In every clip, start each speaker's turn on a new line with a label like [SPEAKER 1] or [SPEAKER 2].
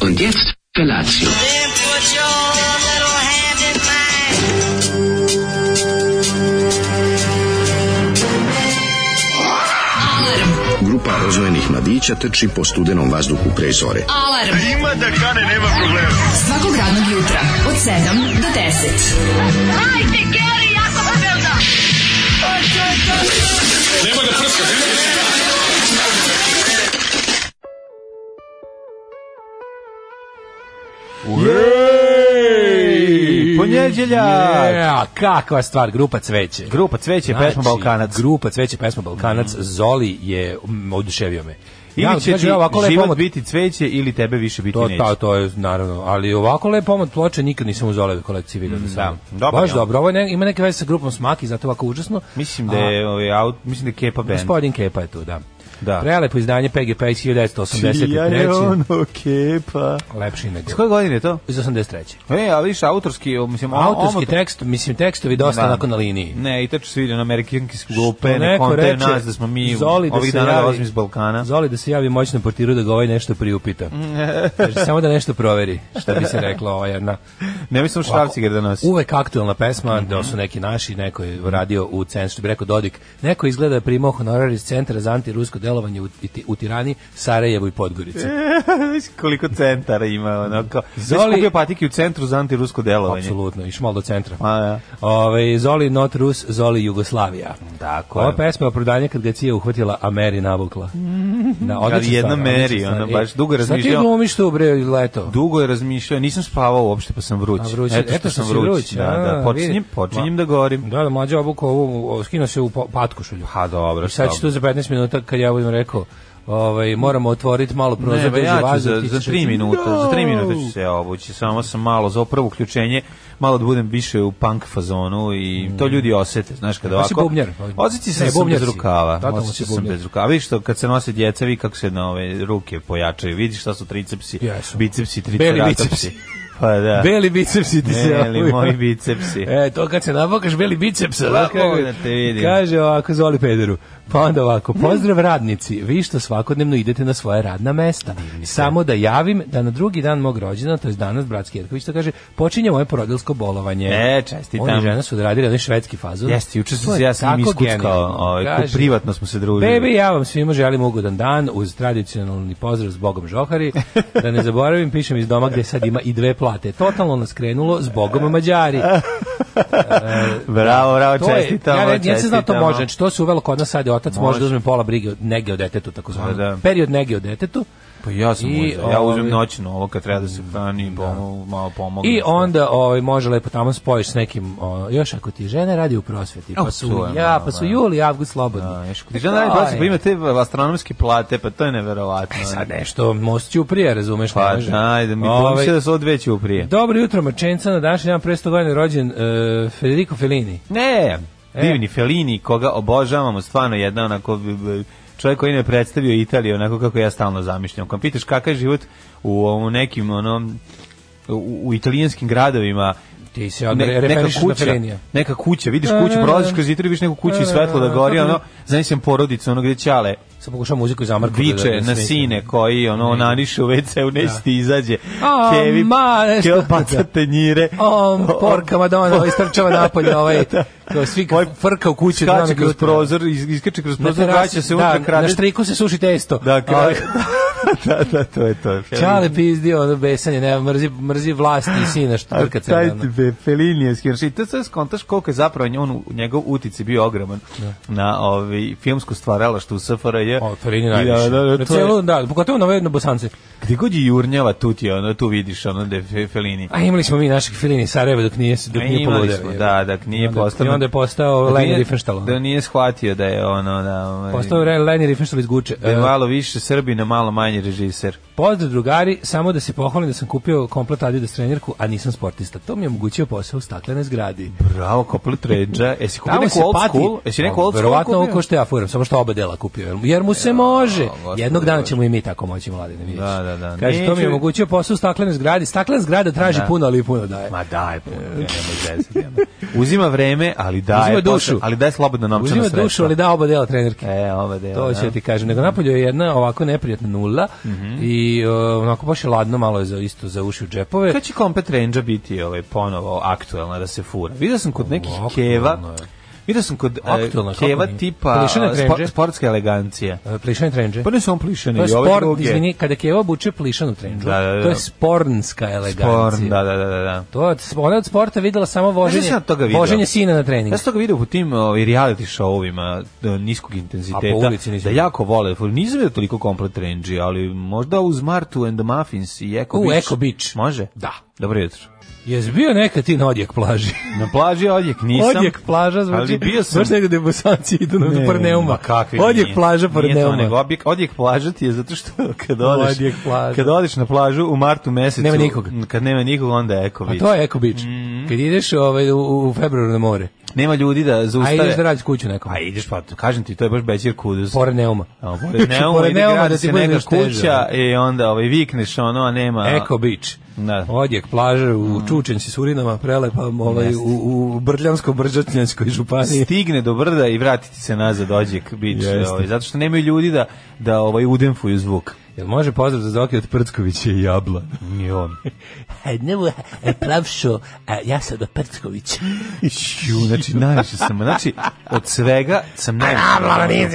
[SPEAKER 1] Und jetzt Felatio.
[SPEAKER 2] Then put your little hand in mine.
[SPEAKER 3] Grupa rozvojenih mladića trči po studenom vazduhu pre zore.
[SPEAKER 4] Alarm. Ima da kane, nema problema. Svakog radnog jutra, od 7 do 10.
[SPEAKER 5] Ej, ponedjeljak!
[SPEAKER 6] Yeah, kakva stvar, grupa Cveće.
[SPEAKER 5] Grupa Cveće, Znači, pesma Balkanac.
[SPEAKER 6] Grupa Cveće, pesma Balkanac. Zoli je mm, oduševio me.
[SPEAKER 5] Ili će
[SPEAKER 6] kažem,
[SPEAKER 5] ti
[SPEAKER 6] ovako lep
[SPEAKER 5] život
[SPEAKER 6] omot-
[SPEAKER 5] biti cveće ili tebe više biti
[SPEAKER 6] To,
[SPEAKER 5] neće.
[SPEAKER 6] ta, to je naravno, ali ovako lep pomad ploče nikad nisam u Zoleve kolekciji vidio. da,
[SPEAKER 5] da. Dobar
[SPEAKER 6] Baš
[SPEAKER 5] je on.
[SPEAKER 6] dobro, ovo je ne, ima neke veze sa grupom Smaki, zato je ovako užasno.
[SPEAKER 5] Mislim da je, ovaj, aut, mislim da je Kepa
[SPEAKER 6] A,
[SPEAKER 5] band.
[SPEAKER 6] gospodin Kepa je tu, da.
[SPEAKER 5] Da.
[SPEAKER 6] Prelepo izdanje PGP iz
[SPEAKER 5] Ja je
[SPEAKER 6] 1983.
[SPEAKER 5] ono Kepa.
[SPEAKER 6] Lepši nego.
[SPEAKER 5] S koje godine je to?
[SPEAKER 6] Iz 83.
[SPEAKER 5] E, ali viš, autorski, o, mislim, o-
[SPEAKER 6] Autorski
[SPEAKER 5] omot-
[SPEAKER 6] tekst, mislim tekstovi dosta
[SPEAKER 5] Da.
[SPEAKER 6] onako na liniji.
[SPEAKER 5] Ne, i tačno se vidi na amerikanski
[SPEAKER 6] Što
[SPEAKER 5] glupe, ne
[SPEAKER 6] neko
[SPEAKER 5] kontaju
[SPEAKER 6] reče,
[SPEAKER 5] nas da smo mi
[SPEAKER 6] Zoli da
[SPEAKER 5] ovih
[SPEAKER 6] se
[SPEAKER 5] dana
[SPEAKER 6] javi-
[SPEAKER 5] dolazimo iz Balkana.
[SPEAKER 6] Zoli da se javi moćnom portiru da ga ovaj nešto priupita. Kaže, samo da nešto proveri, što bi se reklo ova jedna.
[SPEAKER 5] Ne mislim štavci da nosi.
[SPEAKER 6] Uvek aktuelna pesma, da su neki naši, neko je radio u centru, što bi rekao Dodik, neko izgleda da je primao honorar iz centra za antirusko delovanje u, Ti- u Tirani, Sarajevu i Podgorici.
[SPEAKER 5] Znaš koliko centara ima, ono kao... Zoli...
[SPEAKER 6] Zoli-
[SPEAKER 5] Kupio patike u centru za antirusko delovanje.
[SPEAKER 6] Apsolutno, išao malo do centra.
[SPEAKER 5] A, da.
[SPEAKER 6] Ove, Ovaj, Zoli not Rus, Zoli Jugoslavija. Tako
[SPEAKER 5] je.
[SPEAKER 6] Ova pesma je o prodanju kad ga je Cija uhvatila, a Mary navukla. Da,
[SPEAKER 5] Ali jedna Mary, ona baš dugo
[SPEAKER 6] E, Sad
[SPEAKER 5] razmišljao.
[SPEAKER 6] ti glumiš tu, bre, leto.
[SPEAKER 5] Dugo je razmišljao, nisam spavao uopšte, pa sam vruć.
[SPEAKER 6] A, vruć.
[SPEAKER 5] Eto, što sam vruć. da, da,
[SPEAKER 6] A,
[SPEAKER 5] počinjem,
[SPEAKER 6] vidi.
[SPEAKER 5] počinjem da
[SPEAKER 6] Ma-
[SPEAKER 5] gorim.
[SPEAKER 6] Da, da, mlađa obuka ovu, o, skino se u po- patkošulju.
[SPEAKER 5] Ha, dobro,
[SPEAKER 6] I sad
[SPEAKER 5] šta
[SPEAKER 6] ću tu za 15 minuta, kad ja budem rekao, ovaj, moramo otvoriti malo prozor,
[SPEAKER 5] Ne, ba,
[SPEAKER 6] dođe
[SPEAKER 5] ja ću
[SPEAKER 6] vazduh,
[SPEAKER 5] za,
[SPEAKER 6] ti
[SPEAKER 5] za
[SPEAKER 6] ćeš
[SPEAKER 5] tri
[SPEAKER 6] reći,
[SPEAKER 5] minuta, za tri
[SPEAKER 6] "No!"
[SPEAKER 5] minuta ću se obući, samo sam malo za ovo prvo uključenje, malo da budem više u punk fazonu i to ljudi osete, znaš, kada
[SPEAKER 6] Mm. Pa si
[SPEAKER 5] ovako...
[SPEAKER 6] bubnjar.
[SPEAKER 5] Osjeći sam,
[SPEAKER 6] Ne,
[SPEAKER 5] sam
[SPEAKER 6] bubnjar
[SPEAKER 5] bez
[SPEAKER 6] si.
[SPEAKER 5] rukava,
[SPEAKER 6] Totalno
[SPEAKER 5] osjeći
[SPEAKER 6] si
[SPEAKER 5] sam
[SPEAKER 6] bubnjar.
[SPEAKER 5] bez rukava. Vidiš to, kad se nose djeca, vidi kako se na ove ruke pojačaju, vidiš šta su tricepsi,
[SPEAKER 6] Jesu.
[SPEAKER 5] bicepsi,
[SPEAKER 6] Beli
[SPEAKER 5] triceratopsi. Pa da,
[SPEAKER 6] Beli bicepsi ti se
[SPEAKER 5] beli,
[SPEAKER 6] ovu-
[SPEAKER 5] moji bicepsi.
[SPEAKER 6] E, to kad se nabokaš beli bicepsa, da,
[SPEAKER 5] Pa, mogu da te vidim.
[SPEAKER 6] kaže ovako, zvoli pederu. Pa onda ovako, pozdrav radnici, vi što svakodnevno idete na svoje radna mesta. Samo da javim da na drugi dan mog rođena, to je danas bratski Jerković, to kaže, počinje moje porodilsko bolovanje.
[SPEAKER 5] E, čestitam.
[SPEAKER 6] Oni žena su odradili onaj švedski fazon.
[SPEAKER 5] Jeste, juče
[SPEAKER 6] To
[SPEAKER 5] sam
[SPEAKER 6] je
[SPEAKER 5] se ja sam
[SPEAKER 6] tako
[SPEAKER 5] iskuckao,
[SPEAKER 6] genijalno.
[SPEAKER 5] ovaj, ko
[SPEAKER 6] Kaže,
[SPEAKER 5] privatno smo se družili.
[SPEAKER 6] Bebe, ja vam svima želim ugodan dan uz tradicionalni pozdrav s Bogom Žohari. Da ne zaboravim, pišem iz doma gde sad ima i dve plate. Totalno nas krenulo s Bogom Mađari.
[SPEAKER 5] Bravo, bravo,
[SPEAKER 6] da, To je,
[SPEAKER 5] čestitamo,
[SPEAKER 6] ja, ne- ja sam znao to
[SPEAKER 5] čestitamo.
[SPEAKER 6] može, znači to se uvelo kod nas sad je otac može, da uzme pola brige od nege o detetu, tako zvano.
[SPEAKER 5] Da, da.
[SPEAKER 6] Period nege o detetu.
[SPEAKER 5] Pa ja sam
[SPEAKER 6] I,
[SPEAKER 5] uzeo, ja uzmem
[SPEAKER 6] ovaj,
[SPEAKER 5] noćno ovo kad treba da se hrani, pomo- malo da pomognem.
[SPEAKER 6] I onda ovaj može lepo tamo spojiš s nekim o, još ako ti žene radi u prosveti
[SPEAKER 5] Oh,
[SPEAKER 6] pa su
[SPEAKER 5] to je
[SPEAKER 6] ja
[SPEAKER 5] malo,
[SPEAKER 6] pa su
[SPEAKER 5] da.
[SPEAKER 6] juli i avgust slobodni.
[SPEAKER 5] Da, još kod- Ti žena radi prosjek, pa imate astronomske plate, pa to je neverovatno.
[SPEAKER 6] E, sad nešto most ćuprije, razumeš,
[SPEAKER 5] Pa
[SPEAKER 6] ne može.
[SPEAKER 5] ajde, mi
[SPEAKER 6] Ovaj,
[SPEAKER 5] pomislio da su ovo dve ćuprije.
[SPEAKER 6] Dobro jutro, Mačenca, na današnji dan pre 100 godina rođen e, Federico Fellini.
[SPEAKER 5] Ne,
[SPEAKER 6] E.
[SPEAKER 5] divni Felini, koga obožavamo, stvarno jedna onako b- b- čovjek koji ne predstavio Italiju onako kako ja stalno zamišljam. Kad pitaš kakav je život u, u nekim onom u, u italijanskim gradovima
[SPEAKER 6] Ti se odmah Pa, referišeš na Fellinija.
[SPEAKER 5] neka kuća, vidiš kuću, prolaziš kroz Italiju, vidiš neku kuću i svetlo da gori, ono, zamislim porodicu, ono gde ćale
[SPEAKER 6] Sad pokušavam muziku iz Amarku.
[SPEAKER 5] viče
[SPEAKER 6] da- da
[SPEAKER 5] na
[SPEAKER 6] smislim.
[SPEAKER 5] sine koji ono naniše u WC-u neće
[SPEAKER 6] Da.
[SPEAKER 5] ti izađe.
[SPEAKER 6] A,
[SPEAKER 5] Kevi, pa
[SPEAKER 6] ma, nešto
[SPEAKER 5] kevo
[SPEAKER 6] da-
[SPEAKER 5] baca tanjire.
[SPEAKER 6] O, porka Madonna, ovaj strčava napolje, ovaj, kao svi
[SPEAKER 5] Ovaj
[SPEAKER 6] frka u kući. od
[SPEAKER 5] Da, Skače
[SPEAKER 6] ranog
[SPEAKER 5] kroz
[SPEAKER 6] jutra.
[SPEAKER 5] prozor, iz- iskače kroz
[SPEAKER 6] Na
[SPEAKER 5] prozor,
[SPEAKER 6] terasi,
[SPEAKER 5] vraća se unutra,
[SPEAKER 6] da,
[SPEAKER 5] krade.
[SPEAKER 6] Na štriku se suši testo.
[SPEAKER 5] Da, krade.
[SPEAKER 6] Ovaj,
[SPEAKER 5] da, da, to je to.
[SPEAKER 6] Čale pizdio, ono besanje, ne, mrzi, mrzi vlast i sina što
[SPEAKER 5] A
[SPEAKER 6] trka
[SPEAKER 5] taj
[SPEAKER 6] cena.
[SPEAKER 5] be, Fellini je skinner. I to sad skontaš koliko je zapravo nje- on, njegov uticaj bio ogroman na ovaj, filmsko stvaralaštvo u SFRJ.
[SPEAKER 6] Da. O, Ferini
[SPEAKER 5] I
[SPEAKER 6] najviše.
[SPEAKER 5] Da, da, da,
[SPEAKER 6] na
[SPEAKER 5] to je-
[SPEAKER 6] celu, da, pogotovo na ove na Bosance.
[SPEAKER 5] Gde god je jurnjava, tu ti je, ono, tu vidiš ono da je Fe- Fellini.
[SPEAKER 6] A imali smo mi naših Filini Sarajeva dok nije, dok
[SPEAKER 5] A
[SPEAKER 6] nije
[SPEAKER 5] imali
[SPEAKER 6] poludeo.
[SPEAKER 5] smo,
[SPEAKER 6] je.
[SPEAKER 5] da, da, nije
[SPEAKER 6] I onda-
[SPEAKER 5] postao-
[SPEAKER 6] I onda je postao
[SPEAKER 5] Da
[SPEAKER 6] Lenny
[SPEAKER 5] nije-
[SPEAKER 6] Riefenstahl.
[SPEAKER 5] Da nije shvatio da je ono, da... ovaj,
[SPEAKER 6] Postao je Lenny Riefenstahl iz Guče.
[SPEAKER 5] da je
[SPEAKER 6] E,
[SPEAKER 5] malo više Srbina, malo manje režiser.
[SPEAKER 6] Pozdrav drugari, samo da se pohvalim da sam kupio komplet Adidas trenirku, a nisam sportista. To mi je omogućio posao u staklene zgradi.
[SPEAKER 5] Bravo, kopili tređa. Jesi kupio
[SPEAKER 6] Tamo
[SPEAKER 5] neku
[SPEAKER 6] se
[SPEAKER 5] old
[SPEAKER 6] pati.
[SPEAKER 5] school? Jesi neku
[SPEAKER 6] A,
[SPEAKER 5] old school
[SPEAKER 6] Verovatno ovo
[SPEAKER 5] kupio?
[SPEAKER 6] ko što ja furam, samo što oba dela kupio. jer- Jer mu se može. Jednog dana ćemo i mi tako moći, mladine, vidiš.
[SPEAKER 5] Da, da, da.
[SPEAKER 6] Kaže, to mi
[SPEAKER 5] Neću- Da.
[SPEAKER 6] je omogućio posao u staklenoj zgradi. Staklena zgrada traži puno, ali i puno daje.
[SPEAKER 5] Ma daj, puno, ne, nemoj zezati, nemoj. Uzima vreme, ali daje.
[SPEAKER 6] E. Uzima
[SPEAKER 5] posle-
[SPEAKER 6] dušu.
[SPEAKER 5] Ali daje slobodno novčano
[SPEAKER 6] Uzima
[SPEAKER 5] sredstvo.
[SPEAKER 6] dušu, ali da oba dela trenerke.
[SPEAKER 5] E, ovo je.
[SPEAKER 6] To ću ti kažem. Nego napolju je jedna ovako neprijatna nula,
[SPEAKER 5] Mhm.
[SPEAKER 6] i uh, onako baš je ladno, malo je za, isto za uši u džepove.
[SPEAKER 5] Kad će Kompet Range biti ovaj, ponovo aktuelna da se fura? Vidio sam kod nekih
[SPEAKER 6] Aktuelno
[SPEAKER 5] keva,
[SPEAKER 6] je.
[SPEAKER 5] vidio sam kod e,
[SPEAKER 6] Aktuelno, kako
[SPEAKER 5] keva
[SPEAKER 6] nije?
[SPEAKER 5] tipa
[SPEAKER 6] Plišene
[SPEAKER 5] spo-
[SPEAKER 6] trendže?
[SPEAKER 5] sportske elegancije.
[SPEAKER 6] E, Plišane trendže.
[SPEAKER 5] Pa ne su on plišene,
[SPEAKER 6] To je
[SPEAKER 5] i ove
[SPEAKER 6] sport,
[SPEAKER 5] druge.
[SPEAKER 6] izvini, kada Keva obuče plišanu trendžu,
[SPEAKER 5] Da, da, da.
[SPEAKER 6] to je spornska elegancija.
[SPEAKER 5] Porn, da, da, da, da, da.
[SPEAKER 6] To je, od- ona je od sporta videla samo voženje,
[SPEAKER 5] sam od toga video?
[SPEAKER 6] voženje sina na trening.
[SPEAKER 5] Ja sam toga vidio u tim ovaj, reality show-ovima e, niskog
[SPEAKER 6] A po
[SPEAKER 5] intenziteta,
[SPEAKER 6] ulici nisi
[SPEAKER 5] da
[SPEAKER 6] vidio.
[SPEAKER 5] jako vole, nisam vidio toliko komplet range, ali možda uz Martu and the Muffins i Eko
[SPEAKER 6] U,
[SPEAKER 5] Beach.
[SPEAKER 6] Eko Beach.
[SPEAKER 5] Može?
[SPEAKER 6] Da.
[SPEAKER 5] Dobro jutro.
[SPEAKER 6] Jesi bio nekad ti na odjek plaži?
[SPEAKER 5] Na plaži odjek nisam.
[SPEAKER 6] Odjek plaža zvuči.
[SPEAKER 5] Ali bio sam.
[SPEAKER 6] Znaš negde bosanci idu na Parneuma.
[SPEAKER 5] ma kakvi
[SPEAKER 6] Odjek
[SPEAKER 5] nije.
[SPEAKER 6] plaža
[SPEAKER 5] Nije to nego
[SPEAKER 6] Parneuma.
[SPEAKER 5] odjek, odjek plaža ti je zato što kad odeš,
[SPEAKER 6] Odjek plaža.
[SPEAKER 5] kad odeš na plažu u martu mesecu,
[SPEAKER 6] Nema nikog.
[SPEAKER 5] kad nema nikog onda je Eko
[SPEAKER 6] Pa
[SPEAKER 5] Beach.
[SPEAKER 6] to je Eko Beach.
[SPEAKER 5] Mhm.
[SPEAKER 6] Kad ideš ovaj, u, u februaru na more,
[SPEAKER 5] Nema ljudi da
[SPEAKER 6] a
[SPEAKER 5] zaustave.
[SPEAKER 6] ideš da radiš kuću nekom.
[SPEAKER 5] A ideš pa, kažem ti, to je baš Bećir Kuduz.
[SPEAKER 6] Pored Neuma.
[SPEAKER 5] A, Pored neuma,
[SPEAKER 6] Znači, Pored
[SPEAKER 5] ide
[SPEAKER 6] Neuma
[SPEAKER 5] gradi
[SPEAKER 6] da ti
[SPEAKER 5] se
[SPEAKER 6] bude
[SPEAKER 5] neka
[SPEAKER 6] još teže,
[SPEAKER 5] kuća i onda ovaj, vikneš ono, a nema...
[SPEAKER 6] Eko Beach.
[SPEAKER 5] Da.
[SPEAKER 6] Odjek plaže u Čučenci, Surinama, prelepa ovaj, u, u Brljansko-Brđačnjanskoj županiji.
[SPEAKER 5] stigne do brda i vratiti se nazad odjek bić
[SPEAKER 6] Jeste.
[SPEAKER 5] ovaj, zato što nemaju ljudi da da ovaj udenfuju zvuk.
[SPEAKER 6] Jel može pozdrav za Zoki od Prckovića i Jabla?
[SPEAKER 5] I on.
[SPEAKER 6] Nevo,
[SPEAKER 5] e,
[SPEAKER 6] pravšo, a ja sam do Prckovića.
[SPEAKER 5] Ju, znači najviše sam, znači od svega sam najviše.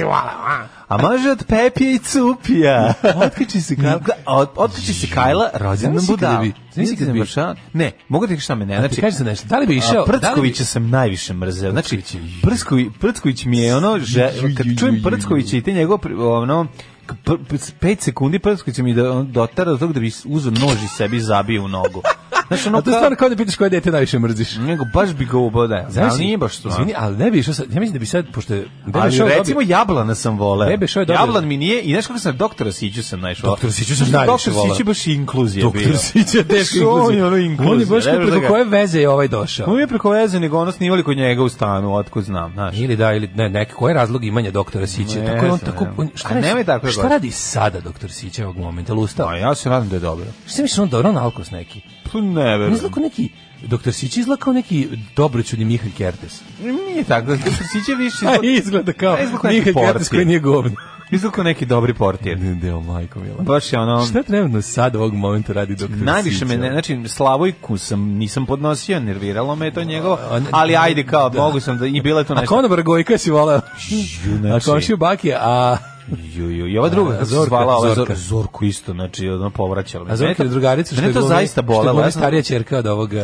[SPEAKER 5] A može od Pepija i Cupija.
[SPEAKER 6] Otkači se
[SPEAKER 5] Ka- ka- Od, otkači se Kajla, rođen nam
[SPEAKER 6] Znaš li kada
[SPEAKER 5] budala.
[SPEAKER 6] bi- znaš li kada bi-
[SPEAKER 5] Znaš li kada bi- Ne, mogu ti reći šta me ne, znači...
[SPEAKER 6] Znači, kaže se nešto, da li bi išao...
[SPEAKER 5] A Prckovića sam najviše mrzeo. Znači, Prcković, Prcković mi je ono, že, kad čujem Prckovića i te njegov, ono, 5 sekundi Prckovića mi do- dotara do toga da bi uzeo nož i sebi zabio u nogu. Znači, ono,
[SPEAKER 6] A to
[SPEAKER 5] kao,
[SPEAKER 6] stvarno kao da pitaš koje dete najviše mrziš.
[SPEAKER 5] nego baš bi ga ubodaja. Znači, Mm. ali nije baš to.
[SPEAKER 6] Izvini, ali ne bi išao sad, ja mislim da bi da sad, pošto je... Bebe
[SPEAKER 5] Ali
[SPEAKER 6] Show
[SPEAKER 5] recimo
[SPEAKER 6] dobio-
[SPEAKER 5] jablana sam voleo.
[SPEAKER 6] Bebe Show je dobio-
[SPEAKER 5] Jablan mi nije, i znaš kako sam doktora Siću sam naišao.
[SPEAKER 6] Doktora Siću sam najviše
[SPEAKER 5] Doktor
[SPEAKER 6] voleo.
[SPEAKER 5] Siću je baš inkluzija bio.
[SPEAKER 6] Doktor Sić je teško
[SPEAKER 5] Što on
[SPEAKER 6] inkluzija.
[SPEAKER 5] je ono inkluzija,
[SPEAKER 6] On je baš
[SPEAKER 5] ne
[SPEAKER 6] kao
[SPEAKER 5] znaš da
[SPEAKER 6] preko
[SPEAKER 5] ga-
[SPEAKER 6] koje veze je ovaj došao.
[SPEAKER 5] On je preko veze, nego ono snimali kod njega u stanu, otkud znam, znaš.
[SPEAKER 6] Ili da, ili ne, neki, koji je razlog imanja doktora Sića?
[SPEAKER 5] Ne
[SPEAKER 6] tako je on
[SPEAKER 5] znam,
[SPEAKER 6] tako...
[SPEAKER 5] ne.
[SPEAKER 6] On,
[SPEAKER 5] A
[SPEAKER 6] šta, radi,
[SPEAKER 5] nemoj tako da
[SPEAKER 6] šta
[SPEAKER 5] govoriš.
[SPEAKER 6] radi sada doktor Sića ovog momenta? Jel Ustao?
[SPEAKER 5] A ja se nadam da je dobro.
[SPEAKER 6] Šta misliš, on dobro, on alkos neki?
[SPEAKER 5] Pa ne
[SPEAKER 6] On
[SPEAKER 5] verujem.
[SPEAKER 6] izgleda kao neki... Doktor Sić izgleda kao neki dobroćudni Mihan Kertes.
[SPEAKER 5] Nije tako, zato što Sića više
[SPEAKER 6] A Pa, izgleda kao
[SPEAKER 5] A izgleda kao neki
[SPEAKER 6] Mihan Kertes
[SPEAKER 5] portir.
[SPEAKER 6] koji nije govno.
[SPEAKER 5] izgleda kao neki dobri portir.
[SPEAKER 6] Deo, majko mila.
[SPEAKER 5] Baš je ono...
[SPEAKER 6] Pa, um, Šta trenutno sad ovog momenta radi doktor
[SPEAKER 5] Najviše
[SPEAKER 6] Sića?
[SPEAKER 5] me, ne, znači, Slavojku sam, nisam podnosio, nerviralo me je to njegovo,
[SPEAKER 6] A, ne-
[SPEAKER 5] ali ajde kao,
[SPEAKER 6] da.
[SPEAKER 5] mogu sam da, i bila je to
[SPEAKER 6] A
[SPEAKER 5] nešto.
[SPEAKER 6] konobar Gojka si voleo. A
[SPEAKER 5] znači-
[SPEAKER 6] komšiju Baki, a...
[SPEAKER 5] Ju, ju, I ova druga, kako se
[SPEAKER 6] Zorka,
[SPEAKER 5] zvala, ova
[SPEAKER 6] Zorka.
[SPEAKER 5] Zorka. Zorku isto, znači, ono povraćala. me.
[SPEAKER 6] A
[SPEAKER 5] Mene
[SPEAKER 6] Zorka
[SPEAKER 5] to-
[SPEAKER 6] je drugarica što
[SPEAKER 5] mene
[SPEAKER 6] je
[SPEAKER 5] to
[SPEAKER 6] glumi-
[SPEAKER 5] zaista
[SPEAKER 6] što je
[SPEAKER 5] bolelo.
[SPEAKER 6] glumi
[SPEAKER 5] Ja sam,
[SPEAKER 6] starija ćerka od ovog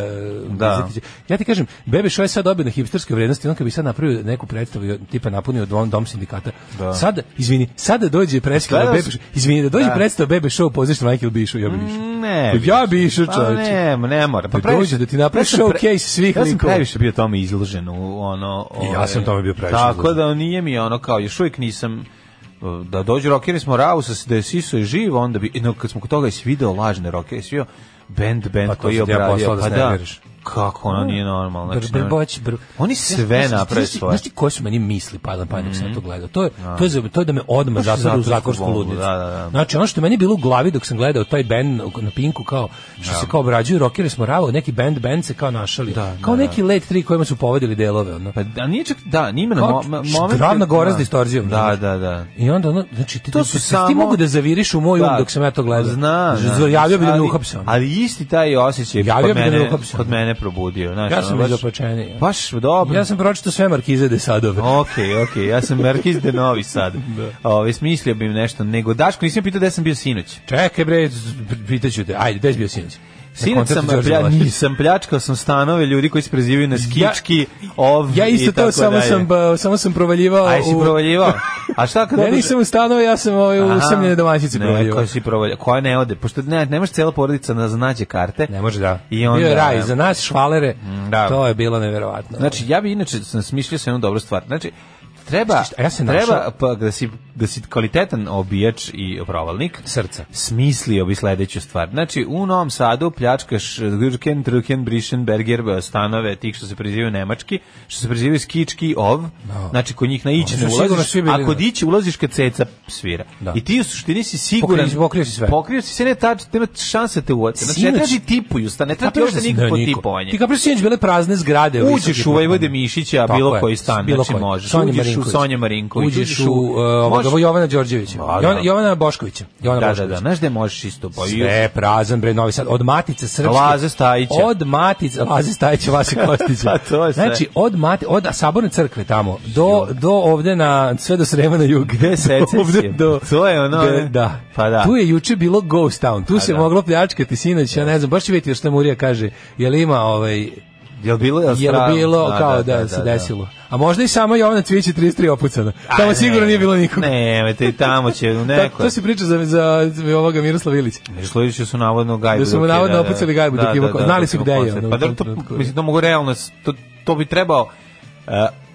[SPEAKER 5] Da.
[SPEAKER 6] da. Ja ti kažem, Bebe Šo je sad dobio na hipsterske vrednosti, on kad bi sad napravio neku predstavu, i, tipa napunio dom, dom sindikata. Da. Sad, izvini, sada dođe predstava
[SPEAKER 5] Gledao
[SPEAKER 6] Bebe
[SPEAKER 5] sam-
[SPEAKER 6] Show- izvini, da dođe
[SPEAKER 5] Da.
[SPEAKER 6] predstava Bebe Show u pozdravu Michael Bišu, ja bi išao.
[SPEAKER 5] ne,
[SPEAKER 6] Ja bi išao,
[SPEAKER 5] Pa
[SPEAKER 6] čoveče.
[SPEAKER 5] ne, ne mora. Pa
[SPEAKER 6] Da
[SPEAKER 5] previše-
[SPEAKER 6] dođe da ti napravi
[SPEAKER 5] sam pre-
[SPEAKER 6] showcase svih
[SPEAKER 5] Ja sam
[SPEAKER 6] likova.
[SPEAKER 5] previše bio tome izložen u ono...
[SPEAKER 6] I ja
[SPEAKER 5] ove-
[SPEAKER 6] sam tome bio previše
[SPEAKER 5] Tako
[SPEAKER 6] izložen.
[SPEAKER 5] da nije mi ono kao, još uvijek nisam uh, da dođu rockeri smo Rausa da je Siso je živ, onda bi, no, kad smo kod toga si video lažne rockere, si video band, band
[SPEAKER 6] Pa to
[SPEAKER 5] koji je
[SPEAKER 6] sam ti ja
[SPEAKER 5] obradio,
[SPEAKER 6] poslao da
[SPEAKER 5] pa
[SPEAKER 6] se
[SPEAKER 5] da,
[SPEAKER 6] nerviraš.
[SPEAKER 5] kako ono nije normalno.
[SPEAKER 6] Br,
[SPEAKER 5] Znači,
[SPEAKER 6] br,
[SPEAKER 5] ne-
[SPEAKER 6] boć, br.
[SPEAKER 5] Oni sve
[SPEAKER 6] znaš ti-
[SPEAKER 5] naprave
[SPEAKER 6] znaš ti-
[SPEAKER 5] svoje. Mhm.
[SPEAKER 6] Znaš ti koje su meni misli padale pa dok sam to gledao? To je, to je, za- to je da me odmah
[SPEAKER 5] Znaš,
[SPEAKER 6] zapada u
[SPEAKER 5] zatvorsku
[SPEAKER 6] zatvorsku
[SPEAKER 5] bombu,
[SPEAKER 6] ludnicu.
[SPEAKER 5] da, da, da.
[SPEAKER 6] Znači, ono što je meni bilo u glavi dok sam gledao taj band na Pinku, kao,
[SPEAKER 5] Da.
[SPEAKER 6] što se kao obrađuju, rockeri smo ravo, neki band, band se kao našali. kao neki let 3 kojima su povedili delove. Ono.
[SPEAKER 5] da, Pa, da, nije čak, da, nije imena
[SPEAKER 6] Kao
[SPEAKER 5] mo, mo- moment.
[SPEAKER 6] ravna gora s
[SPEAKER 5] Da.
[SPEAKER 6] distorzijom, znači.
[SPEAKER 5] Da,
[SPEAKER 6] znaš.
[SPEAKER 5] da, da.
[SPEAKER 6] I onda ono, znači ti,
[SPEAKER 5] To
[SPEAKER 6] ti-
[SPEAKER 5] su
[SPEAKER 6] ti- ti
[SPEAKER 5] samo-
[SPEAKER 6] mogu da zaviriš u moj um dok sam ja to gledao.
[SPEAKER 5] Zna,
[SPEAKER 6] Znači, Javio bi da me uhapse. ono.
[SPEAKER 5] Ali isti taj osjećaj
[SPEAKER 6] Javio
[SPEAKER 5] kod
[SPEAKER 6] bi da me
[SPEAKER 5] mene,
[SPEAKER 6] uhapse.
[SPEAKER 5] kod mene probudio. Znaš,
[SPEAKER 6] Ja
[SPEAKER 5] ono,
[SPEAKER 6] sam
[SPEAKER 5] baš-
[SPEAKER 6] izopačeniji.
[SPEAKER 5] Baš dobro.
[SPEAKER 6] Ja sam pročitao sve markize da de Sadove.
[SPEAKER 5] Ok, ok, ja sam Merkiz de Novi Sad.
[SPEAKER 6] Da.
[SPEAKER 5] Ove, smislio bi im nešto. Nego, Daško, nisam pitao gde sam bio sinoć.
[SPEAKER 6] Čekaj bre, z- pitaću te. Ajde, gde si bio sinoć? Na
[SPEAKER 5] Sinoć
[SPEAKER 6] koncertu
[SPEAKER 5] sam,
[SPEAKER 6] Đorđa
[SPEAKER 5] plja,
[SPEAKER 6] Milašića.
[SPEAKER 5] nisam pljačkao sam stanove ljudi koji se prezivaju na skički, ov
[SPEAKER 6] Ja isto
[SPEAKER 5] i tako
[SPEAKER 6] to, samo
[SPEAKER 5] dalje.
[SPEAKER 6] sam, ba, samo sam provaljivao
[SPEAKER 5] A jesi
[SPEAKER 6] u-
[SPEAKER 5] provaljivao? A šta kad
[SPEAKER 6] Ja
[SPEAKER 5] odeš-
[SPEAKER 6] nisam u stanu, ja sam ovaj, u
[SPEAKER 5] Aha.
[SPEAKER 6] usamljene domaćice
[SPEAKER 5] Ne,
[SPEAKER 6] provaljivao.
[SPEAKER 5] koja si provalja, koja ne ode, pošto ne, ne može cijela porodica da znađe karte.
[SPEAKER 6] Ne može da.
[SPEAKER 5] I onda,
[SPEAKER 6] bio je raj, za nas švalere,
[SPEAKER 5] da.
[SPEAKER 6] to je bilo neverovatno.
[SPEAKER 5] Znači, ja bi inače sam smišljio sam jednu dobru stvar. Znači, treba,
[SPEAKER 6] Šta, ja sam
[SPEAKER 5] treba
[SPEAKER 6] našao-
[SPEAKER 5] pa, da, si, da si kvalitetan obijač i provalnik.
[SPEAKER 6] Srca.
[SPEAKER 5] Smislio bi sledeću stvar. Znači, u Novom Sadu pljačkaš eh, Gürken, Druken, Brischen, Berger, eh, stanove, tih što se prezivaju nemački, što se prezivaju skički, ov. Znači, kod njih na ići
[SPEAKER 6] Da. Oni
[SPEAKER 5] ne
[SPEAKER 6] su sigurno
[SPEAKER 5] ulaziš,
[SPEAKER 6] svi bili
[SPEAKER 5] a kod
[SPEAKER 6] na-
[SPEAKER 5] ići ulaziš kad ceca svira.
[SPEAKER 6] Da.
[SPEAKER 5] I ti u suštini si siguran.
[SPEAKER 6] Pokrio si- pokrio si sve.
[SPEAKER 5] Pokrio si sve, ne tač, nema šanse te uoče. Znači, ne
[SPEAKER 6] Sinoć-
[SPEAKER 5] traži tipuju, stan, ne traži
[SPEAKER 6] Kapiraš
[SPEAKER 5] uopšte
[SPEAKER 6] da si-
[SPEAKER 5] nikakvo
[SPEAKER 6] da, niko.
[SPEAKER 5] tipovanje.
[SPEAKER 6] Ti kapiraš sinoć bile prazne zgrade.
[SPEAKER 5] Uđeš u Vojvode Mišića,
[SPEAKER 6] Tako
[SPEAKER 5] bilo
[SPEAKER 6] je,
[SPEAKER 5] koji stan,
[SPEAKER 6] bilo
[SPEAKER 5] znači
[SPEAKER 6] koji.
[SPEAKER 5] možeš.
[SPEAKER 6] Sonja
[SPEAKER 5] uđeš u
[SPEAKER 6] Marinković.
[SPEAKER 5] Sonja Marinković,
[SPEAKER 6] Uđeš u, e, ovog koga? Ovo Jovana Đorđevića.
[SPEAKER 5] A, da.
[SPEAKER 6] Jovana, Jovana Boškovića. Jovana
[SPEAKER 5] Da, da,
[SPEAKER 6] Boškovića.
[SPEAKER 5] da, znaš gde možeš isto? Pa i-
[SPEAKER 6] Sve prazan bre Novi Sad od Matice Srpske.
[SPEAKER 5] Laze Stajića.
[SPEAKER 6] Od Matice Laze Stajića Vase Kostića.
[SPEAKER 5] Pa to je sve.
[SPEAKER 6] Znači od Mati od Saborne crkve tamo do do ovde na sve do Srema na jug.
[SPEAKER 5] Gde secesije?
[SPEAKER 6] Ovde do,
[SPEAKER 5] To je ono,
[SPEAKER 6] gde-
[SPEAKER 5] ne?
[SPEAKER 6] da.
[SPEAKER 5] Pa da.
[SPEAKER 6] Tu je juče bilo Ghost Town. Tu se
[SPEAKER 5] da.
[SPEAKER 6] moglo pljačkati sinoć, ja ne znam, baš će vidjeti šta Murija kaže. Jel ima ovaj
[SPEAKER 5] Jel bilo, Pa jel
[SPEAKER 6] Jel
[SPEAKER 5] strava?
[SPEAKER 6] bilo
[SPEAKER 5] A,
[SPEAKER 6] kao da, se desilo. A možda i samo Jovana Cvijić je 33 opucana.
[SPEAKER 5] A,
[SPEAKER 6] Tamo
[SPEAKER 5] ne.
[SPEAKER 6] sigurno nije bilo nikog.
[SPEAKER 5] Ne, vete, i tamo će u
[SPEAKER 6] Ta,
[SPEAKER 5] neko.
[SPEAKER 6] to si priča za, za, za ovoga Miroslava Ilića.
[SPEAKER 5] Slušali su navodno gajbu.
[SPEAKER 6] Da su mu
[SPEAKER 5] dok je-
[SPEAKER 6] navodno opucali gajbu dok je imao- znali su
[SPEAKER 5] Da, dok
[SPEAKER 6] gde je,
[SPEAKER 5] koncert.
[SPEAKER 6] ono,
[SPEAKER 5] Pa
[SPEAKER 6] u
[SPEAKER 5] da,
[SPEAKER 6] tom
[SPEAKER 5] to,
[SPEAKER 6] trenutku.
[SPEAKER 5] mislim, to mogu realno, s- to, to bi trebao Uh,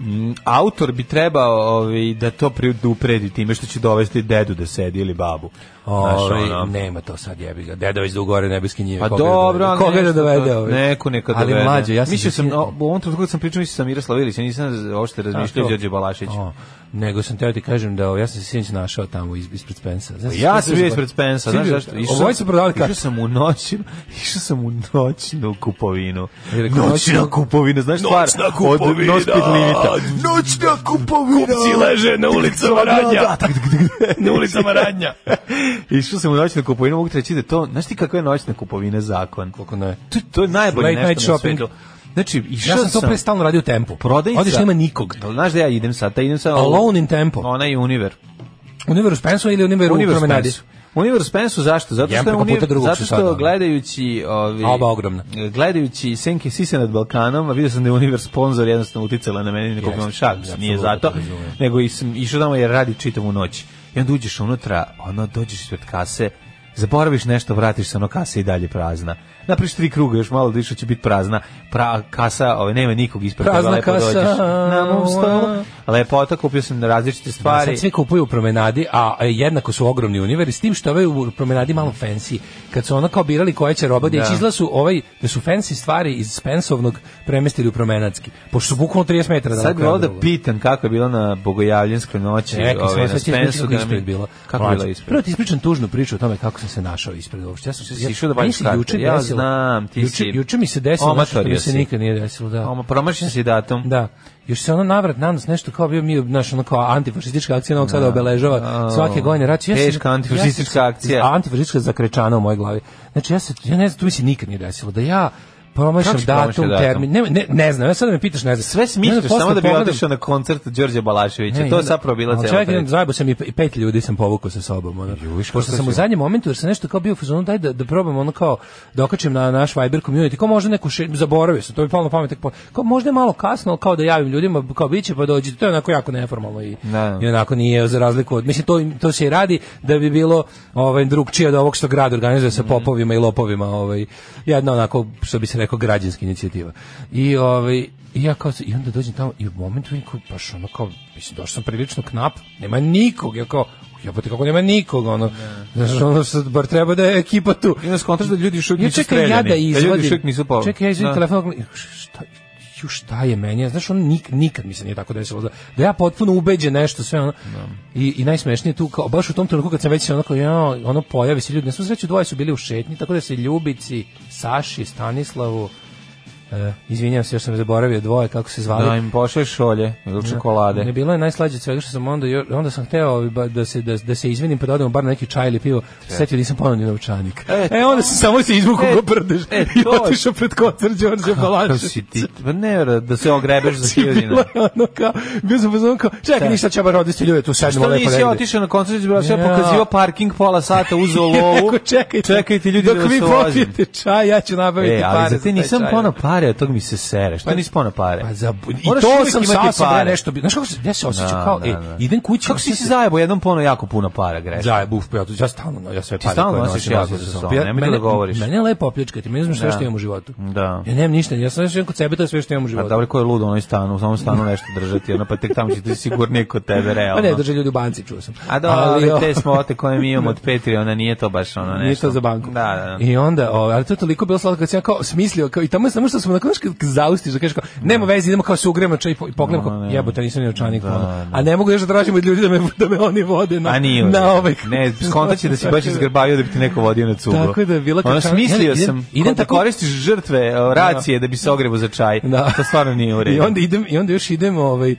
[SPEAKER 5] m, autor bi trebao ovaj, da to predupredi time što će dovesti dedu da sedi ili babu. Znaš,
[SPEAKER 6] Ovaj,
[SPEAKER 5] ono.
[SPEAKER 6] nema to sad jebi ga. Deda već dugore nebeske njive.
[SPEAKER 5] Pa
[SPEAKER 6] koga da
[SPEAKER 5] dobro,
[SPEAKER 6] dovede?
[SPEAKER 5] ali
[SPEAKER 6] koga da
[SPEAKER 5] nešto
[SPEAKER 6] dovede
[SPEAKER 5] to-
[SPEAKER 6] ovaj?
[SPEAKER 5] Neko neka dovede.
[SPEAKER 6] Ali mlađe, ja sam
[SPEAKER 5] Mislio sam,
[SPEAKER 6] zakinut.
[SPEAKER 5] o, u ovom trenutku kad sam pričao, mislio sam Miroslav Ilić, ja nisam uopšte razmišljao o
[SPEAKER 6] to.
[SPEAKER 5] Đorđe Balašić.
[SPEAKER 6] O, nego sam teo ti kažem da ovaj, ja sam se sinoć našao tamo iz, ispred Spensa. Znaš,
[SPEAKER 5] Ja
[SPEAKER 6] znaš
[SPEAKER 5] sam
[SPEAKER 6] što
[SPEAKER 5] bio
[SPEAKER 6] se-
[SPEAKER 5] ispred Spensa, znaš
[SPEAKER 6] Svi bio-
[SPEAKER 5] zašto?
[SPEAKER 6] Ovoj su prodavali
[SPEAKER 5] Išao
[SPEAKER 6] kartu.
[SPEAKER 5] sam u noćnu, išao sam u noćnu kupovinu.
[SPEAKER 6] I rekao,
[SPEAKER 5] Noćna
[SPEAKER 6] noćna-
[SPEAKER 5] kupovina, znaš stvar?
[SPEAKER 6] Noćna kupovina!
[SPEAKER 5] Od Nospit limita. Noćna kupovina! Kupci leže na ulicama Radnja. na ulicama Radnja. išao sam u noćnu kupovinu, mogu ti reći da to, znaš ti kakva je noćna kupovina zakon?
[SPEAKER 6] Koliko ne?
[SPEAKER 5] To, to je najbolje
[SPEAKER 6] Late
[SPEAKER 5] nešto
[SPEAKER 6] night
[SPEAKER 5] na
[SPEAKER 6] shopping.
[SPEAKER 5] svetu. Znači, išao
[SPEAKER 6] Ja sam to pre stalno radio u tempu.
[SPEAKER 5] Prodajnica.
[SPEAKER 6] Odiš, nema nikog.
[SPEAKER 5] Da, Znaš da ja idem sad, da idem sad...
[SPEAKER 6] Alone in tempo.
[SPEAKER 5] Ona je univer.
[SPEAKER 6] Univer u Spensu ili Univer u
[SPEAKER 5] Univer
[SPEAKER 6] promenadi?
[SPEAKER 5] Spensu. Univer Spensu zašto? Zato
[SPEAKER 6] Jedan
[SPEAKER 5] što, je
[SPEAKER 6] preko puta
[SPEAKER 5] univer-
[SPEAKER 6] drugog
[SPEAKER 5] zato
[SPEAKER 6] su
[SPEAKER 5] što
[SPEAKER 6] sad, ono.
[SPEAKER 5] gledajući ovi,
[SPEAKER 6] A oba ogromna.
[SPEAKER 5] gledajući Senke Sise nad Balkanom, a vidio sam da je Univer sponsor jednostavno uticala na mene, nekog
[SPEAKER 6] Jeste, da,
[SPEAKER 5] imam šak,
[SPEAKER 6] apsolutno
[SPEAKER 5] nije
[SPEAKER 6] to
[SPEAKER 5] zato,
[SPEAKER 6] razumem.
[SPEAKER 5] nego i sam išao tamo jer radi čitavu noć. I onda uđeš unutra, ono, dođeš ispred kase, zaboraviš nešto, vratiš se, ono, kasa je i dalje prazna. Napriš tri kruga, još malo da će biti prazna. Pra, kasa, ovaj, nema nikog ispred toga,
[SPEAKER 6] Prazna
[SPEAKER 5] lepo
[SPEAKER 6] kasa,
[SPEAKER 5] dođeš. Na mom stolu.
[SPEAKER 6] a.
[SPEAKER 5] Lepota, kupio sam različite
[SPEAKER 6] Da,
[SPEAKER 5] stvari.
[SPEAKER 6] Sad svi kupuju u promenadi, a e, jednako su ogromni univeri, s tim što ovaj u promenadi malo fancy. Kad su ono kao birali koja će roba, da.
[SPEAKER 5] Da.
[SPEAKER 6] izla su ovaj, da su fancy stvari iz Spensovnog premestili u promenadski. Pošto su bukvalno 30 metara.
[SPEAKER 5] Sad bi
[SPEAKER 6] daleko
[SPEAKER 5] da
[SPEAKER 6] od
[SPEAKER 5] pitam kako je bilo na Bogojavljenskoj noći,
[SPEAKER 6] Čekaj,
[SPEAKER 5] ovaj,
[SPEAKER 6] ovaj,
[SPEAKER 5] na
[SPEAKER 6] sad ćeš pričati
[SPEAKER 5] Spensu.
[SPEAKER 6] kako
[SPEAKER 5] da
[SPEAKER 6] je
[SPEAKER 5] mi-
[SPEAKER 6] ispred bilo.
[SPEAKER 5] Kako je bilo ispred?
[SPEAKER 6] Prvo ti ispričam tužnu priču o tome kako sam se našao ispred uopšte. Ja sam
[SPEAKER 5] si išao da baviš
[SPEAKER 6] meni se
[SPEAKER 5] karte.
[SPEAKER 6] juče
[SPEAKER 5] Ja
[SPEAKER 6] desilo-
[SPEAKER 5] znam, ti
[SPEAKER 6] juče,
[SPEAKER 5] si-
[SPEAKER 6] Juče mi se desilo
[SPEAKER 5] Omatorio
[SPEAKER 6] nešto što mi se
[SPEAKER 5] si.
[SPEAKER 6] nikad nije desilo, da.
[SPEAKER 5] Oma, promašen si datum.
[SPEAKER 6] Da. Još se ono navrat na nas nešto kao bio mi naš ono kao antifašistička akcija Novog Sada obeležava
[SPEAKER 5] A,
[SPEAKER 6] svake godine rat. se-
[SPEAKER 5] Da. teška antifašistička
[SPEAKER 6] ja se-
[SPEAKER 5] akcija.
[SPEAKER 6] Antifašistička zakrečana u mojoj glavi. Znači ja se ja ne znam, to mi se nikad nije desilo da ja promašam
[SPEAKER 5] Kako si promašio
[SPEAKER 6] datum,
[SPEAKER 5] datum?
[SPEAKER 6] termin. Ne, ne, ne znam, ja sad da me pitaš, ne znam.
[SPEAKER 5] Sve
[SPEAKER 6] Ne
[SPEAKER 5] smišljaš
[SPEAKER 6] znam, posle
[SPEAKER 5] samo da bi
[SPEAKER 6] pogledam-
[SPEAKER 5] otišao na koncert Đorđe Balaševića.
[SPEAKER 6] i
[SPEAKER 5] to je
[SPEAKER 6] onda-
[SPEAKER 5] zapravo bila
[SPEAKER 6] ali
[SPEAKER 5] cela
[SPEAKER 6] čovjek,
[SPEAKER 5] priča.
[SPEAKER 6] zajebo sam i i pet ljudi sam povukao sa sobom. Ono. Pošto sam u zadnjem momentu, jer sam nešto kao bio u fazonu, daj da, da probam ono kao, da okačim na naš Viber community, kao možda neku, še, zaboravio sam, to mi palo na pamet, tako, kao možda je malo kasno, ali kao da javim ljudima, kao bit će pa dođi, to je onako jako neformalno i,
[SPEAKER 5] Da.
[SPEAKER 6] i onako nije za razliku od, mislim to, to se i radi da bi bilo ovaj, drugčije od ovog što grad organizuje
[SPEAKER 5] Mhm.
[SPEAKER 6] sa popovima i lopovima, ovaj, jedna onako, što bi se rekao, građanska inicijativa. I ovaj, I ja kao, i onda dođem tamo i u momentu vidim kao, baš ono kao, mislim, došao sam prilično knap, nema nikog, ja kao, jebote kako nema nikog, ono, znaš, ono, sad bar treba da je ekipa tu.
[SPEAKER 5] I onda Da. skontaš da ljudi još uvijek
[SPEAKER 6] Ja
[SPEAKER 5] nisu
[SPEAKER 6] čekaj, ja
[SPEAKER 5] streljani,
[SPEAKER 6] da
[SPEAKER 5] da ljudi još
[SPEAKER 6] izvadim.
[SPEAKER 5] uvijek nisu po-
[SPEAKER 6] Čekaj, ja izvadim
[SPEAKER 5] Da.
[SPEAKER 6] telefon, gledam, šta, ju šta je meni, ja, znaš, on nik, nikad mi se nije tako desilo, da, da ja potpuno ubeđen nešto, sve ono,
[SPEAKER 5] Da.
[SPEAKER 6] i, i najsmešnije tu, kao, baš u tom trenutku kad sam već se onako, ja, ono, pojavi se ljudi, na svu sreću dvoje su bili u šetnji, tako da se Ljubici, Saši, Stanislavu, e, izvinjam se, još sam zaboravio dvoje, kako se zvali,
[SPEAKER 5] Da im pošalješ šolje ili čokolade.
[SPEAKER 6] ne bilo je najslađe od svega što sam onda jo- onda sam hteo ovaj, ba- da se da, da se izvinim pa da odemo bar na neki čaj ili pivo. Setio nisam ponovno novčanik. E,
[SPEAKER 5] E,
[SPEAKER 6] onda sam samo se izvukao
[SPEAKER 5] E,
[SPEAKER 6] go prdeš
[SPEAKER 5] e,
[SPEAKER 6] i
[SPEAKER 5] to je-
[SPEAKER 6] otišao pred koncert Đorđe
[SPEAKER 5] Kako
[SPEAKER 6] Balašića.
[SPEAKER 5] si ti? Pa ne, da se ogrebeš za Pa
[SPEAKER 6] Bilo
[SPEAKER 5] hiljadina.
[SPEAKER 6] je ono kao, bio sam pozvan kao, čekaj,
[SPEAKER 5] Da.
[SPEAKER 6] ništa će bar odvesti ljude, tu sedimo
[SPEAKER 5] Što
[SPEAKER 6] lepo negde.
[SPEAKER 5] nisi otišao na koncert, bila sve
[SPEAKER 6] Ja.
[SPEAKER 5] pokazivao parking pola sata, uzeo lovu.
[SPEAKER 6] Rekao, čekajte,
[SPEAKER 5] Čekajte ljudi
[SPEAKER 6] dok
[SPEAKER 5] da vas
[SPEAKER 6] vi
[SPEAKER 5] uvozim.
[SPEAKER 6] popijete čaj, ja ću nabaviti
[SPEAKER 5] E,
[SPEAKER 6] pare
[SPEAKER 5] ali za te
[SPEAKER 6] taj
[SPEAKER 5] nisam
[SPEAKER 6] čaj.
[SPEAKER 5] ponao pare, od tog mi se sere. Što
[SPEAKER 6] Pa-
[SPEAKER 5] nisi ponao pare?
[SPEAKER 6] Pa za, I
[SPEAKER 5] Moraš
[SPEAKER 6] to
[SPEAKER 5] uvijek
[SPEAKER 6] sam
[SPEAKER 5] imati
[SPEAKER 6] sa sobom
[SPEAKER 5] pare.
[SPEAKER 6] nešto, bi- znaš kako se, ja se osjećam
[SPEAKER 5] Da,
[SPEAKER 6] kao,
[SPEAKER 5] da,
[SPEAKER 6] ej,
[SPEAKER 5] da.
[SPEAKER 6] idem kući.
[SPEAKER 5] Kako si si zajebo jednom pono jako puno para, greš?
[SPEAKER 6] Da, je buf, ja, ja stalno, ja sve
[SPEAKER 5] Ti stalno nosiš jazu sa sobom, nemoj da govoriš.
[SPEAKER 6] Mene je lepo opljačkati, meni uzmem sve
[SPEAKER 5] Da.
[SPEAKER 6] što imam u životu.
[SPEAKER 5] Da.
[SPEAKER 6] Ja nemam ništa, ja sam nešto imam kod sebe, to je sve što imam u
[SPEAKER 5] Pa
[SPEAKER 6] životu.
[SPEAKER 5] dobro, ko je lud u onoj stanu, u samom stanu nešto držati, ono, pa tek tamo će ti sigurnije kod tebe,
[SPEAKER 6] Pa
[SPEAKER 5] realno.
[SPEAKER 6] ne, drže ljudi u banci, čuo sam.
[SPEAKER 5] A da, ali,
[SPEAKER 6] o, Da.
[SPEAKER 5] te smote koje mi imamo od Petri, ona nije to baš ono nešto.
[SPEAKER 6] Nije to za banku.
[SPEAKER 5] Da, da.
[SPEAKER 6] I onda, o, ali to je toliko bilo slatko kad sam ja kao smislio, kao, i tamo je samo što smo na konačku zaustiš, da kažeš kao, nema veze, idemo kao se ugremo čaj i po- i pogledam,
[SPEAKER 5] Da,
[SPEAKER 6] kao,
[SPEAKER 5] ne.
[SPEAKER 6] jebote, nisam ni očanik.
[SPEAKER 5] Da,
[SPEAKER 6] ono.
[SPEAKER 5] da.
[SPEAKER 6] A ne mogu još da tražim od ljudi da me, da me oni vode na,
[SPEAKER 5] A nije.
[SPEAKER 6] na
[SPEAKER 5] ovdje.
[SPEAKER 6] ovaj. Znači
[SPEAKER 5] Ne, skontat će da si baš izgrbavio da bi ti neko vodio na cugu.
[SPEAKER 6] Tako da je bila
[SPEAKER 5] Ono,
[SPEAKER 6] kačana-
[SPEAKER 5] smislio
[SPEAKER 6] Idem-
[SPEAKER 5] sam,
[SPEAKER 6] idem
[SPEAKER 5] idem da
[SPEAKER 6] tako-
[SPEAKER 5] koristiš žrtve o, racije da bi se ogrebo za čaj.
[SPEAKER 6] Da.
[SPEAKER 5] To stvarno nije u redu.
[SPEAKER 6] I onda idem i onda još idem ovaj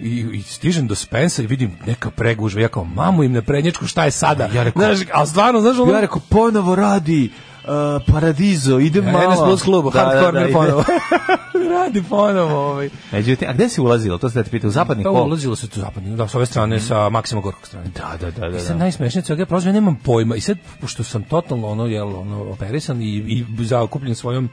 [SPEAKER 6] i, i stižem do Spensa i vidim neka pregužva. Ja kao, mamu im na prednjačku, šta je sada?
[SPEAKER 5] Ja rekao-
[SPEAKER 6] znaš, a stvarno, znaš, ono...
[SPEAKER 5] Ja rekao, ponovo radi uh, Paradizo, idem
[SPEAKER 6] Ja,
[SPEAKER 5] malo.
[SPEAKER 6] NS Plus klubu, da, hard corner
[SPEAKER 5] ide.
[SPEAKER 6] ponovo. Radi ponovo ovaj.
[SPEAKER 5] Međutim, a gde si ulazilo? To se da te pita, u zapadni
[SPEAKER 6] Pa
[SPEAKER 5] kol. Mhm.
[SPEAKER 6] ulazilo se tu zapadno, da, s ove strane, sa Maksima Gorkog strane.
[SPEAKER 5] Da, da, da, da.
[SPEAKER 6] I sad
[SPEAKER 5] da.
[SPEAKER 6] najsmešnije od svega, prosto ja nemam pojma. I sad, pošto sam totalno ono, jel, ono, operisan i, i zaokupljen svojom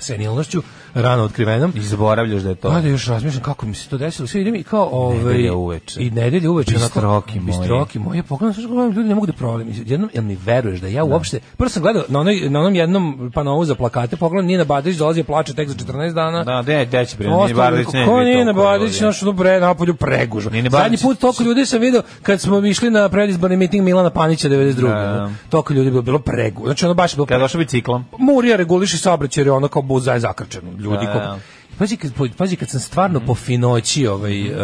[SPEAKER 6] senilnošću, rano otkrivenom,
[SPEAKER 5] I zaboravljaš da je to.
[SPEAKER 6] Pa da još razmišljam kako mi se to desilo. Sve idem i kao ovaj
[SPEAKER 5] Nedelja uveče.
[SPEAKER 6] I nedelje uveče
[SPEAKER 5] Bistroki moji.
[SPEAKER 6] Bistroki moji. Ja pogledam sve gledam ljudi ne mogu da provalim. Jednom jel mi veruješ da ja uopšte prvo sam gledao na onoj na onom jednom panovu za plakate, pogledam Nina Badrić dolazi i plače tek za 14 dana.
[SPEAKER 5] Da, de, de će
[SPEAKER 6] Ostalo
[SPEAKER 5] primiti,
[SPEAKER 6] mi
[SPEAKER 5] Nini Barlić ne bi
[SPEAKER 6] rekao, Ko Nina
[SPEAKER 5] toliko
[SPEAKER 6] Badrić,
[SPEAKER 5] govorio.
[SPEAKER 6] naš ono bre, napolju pregužva.
[SPEAKER 5] Nina Badrić-
[SPEAKER 6] Zadnji put toliko ljudi sam video kad smo išli na predizborni miting Milana Panića 92.
[SPEAKER 5] Da.
[SPEAKER 6] Toliko ljudi je bilo, bilo pregužva. Znači ono baš je bilo
[SPEAKER 5] Kad došao biciklom.
[SPEAKER 6] Murija reguliše saobraćaj jer je ono kao buza je zakrčeno ljudi
[SPEAKER 5] Da,
[SPEAKER 6] ko
[SPEAKER 5] da. Mhm.
[SPEAKER 6] Pazi kad, pazi kad sam stvarno po finoći ovaj, uh,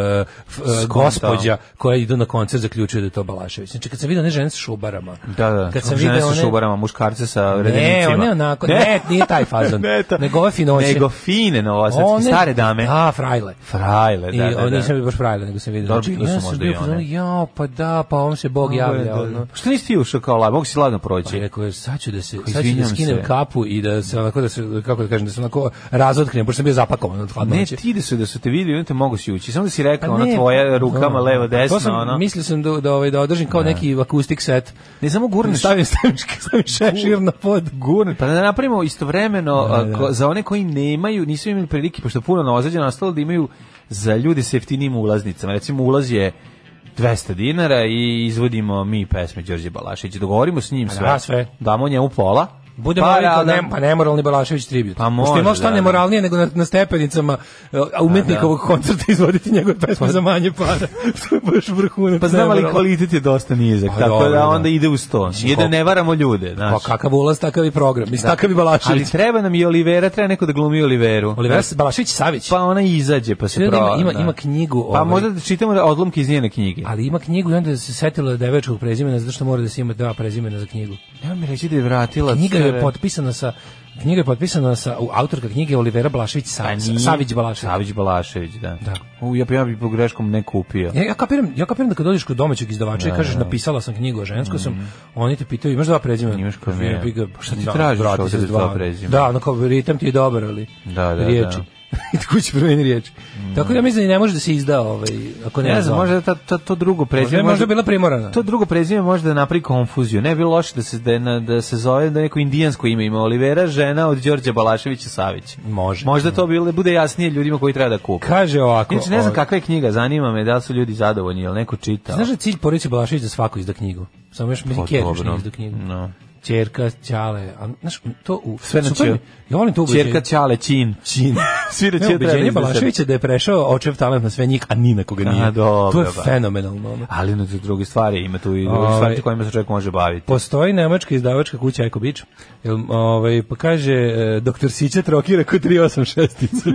[SPEAKER 6] f- uh, gospođa koja ide na koncert zaključuje da je to Balašević. Znači kad sam vidio one žene sa šubarama.
[SPEAKER 5] Da, da,
[SPEAKER 6] Kad sam
[SPEAKER 5] žene
[SPEAKER 6] vidio
[SPEAKER 5] sa
[SPEAKER 6] one...
[SPEAKER 5] šubarama, da muškarce sa
[SPEAKER 6] Ne,
[SPEAKER 5] redenicima.
[SPEAKER 6] one onako, ne, nije taj fazon.
[SPEAKER 5] Ne, ta-
[SPEAKER 6] nego ove finoće.
[SPEAKER 5] Nego fine novosadske,
[SPEAKER 6] One-
[SPEAKER 5] stare dame.
[SPEAKER 6] Da, frajle.
[SPEAKER 5] Frajle,
[SPEAKER 6] I
[SPEAKER 5] da, da,
[SPEAKER 6] o,
[SPEAKER 5] da.
[SPEAKER 6] nisam bio baš frajle, nego sam vidio. Znači,
[SPEAKER 5] Dobro, bile su
[SPEAKER 6] sam
[SPEAKER 5] možda
[SPEAKER 6] bio
[SPEAKER 5] i one.
[SPEAKER 6] fazonu, Jao, pa da, pa on se Bog javlja.
[SPEAKER 5] Da,
[SPEAKER 6] ono.
[SPEAKER 5] da. Što nisi ti ušao kao lav? Mogu si lagano
[SPEAKER 6] Pa je
[SPEAKER 5] proći.
[SPEAKER 6] rekao, sad ću da se,
[SPEAKER 5] Kao,
[SPEAKER 6] sad ću da
[SPEAKER 5] izvinjam
[SPEAKER 6] skinem
[SPEAKER 5] se.
[SPEAKER 6] kapu i da se onako da se, kako da kažem, da se onako razotknem, pošto sam bio zapakovan od
[SPEAKER 5] Ne,
[SPEAKER 6] hladnoće. Pa
[SPEAKER 5] ti da su da su te vidjeli, onda te mogu si ući. Samo da si rekao,
[SPEAKER 6] ne,
[SPEAKER 5] ona tvoja rukama,
[SPEAKER 6] ono, Pa
[SPEAKER 5] levo, desno,
[SPEAKER 6] to sam,
[SPEAKER 5] ono.
[SPEAKER 6] Mislio sam da, da, ovaj, da održim kao neki akustik set.
[SPEAKER 5] Ne samo gurneš.
[SPEAKER 6] Stavim, stavim, stavim šešir na pod.
[SPEAKER 5] Gurne, pa da napravimo istovremeno
[SPEAKER 6] Da,
[SPEAKER 5] a,
[SPEAKER 6] da.
[SPEAKER 5] ko- za one koji nemaju, nisu imali prilike, pošto puno novozađa nastalo da imaju za ljude sa jeftinijim ulaznicama. Recimo ulaz je 200 dinara i izvodimo mi pesme Đorđe Balašića. Dogovorimo s njim sve.
[SPEAKER 6] da, sve.
[SPEAKER 5] Damo njemu pola.
[SPEAKER 6] Budemo
[SPEAKER 5] Para,
[SPEAKER 6] pa,
[SPEAKER 5] ali da-
[SPEAKER 6] ne, pa nemoralni Balašević tribut.
[SPEAKER 5] Pa
[SPEAKER 6] Pošto
[SPEAKER 5] može,
[SPEAKER 6] ima šta
[SPEAKER 5] da, da.
[SPEAKER 6] nemoralnije nego na, na stepenicama e, umetnikovog koncerta izvoditi njegove pesme za manje para. to je baš vrhunac.
[SPEAKER 5] Pa znam, ali
[SPEAKER 6] nemoralno.
[SPEAKER 5] kvalitet je dosta nizak,
[SPEAKER 6] Pa
[SPEAKER 5] tako
[SPEAKER 6] dobro,
[SPEAKER 5] da
[SPEAKER 6] da.
[SPEAKER 5] onda ide uz to. Nije da
[SPEAKER 6] koliko-
[SPEAKER 5] ne varamo ljude, znaš.
[SPEAKER 6] Pa kakav ulaz, takav i program. Mislim, takav i
[SPEAKER 5] Da. Ali
[SPEAKER 6] Balašević.
[SPEAKER 5] treba nam i Olivera, treba neko da glumi Oliveru.
[SPEAKER 6] Olivera Balašević Savić.
[SPEAKER 5] Pa ona izađe, pa se
[SPEAKER 6] Sve da ima-
[SPEAKER 5] prova.
[SPEAKER 6] ima-
[SPEAKER 5] da.
[SPEAKER 6] ima knjigu,
[SPEAKER 5] Pa
[SPEAKER 6] ovaj.
[SPEAKER 5] možda da čitamo da odlomke iz njene knjige.
[SPEAKER 6] Ali ima knjigu i onda se setila devojčkog prezimena, zato što mora da se ima dva prezimena za knjigu.
[SPEAKER 5] Nema mi reći da je vratila.
[SPEAKER 6] Knjiga je
[SPEAKER 5] care.
[SPEAKER 6] potpisana sa knjiga je potpisana sa u- autorka knjige Olivera Balašević
[SPEAKER 5] Pa
[SPEAKER 6] Sa-
[SPEAKER 5] nije.
[SPEAKER 6] Savić Balašević.
[SPEAKER 5] Savić Balašević, da.
[SPEAKER 6] Da.
[SPEAKER 5] U, ja, bi- ja bi po greškom ne kupio.
[SPEAKER 6] Ja, ja kapiram, ja kapiram da kad dođeš kod domaćeg izdavača
[SPEAKER 5] Da,
[SPEAKER 6] i kažeš napisala sam knjigu, a žensko sam, oni te pitaju imaš dva prezimena?
[SPEAKER 5] Mhm. Imaš kao
[SPEAKER 6] Kažu, ja
[SPEAKER 5] ne.
[SPEAKER 6] bi ga-
[SPEAKER 5] Šta ti
[SPEAKER 6] da,
[SPEAKER 5] tražiš
[SPEAKER 6] vrati
[SPEAKER 5] ovde
[SPEAKER 6] se
[SPEAKER 5] za
[SPEAKER 6] s
[SPEAKER 5] dva
[SPEAKER 6] dva
[SPEAKER 5] prezimena?
[SPEAKER 6] Da, ono kao ritam ti je dobar, ali
[SPEAKER 5] Da, da, Mhm.
[SPEAKER 6] riječi. I tako će promeniti riječi. Tako ja mislim da i ne može da se izda ovaj, ako ne,
[SPEAKER 5] Ne znam, možda ta, ta, to drugo
[SPEAKER 6] možda,
[SPEAKER 5] prezime...
[SPEAKER 6] je možda bila primorana.
[SPEAKER 5] To drugo prezime može da napravi konfuziju. Ne bi bilo loše da se, da, je na- da se zove da neko indijansko ime ima Olivera, žena od Đorđa Balaševića Savić.
[SPEAKER 6] Može.
[SPEAKER 5] Možda to bilo, bude jasnije ljudima koji treba da kupe.
[SPEAKER 6] Kaže ovako.
[SPEAKER 5] Inače, ne znam
[SPEAKER 6] ovaj-
[SPEAKER 5] kakva je knjiga, zanima me da li su ljudi zadovoljni, jel neko čitao?
[SPEAKER 6] Znaš da je cilj porodice Balašević da svako izda knjigu? Samo još mislim
[SPEAKER 5] Pa,
[SPEAKER 6] Kjer još
[SPEAKER 5] dobro.
[SPEAKER 6] nije izda knjigu.
[SPEAKER 5] No.
[SPEAKER 6] Ćerka, Ćale, a znaš, to u...
[SPEAKER 5] Sve na
[SPEAKER 6] super
[SPEAKER 5] Ć.
[SPEAKER 6] mi- Ja volim to ubeđenje.
[SPEAKER 5] Čerka Ćale Ćin. Ćin. Svi da
[SPEAKER 6] Ne,
[SPEAKER 5] će
[SPEAKER 6] ubeđenje Balaševića da je prešao očev talent na sve njih, a ni na koga
[SPEAKER 5] A,
[SPEAKER 6] nije.
[SPEAKER 5] dobro, da.
[SPEAKER 6] to je
[SPEAKER 5] ba.
[SPEAKER 6] fenomenalno. ono.
[SPEAKER 5] Ali na druge stvari ima tu i druge
[SPEAKER 6] Ovaj.
[SPEAKER 5] stvari kojima se čovjek može baviti.
[SPEAKER 6] Postoji nemačka izdavačka kuća Eko Bić. Jel, ovaj, pa kaže, e, doktor Sića trokira ko 386-ica.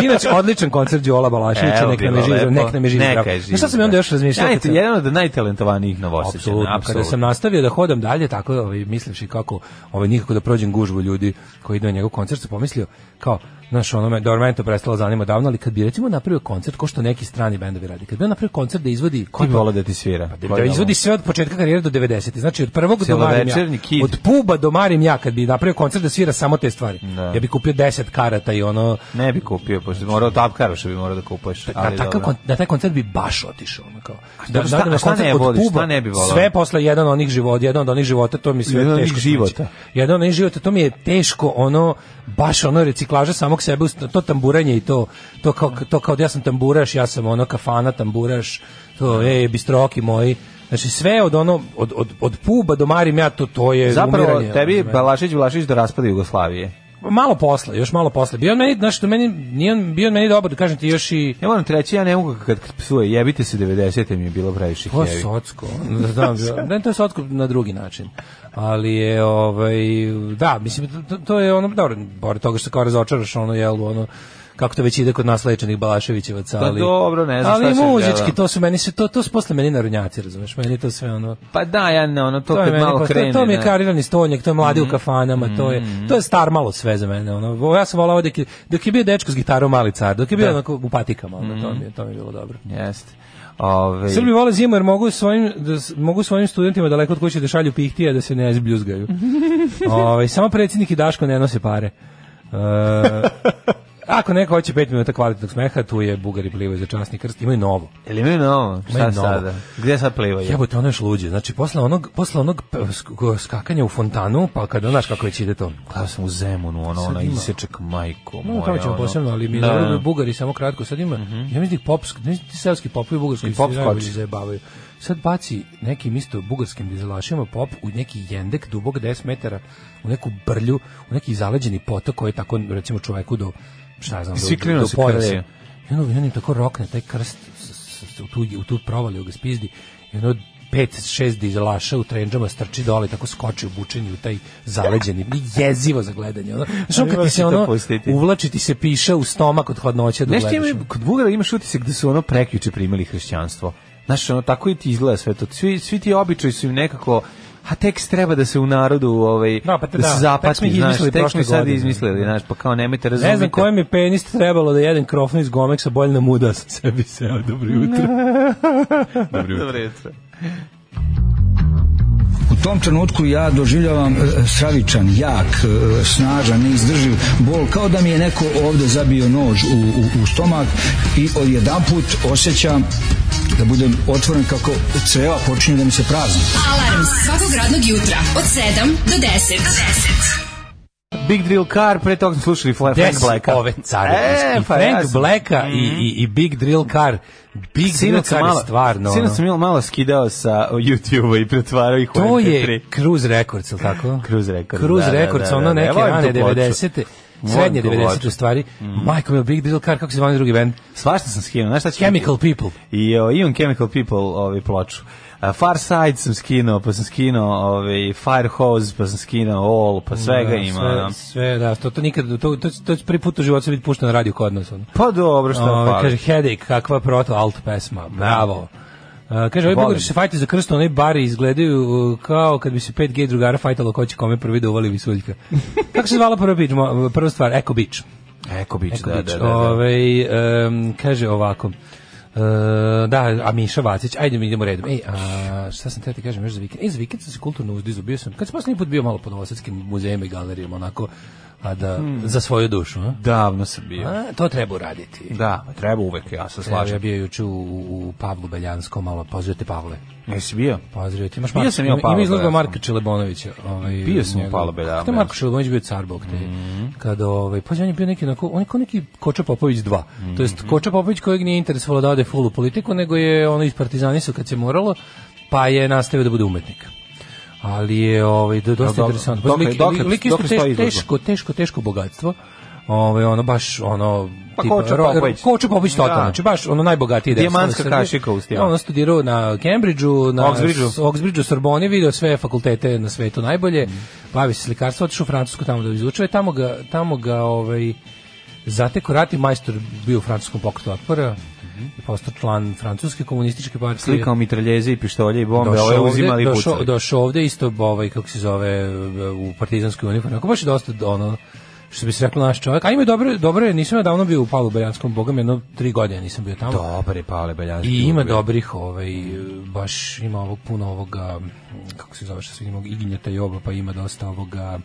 [SPEAKER 6] Sinoć, odličan koncert Đola Balaševića,
[SPEAKER 5] Evo,
[SPEAKER 6] nek nam je
[SPEAKER 5] bilo
[SPEAKER 6] živ,
[SPEAKER 5] lepo.
[SPEAKER 6] nek nam je živ.
[SPEAKER 5] Neka
[SPEAKER 6] zdrav.
[SPEAKER 5] je
[SPEAKER 6] Znaš šta sam
[SPEAKER 5] živ,
[SPEAKER 6] onda
[SPEAKER 5] da.
[SPEAKER 6] još razmišljao? kad
[SPEAKER 5] Najte-
[SPEAKER 6] sam-
[SPEAKER 5] jedan od najtalentovanijih Novosađana,
[SPEAKER 6] Apsolutno. Kada sam
[SPEAKER 5] apsolutno.
[SPEAKER 6] nastavio da hodam dalje, tako ovaj, mislivši kako ovaj, nikako da prođem gužvu ljudi koji idu na njegov koncert, sam pomislio kao, znaš, ono me, Dormento prestalo zanima davno, ali kad bi recimo napravio koncert, ko što neki strani bendovi radi, kad bi on napravio koncert da izvodi...
[SPEAKER 5] Ko bi
[SPEAKER 6] tipa-
[SPEAKER 5] volao da ti svira?
[SPEAKER 6] Da izvodi sve od početka karijere do 90. Znači od prvog do Marim
[SPEAKER 5] Celovečernji kid.
[SPEAKER 6] ja. Od puba do Marim ja kad bi napravio koncert da svira samo te stvari.
[SPEAKER 5] Da.
[SPEAKER 6] Ja bi kupio 10 karata i ono
[SPEAKER 5] Ne bi kupio, pošto bi morao tapkaroša bi morao da kupuješ.
[SPEAKER 6] na,
[SPEAKER 5] ali
[SPEAKER 6] Pa, takav,
[SPEAKER 5] dobro.
[SPEAKER 6] kon- na taj koncert bi baš otišao. Ono kao.
[SPEAKER 5] dobro, šta-
[SPEAKER 6] odem na
[SPEAKER 5] a šta
[SPEAKER 6] koncert
[SPEAKER 5] ne
[SPEAKER 6] od
[SPEAKER 5] voliš,
[SPEAKER 6] puba,
[SPEAKER 5] šta ne bi volao?
[SPEAKER 6] Sve posle jedan onih života, jedan od onih života, to mi sve
[SPEAKER 5] Jedan od
[SPEAKER 6] teško.
[SPEAKER 5] onih
[SPEAKER 6] smeće.
[SPEAKER 5] života.
[SPEAKER 6] Jedan od onih života, to mi je teško, ono, baš ono reciklaža samog sebe, ust- to tamburanje i to, to kao, to kao da ja sam tamburaš, ja sam ono kafana tamburaš, to,
[SPEAKER 5] Da.
[SPEAKER 6] ej, bistroki moji. Znači sve od ono, od, od, od puba do marim ja, to, to je
[SPEAKER 5] Zapravo,
[SPEAKER 6] umiranje,
[SPEAKER 5] tebi je
[SPEAKER 6] ono,
[SPEAKER 5] Balašić Balašić do raspada Jugoslavije.
[SPEAKER 6] Malo posle, još malo posle. Bio on meni, znaš, što meni, nije on, bio on meni dobar, da kažem ti, još i...
[SPEAKER 5] Ja moram ti reći, ja ne mogu kad kad psuje, jebite se 90. mi je bilo previše
[SPEAKER 6] To
[SPEAKER 5] heavy.
[SPEAKER 6] je Pa, socko. Da, znam, ne, to je socko na drugi način. Ali je, ovaj, da, mislim, to, to je ono, dobro, pored toga što se kao razočaraš, ono, jel, ono, kako to već ide kod nas lečenih Balaševićevaca,
[SPEAKER 5] Pa
[SPEAKER 6] ali...
[SPEAKER 5] dobro, ne znam
[SPEAKER 6] ali
[SPEAKER 5] šta se
[SPEAKER 6] muzički,
[SPEAKER 5] gleda.
[SPEAKER 6] to su meni se, to, to su posle meni narodnjaci, razumeš, meni to sve ono...
[SPEAKER 5] Pa da, ja ne, ono, to,
[SPEAKER 6] To, je
[SPEAKER 5] kad
[SPEAKER 6] meni
[SPEAKER 5] malo Mhm.
[SPEAKER 6] posle-
[SPEAKER 5] krene.
[SPEAKER 6] to mi je
[SPEAKER 5] da.
[SPEAKER 6] karirani stonjak, to je mladi u kafanama, to je
[SPEAKER 5] Mhm.
[SPEAKER 6] to je star malo sve za mene. Ono. Ovo Ja sam volao dok je, dok je bio dečko s gitarom mali car, dok je
[SPEAKER 5] Da.
[SPEAKER 6] bio onako u patikama, ono, to, mi je, to mi je bilo dobro.
[SPEAKER 5] Jeste. Ovaj- Ove,
[SPEAKER 6] Srbi vole zimu jer mogu svojim, da, s- mogu svojim studentima daleko od kuće da šalju pihtije da se ne izbljuzgaju. Ovaj, samo predsjednik i Daško ne nose pare. E, ako neko hoće 5 minuta kvalitetnog smeha, tu je Bugari plivaju za časni krst, imaju novo.
[SPEAKER 5] Ili mi je novo? Šta
[SPEAKER 6] novo.
[SPEAKER 5] sada? Gde sad plivaju?
[SPEAKER 6] Jebote, ono je šluđe. Znači, posle onog, posle onog p- sk- skakanja u fontanu, pa kada, znaš kako već ide to.
[SPEAKER 5] Gledao Pa sam u Zemunu, ono, ona
[SPEAKER 6] ima.
[SPEAKER 5] iseček majko
[SPEAKER 6] No,
[SPEAKER 5] moja.
[SPEAKER 6] tamo ćemo
[SPEAKER 5] ono.
[SPEAKER 6] posebno, ali mi
[SPEAKER 5] Da,
[SPEAKER 6] da,
[SPEAKER 5] da. Mhm.
[SPEAKER 6] Bugari samo kratko sad ima. Ja mislim da ih pops, ne znam, ti selski popovi bugarski
[SPEAKER 5] I pop
[SPEAKER 6] se najbolje
[SPEAKER 5] skoči.
[SPEAKER 6] zajebavaju. Sad baci nekim isto bugarskim dizelašima pop u neki jendek dubog 10 metara, u neku brlju, u neki zaleđeni potok koji je tako recimo čoveku do šta ja znam,
[SPEAKER 5] Svi
[SPEAKER 6] do,
[SPEAKER 5] krenu
[SPEAKER 6] do
[SPEAKER 5] se
[SPEAKER 6] pojasa.
[SPEAKER 5] krstaju.
[SPEAKER 6] I onda on im tako rokne taj krst s- s- s- u tu, u tu provaliju ga spizdi i ono pet, šest dizelaša u trenđama strči dole i tako skoči u bučenju u taj zaleđeni, jezivo za gledanje. Ono, znaš, ono
[SPEAKER 5] Ali
[SPEAKER 6] kad ti
[SPEAKER 5] moraš i
[SPEAKER 6] se
[SPEAKER 5] to
[SPEAKER 6] ono
[SPEAKER 5] pustiti.
[SPEAKER 6] uvlači ti se piša u stomak od hladnoće da
[SPEAKER 5] Znaš ti
[SPEAKER 6] gledaš.
[SPEAKER 5] ima, kod Bugara imaš utisak da su ono prekjuče primili hrišćanstvo. Znaš, ono, tako i ti izgleda sve to. Svi, svi ti običaji su im nekako a tekst treba da se u narodu ovaj,
[SPEAKER 6] Da, pa te
[SPEAKER 5] da
[SPEAKER 6] da.
[SPEAKER 5] se
[SPEAKER 6] Tek smo
[SPEAKER 5] zapati, znaš,
[SPEAKER 6] ih izmislili
[SPEAKER 5] tek
[SPEAKER 6] prošle
[SPEAKER 5] smo sad
[SPEAKER 6] godine.
[SPEAKER 5] izmislili, znaš, pa kao nemojte razumite.
[SPEAKER 6] Ne znam koji mi penis trebalo da jedem krofnu iz gomeksa, bolje na muda sam sebi seo. Dobro jutro.
[SPEAKER 5] Dobro jutro.
[SPEAKER 1] U tom trenutku ja doživljavam e, stravičan, jak, e, snažan, neizdrživ bol, kao da mi je neko ovde zabio nož u, u, u stomak i odjedanput osjećam da budem otvoren kako creva počinju da mi se prazni.
[SPEAKER 4] Alarm svakog radnog jutra od 7 do 10. Do 10.
[SPEAKER 5] Big Drill Car, pre toga smo slušali Fla- Frank
[SPEAKER 6] Des
[SPEAKER 5] Blacka.
[SPEAKER 6] ove care.
[SPEAKER 5] E,
[SPEAKER 6] I
[SPEAKER 5] pa
[SPEAKER 6] Frank
[SPEAKER 5] jasno.
[SPEAKER 6] Blacka i, i, i Big Drill Car. Big Drill
[SPEAKER 5] Sinoć sam
[SPEAKER 6] Car je
[SPEAKER 5] malo,
[SPEAKER 6] stvarno.
[SPEAKER 5] sinoć
[SPEAKER 6] ono.
[SPEAKER 5] sam malo, malo skidao sa YouTube-a i pretvarao ih u
[SPEAKER 6] To
[SPEAKER 5] MP3.
[SPEAKER 6] je Cruise Records, ili tako?
[SPEAKER 5] Cruise Records,
[SPEAKER 6] Cruise
[SPEAKER 5] da, da,
[SPEAKER 6] Records,
[SPEAKER 5] da,
[SPEAKER 6] ono
[SPEAKER 5] da, da.
[SPEAKER 6] neke
[SPEAKER 5] Ja volim
[SPEAKER 6] rane
[SPEAKER 5] tu ploču.
[SPEAKER 6] 90.
[SPEAKER 5] Volim
[SPEAKER 6] Srednje
[SPEAKER 5] tu
[SPEAKER 6] 90.
[SPEAKER 5] ploču. Mhm.
[SPEAKER 6] u stvari. Majko mi Big Drill Car, kako se zvani drugi band?
[SPEAKER 5] Svašta sam skinuo, znaš šta ću...
[SPEAKER 6] Chemical People.
[SPEAKER 5] I o, imam Chemical People ovaj, ploču. A, Far Side sam skinuo, pa sam skinuo ovaj, Fire Hose, pa sam skinuo All, pa svega
[SPEAKER 6] Da,
[SPEAKER 5] ima.
[SPEAKER 6] Sve,
[SPEAKER 5] ono.
[SPEAKER 6] sve, da, to, to nikad, to, to, to će prvi put u životu biti pušteno na radio kod nas. Ono.
[SPEAKER 5] Pa dobro, šta
[SPEAKER 6] Ove,
[SPEAKER 5] fali.
[SPEAKER 6] Ovaj,
[SPEAKER 5] Da.
[SPEAKER 6] kaže, headache, kakva proto alt pesma, bravo. Uh, kaže, ovi
[SPEAKER 5] Volim.
[SPEAKER 6] bugari što se fajte za krst, onaj bari izgledaju uh, kao kad bi se pet gej drugara fajtalo ko će kome prvi da uvali visuljka. Kako se zvala prva, bič, mo- prva stvar? Eko Beach.
[SPEAKER 5] Eko bić,
[SPEAKER 6] Eko
[SPEAKER 5] da, da, da. da.
[SPEAKER 6] Ovaj, em, kaže ovako, E, da, a Miša Vacić, ajde mi idemo redom. Ej, a, šta sam te ti kažem još za vikend? Ej, za vikend sam se kulturno uzdizu, bio sam, kad sam posljednji put bio malo po novosadskim muzejima i galerijama, onako, a da,
[SPEAKER 5] Hmm.
[SPEAKER 6] za svoju dušu, a?
[SPEAKER 5] Davno sam bio.
[SPEAKER 6] A, to treba uraditi.
[SPEAKER 5] Da, treba uvek, ja se
[SPEAKER 6] Slažem. Ja
[SPEAKER 5] slažem.
[SPEAKER 6] bio juče u, u Pavlu Beljanskom, malo pozdravio te Pavle.
[SPEAKER 5] Jesi bio?
[SPEAKER 6] Pozdravio te. Imaš
[SPEAKER 5] Bio
[SPEAKER 6] Marka-
[SPEAKER 5] sam ja u
[SPEAKER 6] ima-
[SPEAKER 5] Pavlu
[SPEAKER 6] Ima izloga
[SPEAKER 5] Beljanskom.
[SPEAKER 6] Marka Čelebonovića. Ovaj,
[SPEAKER 5] Bio sam u Mhm.
[SPEAKER 6] njegov-
[SPEAKER 5] Pavlu Beljanskom.
[SPEAKER 6] Kako je Marko Čelebonović bio car bog te? Kada, ovaj, pa on je bio neki, onako, on je kao neki Koča Popović 2.
[SPEAKER 5] Mhm.
[SPEAKER 6] To jest Koča Popović kojeg nije interesovalo da ode full u politiku, nego je ono iz Partizanisa kad se moralo, pa je nastavio da bude umetnik. Ali je ovaj, do- dosta
[SPEAKER 5] dobro.
[SPEAKER 6] interesantno. Pa,
[SPEAKER 5] Dokle-
[SPEAKER 6] lik-
[SPEAKER 5] dokle-
[SPEAKER 6] Lik isto
[SPEAKER 5] dokle stoji
[SPEAKER 6] teš-
[SPEAKER 5] izložba?
[SPEAKER 6] teško, teško, teško bogatstvo. Ovaj ono baš ono
[SPEAKER 5] Pa Koča
[SPEAKER 6] ro-
[SPEAKER 5] Popović.
[SPEAKER 6] Koča Popović totalno,
[SPEAKER 5] Da.
[SPEAKER 6] znači baš ono najbogatiji desno
[SPEAKER 5] Dijamantska
[SPEAKER 6] Srbije.
[SPEAKER 5] kašika u stilu.
[SPEAKER 6] Da, ono studirao na Cambridgeu, na
[SPEAKER 5] Oxbridgeu.
[SPEAKER 6] s- Oxbridgeu, Sorboni, video sve fakultete na svetu najbolje. Bavi se slikarstvom, otišao u Francusku tamo da izučava, i tamo ga tamo ga ovaj zateko rat i majstor bio u francuskom pokretu otpora. i Postao član francuske komunističke partije.
[SPEAKER 5] Slikao mitraljeze i pištolje i bombe,
[SPEAKER 6] Došao
[SPEAKER 5] ove
[SPEAKER 6] ovde-
[SPEAKER 5] uzimali i
[SPEAKER 6] došao-
[SPEAKER 5] pucali.
[SPEAKER 6] Došao ovde isto ovaj kako se zove u partizanskoj uniformi. Ako baš je dosta ono što bi se reklo naš čovjek. A ima dobro, dobro je, nisam ja davno bio u Palu Beljanskom, bogom jedno tri godine nisam bio tamo.
[SPEAKER 5] Dobar je Pavle Beljanski.
[SPEAKER 6] I ima
[SPEAKER 5] uvek.
[SPEAKER 6] dobrih, ovaj, baš ima ovog puno ovoga, kako se zove što se imamo, Iginjeta Joba, pa ima dosta ovoga,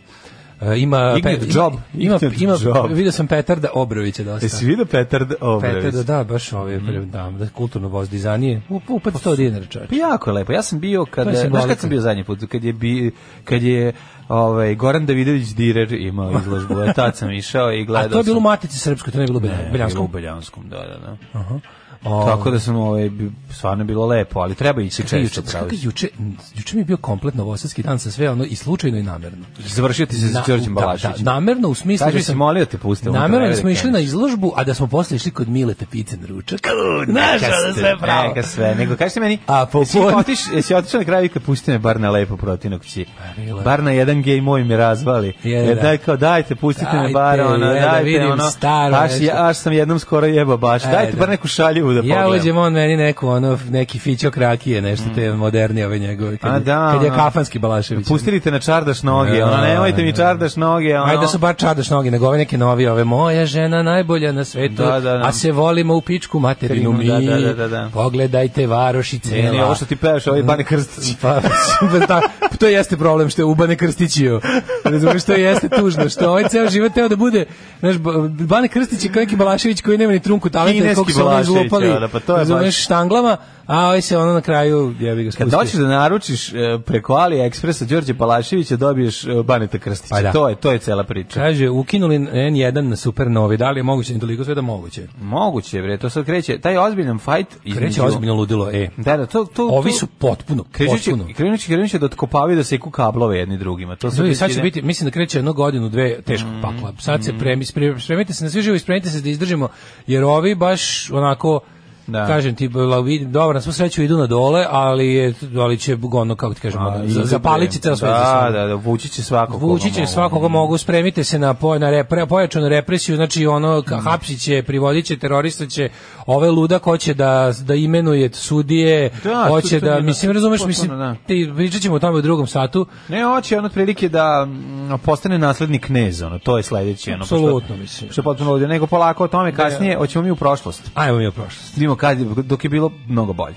[SPEAKER 6] e, ima
[SPEAKER 5] Ignjet
[SPEAKER 6] Pe-
[SPEAKER 5] Job,
[SPEAKER 6] ima
[SPEAKER 5] Ignjet
[SPEAKER 6] ima
[SPEAKER 5] Job. E,
[SPEAKER 6] video sam Petarda Obrovića dosta
[SPEAKER 5] Jesi vidio Petar Obrević?
[SPEAKER 6] Petarda da baš ove
[SPEAKER 5] Mhm.
[SPEAKER 6] mm. da, da kulturno voz dizajnije upad 100 dinara čovječe.
[SPEAKER 5] Pa jako je lepo. Ja sam bio
[SPEAKER 6] To
[SPEAKER 5] kada,
[SPEAKER 6] je
[SPEAKER 5] znaš
[SPEAKER 6] simbolika.
[SPEAKER 5] kad sam bio zadnji put, kad je bi kad je ovaj Goran Davidović Direr imao izložbu. Ja tad sam išao i gledao.
[SPEAKER 6] A to je bilo u
[SPEAKER 5] sam-
[SPEAKER 6] Matici Srpskoj, to ne je bilo u Belja-
[SPEAKER 5] Ne, bilo
[SPEAKER 6] Beljanskom.
[SPEAKER 5] u Beljanskom, da, da, da.
[SPEAKER 6] O,
[SPEAKER 5] Tako da sam ovaj bi- stvarno je bilo lepo, ali treba ići
[SPEAKER 6] Čekaj,
[SPEAKER 5] često,
[SPEAKER 6] juče,
[SPEAKER 5] pravo.
[SPEAKER 6] čekaj, juče, juče mi je bio komplet novosadski dan sa sve ono i slučajno i namerno.
[SPEAKER 5] Završio ti se sa
[SPEAKER 6] Na-
[SPEAKER 5] Đorđem
[SPEAKER 6] Da,
[SPEAKER 5] Balašićem.
[SPEAKER 6] da, namerno u smislu
[SPEAKER 5] Kaži, si molio te puste unutra,
[SPEAKER 6] Namerno
[SPEAKER 5] ne
[SPEAKER 6] da smo
[SPEAKER 5] da
[SPEAKER 6] išli na
[SPEAKER 5] kreneš.
[SPEAKER 6] izložbu, a da smo posle išli kod Mileta Pice na ručak. Znaš, ono sve pravo.
[SPEAKER 5] Neka sve, nego kaži ti meni,
[SPEAKER 6] A, popod-
[SPEAKER 5] jesi otiš, jesi otišao na kraju kad pusti me bar na lepo protinog ći,
[SPEAKER 6] Pa, bilo je.
[SPEAKER 5] bar na jedan Enge i moj mi razvali.
[SPEAKER 6] Je,
[SPEAKER 5] Jer
[SPEAKER 6] da.
[SPEAKER 5] daj kao dajte, pustite me
[SPEAKER 6] Dajte,
[SPEAKER 5] bar, ono,
[SPEAKER 6] je, da
[SPEAKER 5] dajte,
[SPEAKER 6] vidim
[SPEAKER 5] ono,
[SPEAKER 6] staro
[SPEAKER 5] aš,
[SPEAKER 6] nešto.
[SPEAKER 5] ja, aš sam jednom skoro jeba baš,
[SPEAKER 6] E,
[SPEAKER 5] dajte
[SPEAKER 6] da.
[SPEAKER 5] bar neku šaljivu da
[SPEAKER 6] Ja
[SPEAKER 5] pogledam.
[SPEAKER 6] uđem on meni neku ono neki fićo krakije nešto te modernije ove njegove kad,
[SPEAKER 5] Mm. A
[SPEAKER 6] je-
[SPEAKER 5] da,
[SPEAKER 6] kad je
[SPEAKER 5] ono.
[SPEAKER 6] kafanski Balašević.
[SPEAKER 5] Pustili te na čardaš noge,
[SPEAKER 6] Da,
[SPEAKER 5] ono, nemojte
[SPEAKER 6] da,
[SPEAKER 5] mi
[SPEAKER 6] da.
[SPEAKER 5] čardaš noge, ono. E,
[SPEAKER 6] Ajde da su bar čardaš noge, nego ove neke novije, ove moja žena najbolja na svetu,
[SPEAKER 5] Da, da, da.
[SPEAKER 6] a se volimo u pičku materinu mi.
[SPEAKER 5] Da, da, da, da, da.
[SPEAKER 6] Pogledajte varoš i
[SPEAKER 5] Ne,
[SPEAKER 6] cela.
[SPEAKER 5] ne, ovo što ti pevaš, ovaj Bane Krstić.
[SPEAKER 6] Pa, super, ta, to jeste problem što je Ubane Krstićio. Razumeš, to jeste tužno, što ovaj ceo život teo da bude, znaš, Ba- Bane Krstić je kao neki Balašević koji nema ni trunku talenta,
[SPEAKER 5] Kineski
[SPEAKER 6] koliko se ono
[SPEAKER 5] Balašević,
[SPEAKER 6] izlupali,
[SPEAKER 5] ono, pa to je baš-
[SPEAKER 6] razumeš, štanglama, a ovaj se ono na kraju, jebi ga,
[SPEAKER 5] Kad
[SPEAKER 6] spustio.
[SPEAKER 5] doćeš da naručiš e, preko AliExpressa Đorđe Palaševića, dobiješ e, Baneta Krstića.
[SPEAKER 6] Pa da.
[SPEAKER 5] To je, to je cela priča.
[SPEAKER 6] Kaže, ukinuli N1 na supernovi, da li je moguće, ni toliko sve da moguće.
[SPEAKER 5] Moguće je, bre, to sad kreće. Taj ozbiljan fajt
[SPEAKER 6] Kreće ozbiljno ludilo, e.
[SPEAKER 5] Da, da, to, to,
[SPEAKER 6] Ovi
[SPEAKER 5] to-
[SPEAKER 6] su potpuno,
[SPEAKER 5] Krećući,
[SPEAKER 6] potpuno.
[SPEAKER 5] krenući, krenući da otkopavaju da seku kablove jedni drugima. To
[SPEAKER 6] Ljudi,
[SPEAKER 5] već
[SPEAKER 6] sad će
[SPEAKER 5] ide-
[SPEAKER 6] biti, mislim da kreće jedno godinu, dve teško
[SPEAKER 5] Mm.
[SPEAKER 6] pakla. Sad se premi, spre- spremite se na sve živo i spremite se da izdržimo, jer ovi baš onako,
[SPEAKER 5] Da.
[SPEAKER 6] kažem ti, la- vidi- dobro, na svu sreću idu na dole, ali, je, ali će ono, kako ti kažemo,
[SPEAKER 5] A,
[SPEAKER 6] za-
[SPEAKER 5] ide,
[SPEAKER 6] zapalit će ceo svet. za
[SPEAKER 5] Da,
[SPEAKER 6] sobom.
[SPEAKER 5] da, da, vući će svakog. koga
[SPEAKER 6] Vučić je
[SPEAKER 5] mogu.
[SPEAKER 6] svakoga mogu, spremite se na, po, na repre, pojačanu represiju, znači ono,
[SPEAKER 5] Mm.
[SPEAKER 6] ka- hapsit će, privodit će, terorista će, ove ludak hoće da, da imenuje sudije,
[SPEAKER 5] Da,
[SPEAKER 6] hoće
[SPEAKER 5] to- to
[SPEAKER 6] da,
[SPEAKER 5] mi je
[SPEAKER 6] mislim,
[SPEAKER 5] da-
[SPEAKER 6] razumeš,
[SPEAKER 5] potpuno,
[SPEAKER 6] mislim,
[SPEAKER 5] da.
[SPEAKER 6] ti, pričat ćemo o tome u drugom satu,
[SPEAKER 5] Ne, hoće on otprilike da mm, postane naslednik kneza, ono, to je sledeće. Ono,
[SPEAKER 6] Apsolutno,
[SPEAKER 5] pošto-
[SPEAKER 6] mislim. Da.
[SPEAKER 5] Što je potpuno ovdje, nego polako o tome kasnije, hoćemo mi u prošlost.
[SPEAKER 6] ajmo mi o prošlosti.
[SPEAKER 5] Vidimo kad, je- dok je bilo mnogo bolje.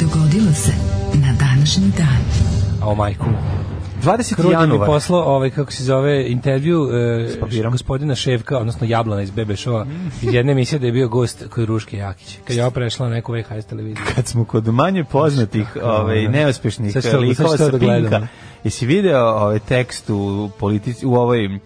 [SPEAKER 4] Dogodilo se na današnji dan.
[SPEAKER 6] A o majku.
[SPEAKER 5] 20.
[SPEAKER 6] Krudi mi
[SPEAKER 5] januar.
[SPEAKER 6] poslo, ovaj, kako se zove, intervju e,
[SPEAKER 5] papirom.
[SPEAKER 6] gospodina Ševka, odnosno Jablana iz BB Showa, iz jedne emisije da je bio gost kod Ruške Jakić, kad je oprešla na neku VHS televiziju.
[SPEAKER 5] kad smo kod manje poznatih, ovaj neuspešnih
[SPEAKER 6] da. Sad ću to-
[SPEAKER 5] likova
[SPEAKER 6] sad ću to
[SPEAKER 5] sa
[SPEAKER 6] da
[SPEAKER 5] Pinka.
[SPEAKER 6] gledam.
[SPEAKER 5] Jesi video ovaj tekst u politici u ovoj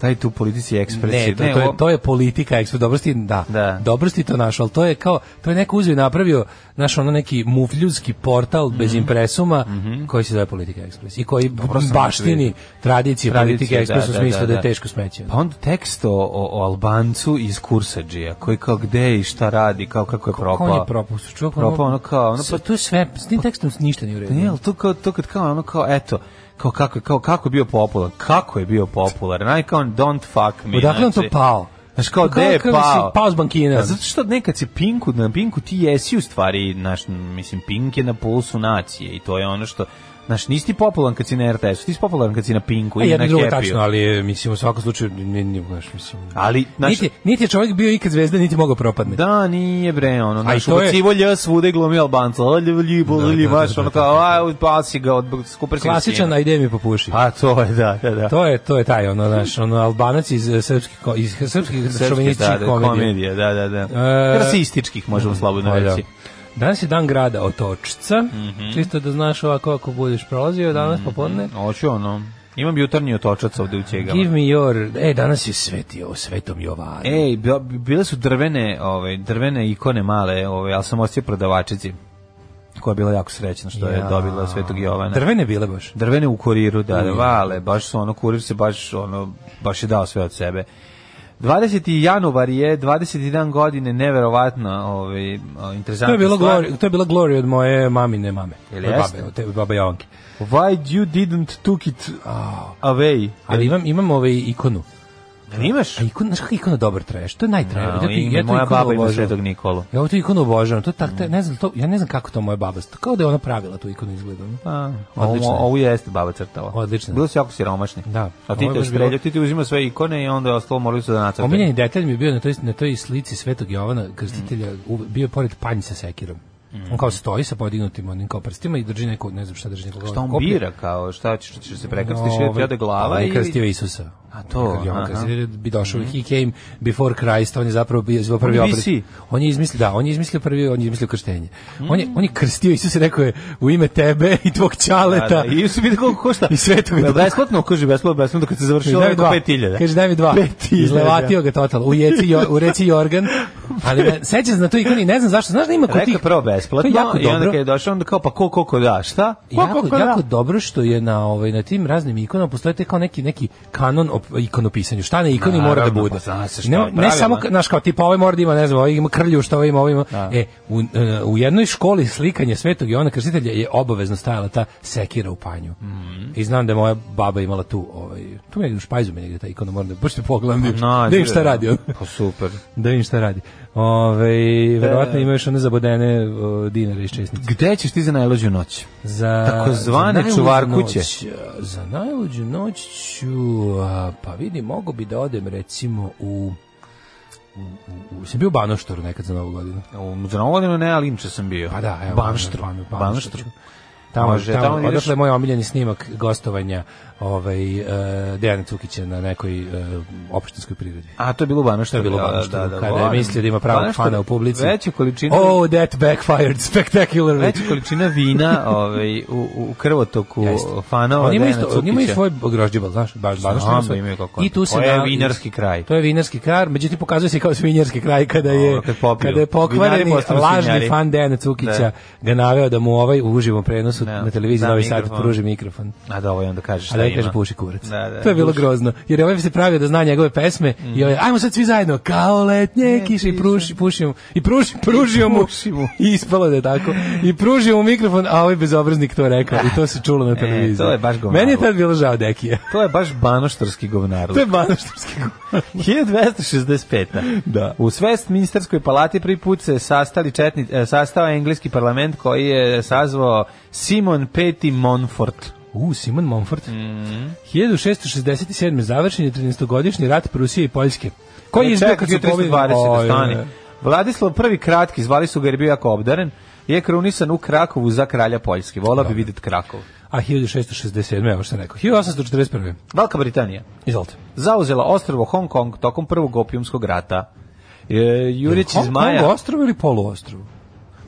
[SPEAKER 5] taj tu politici ekspresi?
[SPEAKER 6] Ne, to, to, je,
[SPEAKER 5] ovo-
[SPEAKER 6] to je politika, ekspo, dobro si, da,
[SPEAKER 5] Da.
[SPEAKER 6] dobro si to našao, ali to je kao, to je neko uzeo i napravio, naš ono neki mufljudski portal bez impresuma, koji se zove Politika Ekspres i koji
[SPEAKER 5] Mhm. sam
[SPEAKER 6] baštini tradicije
[SPEAKER 5] Tradicije,
[SPEAKER 6] Politike
[SPEAKER 5] da,
[SPEAKER 6] Ekspres u
[SPEAKER 5] da,
[SPEAKER 6] smislu
[SPEAKER 5] da,
[SPEAKER 6] da,
[SPEAKER 5] da.
[SPEAKER 6] je teško smeće.
[SPEAKER 5] Pa onda tekst o, o, o Albancu iz Kursadžija, koji kao gde i šta radi, kao kako Pa, je propao.
[SPEAKER 6] Pa, on je propao, čovjek ono-
[SPEAKER 5] Propao ono kao, ono
[SPEAKER 6] S-
[SPEAKER 5] pa
[SPEAKER 6] to je sve, s tim tekstom ništa nije u redu.
[SPEAKER 5] Ne, ali to kao to kad kao ono kao eto kao kako je- kao kako je bio popularan, kako je bio popularan, aj kao don't fuck me.
[SPEAKER 6] Odakle on to
[SPEAKER 5] znači.
[SPEAKER 6] pao?
[SPEAKER 5] Znaš kao,
[SPEAKER 6] Pa
[SPEAKER 5] gde je
[SPEAKER 6] kako si
[SPEAKER 5] pao?
[SPEAKER 6] pao s bankina? Znači,
[SPEAKER 5] Pa zato što nekad se Pinku, na Pinku ti jesi u stvari, naš, mislim, Pink je na pulsu nacije i to je ono što, znaš, nisi ti popularan kad si na RTS-u, ti si popularan kad si na Pinku
[SPEAKER 6] Pa
[SPEAKER 5] ili na
[SPEAKER 6] jedno i drugo je
[SPEAKER 5] Happy-u.
[SPEAKER 6] tačno, ali je, mislim u svakom slučaju ne ne baš mislim.
[SPEAKER 5] Ali, znaš,
[SPEAKER 6] niti niti je čovjek bio ikad zvezda, niti je mogao propadne.
[SPEAKER 5] da, nije bre, ono, znaš,
[SPEAKER 6] i to je- Da,
[SPEAKER 5] ubacivo lja svude glumi Albanca, ali, ali, ali, baš, ono kao, aj, pasi ga, od, skupaj si ga
[SPEAKER 6] Klasičan
[SPEAKER 5] sine.
[SPEAKER 6] ajde mi popuši.
[SPEAKER 5] Pa to je, da, da, da.
[SPEAKER 6] To je to je taj ono naš ono Albanac iz eh, srpskih ko- iz srpskih šovinističkih
[SPEAKER 5] da, da,
[SPEAKER 6] komedija.
[SPEAKER 5] komedija, da, da, da.
[SPEAKER 6] E,
[SPEAKER 5] Rasističkih, možemo slobodno
[SPEAKER 6] Pa da.
[SPEAKER 5] reći.
[SPEAKER 6] Danas je dan grada Otočca.
[SPEAKER 5] Mhm.
[SPEAKER 6] Čisto da znaš ovako ako budeš prolazio danas popodne.
[SPEAKER 5] Hoću ono, imam jutarnji otočac ovde u Ćegama.
[SPEAKER 6] Give me your... E, danas je sveti o svetom Jovanu.
[SPEAKER 5] Ej, bila- bile su drvene, ove, drvene ikone male, ove, ali sam ostio prodavačici, koja je bila jako srećna što je
[SPEAKER 6] Ja.
[SPEAKER 5] dobila Svetog Jovana.
[SPEAKER 6] Drvene bile baš.
[SPEAKER 5] Drvene u kuriru, da, da, vale, baš su ono, kurir se baš, ono, baš je dao sve od sebe. 20. januar je 21 godine, neverovatno, ovaj, o, interesantna
[SPEAKER 6] To je bilo
[SPEAKER 5] stvar.
[SPEAKER 6] glori, to je bila glory od moje mamine mame.
[SPEAKER 5] Jel
[SPEAKER 6] od
[SPEAKER 5] jeste?
[SPEAKER 6] babe, od tebe babe Jovanke.
[SPEAKER 5] Why you didn't took it away?
[SPEAKER 6] Ali imam imam ovaj ikonu.
[SPEAKER 5] Jel imaš?
[SPEAKER 6] A ikon, znaš kakva ikona dobar trash? da To je najtrash.
[SPEAKER 5] A, ime, Da, moja baba ima Svetog Nikolu.
[SPEAKER 6] Ja ovu tu ikonu obožavam. To je tak, ne znam, to, ja ne znam kako to moja baba. To kao da je ona pravila tu ikonu izgleda. ono.
[SPEAKER 5] Pa,
[SPEAKER 6] Odlično
[SPEAKER 5] Ovo,
[SPEAKER 6] je.
[SPEAKER 5] ovo jeste baba crtala.
[SPEAKER 6] Odlično je.
[SPEAKER 5] Bilo su jako siromašni.
[SPEAKER 6] Da.
[SPEAKER 5] A ti
[SPEAKER 6] Ovo je
[SPEAKER 5] te
[SPEAKER 6] baš
[SPEAKER 5] strelja,
[SPEAKER 6] bilo-
[SPEAKER 5] ti ti uzima sve ikone i onda je ostalo morali su da nacrtaju.
[SPEAKER 6] Omiljeni detalj mi je bio na toj, na toj slici Svetog Jovana Krstitelja, u- bio je pored panj sa sekirom. On kao stoji sa podignutim onim kao prstima i drži neko, ne znam šta drži neko.
[SPEAKER 5] Šta on
[SPEAKER 6] koplje.
[SPEAKER 5] bira kao, šta ćeš, ćeš se prekrstiš,
[SPEAKER 6] Ovaj,
[SPEAKER 5] no, ti ode glava
[SPEAKER 6] ovaj
[SPEAKER 5] ili...
[SPEAKER 6] krstio Isusa.
[SPEAKER 5] A to,
[SPEAKER 6] Kad je on
[SPEAKER 5] aha. Mhm.
[SPEAKER 6] krstio, bi došao, he came before Christ, on je zapravo bio, bio prvi
[SPEAKER 5] On je
[SPEAKER 6] obred.
[SPEAKER 5] BC.
[SPEAKER 6] On je izmislio, da, on je izmislio prvi, on je izmislio krštenje. On, je,
[SPEAKER 5] Mm.
[SPEAKER 6] on je krstio Isus i rekao je u ime tebe i tvog
[SPEAKER 5] Da,
[SPEAKER 6] ćaleta.
[SPEAKER 5] da, I su vidi koliko košta.
[SPEAKER 6] I Svetog
[SPEAKER 5] Da,
[SPEAKER 6] Duha.
[SPEAKER 5] Besplatno, kaže, besplatno, besplatno, kad se
[SPEAKER 6] Kaže,
[SPEAKER 5] završilo,
[SPEAKER 6] daj mi
[SPEAKER 5] oko
[SPEAKER 6] dva.
[SPEAKER 5] 5000.
[SPEAKER 6] Kaže daj mi dva.
[SPEAKER 5] 5000.
[SPEAKER 6] Izlevatio ga total. U, jeci, jo- u reci Jorgan. Ali ne, sećam se na tu ikonu i ne znam zašto. Znaš da ima kod
[SPEAKER 5] Rekao
[SPEAKER 6] tih...
[SPEAKER 5] je prvo besplatno,
[SPEAKER 6] To je jako
[SPEAKER 5] i onda
[SPEAKER 6] dobro.
[SPEAKER 5] kad je došao, onda kao, pa ko, koliko da, šta? Ko,
[SPEAKER 6] jako,
[SPEAKER 5] koliko
[SPEAKER 6] jako
[SPEAKER 5] da?
[SPEAKER 6] dobro što je na ovaj na tim raznim ikonama postoje te kao neki neki kanon o ikonopisanju. Šta na ikoni
[SPEAKER 5] Naravno,
[SPEAKER 6] mora da bude?
[SPEAKER 5] pa zna se šta je
[SPEAKER 6] ne, ne
[SPEAKER 5] pravilo,
[SPEAKER 6] samo,
[SPEAKER 5] ne?
[SPEAKER 6] znaš, kao tipa ovaj mora da ima, ne znam, ovaj ima krlju, što ovaj ima, ovaj ima.
[SPEAKER 5] Da.
[SPEAKER 6] E, u, e, u jednoj školi slikanje Svetog Jovana Krstitelja je obavezno stajala ta sekira u panju.
[SPEAKER 5] Mhm.
[SPEAKER 6] I znam da je moja baba imala tu, ovaj, tu negdje u špajzu me negdje ta ikona mora da, baš te pogledam, da vidim- da vidim šta radi on.
[SPEAKER 5] Pa super.
[SPEAKER 6] Da vidim šta radi. Ove,
[SPEAKER 5] Da,
[SPEAKER 6] verovatno ima još one zabodene o, dinare iz česnice.
[SPEAKER 5] Gde ćeš ti za najluđu noć?
[SPEAKER 6] Za,
[SPEAKER 5] Takozvane
[SPEAKER 6] za najluđu
[SPEAKER 5] čuvarkuće.
[SPEAKER 6] noć, a, Za najluđu noć ću, a, pa vidi, mogu bi da odem recimo u... u- u- u- Sam bio u Banoštoru nekad za novu godinu.
[SPEAKER 5] U za Novu godinu ne, ali inče sam bio.
[SPEAKER 6] Pa da, evo.
[SPEAKER 5] Banštru.
[SPEAKER 6] Ban- Banštru.
[SPEAKER 5] Banštru.
[SPEAKER 6] Tamo,
[SPEAKER 5] Može,
[SPEAKER 6] tamo,
[SPEAKER 5] tamo ideš-
[SPEAKER 6] odatle je moj omiljeni snimak gostovanja ovaj, e, Dejana Cukića na nekoj e, opštinskoj prirodi.
[SPEAKER 5] A to je bilo u Banoštru.
[SPEAKER 6] To je bilo u
[SPEAKER 5] da,
[SPEAKER 6] Banoštoru,
[SPEAKER 5] da, da,
[SPEAKER 6] kada je
[SPEAKER 5] volim.
[SPEAKER 6] mislio da ima pravog
[SPEAKER 5] Banoštar
[SPEAKER 6] fana u publici.
[SPEAKER 5] Veću količinu...
[SPEAKER 6] Oh, that backfired spectacularly.
[SPEAKER 5] Veća količina vina ovaj, u, u krvotoku
[SPEAKER 6] Jeste.
[SPEAKER 5] fanova
[SPEAKER 6] On ima
[SPEAKER 5] Dejana
[SPEAKER 6] isto, on ima i
[SPEAKER 5] Cukića.
[SPEAKER 6] svoj grožđebal, znaš, baš baš
[SPEAKER 5] Znam da imaju kako.
[SPEAKER 6] I tu se
[SPEAKER 5] To je
[SPEAKER 6] na-
[SPEAKER 5] vinarski kraj.
[SPEAKER 6] To je vinarski kraj, međutim pokazuje se kao svinjarski kraj kada je
[SPEAKER 5] Dobro, kad popiju.
[SPEAKER 6] kada je
[SPEAKER 5] Vinari
[SPEAKER 6] pokvareni
[SPEAKER 5] postanu
[SPEAKER 6] lažni
[SPEAKER 5] svinjari.
[SPEAKER 6] fan Dejana Cukića
[SPEAKER 5] Da.
[SPEAKER 6] ga naveo da mu ovaj u uživom prenosu
[SPEAKER 5] Da.
[SPEAKER 6] na televiziji
[SPEAKER 5] Da,
[SPEAKER 6] Novi Sad
[SPEAKER 5] mikrofon.
[SPEAKER 6] pruži mikrofon.
[SPEAKER 5] A da, ovaj onda kaže šta
[SPEAKER 6] A da je
[SPEAKER 5] ima.
[SPEAKER 6] kaže puši kurac.
[SPEAKER 5] Da, da, Mhm.
[SPEAKER 6] to je bilo
[SPEAKER 5] puši.
[SPEAKER 6] grozno. Jer je ovaj se pravio da zna njegove pesme i ovaj, ajmo sad svi zajedno, kao letnje kiše i pruši, pušio mu, i pruši, pružio mu,
[SPEAKER 5] Puši mu.
[SPEAKER 6] i ispalo da je tako, i pružio mu mikrofon, a ovaj bezobraznik to rekao i to se čulo na televiziji.
[SPEAKER 5] E, to je baš govnarluk.
[SPEAKER 6] Meni je tad bilo žao Dekija.
[SPEAKER 5] To je baš banoštarski govnar.
[SPEAKER 6] to je banoštarski govor.
[SPEAKER 5] 1265.
[SPEAKER 6] Da.
[SPEAKER 5] U Westminsterskoj palati prvi put se sastali četni, e, sastao engleski parlament koji je sazvao Simon Peti Monfort.
[SPEAKER 6] U, Simon Mumford.
[SPEAKER 5] Mhm.
[SPEAKER 6] 1667. završen je 13-godišnji rat Prusije i Poljske. Koji je izbio
[SPEAKER 5] E, Čekaj,
[SPEAKER 6] kad su pobili?
[SPEAKER 5] 320
[SPEAKER 6] Oj,
[SPEAKER 5] da stani.
[SPEAKER 6] oj, oj.
[SPEAKER 5] Vladislav prvi kratki, zvali su ga jer je bio jako obdaren, je krunisan u Krakovu za kralja Poljske. Volao bi vidjeti Krakov.
[SPEAKER 6] A 1667. evo što sam rekao. 1841.
[SPEAKER 5] Velika Britanija
[SPEAKER 6] Izvolite.
[SPEAKER 5] zauzela ostrvo Hong Kong tokom prvog opijumskog rata. E, Jurić iz
[SPEAKER 6] Hong
[SPEAKER 5] Maja...
[SPEAKER 6] Kong ostrovo ili poluostrovo?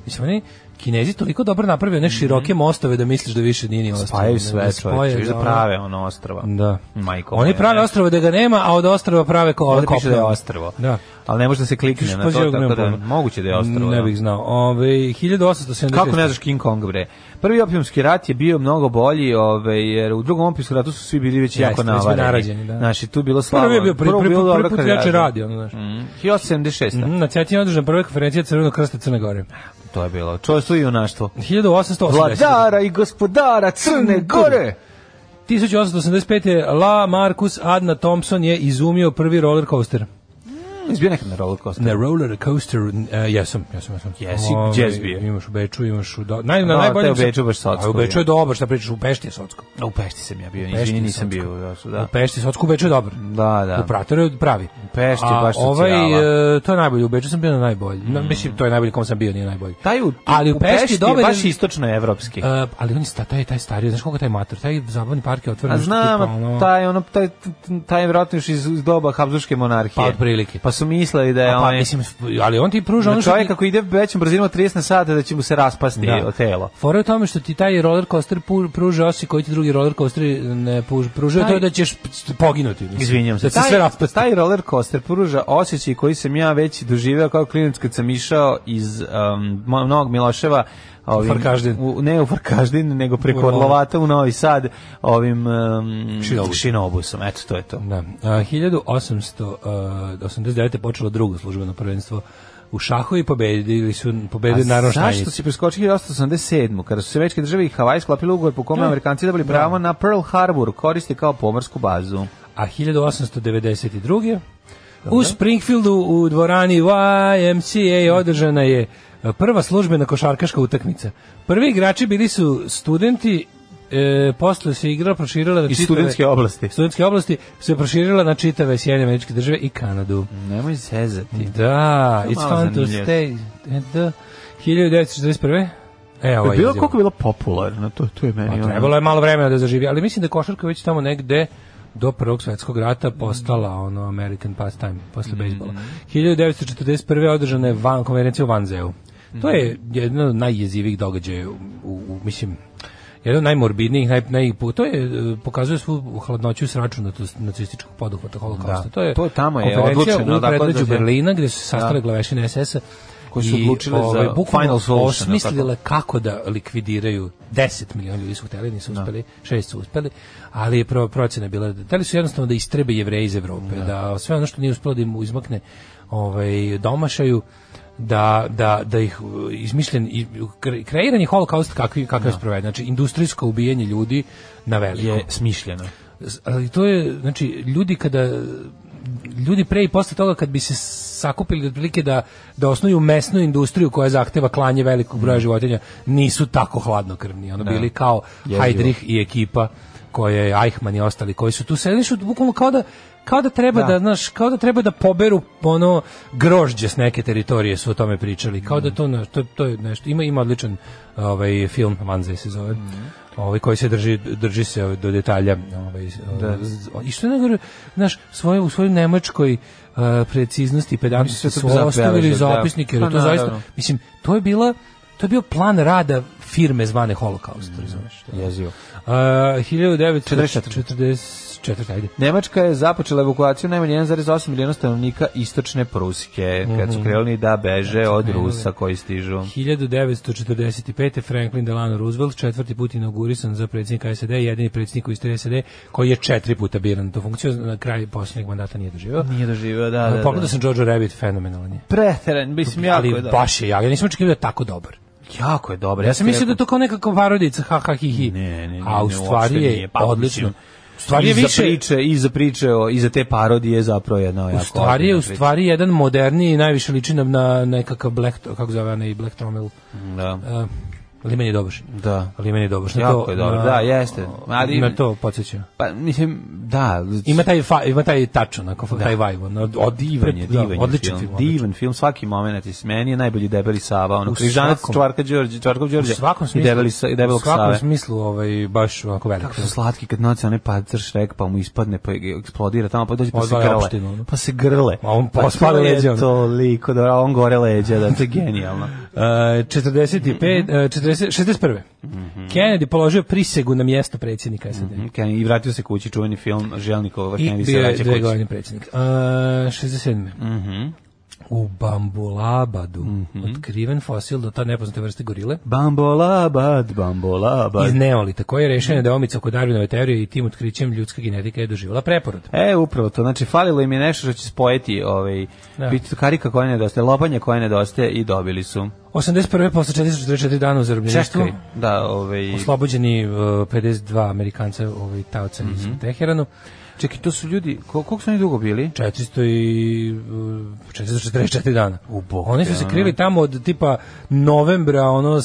[SPEAKER 6] Mislim, oni Kinezi toliko dobro napravio one široke mostove da misliš da više nije ni ostrovo.
[SPEAKER 5] Mhm. Spajaju
[SPEAKER 6] nego
[SPEAKER 5] Pa sve
[SPEAKER 6] spoje,
[SPEAKER 5] čoveče, viš da
[SPEAKER 6] ono.
[SPEAKER 5] prave ono ostrova.
[SPEAKER 6] Da.
[SPEAKER 5] Majko.
[SPEAKER 6] Oni
[SPEAKER 5] moja,
[SPEAKER 6] prave
[SPEAKER 5] ne.
[SPEAKER 6] ostrovo da ga nema, a od ostrova prave ko,
[SPEAKER 5] Ovdje piše da je
[SPEAKER 6] kopno.
[SPEAKER 5] ostrvo.
[SPEAKER 6] Da.
[SPEAKER 5] Ali ne može da se klikne na to, tako da moguće da je ostrvo.
[SPEAKER 6] Ne
[SPEAKER 5] da.
[SPEAKER 6] bih znao. Ove, 1876.
[SPEAKER 5] Kako ne znaš King Kong, bre? Prvi opijumski rat je bio mnogo bolji, ovaj, jer u drugom opijumskom ratu su svi bili već
[SPEAKER 6] Jeste,
[SPEAKER 5] jako
[SPEAKER 6] već smo
[SPEAKER 5] navareni.
[SPEAKER 6] narađeni, da.
[SPEAKER 5] Znači, tu je bilo slavo.
[SPEAKER 6] Prvi je bio, prvi, prvi,
[SPEAKER 5] bilo
[SPEAKER 6] prvi,
[SPEAKER 5] dobro
[SPEAKER 6] put
[SPEAKER 5] kad
[SPEAKER 6] jače
[SPEAKER 5] rađe.
[SPEAKER 6] radi, ono, znaš.
[SPEAKER 5] Mm, 1876.
[SPEAKER 6] Mhm, Na Cetinu je održana prva konferencija Crvenog krsta Crne Gore.
[SPEAKER 5] To je bilo. Čovjestvo i junaštvo.
[SPEAKER 6] 1880.
[SPEAKER 5] Vladara i gospodara Crne Gore!
[SPEAKER 6] 1885. je La Marcus Adna Thompson je izumio prvi roller coaster.
[SPEAKER 5] Mm, Izbio nekad na roller coaster.
[SPEAKER 6] Na roller coaster, uh, jesam, jesam, jesam.
[SPEAKER 5] Jesi?
[SPEAKER 6] Ovaj,
[SPEAKER 5] Gdje si bio?
[SPEAKER 6] Imaš u Beču, imaš u... Do... Naj, na
[SPEAKER 5] Da,
[SPEAKER 6] najboljem
[SPEAKER 5] te u
[SPEAKER 6] sam-
[SPEAKER 5] Beču baš Socko
[SPEAKER 6] A u Beču
[SPEAKER 5] bio.
[SPEAKER 6] je dobro, šta pričaš, u Pešti je Socko.
[SPEAKER 5] U Pešti sam ja bio,
[SPEAKER 6] Pešti
[SPEAKER 5] izvini,
[SPEAKER 6] je
[SPEAKER 5] nisam
[SPEAKER 6] Socko.
[SPEAKER 5] bio. još, Da.
[SPEAKER 6] U Pešti je Socko, u Beču je dobar.
[SPEAKER 5] Da, da.
[SPEAKER 6] U Pratoru je pravi.
[SPEAKER 5] Pešti je
[SPEAKER 6] A
[SPEAKER 5] baš
[SPEAKER 6] ovaj,
[SPEAKER 5] socijala. Mm.
[SPEAKER 6] e, to je najbolje, u Beču sam bio na najbolji. Na, mislim, to je najbolji kom sam bio, nije najbolji.
[SPEAKER 5] Taj u,
[SPEAKER 6] Ali u Pešti je dobar,
[SPEAKER 5] je baš
[SPEAKER 6] jer-
[SPEAKER 5] istočnoevropski.
[SPEAKER 6] E, ali on je sta, taj, taj stari, znaš koliko je taj mator, taj zabavni park je otvoren.
[SPEAKER 5] A
[SPEAKER 6] nešto
[SPEAKER 5] znam,
[SPEAKER 6] tipa, ono-
[SPEAKER 5] taj, ono, taj, taj je vjerojatno još iz, iz doba Habsburgske monarhije.
[SPEAKER 6] Pa, otprilike.
[SPEAKER 5] Pa su mislili da je
[SPEAKER 6] A pa,
[SPEAKER 5] onaj...
[SPEAKER 6] mislim, znači- ali on ti pruža
[SPEAKER 5] da
[SPEAKER 6] ono što
[SPEAKER 5] čovjek
[SPEAKER 6] ti-
[SPEAKER 5] ako ide većom brzinom od 30 na sat, da će mu se raspasti
[SPEAKER 6] Da.
[SPEAKER 5] da. telo.
[SPEAKER 6] Fora je u tome što ti taj roller coaster pu- pruža osi koji ti drugi roller coaster ne puž- pružaju,
[SPEAKER 5] Taj-
[SPEAKER 6] to je da ćeš p- poginuti. Mislim.
[SPEAKER 5] Izvinjam se.
[SPEAKER 6] Da se sve raspasti.
[SPEAKER 5] taj roller coaster pruža osjećaj koji sam ja već doživeo kao klinac kad sam išao iz um, Mo- Novog Miloševa ovim,
[SPEAKER 6] Farkaždin.
[SPEAKER 5] U, ne u Farkaždin, nego
[SPEAKER 6] U
[SPEAKER 5] preko
[SPEAKER 6] Orlovatu.
[SPEAKER 5] Orlovata u Novi Sad ovim um,
[SPEAKER 6] Šinobusom.
[SPEAKER 5] šinobusom. Eto, to je to.
[SPEAKER 6] Da. A, 1889. je počelo drugo službeno prvenstvo u šahu i pobedili su pobedio
[SPEAKER 5] A
[SPEAKER 6] naravno
[SPEAKER 5] Zašto
[SPEAKER 6] Štanjic.
[SPEAKER 5] si preskočio 1887. kada su se večke države i Havaj sklopili ugovor po kome Amerikanci dobili pravo na Pearl Harbor, koriste kao pomorsku bazu.
[SPEAKER 6] A 1892. U Springfieldu u dvorani YMCA održana je e, prva službena košarkaška utakmica. Prvi igrači bili su studenti, e, posle se igra proširila na
[SPEAKER 5] Iz
[SPEAKER 6] čitave-
[SPEAKER 5] studentske oblasti.
[SPEAKER 6] studentske oblasti se proširila na čitave Sjedinjene američke države i Kanadu.
[SPEAKER 5] Nemoj zezati.
[SPEAKER 6] Da,
[SPEAKER 5] To je mala
[SPEAKER 6] it's fun to
[SPEAKER 5] zanimljivost.
[SPEAKER 6] stay. eh, da. at the- 1941. E, ovo je
[SPEAKER 5] bilo
[SPEAKER 6] izjava.
[SPEAKER 5] koliko je bilo popularno, to, to je meni.
[SPEAKER 6] Pa
[SPEAKER 5] ono-
[SPEAKER 6] trebalo je malo vremena da zaživi, ali mislim da je košarka već tamo negde do Prvog svjetskog rata postala ono American pastime posle
[SPEAKER 5] Mhm.
[SPEAKER 6] bejsbola. 1941. održana je van, konferencija u Vanzeu. To je
[SPEAKER 5] Mhm.
[SPEAKER 6] jedno od najjezivijih događaja u, u- mislim, jedan od najmorbidnijih, naj, naj, to je, e, pokazuje svu hladnoću i sračunatost nacističkog poduhvata holokausta.
[SPEAKER 5] Da.
[SPEAKER 6] To je,
[SPEAKER 5] To je tamo je
[SPEAKER 6] konferencija
[SPEAKER 5] odlučeno,
[SPEAKER 6] u
[SPEAKER 5] dakle,
[SPEAKER 6] predgrađu
[SPEAKER 5] da se-
[SPEAKER 6] Berlina gde su se sastale
[SPEAKER 5] Da.
[SPEAKER 6] glavešine SS-a
[SPEAKER 5] Koje su
[SPEAKER 6] I,
[SPEAKER 5] odlučile za
[SPEAKER 6] ovaj, bukvalno
[SPEAKER 5] final solution,
[SPEAKER 6] Osmislile kako da likvidiraju 10 miliona ljudi su hteli, nisu uspeli, 6 su uspeli, ali je prva procena bila da, da li su jednostavno da istrebe jevreje iz Evrope, da. sve ono što nije uspelo da im izmakne ovaj, domašaju, da, da, da ih uh, izmišljen i kre- kreiran je holokaust kakvi kakav je sproveden znači industrijsko ubijanje ljudi na veliko
[SPEAKER 5] je smišljeno.
[SPEAKER 6] S- ali to je znači ljudi kada ljudi pre i posle toga kad bi se sakupili otprilike da da osnuju mesnu industriju koja zahteva klanje velikog broja životinja nisu tako hladnokrvni ono bili kao
[SPEAKER 5] Jezivo.
[SPEAKER 6] Heidrich i ekipa koje je Eichmann i ostali koji su tu sedeli su bukvalno kao da kao da treba da. znaš kao da treba da poberu ono grožđe s neke teritorije su o tome pričali kao da to znaš, to, to je nešto ima ima odličan ovaj film Manzaj se zove
[SPEAKER 5] Mhm.
[SPEAKER 6] ovaj koji se drži drži se ovaj, do detalja ovaj da. i što je najgore znaš svoje u svojoj nemačkoj uh, preciznosti i pedantnosti
[SPEAKER 5] Mislim,
[SPEAKER 6] su
[SPEAKER 5] sve to
[SPEAKER 6] ostavili
[SPEAKER 5] zabeleže, da.
[SPEAKER 6] zapisnike jer
[SPEAKER 5] Pa,
[SPEAKER 6] to zaista
[SPEAKER 5] naravno.
[SPEAKER 6] mislim to je bila to je bio plan rada firme zvane Holocaust razumeš
[SPEAKER 5] Mm, da. Jezivo.
[SPEAKER 6] Uh, 1944. ajde.
[SPEAKER 5] Nemačka je započela evakuaciju najmanje 1,8 miliona stanovnika istočne Pruske, kad su krenuli da beže od Rusa koji stižu.
[SPEAKER 6] 1945. Franklin Delano Roosevelt, četvrti put inaugurisan za predsjednika SED, jedini predsjednik u istoriji SED, koji je četiri puta biran na tu funkciju, na kraju posljednjeg mandata nije doživio.
[SPEAKER 5] Nije doživio, da, da,
[SPEAKER 6] Pogledao sam Jojo Rabbit, fenomenalan je.
[SPEAKER 5] Preteran, mislim, jako je da.
[SPEAKER 6] Ali
[SPEAKER 5] dobar.
[SPEAKER 6] baš je, ja, ja nisam očekivao da je tako dobar.
[SPEAKER 5] Jako je dobar.
[SPEAKER 6] Ja sam mislio da je to kao nekako parodica, ha, ha, hi, hi.
[SPEAKER 5] Ne, ne, ne,
[SPEAKER 6] A u
[SPEAKER 5] ne,
[SPEAKER 6] stvari
[SPEAKER 5] uopšte
[SPEAKER 6] je
[SPEAKER 5] nije. Pa,
[SPEAKER 6] odlično.
[SPEAKER 5] mislim,
[SPEAKER 6] U stvari je
[SPEAKER 5] I za
[SPEAKER 6] više...
[SPEAKER 5] priče, i za priče, o- i za te parodije zapravo jedna
[SPEAKER 6] U
[SPEAKER 5] jako
[SPEAKER 6] stvari je
[SPEAKER 5] ozbiljna
[SPEAKER 6] u
[SPEAKER 5] priča.
[SPEAKER 6] stvari jedan moderniji i najviše liči nam na nekakav Black, kako zove onaj Black Trommel.
[SPEAKER 5] Da.
[SPEAKER 6] Uh, Limen je dobar.
[SPEAKER 5] Da.
[SPEAKER 6] Ali meni je dobar. Na
[SPEAKER 5] Jako
[SPEAKER 6] to,
[SPEAKER 5] je dobro,
[SPEAKER 6] na-
[SPEAKER 5] da, jeste. Ali-
[SPEAKER 6] na to podsjeća.
[SPEAKER 5] Pa, mislim, da.
[SPEAKER 6] Ima taj, fa, ima taj tač, onako, taj vibe. ono, od, od,
[SPEAKER 5] divan je,
[SPEAKER 6] pre- da,
[SPEAKER 5] divan je
[SPEAKER 6] odličan
[SPEAKER 5] film.
[SPEAKER 6] film. odličan.
[SPEAKER 5] Divan film, svaki moment je s meni je najbolji debeli Sava, ono
[SPEAKER 6] U
[SPEAKER 5] Križanac
[SPEAKER 6] svakom-
[SPEAKER 5] Čvarka Đorđe, Čvarkov Đorđe.
[SPEAKER 6] U svakom
[SPEAKER 5] i
[SPEAKER 6] smislu,
[SPEAKER 5] debeli sa i
[SPEAKER 6] u
[SPEAKER 5] debelog
[SPEAKER 6] svakom
[SPEAKER 5] Save.
[SPEAKER 6] smislu ovaj, baš ovako velik
[SPEAKER 5] Kako
[SPEAKER 6] film.
[SPEAKER 5] su slatki kad noć one pacer šrek pa mu ispadne pa eksplodira tamo pa dođe pa se
[SPEAKER 6] Odvaja
[SPEAKER 5] grle.
[SPEAKER 6] opštinu, ono.
[SPEAKER 5] Pa se grle.
[SPEAKER 6] A on
[SPEAKER 5] Pa
[SPEAKER 6] pospali
[SPEAKER 5] to je
[SPEAKER 6] leđa, ono.
[SPEAKER 5] Toliko dobro, a on gore leđa, da to je genijalno.
[SPEAKER 6] Uh, 45, uh, 40, 61.
[SPEAKER 5] Mhm.
[SPEAKER 6] Kennedy položio prisegu na mjesto predsjednika SAD.
[SPEAKER 5] Okay, I vratio se kući čuveni film Želnikova
[SPEAKER 6] I
[SPEAKER 5] Kennedy se
[SPEAKER 6] bio je
[SPEAKER 5] vraća
[SPEAKER 6] dve
[SPEAKER 5] kući. Mhm.
[SPEAKER 6] godine predsjednik. Uh, 67. U Bambulabadu otkriven fosil do ta nepoznate vrste gorile
[SPEAKER 5] Bambolabad, bambolabad.
[SPEAKER 6] iz Neolita, koja je rešena deomica oko Darwinove teorije i tim otkrićem ljudska genetika je doživjela preporod.
[SPEAKER 5] E, upravo to. Znači, falilo im je nešto što će spojeti ovaj,
[SPEAKER 6] Da.
[SPEAKER 5] bit- karika koja nedostaje, lopanje koja nedostaje i dobili su.
[SPEAKER 6] 81. posle 444 dana u zarobljeništvu
[SPEAKER 5] Čekaj, da, ovaj...
[SPEAKER 6] oslobođeni uh, 52 Amerikanca ovaj, taoca
[SPEAKER 5] Mhm.
[SPEAKER 6] iz Teheranu.
[SPEAKER 5] Čekaj, to su ljudi, ko, koliko su oni dugo bili?
[SPEAKER 6] 400 i uh, 444 dana.
[SPEAKER 5] U bok da.
[SPEAKER 6] Oni su
[SPEAKER 5] te,
[SPEAKER 6] se
[SPEAKER 5] ono.
[SPEAKER 6] krili tamo od tipa novembra ono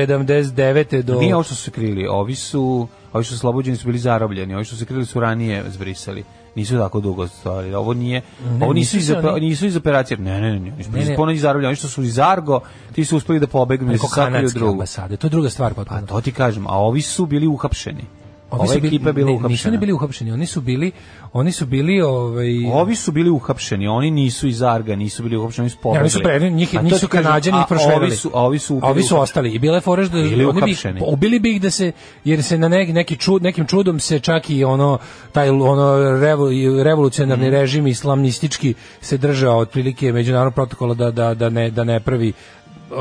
[SPEAKER 6] 79. do
[SPEAKER 5] Nije ovo što su se krili, ovi su, ovi što su oslobođeni su bili zarobljeni, ovi što su se krili su ranije zbrisali. Nisu tako dugo stvari. Ovo nije, ovo nisu,
[SPEAKER 6] nisu
[SPEAKER 5] iz,
[SPEAKER 6] se
[SPEAKER 5] ope-
[SPEAKER 6] oni-
[SPEAKER 5] nisu iz operacije. Ne, ne, ne, ne. Oni su
[SPEAKER 6] Ne, ne.
[SPEAKER 5] ponovo iz zarobljeni. Oni što su iz Argo, ti su uspeli da pobegnu i
[SPEAKER 6] preko
[SPEAKER 5] se sakriju
[SPEAKER 6] kanadske
[SPEAKER 5] drugu.
[SPEAKER 6] ambasade. To je druga stvar potpuno.
[SPEAKER 5] Pa to ti kažem, a ovi su bili uhapšeni.
[SPEAKER 6] Ovi
[SPEAKER 5] Ova
[SPEAKER 6] su bili-
[SPEAKER 5] ekipa je bila
[SPEAKER 6] ne, Nisu
[SPEAKER 5] uhapšena.
[SPEAKER 6] oni bili uhapšeni, oni su bili oni su bili ovaj
[SPEAKER 5] Ovi su bili uhapšeni, oni nisu iz Arga, nisu bili uhapšeni, oni su pobegli.
[SPEAKER 6] Ne, oni su pre, njih,
[SPEAKER 5] A to
[SPEAKER 6] nisu
[SPEAKER 5] ti kažem,
[SPEAKER 6] Kanađani
[SPEAKER 5] a
[SPEAKER 6] ih prošverili.
[SPEAKER 5] Ovi su, a ovi su,
[SPEAKER 6] A ovi
[SPEAKER 5] bili
[SPEAKER 6] su
[SPEAKER 5] uhapšeni.
[SPEAKER 6] ostali. I bila je fora da
[SPEAKER 5] Bili
[SPEAKER 6] oni bi,
[SPEAKER 5] uhapšeni.
[SPEAKER 6] ubili bi ih da se, jer se na neki, neki čud, nekim čudom se čak i ono, taj ono revo- revolucionarni
[SPEAKER 5] Mm.
[SPEAKER 6] režim islamistički se držao otprilike međunarodnog protokola da, da, da, ne, da ne pravi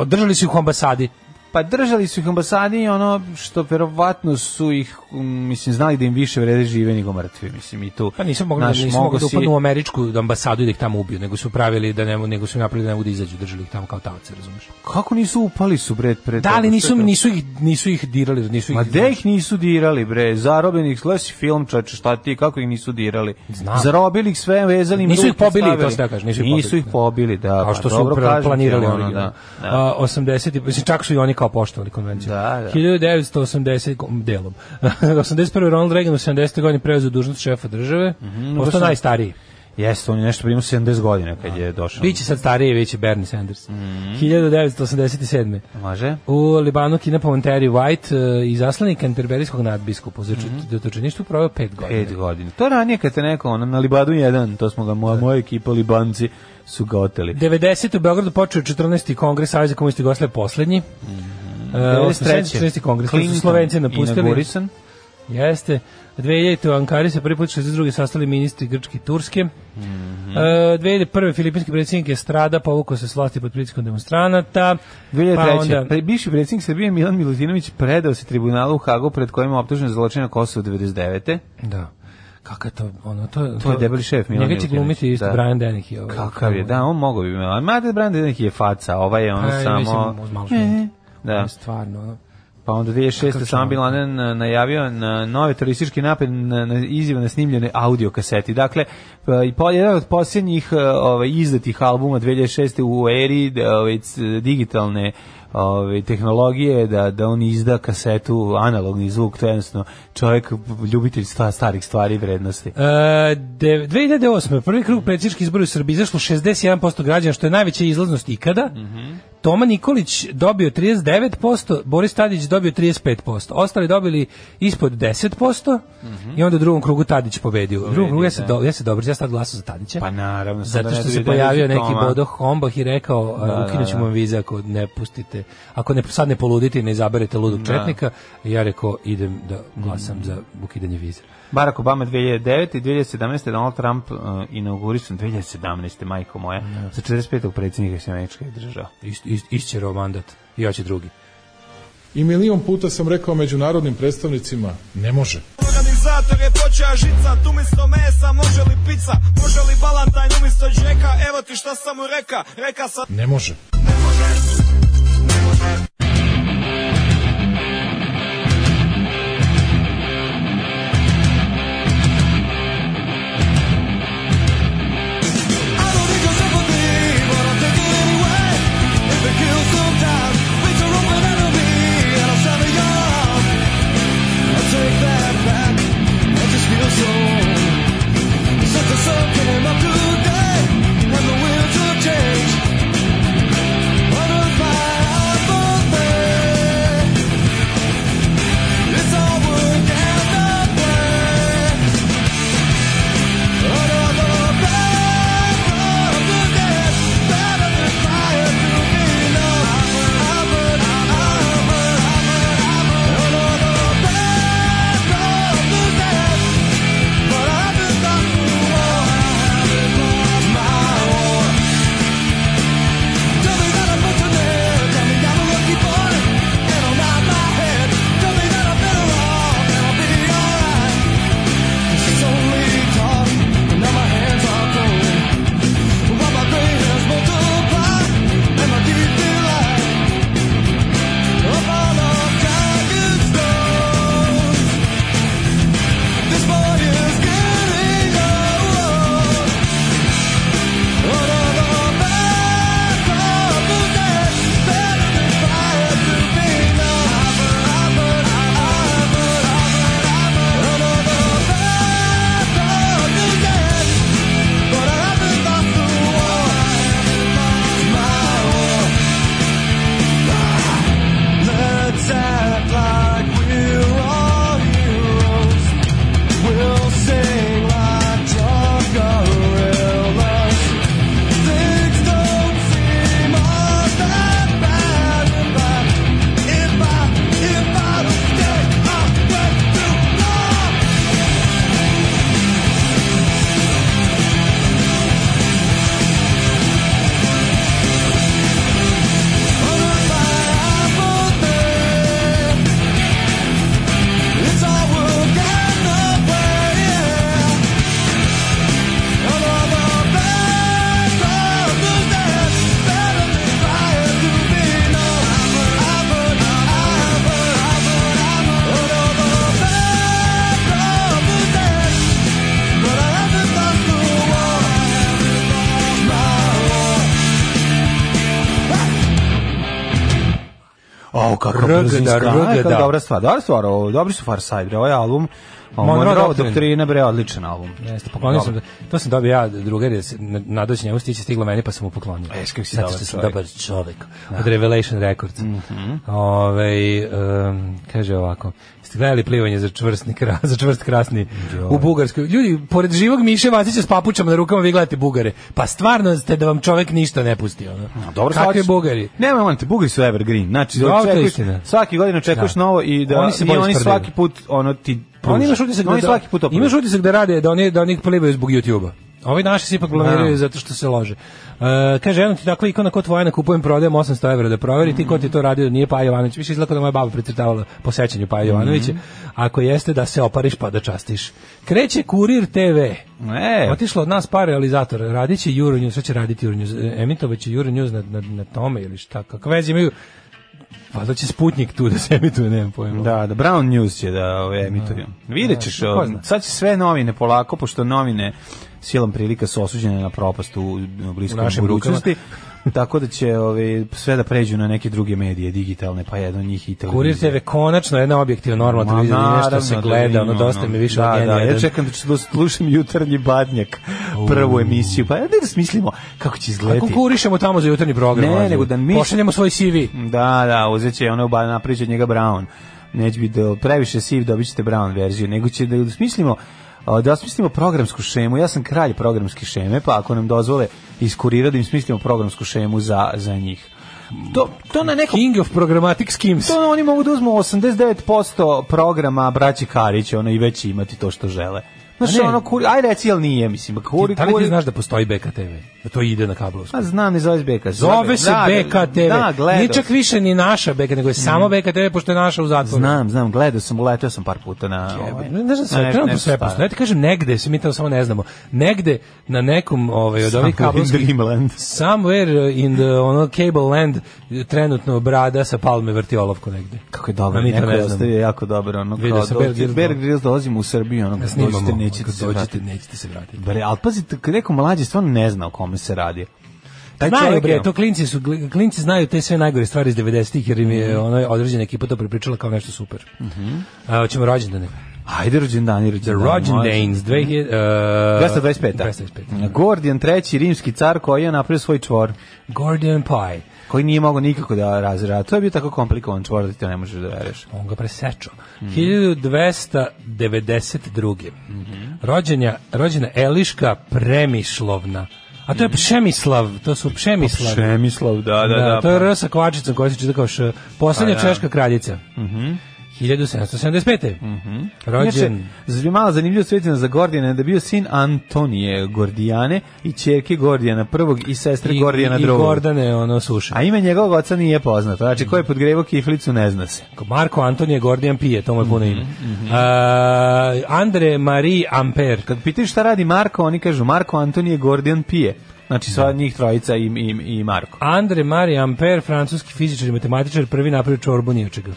[SPEAKER 6] držali su ih u ambasadi.
[SPEAKER 5] Pa držali su ih ambasadi i ono što verovatno su ih, um, mislim, znali da im više vrede žive nego mrtvi, mislim, i tu.
[SPEAKER 6] Pa nisu mogli,
[SPEAKER 5] znaš,
[SPEAKER 6] nisu
[SPEAKER 5] mogao
[SPEAKER 6] mogli da
[SPEAKER 5] si-
[SPEAKER 6] upadnu u američku ambasadu i da ih tamo ubiju, nego su pravili da ne, mo- nego su napravili da ne mogu da izađu, držali ih tamo kao tavce, razumiješ?
[SPEAKER 5] Kako nisu upali su, bre, pre
[SPEAKER 6] Da,
[SPEAKER 5] toga,
[SPEAKER 6] ali
[SPEAKER 5] Pa sve
[SPEAKER 6] nisu,
[SPEAKER 5] to?
[SPEAKER 6] nisu, ih, nisu ih dirali, nisu ih...
[SPEAKER 5] Ma gde ih nisu dirali, bre, zarobili ih, slesi film, čoče, šta ti, kako ih nisu dirali?
[SPEAKER 6] Znam.
[SPEAKER 5] Zarobili ih sve, vezali im
[SPEAKER 6] Nisu ih
[SPEAKER 5] ruke,
[SPEAKER 6] pobili,
[SPEAKER 5] stavili.
[SPEAKER 6] to se da kažem, nisu ih
[SPEAKER 5] Nisu
[SPEAKER 6] pobili,
[SPEAKER 5] ih
[SPEAKER 6] da.
[SPEAKER 5] pobili, da.
[SPEAKER 6] kao
[SPEAKER 5] pa
[SPEAKER 6] što su
[SPEAKER 5] dobro,
[SPEAKER 6] pra-
[SPEAKER 5] kažem ti,
[SPEAKER 6] planirali
[SPEAKER 5] ono,
[SPEAKER 6] oni.
[SPEAKER 5] da, da.
[SPEAKER 6] A, 80 i- mislim čak su i oni kao poštovali konvenciju.
[SPEAKER 5] Da, da.
[SPEAKER 6] 1980 kom- delom. 81 Ronald Reagan u 70. godini preuzeo dužnost šefa države. Postao
[SPEAKER 5] baš Mhm, sam-
[SPEAKER 6] najstariji.
[SPEAKER 5] Jeste, on je nešto primio 70 godina kad je došao.
[SPEAKER 6] Da. Biće sad stariji, biće Bernie Sanders.
[SPEAKER 5] Mhm.
[SPEAKER 6] 1987.
[SPEAKER 5] Može?
[SPEAKER 6] U Libanu Kina po Monteri White e, i zaslanik Canterberijskog nadbiskupa u zatočeništu proveo pet godina.
[SPEAKER 5] 5 Mhm. godina. To je ranije kad te neko ono, na Libadu 1, to smo ga, moja,
[SPEAKER 6] Da.
[SPEAKER 5] moja ekipa Libanci su ga oteli.
[SPEAKER 6] 90. u Beogradu počeo 14. kongres Saveza komunista Jugoslavije poslednji. Mm -hmm.
[SPEAKER 5] 93..
[SPEAKER 6] 14. kongres, to su
[SPEAKER 5] Mhm. E, Clinton
[SPEAKER 6] Slovenci napustili. Pa
[SPEAKER 5] inaugurisan.
[SPEAKER 6] Jeste. 2000. u Ankari se prvi put 62. sastali ministri Grčke i Turske. Mm
[SPEAKER 5] Mhm.
[SPEAKER 6] -hmm. uh, 2001. filipinski predsjednik Estrada povukao se s vlasti pod pritiskom demonstranata.
[SPEAKER 5] 2003.
[SPEAKER 6] Pa onda,
[SPEAKER 5] Pre, bivši predsjednik Srbije Milan Milutinović predao se tribunalu u Hagu pred kojim je optužen za zločine na Kosovo 99.
[SPEAKER 6] da. Kakav je to, ono, to,
[SPEAKER 5] To je debeli šef Milan
[SPEAKER 6] Njega će
[SPEAKER 5] Milutinović,
[SPEAKER 6] glumiti isto
[SPEAKER 5] da.
[SPEAKER 6] Brian Dennehy. Ovaj,
[SPEAKER 5] Kakav je, da, on mogao bi me. Mate Brande neki je faca, ovaj je ono
[SPEAKER 6] Aj,
[SPEAKER 5] samo...
[SPEAKER 6] mislim, malo
[SPEAKER 5] E, Da.
[SPEAKER 6] Da. Stvarno, ono.
[SPEAKER 5] Pa onda 2006.
[SPEAKER 6] Kakav
[SPEAKER 5] sam
[SPEAKER 6] član.
[SPEAKER 5] Bin Laden e, najavio na nove teroristički napad na, na izjave na snimljene audio kaseti. Dakle, e, i po, jedan od posljednjih e, ovaj, izdatih albuma 2006. u eri e, ovaj, c- digitalne ove, tehnologije da, da on izda kasetu analogni zvuk, to je jednostavno čovjek ljubitelj sta, starih stvari i vrednosti.
[SPEAKER 6] E, de, 2008. prvi krug predsjednički izbora u Srbiji izašlo 61% građana, što je najveća izlaznost ikada.
[SPEAKER 5] Mhm.
[SPEAKER 6] Toma Nikolić dobio 39%, Boris Tadić dobio 35%. Ostali dobili ispod 10%
[SPEAKER 5] Mhm.
[SPEAKER 6] i onda u drugom krugu Tadić pobedio. U drugom krugu ja se, do, ja se dobro, ja sam tad glasao za Tadića.
[SPEAKER 5] da. Pa naravno. sad
[SPEAKER 6] Zato
[SPEAKER 5] da ne
[SPEAKER 6] što
[SPEAKER 5] bi
[SPEAKER 6] se
[SPEAKER 5] da je
[SPEAKER 6] pojavio
[SPEAKER 5] Toma.
[SPEAKER 6] neki Bodo Hombah i rekao da, ukinućemo vam vize ako ne pustite, ako ne, sad ne poludite i ne izaberete ludog
[SPEAKER 5] Da.
[SPEAKER 6] četnika. I ja rekao idem da glasam
[SPEAKER 5] Mhm.
[SPEAKER 6] za ukidanje vize.
[SPEAKER 5] Barack Obama 2009 i 2017 Donald Trump uh, inaugurisan 2017 majko moja za 45. predsjednika Sjemeničke država.
[SPEAKER 6] Ist, ist, išćerao mandat i ja ću drugi.
[SPEAKER 7] I milion puta sam rekao međunarodnim predstavnicima, ne može.
[SPEAKER 8] Organizator je počeo žica, tu umjesto mesa može li pizza, može li balantajn umjesto džeka, evo ti šta sam mu reka, reka sam...
[SPEAKER 7] Ne može.
[SPEAKER 5] O, kako
[SPEAKER 6] Rgda,
[SPEAKER 5] brzinska.
[SPEAKER 6] rgda.
[SPEAKER 5] Aj, kako dobra da, stvar. Dobra stvar, ovo, dobri su Far Side, bre, ovaj album. O,
[SPEAKER 6] Monroe
[SPEAKER 5] Monroe
[SPEAKER 6] Doctrine.
[SPEAKER 5] Doctrine, bre, odličan album. pa
[SPEAKER 6] Jeste, poklonio sam, da-
[SPEAKER 5] Dobro.
[SPEAKER 6] to sam dobio ja drugar, jer se na- nadao se njemu stići, stiglo meni, pa sam mu poklonio.
[SPEAKER 5] Eš, kako si
[SPEAKER 6] Zato
[SPEAKER 5] dobar
[SPEAKER 6] što sam
[SPEAKER 5] čovjek. Da. Mhm.
[SPEAKER 6] dobar čovjek. Od Revelation Records. Ovaj, em, kaže ovako, ste gledali plivanje za čvrstni kra, za čvrst krasni u Bugarskoj. Ljudi, pored živog Miše Vasića s papučama na rukama vi gledate Bugare. Pa stvarno ste da vam čovjek ništa ne pusti. Ono.
[SPEAKER 5] Dobro
[SPEAKER 6] Kakvi
[SPEAKER 5] shvatiš.
[SPEAKER 6] Bugari?
[SPEAKER 5] Nema on te Bugari su evergreen. Znači,
[SPEAKER 6] Dobro, to je
[SPEAKER 5] očekuješ-
[SPEAKER 6] istina.
[SPEAKER 5] svaki godin očekuješ
[SPEAKER 6] Da.
[SPEAKER 5] novo i da
[SPEAKER 6] Oni se
[SPEAKER 5] i
[SPEAKER 6] bolje
[SPEAKER 5] oni
[SPEAKER 6] sprdaju.
[SPEAKER 5] svaki put ono ti
[SPEAKER 6] Pa oni imaš utisak da,
[SPEAKER 5] Oni
[SPEAKER 6] da
[SPEAKER 5] svaki put to
[SPEAKER 6] imaš
[SPEAKER 5] pruže.
[SPEAKER 6] utisak da rade da oni da oni plebaju zbog YouTubea. Ovi naši se
[SPEAKER 5] Da.
[SPEAKER 6] ipak blamiraju zato što se lože. E, kaže, jedno ti takva ikona kod tvoja na kupujem prodajem 800 evra da proveri, ti ko ti to radio nije Paja Jovanović. Više izlako da moja baba precrtavala po sećanju Paja
[SPEAKER 5] Mhm.
[SPEAKER 6] Jovanovića. Ako jeste da se opariš pa da častiš. Kreće Kurir TV.
[SPEAKER 5] E,
[SPEAKER 6] Otišlo od nas par realizatora. Radiće Euronews, sve će raditi Euronews. e, Emitovaće Euronews na, na, na tome ili šta. Kako veze imaju? Valjda će Sputnik tu da se emituje, nemam pojma.
[SPEAKER 5] Da, da Brown News će da ove, emituju. Vidjet ćeš,
[SPEAKER 6] Mm-hmm. Da,
[SPEAKER 5] ovaj,
[SPEAKER 6] ko zna.
[SPEAKER 5] sad će sve novine polako, pošto novine silom prilika su osuđene na propast u, u
[SPEAKER 6] U
[SPEAKER 5] bliskoj
[SPEAKER 6] našim
[SPEAKER 5] budućnosti. tako da će ove, sve da pređu na neke druge medije digitalne, pa jedan od njih i
[SPEAKER 6] Kurir
[SPEAKER 5] televizija.
[SPEAKER 6] TV konačno jedna objektivna
[SPEAKER 5] Ma,
[SPEAKER 6] normalna televizija, da nešto
[SPEAKER 5] naravno
[SPEAKER 6] se
[SPEAKER 5] da
[SPEAKER 6] gleda, ono
[SPEAKER 5] ima,
[SPEAKER 6] dosta mi više od
[SPEAKER 5] da,
[SPEAKER 6] njen
[SPEAKER 5] da, ja
[SPEAKER 6] jedan.
[SPEAKER 5] čekam da ću da slušam jutarnji badnjak, prvu emisiju, pa ajde da smislimo kako će
[SPEAKER 6] A
[SPEAKER 5] izgledati.
[SPEAKER 6] konkurišemo tamo za jutarnji program.
[SPEAKER 5] Ne,
[SPEAKER 6] valjda.
[SPEAKER 5] nego da mi-
[SPEAKER 6] Pošaljemo svoj CV.
[SPEAKER 5] Da, da, uzet će ono ba, napriđa njega Brown. Neće biti da previše siv, dobit ćete Brown verziju, nego će da osmislimo a, da osmislimo programsku šemu. Ja sam kralj programske šeme, pa ako nam dozvole iz kurira da im smislimo programsku šemu za, za njih. To, to na nekom
[SPEAKER 6] King of Programmatic Schemes.
[SPEAKER 5] to oni mogu da uzmu 89% programa braći Karića, ono i već imati to što žele. Znaš,
[SPEAKER 6] A ne.
[SPEAKER 5] ono, kuri, aj reci, jel nije, mislim, pa kuri,
[SPEAKER 6] Da li ti
[SPEAKER 5] kuri,
[SPEAKER 6] znaš da postoji BKTV? Da to ide na kablovsku?
[SPEAKER 5] a znam, ne Pa, zove BK.
[SPEAKER 6] Zove se BKTV.
[SPEAKER 5] Da, gledao
[SPEAKER 6] Nije čak više ni naša BK, nego je samo BKTV, pošto je naša u zatvoru.
[SPEAKER 5] Znam, znam, gledao sam, letao sam par puta na... ovaj,
[SPEAKER 6] Jebote, Ne znam
[SPEAKER 5] na
[SPEAKER 6] sve,
[SPEAKER 5] ne- pa.
[SPEAKER 6] trenutno
[SPEAKER 5] nešto
[SPEAKER 6] sve
[SPEAKER 5] staro.
[SPEAKER 6] postoje. Ja ti kažem negde, se mi to samo ne znamo. Negde na nekom ovaj, od ovih
[SPEAKER 5] Somewhere in
[SPEAKER 6] kablovskih...
[SPEAKER 5] Dreamland.
[SPEAKER 6] Somewhere in the ono, cable land eh, trenutno brada sa palme vrti olovku negde.
[SPEAKER 5] Kako je dobro,
[SPEAKER 6] A mi to
[SPEAKER 5] neko
[SPEAKER 6] ne
[SPEAKER 5] je
[SPEAKER 6] znamo.
[SPEAKER 5] ostavio jako dobro. Ono,
[SPEAKER 6] Vidio
[SPEAKER 5] kao,
[SPEAKER 6] sam
[SPEAKER 5] dođe-
[SPEAKER 6] Bear Grylls.
[SPEAKER 5] Bear Grylls dolazimo u Srbiju, ono, kad
[SPEAKER 6] Snimamo,
[SPEAKER 5] dođete, nećete
[SPEAKER 6] kad
[SPEAKER 5] se
[SPEAKER 6] dođete,
[SPEAKER 5] vratiti.
[SPEAKER 6] nećete se vratiti.
[SPEAKER 5] Bre, ali pazite, kad neko mlađe stvarno ne zna o kome se radi. Taj
[SPEAKER 6] Znaju
[SPEAKER 5] čovjek je-
[SPEAKER 6] bre, to klinci su, gl- klinci znaju te sve najgore stvari iz 90-ih jer im
[SPEAKER 5] Mhm.
[SPEAKER 6] je ona određena ekipa to prepričala kao nešto super. A hoćemo rođendane.
[SPEAKER 5] Ajde, rođendani, rođendani.
[SPEAKER 6] Rođendanes 2000
[SPEAKER 5] Mhm.
[SPEAKER 6] uh,
[SPEAKER 5] 225.
[SPEAKER 6] 225.
[SPEAKER 5] 225. Gordijan III, rimski car koji je napravio svoj čvor,
[SPEAKER 6] Gordian Pie.
[SPEAKER 5] koji nije mogao nikako da razreda. To je bio tako komplikovan čvor da ti to ne možeš da veriš.
[SPEAKER 6] On ga presečao. 1292. Rođenja, rođena Eliška Premišlovna. A to je Pšemislav, to su Pšemislav.
[SPEAKER 5] Šemislav, da,
[SPEAKER 6] da, to je R sa kvačicom koja se čita kao š. Poslednja
[SPEAKER 5] Pa da.
[SPEAKER 6] češka kraljica. Mhm. 1775. Mhm.
[SPEAKER 5] Inače,
[SPEAKER 6] Rođen.
[SPEAKER 5] z- mala zanimljiva svetina za Gordijana je da je bio sin Antonije Gordijane i čerke Gordijana prvog i sestre
[SPEAKER 6] I,
[SPEAKER 5] Gordijana
[SPEAKER 6] i
[SPEAKER 5] drugog.
[SPEAKER 6] Gordane, ono, suša.
[SPEAKER 5] A ime njegovog oca nije poznato. Znači, ko je podgrevao kiflicu, ne zna se.
[SPEAKER 6] Marko Antonije Gordijan Pije, to mu je puno ime.
[SPEAKER 5] Mhm,
[SPEAKER 6] A, Andre Marie Ampere.
[SPEAKER 5] Kad pitaš šta radi Marko, oni kažu Marko Antonije Gordijan pije. Znači,
[SPEAKER 6] Da.
[SPEAKER 5] sva njih trojica i, i, i Marko.
[SPEAKER 6] Andre Marie Ampere, francuski fizičar i matematičar, prvi napravio čorbu ni od čega.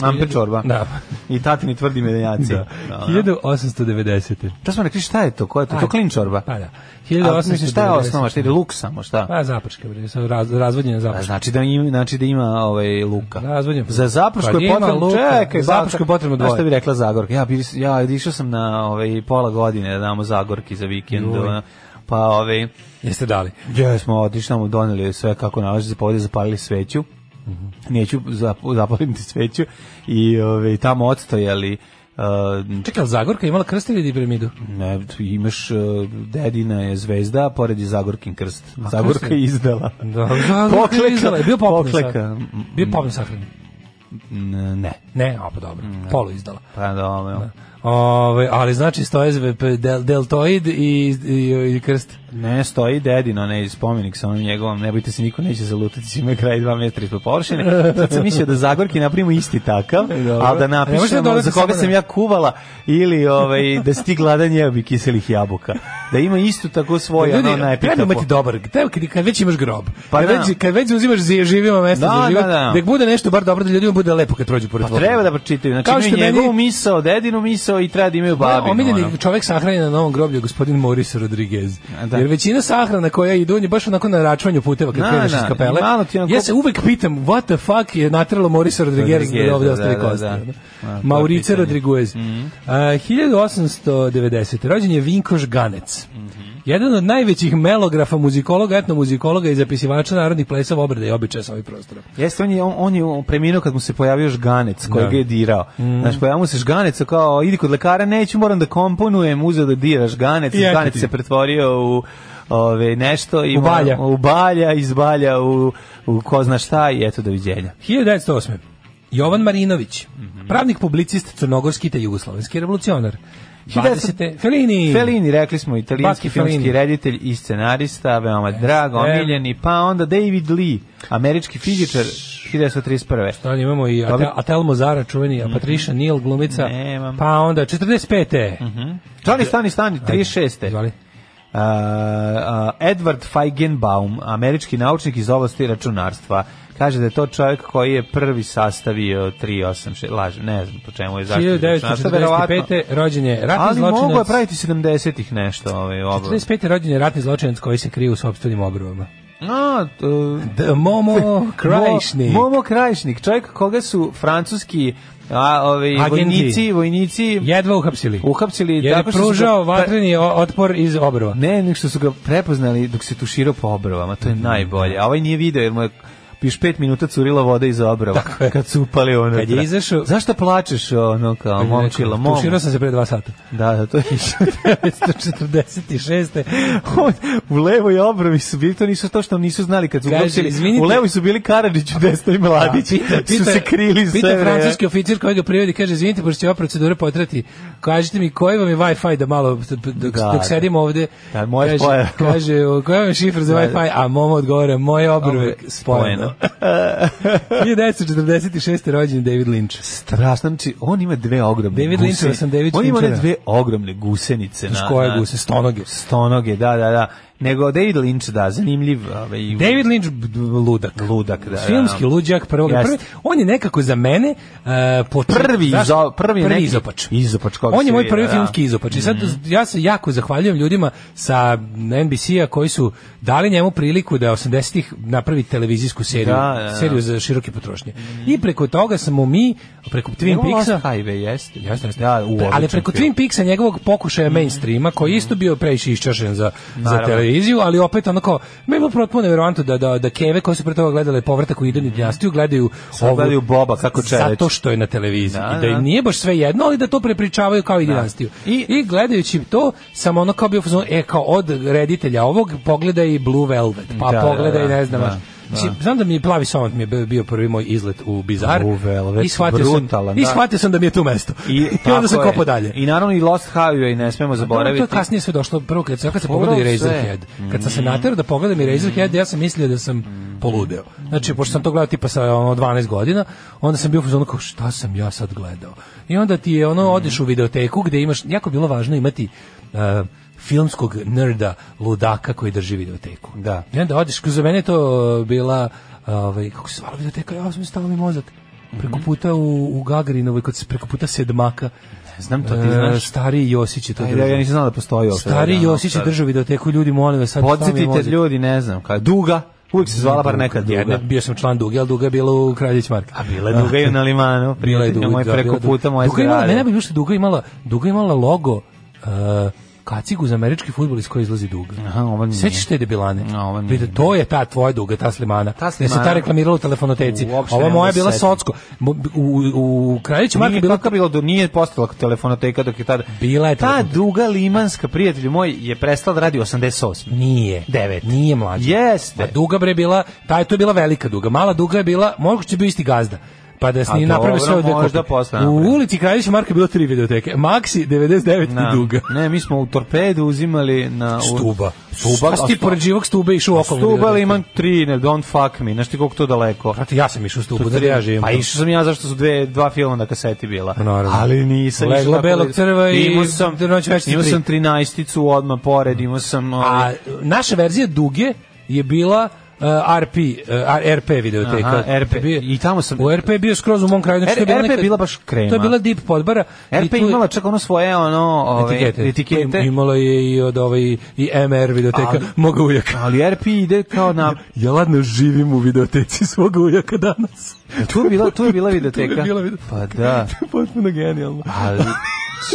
[SPEAKER 5] Ampe čorba.
[SPEAKER 6] Da.
[SPEAKER 5] I tatini tvrdi medenjaci. Da. da.
[SPEAKER 6] 1890.
[SPEAKER 5] Šta smo rekli, šta je to? Ko je to? To
[SPEAKER 6] Ajde.
[SPEAKER 5] klin čorba.
[SPEAKER 6] Pa da.
[SPEAKER 5] A, mislim, šta je
[SPEAKER 6] 1890.
[SPEAKER 5] osnova? Šta je luk samo? Šta?
[SPEAKER 6] Pa zapraška, bre, sa raz, razvodnjena
[SPEAKER 5] A
[SPEAKER 6] zapraška.
[SPEAKER 5] znači da ima znači da ima ovaj luka.
[SPEAKER 6] Razvodnjeno.
[SPEAKER 5] Za zaprašku
[SPEAKER 6] Pa
[SPEAKER 5] je
[SPEAKER 6] ima
[SPEAKER 5] potrebno
[SPEAKER 6] luka,
[SPEAKER 5] čekaj,
[SPEAKER 6] za zaprašku je potrebno
[SPEAKER 5] Znaš Šta
[SPEAKER 6] dvoje.
[SPEAKER 5] bi rekla Zagorka? Ja bili ja išao sam na ovaj pola godine da damo Zagorki za vikend.
[SPEAKER 6] Joj.
[SPEAKER 5] ono, Pa ovaj
[SPEAKER 6] Jeste dali.
[SPEAKER 5] gdje smo otišli tamo doneli sve kako nalaže za povode zapalili sveću.
[SPEAKER 6] Mhm.
[SPEAKER 5] Neću zap- zapaliti sveću i ovaj tamo odstojali uh,
[SPEAKER 6] Čekaj, ali Zagorka je imala krst ili piramidu?
[SPEAKER 5] Ne, imaš uh, dedina je zvezda, a pored je Zagorkin krst.
[SPEAKER 6] A, krst
[SPEAKER 5] Zagorka
[SPEAKER 6] je-
[SPEAKER 5] je izdala.
[SPEAKER 6] Da, Zagorka je izdala, je bio poklon
[SPEAKER 5] pokleka. Mm.
[SPEAKER 6] sahran. Bio popne sahran.
[SPEAKER 5] N- Ne.
[SPEAKER 6] Ne, a pa dobro, polu izdala.
[SPEAKER 5] Pa
[SPEAKER 6] Da.
[SPEAKER 5] dobro.
[SPEAKER 6] Ove, ali znači stoje zve- p- del, deltoid i, i, i krst.
[SPEAKER 5] Ne, stoji dedino, ne, spomenik sa onim njegovom, ne bojte se, niko neće zalutati, čime kraj dva metra ispod površine. Sad sam mislio da Zagorki napravimo isti takav,
[SPEAKER 6] E, Dobro.
[SPEAKER 5] ali da
[SPEAKER 6] Ne možete
[SPEAKER 5] napišemo
[SPEAKER 6] dodati
[SPEAKER 5] za koga
[SPEAKER 6] samo
[SPEAKER 5] sam
[SPEAKER 6] ne.
[SPEAKER 5] ja kuvala ili ovaj, da si ti gladan jebi kiselih jabuka. Da ima istu tako svoju,
[SPEAKER 6] Da, Ljudi,
[SPEAKER 5] ono, najpita.
[SPEAKER 6] treba imati dobar, treba kad, kad već imaš grob.
[SPEAKER 5] Pa
[SPEAKER 6] kad,
[SPEAKER 5] da.
[SPEAKER 6] već, kad već uzimaš zi- živima mesto
[SPEAKER 5] Da,
[SPEAKER 6] za život,
[SPEAKER 5] da, da.
[SPEAKER 6] nek bude nešto bar dobro da ljudima bude lepo kad prođu pored
[SPEAKER 5] Pa treba da pročitaju. Znači,
[SPEAKER 6] Kao
[SPEAKER 5] imaju
[SPEAKER 6] što meni-
[SPEAKER 5] njegovu misao, dedinu misao i treba da imaju babinu.
[SPEAKER 6] Omiljeni
[SPEAKER 5] ono.
[SPEAKER 6] čovek sahranjen na novom groblju je gospodin Moris Rodriguez.
[SPEAKER 5] A, da.
[SPEAKER 6] Jer većina sahrana koja idu, on je baš onako na račvanju puteva kad
[SPEAKER 5] Na,
[SPEAKER 6] kreneš
[SPEAKER 5] na,
[SPEAKER 6] iz kapele.
[SPEAKER 5] i da, malo ti onako-
[SPEAKER 6] Ja se uvek pitam, what the fuck je natrlo Morisa Rodriguez da
[SPEAKER 5] Rodrigueza,
[SPEAKER 6] ovde ostavi
[SPEAKER 5] da, da,
[SPEAKER 6] kosti.
[SPEAKER 5] da.
[SPEAKER 6] ono?
[SPEAKER 5] A, to
[SPEAKER 6] Maurice
[SPEAKER 5] je pitanje. Mhm.
[SPEAKER 6] Rodriguez. A, 1890. Rođen je Vinkoš Ganec.
[SPEAKER 5] Mhm.
[SPEAKER 6] Jedan od najvećih melografa, muzikologa, etnomuzikologa i zapisivača narodnih plesova obrada i običaja sa ovih prostora.
[SPEAKER 5] Jeste, on je, on, on je preminuo kad mu se pojavio žganec koji
[SPEAKER 6] Da.
[SPEAKER 5] ga je dirao. Znaš, pojavio mu se žganec, a kao, idi kod lekara, neću, moram da komponujem, uzeo da dira žganec,
[SPEAKER 6] I eto
[SPEAKER 5] žganec
[SPEAKER 6] ti.
[SPEAKER 5] se pretvorio u ove, nešto. I
[SPEAKER 6] U balja.
[SPEAKER 5] moram- u balja, iz balja, u, u ko zna šta i eto, doviđenja.
[SPEAKER 6] 1908. Jovan Marinović, pravnik publicist crnogorski te jugoslovenski revolucionar. 20. Felini.
[SPEAKER 5] Felini, rekli smo, italijanski
[SPEAKER 6] Baki
[SPEAKER 5] filmski
[SPEAKER 6] Fellini.
[SPEAKER 5] reditelj i scenarista, veoma drag, omiljeni, pa onda David Lee, američki fizičar, 1931.
[SPEAKER 6] Dalje imamo i
[SPEAKER 5] Dobri-
[SPEAKER 6] Ate, Atel Mozara, čuveni, a Patricia Neal, glumica.
[SPEAKER 5] Mhm. Nemam. Mhm.
[SPEAKER 6] Pa onda 45.
[SPEAKER 5] Stani, stani, stani, 36.
[SPEAKER 6] Izvali.
[SPEAKER 5] Uh, uh, Edward Feigenbaum, američki naučnik iz oblasti računarstva, kaže da je to čovjek koji je prvi sastavio 386, lažem, ne znam po čemu je zaštitio računarstva, verovatno.
[SPEAKER 6] 1945. Znači, rođen je ratni
[SPEAKER 5] Ali mogu je
[SPEAKER 6] zločinac.
[SPEAKER 5] praviti 70-ih nešto. Ovaj, obrok.
[SPEAKER 6] 45. rođen je ratni zločinac koji se krije u sobstvenim obrvama.
[SPEAKER 5] No, t-
[SPEAKER 6] D- Momo Krajišnik.
[SPEAKER 5] Mo- Momo Krajišnik, čovjek koga su francuski a, ovi,
[SPEAKER 6] Agenti.
[SPEAKER 5] vojnici, vojnici
[SPEAKER 6] Jedva uhapsili.
[SPEAKER 5] uhapsili.
[SPEAKER 6] Jer je
[SPEAKER 5] tako što su ga-
[SPEAKER 6] pružao
[SPEAKER 5] pa-
[SPEAKER 6] vatreni o- otpor iz obrva.
[SPEAKER 5] Ne, nego što su ga prepoznali dok se tuširao po obrovama, to je
[SPEAKER 6] Mhm.
[SPEAKER 5] najbolje. A ovaj nije video jer mu je još pet minuta curila voda iz obrova kad su upali unutra.
[SPEAKER 6] Kad je izašao-
[SPEAKER 5] Zašto plačeš ono kao momčilo? Momo?
[SPEAKER 6] Znači, Tuširao sam se pre dva sata.
[SPEAKER 5] Da, da, to je
[SPEAKER 6] 1946.
[SPEAKER 5] On, u levoj obrovi su bili, to nisu to što nisu znali kad su
[SPEAKER 6] Kaže,
[SPEAKER 5] uhapsili.
[SPEAKER 6] izvinite.
[SPEAKER 5] U levoj su bili Karadžić, u desnoj Mladić.
[SPEAKER 6] Da,
[SPEAKER 5] su se krili sve
[SPEAKER 6] Pita
[SPEAKER 5] vreme.
[SPEAKER 6] francuski oficir koji ga privodi, kaže, izvinite, pošto će ova procedura potrati, kažite mi koji vam je Wi-Fi da malo, dok,
[SPEAKER 5] Da,
[SPEAKER 6] dok sedimo ovde,
[SPEAKER 5] Da, moje
[SPEAKER 6] kaže,
[SPEAKER 5] spojeno. Da,
[SPEAKER 6] kaže, "O, koji vam je šifra za Wi-Fi, a momo odgovore, moje obrve spojeno. 1946. rođen David Lynch.
[SPEAKER 5] Strašno, znači on ima dve ogromne
[SPEAKER 6] David Lynch,
[SPEAKER 5] gusenice.
[SPEAKER 6] da sam David
[SPEAKER 5] on ima one
[SPEAKER 6] Finchera.
[SPEAKER 5] dve ogromne gusenice.
[SPEAKER 6] Znaš koje
[SPEAKER 5] da.
[SPEAKER 6] guse? Stonoge.
[SPEAKER 5] Stonoge, da, da, da. Nego David Lynch, da, zanimljiv. Ovaj,
[SPEAKER 6] David Lynch b- b- ludak.
[SPEAKER 5] Ludak, da,
[SPEAKER 6] Filmski
[SPEAKER 5] da.
[SPEAKER 6] luđak prvog.
[SPEAKER 5] Jeste.
[SPEAKER 6] Prvi, on je nekako za mene uh, poč-
[SPEAKER 5] Prvi,
[SPEAKER 6] znaš,
[SPEAKER 5] izo, prvi,
[SPEAKER 6] prvi
[SPEAKER 5] neki,
[SPEAKER 6] izopač.
[SPEAKER 5] Izopač, koga
[SPEAKER 6] On je
[SPEAKER 5] se
[SPEAKER 6] moj
[SPEAKER 5] vidi,
[SPEAKER 6] prvi
[SPEAKER 5] da.
[SPEAKER 6] filmski izopač. I sad ja se jako zahvaljujem ljudima sa NBC-a koji su dali njemu priliku da 80-ih napravi televizijsku seriju,
[SPEAKER 5] Da, da, da.
[SPEAKER 6] seriju za široke potrošnje. I preko toga smo mi, preko Twin
[SPEAKER 5] Njegov Lost
[SPEAKER 6] Peaksa,
[SPEAKER 5] Highway, jeste.
[SPEAKER 6] Jeste, jeste.
[SPEAKER 5] Da, u
[SPEAKER 6] ali
[SPEAKER 5] odličan
[SPEAKER 6] preko
[SPEAKER 5] film. Mm.
[SPEAKER 6] Twin Peaksa njegovog pokušaja mainstreama koji je isto bio previše iščašen za za
[SPEAKER 5] Naravno.
[SPEAKER 6] televiziju, ali opet onako meni je bilo potpuno neverovatno da da da Keve koji su pre toga gledale povratak u Idenu dinastiju gledaju ovu-
[SPEAKER 5] gledaju Boba kako čeleči.
[SPEAKER 6] Zato što je na televiziji
[SPEAKER 5] Da,
[SPEAKER 6] i da im
[SPEAKER 5] da.
[SPEAKER 6] nije baš sve jedno, ali da to prepričavaju kao i dinastiju. I,
[SPEAKER 5] I-
[SPEAKER 6] gledajući to sam ono kao bio u fazonu, e kao od reditelja ovog pogledaj i Blue Velvet, pa
[SPEAKER 5] Da, da,
[SPEAKER 6] pogledaj
[SPEAKER 5] da,
[SPEAKER 6] ne znam.
[SPEAKER 5] da,
[SPEAKER 6] baš. Mislim, znam da mi je plavi somat mi je bio- bio prvi moj izlet u bizar.
[SPEAKER 5] Blue Velvet,
[SPEAKER 6] I shvatio
[SPEAKER 5] brutalan,
[SPEAKER 6] sam, i
[SPEAKER 5] da.
[SPEAKER 6] shvatio sam da mi je tu mesto. I,
[SPEAKER 5] tako
[SPEAKER 6] onda sam
[SPEAKER 5] je.
[SPEAKER 6] kopao dalje.
[SPEAKER 5] I naravno i Lost Highway, ne smemo
[SPEAKER 6] Dobro,
[SPEAKER 5] zaboraviti.
[SPEAKER 6] To je kasnije sve došlo, prvo kad sam, kad sam pogledao i
[SPEAKER 5] Pogledao sve.
[SPEAKER 6] Razorhead. Kad sam se naterao da pogledam i Razorhead, ja sam mislio da sam poludeo. Znači, pošto sam to gledao tipa sa ono, 12 godina, onda sam bio u fazonu kao, šta sam ja sad gledao? I onda ti je ono, odeš u videoteku gde imaš, jako je bilo važno imati uh, filmskog nerda ludaka koji drži videoteku.
[SPEAKER 5] Da.
[SPEAKER 6] I onda odeš, za mene je to uh, bila, uh, ovaj, kako se zvala videoteka, ja sam stalo mi mozak. Preko puta u, u Gagarinovoj, kod, se- preko puta sedmaka.
[SPEAKER 5] Znam to, ti
[SPEAKER 6] E,
[SPEAKER 5] znaš.
[SPEAKER 6] Stari Josić je to
[SPEAKER 5] Ajde,
[SPEAKER 6] držao.
[SPEAKER 5] ja nisam znao da postoji ovo.
[SPEAKER 6] Stari
[SPEAKER 5] Da,
[SPEAKER 6] Josić je
[SPEAKER 5] da.
[SPEAKER 6] držao videoteku, ljudi, molim vas, sad
[SPEAKER 5] Podsjetite
[SPEAKER 6] ljudi,
[SPEAKER 5] ljudi, ne znam, kao Duga, uvijek se zvala bar neka Duga.
[SPEAKER 6] Jedna, bio sam član Duge, ali Duga je bila u Kraljević Marka.
[SPEAKER 5] A bila je Duga i na limanu,
[SPEAKER 6] Bila je
[SPEAKER 5] prijatelj
[SPEAKER 6] Duga.
[SPEAKER 5] moj
[SPEAKER 6] da,
[SPEAKER 5] preko
[SPEAKER 6] bila je Duga.
[SPEAKER 5] puta moje
[SPEAKER 6] Duga je imala, ne
[SPEAKER 5] zgrade.
[SPEAKER 6] bi što Duga imala, Duga je imala logo uh, kacigu za američki fudbal iz koje izlazi Duga.
[SPEAKER 5] Aha, ovo nije.
[SPEAKER 6] Sećaš te debilane?
[SPEAKER 5] A, ovo nije.
[SPEAKER 6] Vidite, to je ta tvoja duga, ta slimana.
[SPEAKER 5] Ta
[SPEAKER 6] Jer se
[SPEAKER 5] Slimana.
[SPEAKER 6] ta reklamirala u telefonoteci.
[SPEAKER 5] Uopšte
[SPEAKER 6] Ova
[SPEAKER 5] ne mogu
[SPEAKER 6] moja
[SPEAKER 5] da
[SPEAKER 6] je
[SPEAKER 5] se
[SPEAKER 6] bila
[SPEAKER 5] setim.
[SPEAKER 6] Socko. Mo- U, u, u Kraljević Marka
[SPEAKER 5] Nije
[SPEAKER 6] bila
[SPEAKER 5] bila kako bilo, do- nije postala telefonoteka dok je tada.
[SPEAKER 6] Bila je
[SPEAKER 5] ta
[SPEAKER 6] telefonoteka.
[SPEAKER 5] Duga Limanska, prijatelj moj, je prestala da radi 88.
[SPEAKER 6] Nije.
[SPEAKER 5] Devet.
[SPEAKER 6] Nije mlađa.
[SPEAKER 5] Jeste.
[SPEAKER 6] Ma Pa duga bre bila, taj to je bila velika duga. Mala duga je bila, možda je bio isti gazda. Pa da
[SPEAKER 5] A
[SPEAKER 6] sni napravio
[SPEAKER 5] dobro,
[SPEAKER 6] sve od
[SPEAKER 5] možda posle
[SPEAKER 6] U
[SPEAKER 5] napravi.
[SPEAKER 6] ulici Kraljevića Marka je bilo tri videoteke. Maxi 99
[SPEAKER 5] Na-
[SPEAKER 6] i duga.
[SPEAKER 5] Ne, mi smo u torpedu uzimali na... u-
[SPEAKER 6] Stuba.
[SPEAKER 5] Stuba.
[SPEAKER 6] Stuba. Šta si ti pored živog stube išao okolo?
[SPEAKER 5] Stuba
[SPEAKER 6] videoteke?
[SPEAKER 5] Liman 3, ne, don't fuck me, znaš ti koliko to daleko.
[SPEAKER 6] Brate, ja sam išao u stubu, da
[SPEAKER 5] Tri-
[SPEAKER 6] ja živim.
[SPEAKER 5] Pa
[SPEAKER 6] tu. Pa
[SPEAKER 5] išao sam ja zašto su dve, dva filma na kaseti bila.
[SPEAKER 6] Naravno.
[SPEAKER 5] Ali nisam
[SPEAKER 6] Leglo
[SPEAKER 5] išao tako
[SPEAKER 6] belog
[SPEAKER 5] da-
[SPEAKER 6] crva i
[SPEAKER 5] Imao sam,
[SPEAKER 6] Noć večnice
[SPEAKER 5] imao
[SPEAKER 6] tri.
[SPEAKER 5] sam trinaesticu odmah pored, imao sam...
[SPEAKER 6] A
[SPEAKER 5] ovaj,
[SPEAKER 6] naša verzija duge je bila uh, RP, uh, RP videoteka.
[SPEAKER 5] Aha, RP.
[SPEAKER 6] Bio-
[SPEAKER 5] I tamo sam-
[SPEAKER 6] U RP je bio skroz u mom kraju. Znači,
[SPEAKER 5] R-
[SPEAKER 6] to je bila
[SPEAKER 5] RP je
[SPEAKER 6] neka-
[SPEAKER 5] bila baš krema.
[SPEAKER 6] To je bila dip podbara. i
[SPEAKER 5] RP
[SPEAKER 6] tu-
[SPEAKER 5] imala čak ono svoje ono ove,
[SPEAKER 6] etikete.
[SPEAKER 5] etikete.
[SPEAKER 6] To im- Imala je i od ovaj i MR videoteka
[SPEAKER 5] Ali-
[SPEAKER 6] moga ujaka.
[SPEAKER 5] Ali RP ide kao na
[SPEAKER 6] Ja ladno živim u videoteci svoga ujaka danas.
[SPEAKER 5] tu je bila tu je bila videoteka.
[SPEAKER 6] bila videoteka.
[SPEAKER 5] Pa da.
[SPEAKER 6] Potpuno genijalno.
[SPEAKER 5] Ali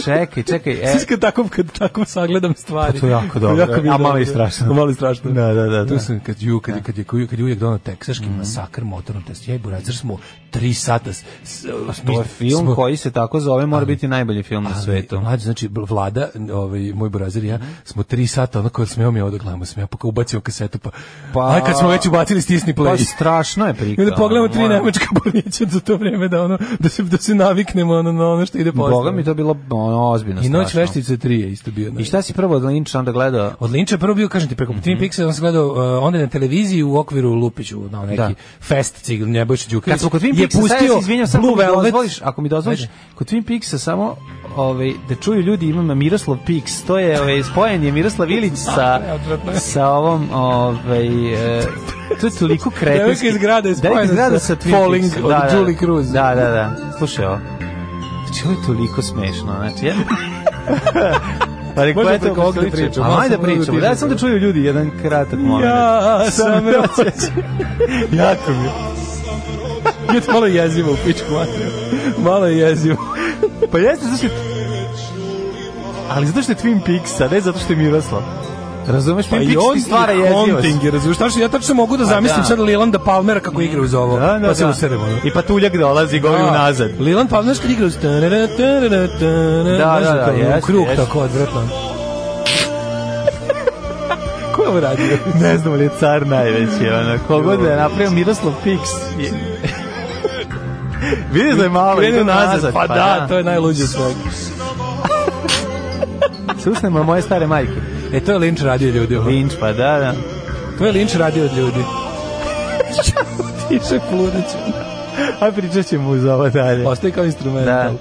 [SPEAKER 5] Čekaj, čekaj. E,
[SPEAKER 6] Sve kad tako, kad tako sagledam stvari.
[SPEAKER 5] Pa to je jako dobro,
[SPEAKER 6] mi je
[SPEAKER 5] a malo
[SPEAKER 6] dobro.
[SPEAKER 5] i strašno.
[SPEAKER 6] A malo i strašno.
[SPEAKER 5] Da, da, da,
[SPEAKER 6] Tu
[SPEAKER 5] da. Mhm.
[SPEAKER 6] sam, kad, ju, kad, kad, je, kad, je, kad je uvijek donao teksaški masakr motornom testu. Jej, burac, zar smo tri sata... S, s,
[SPEAKER 5] to je film
[SPEAKER 6] smo-
[SPEAKER 5] koji se tako zove, mora biti najbolji film na
[SPEAKER 6] Ali,
[SPEAKER 5] svetu.
[SPEAKER 6] Mlađe, znači, bl- vlada, ovaj, moj burazer i ja, smo tri sata, onako smeo mi je ovo da gledamo, smeo, pa kao ubacio kasetu, pa,
[SPEAKER 5] Pa-
[SPEAKER 6] pa aj kad smo već ubacili, stisni
[SPEAKER 5] Pa
[SPEAKER 6] play.
[SPEAKER 5] strašno je
[SPEAKER 6] I
[SPEAKER 5] prikao.
[SPEAKER 6] onda pogledamo tri
[SPEAKER 5] moram-
[SPEAKER 6] nemačka bolića za to vreme da ono da se da se naviknemo ono na ono što ide posle.
[SPEAKER 5] Boga mi to bilo ono, ozbiljno
[SPEAKER 6] I noć
[SPEAKER 5] strašno.
[SPEAKER 6] veštice 3 je isto bio. da.
[SPEAKER 5] I šta Mhm. si prvo od Lynch onda gledao?
[SPEAKER 6] Od Linča je prvo bio, kažem ti, preko mm -hmm. Pixel, on sam gledao uh, onda je na televiziji u okviru Lupiću, na neki
[SPEAKER 5] Da.
[SPEAKER 6] fest cigl, Nebojša Đukić.
[SPEAKER 5] Kad smo kod Twin
[SPEAKER 6] je
[SPEAKER 5] Peaksa, sad ja se
[SPEAKER 6] pustio
[SPEAKER 5] izvinjam, samo
[SPEAKER 6] Blue
[SPEAKER 5] ako mi
[SPEAKER 6] Velvet.
[SPEAKER 5] dozvoliš, ako mi dozvoliš,
[SPEAKER 6] Ajde.
[SPEAKER 5] kod Twin Peaksa samo ovaj, da čuju ljudi imam Miroslav Piks, to je ovaj, spojen je Miroslav Ilić sa, sa ovom, ovaj, e, to je toliko kretinski.
[SPEAKER 6] Devojka iz grada je spojena
[SPEAKER 5] da
[SPEAKER 6] sa Falling
[SPEAKER 5] Peaksom.
[SPEAKER 6] od Julie Cruz.
[SPEAKER 5] Da, da, da, slušaj ovo. Znači, ovo je toliko smešno, znači, ja... Pa rekao,
[SPEAKER 6] Možemo
[SPEAKER 5] eto,
[SPEAKER 6] preko ovog da
[SPEAKER 5] slično.
[SPEAKER 6] pričamo,
[SPEAKER 5] A,
[SPEAKER 6] malo
[SPEAKER 5] Ajde
[SPEAKER 6] sam moram da
[SPEAKER 5] pričamo,
[SPEAKER 6] ti
[SPEAKER 5] da
[SPEAKER 6] kažem.
[SPEAKER 5] sam da čuju ljudi jedan kratak moment.
[SPEAKER 6] Ja sam rođen.
[SPEAKER 5] jako mi je.
[SPEAKER 6] Jut malo je jezivo u pičku materiju. Malo je jezivo.
[SPEAKER 5] Pa jeste, zato što... Ali zato što je Twin Peaks, a ne zato što je Miroslav. Razumeš,
[SPEAKER 6] Pa
[SPEAKER 5] Twin Peaks ti Pa stvara jezivost.
[SPEAKER 6] haunting, je, razumiješ, Znaš, ja tačno mogu da zamislim
[SPEAKER 5] da.
[SPEAKER 6] sad Lilanda Palmera kako igra uz ovo,
[SPEAKER 5] Da, da,
[SPEAKER 6] pa se
[SPEAKER 5] da.
[SPEAKER 6] useremo. Da. ono.
[SPEAKER 5] I patuljak dolazi, govi unazad.
[SPEAKER 6] Liland Palmer što igra uz... tarara, tarara,
[SPEAKER 5] Da,
[SPEAKER 6] tarara, znaš,
[SPEAKER 5] da, da,
[SPEAKER 6] kao
[SPEAKER 5] jeste,
[SPEAKER 6] u Krug
[SPEAKER 5] jeste.
[SPEAKER 6] tako odvratno. Ko je ovo radio?
[SPEAKER 5] Ne znam li je car najveći, ono, kogod da je napravio Miroslav Piks. je- Vidiš da je malo, idu nazad.
[SPEAKER 6] Pa, da, to je najluđe od svega.
[SPEAKER 5] Se usnemo moje stare majke.
[SPEAKER 6] E, to je Lynch radio ljudi. ovo.
[SPEAKER 5] Vinč, pa da, da.
[SPEAKER 6] To je Lynch radio od ljudi. Tiše Pa, pluricu.
[SPEAKER 5] A pričat ćemo uz ovo dalje.
[SPEAKER 6] Ostaje kao instrumental. Da.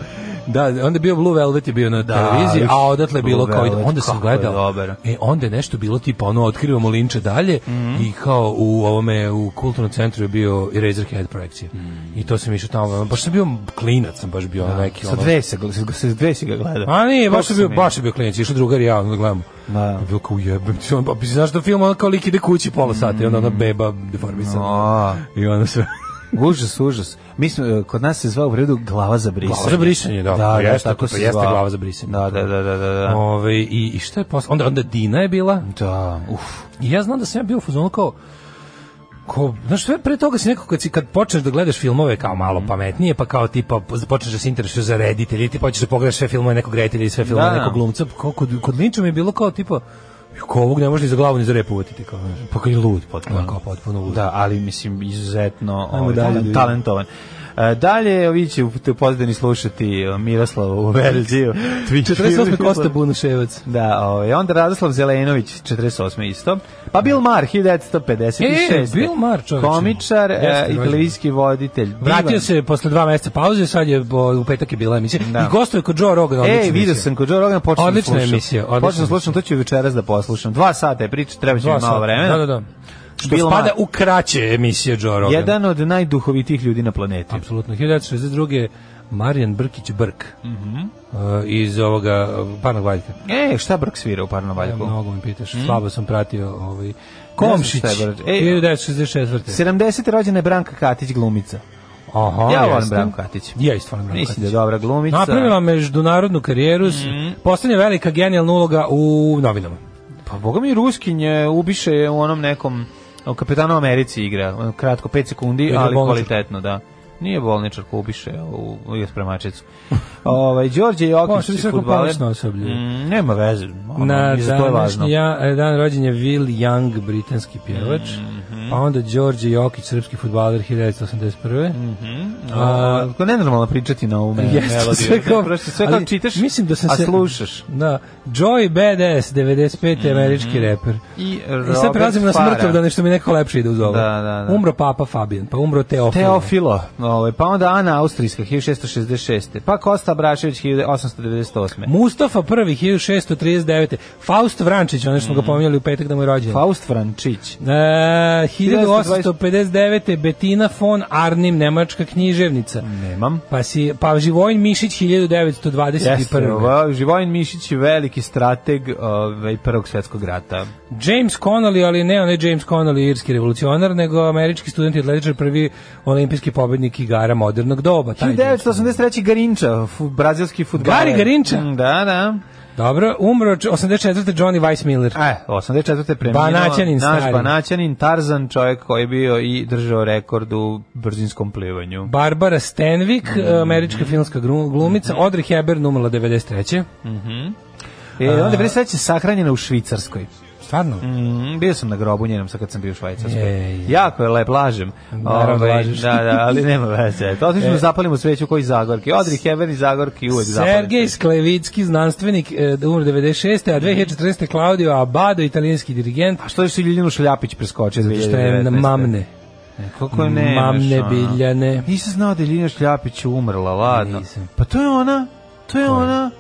[SPEAKER 6] Da, onda je bio Blue Velvet je bio na televiziji,
[SPEAKER 5] viš,
[SPEAKER 6] a odatle je bilo
[SPEAKER 5] Da, Blue
[SPEAKER 6] kao
[SPEAKER 5] Velvet,
[SPEAKER 6] onda sam
[SPEAKER 5] kako je
[SPEAKER 6] gledao.
[SPEAKER 5] dobar.
[SPEAKER 6] E onda je nešto bilo tipa ono otkrivamo Linče dalje
[SPEAKER 5] Mhm.
[SPEAKER 6] i kao u ovome u kulturnom centru je bio i Razorhead projekcija.
[SPEAKER 5] Mhm.
[SPEAKER 6] I to sam išao tamo, baš sam bio klinac, sam baš bio da. neki
[SPEAKER 5] Sa
[SPEAKER 6] ono.
[SPEAKER 5] dve se, gl- sa dve si ga gledao.
[SPEAKER 6] A nije, baš
[SPEAKER 5] Koliko
[SPEAKER 6] je bio,
[SPEAKER 5] sam
[SPEAKER 6] baš je bio klinac, išao drugar i ja, onda gledamo.
[SPEAKER 5] Da.
[SPEAKER 6] Da. Bilo kao jebem ti, on, pa znaš da film ono kao lik ide kući pola sata i onda
[SPEAKER 5] Mm.
[SPEAKER 6] ona beba deformisana.
[SPEAKER 5] A.
[SPEAKER 6] I onda sve.
[SPEAKER 5] Užas, užas. Mi smo, e, kod nas se zvao u redu glava za brisanje.
[SPEAKER 6] Glava za brisanje, da.
[SPEAKER 5] Da,
[SPEAKER 6] Pa
[SPEAKER 5] da,
[SPEAKER 6] jeste,
[SPEAKER 5] tako
[SPEAKER 6] pa
[SPEAKER 5] se
[SPEAKER 6] jeste
[SPEAKER 5] zvao.
[SPEAKER 6] glava za brisanje.
[SPEAKER 5] Da, da, da, da, da. da.
[SPEAKER 6] Ove, Ovaj, i, I šta je posle? Onda, onda Dina je bila.
[SPEAKER 5] Da, uf.
[SPEAKER 6] I ja znam da sam ja bio u fazonu kao ko, znaš, sve pre toga si neko kad, si, kad počneš da gledaš filmove kao malo
[SPEAKER 5] Mhm.
[SPEAKER 6] pametnije, pa kao tipa počneš da se interesuješ za reditelje, ili ti počneš da pogledaš sve filmove nekog reditelja i sve filmove
[SPEAKER 5] Da.
[SPEAKER 6] nekog glumca, kao kod, kod Linča mi je bilo kao tipa "Ju, kao ovog ne može ni za glavu ni za rep uvatiti, kao, znaš, pa kao je lud potpuno, kao potpuno lud.
[SPEAKER 5] Da, ali mislim izuzetno
[SPEAKER 6] Ajmo
[SPEAKER 5] ovaj,
[SPEAKER 6] dalje,
[SPEAKER 5] talen-
[SPEAKER 6] ljudi.
[SPEAKER 5] talentovan. E, dalje, vi će u te pozdani slušati e, Miroslava u verziju.
[SPEAKER 6] 48. Kosta Bunuševac.
[SPEAKER 5] Da, ovaj, onda Radoslav Zelenović, 48. isto. Pa Bill Maher, 1956.
[SPEAKER 6] Da. E, Bill Maher, čoveče.
[SPEAKER 5] Komičar e,
[SPEAKER 6] Jeste,
[SPEAKER 5] i
[SPEAKER 6] rođen.
[SPEAKER 5] televizijski voditelj. Divan.
[SPEAKER 6] Vratio se posle dva meseca pauze, sad je bo, u petak je bila emisija.
[SPEAKER 5] Da.
[SPEAKER 6] I gostuje kod Joe Rogan.
[SPEAKER 5] Ej,
[SPEAKER 6] odlična
[SPEAKER 5] E, vidio
[SPEAKER 6] emisija.
[SPEAKER 5] sam kod Joe Rogana, počeo sam
[SPEAKER 6] Odlična
[SPEAKER 5] slušam.
[SPEAKER 6] emisija, odlična
[SPEAKER 5] Počeo sam slušam, to ću večeras da poslušam. Dva sata je priča, treba će mi malo
[SPEAKER 6] Dva sata.
[SPEAKER 5] vremena.
[SPEAKER 6] Da, da, da. Što
[SPEAKER 5] Bilo
[SPEAKER 6] spada
[SPEAKER 5] malo.
[SPEAKER 6] u kraće emisije Joe Rogan.
[SPEAKER 5] Jedan od najduhovitijih ljudi na planeti.
[SPEAKER 6] Apsolutno. 1962. Marijan Brkić Brk. Uh, iz ovoga uh, Parnog Valjka. Mhm.
[SPEAKER 5] E, šta Brk svira u Parnom
[SPEAKER 6] Ja,
[SPEAKER 5] Valjku?
[SPEAKER 6] Da, mnogo me pitaš. Slabo sam pratio ovaj...
[SPEAKER 5] znam
[SPEAKER 6] Komšić,
[SPEAKER 5] šta je Brk. E,
[SPEAKER 6] 1964.
[SPEAKER 5] 70. rođena je Branka Katić glumica.
[SPEAKER 6] Aha,
[SPEAKER 5] ja volim
[SPEAKER 6] jeste.
[SPEAKER 5] Branku Katić.
[SPEAKER 6] Ja isto volim Branku
[SPEAKER 5] Mislim da je
[SPEAKER 6] Katić.
[SPEAKER 5] dobra glumica.
[SPEAKER 6] Napravila međunarodnu karijeru, mm poslednja velika genijalna uloga u novinama.
[SPEAKER 5] Pa boga mi Ruskinje ubiše je u onom nekom u Kapetanu Americi igra, ono, kratko 5 sekundi,
[SPEAKER 6] Igra
[SPEAKER 5] ali
[SPEAKER 6] bolničarku.
[SPEAKER 5] kvalitetno, da. Nije bolničar ko ubiše u, u spremačicu. ovaj Đorđe Jokić
[SPEAKER 6] Možda bi se
[SPEAKER 5] je
[SPEAKER 6] rekao
[SPEAKER 5] fudbaler.
[SPEAKER 6] pametno osoblje.
[SPEAKER 5] Mm, nema veze, ono,
[SPEAKER 6] Na
[SPEAKER 5] i za to je važno.
[SPEAKER 6] današnji ja, e, dan rođen je Will Young, britanski pjevač,
[SPEAKER 5] Mhm.
[SPEAKER 6] pa onda Đorđe Jokić, srpski futbaler 1981.
[SPEAKER 5] Mhm. A, to je nenormalno pričati na ovu melodiju. da,
[SPEAKER 6] Jeste, sve kao,
[SPEAKER 5] Prosto, sve kao
[SPEAKER 6] ali
[SPEAKER 5] čitaš,
[SPEAKER 6] mislim da sam
[SPEAKER 5] a
[SPEAKER 6] se-
[SPEAKER 5] slušaš. Mhm.
[SPEAKER 6] Da, Joy Badass, 95. američki reper.
[SPEAKER 5] I,
[SPEAKER 6] I E, sad prelazimo na
[SPEAKER 5] Robert
[SPEAKER 6] smrtav
[SPEAKER 5] Farah.
[SPEAKER 6] da nešto mi neko lepše ide uz ovo.
[SPEAKER 5] Da, da, da.
[SPEAKER 6] Umro Papa Fabian, pa umro Teofil.
[SPEAKER 5] Teofilo, ovaj, pa onda Ana Austrijska, 1666. Pa Kosta Brašević, 1898.
[SPEAKER 6] Mustafa prvi, 1639. Faust Vrančić, ono što
[SPEAKER 5] Mhm.
[SPEAKER 6] smo ga pominjali u petak da mu je rođen.
[SPEAKER 5] Faust Frančić.
[SPEAKER 6] E, 1859. Betina von Arnim, nemačka književnica.
[SPEAKER 5] Nemam.
[SPEAKER 6] Pa, si, pa Živojn Mišić 1921.
[SPEAKER 5] Jeste, ovo, Živojin Mišić je veliki strateg ovaj, Prvog svjetskog rata.
[SPEAKER 6] James Connolly, ali ne onaj James Connolly, irski revolucionar, nego američki student i atletičar, prvi olimpijski pobednik velikih igara modernog doba. Taj James Bond.
[SPEAKER 5] 1983. Garinča, fu, brazilski futbaler.
[SPEAKER 6] Gari Garinča?
[SPEAKER 5] Mm, Da, da.
[SPEAKER 6] Dobro, umro č- 84. Johnny Weissmiller.
[SPEAKER 5] E, 84. preminuo.
[SPEAKER 6] Banaćanin
[SPEAKER 5] naš
[SPEAKER 6] stari.
[SPEAKER 5] Banaćanin, Tarzan, čovjek koji je bio i držao rekord u brzinskom plivanju.
[SPEAKER 6] Barbara Stanwyck, američka filmska gru- glumica. Audrey Hepburn umrla 93.
[SPEAKER 5] E, onda je sreće sahranjena u Švicarskoj.
[SPEAKER 6] Stvarno?
[SPEAKER 5] Mm, bio sam na grobu njenom sad kad sam bio u Švajcarskoj.
[SPEAKER 6] Ej.
[SPEAKER 5] Jako je lep, lažem.
[SPEAKER 6] Naravno,
[SPEAKER 5] Ovaj,
[SPEAKER 6] lažeš. E.
[SPEAKER 5] Da, da, ali nema veze. To otišmo zapalimo sveću koji Zagorki. Odri Heber i Zagorki uvek zapalimo.
[SPEAKER 6] Sergej Sklevicki, znanstvenik, e, umro 96.
[SPEAKER 5] Mhm.
[SPEAKER 6] A 2014. Claudio Abado, italijanski dirigent.
[SPEAKER 5] A što je si Ljiljanu Šljapić preskočio
[SPEAKER 6] Zato što je
[SPEAKER 5] 2019?
[SPEAKER 6] mamne.
[SPEAKER 5] Koliko ne?
[SPEAKER 6] Mamne biljane.
[SPEAKER 5] Nisam znao da je Ljiljana Šljapić umrla, ladno.
[SPEAKER 6] Nisam.
[SPEAKER 5] Pa to je ona, to je ona.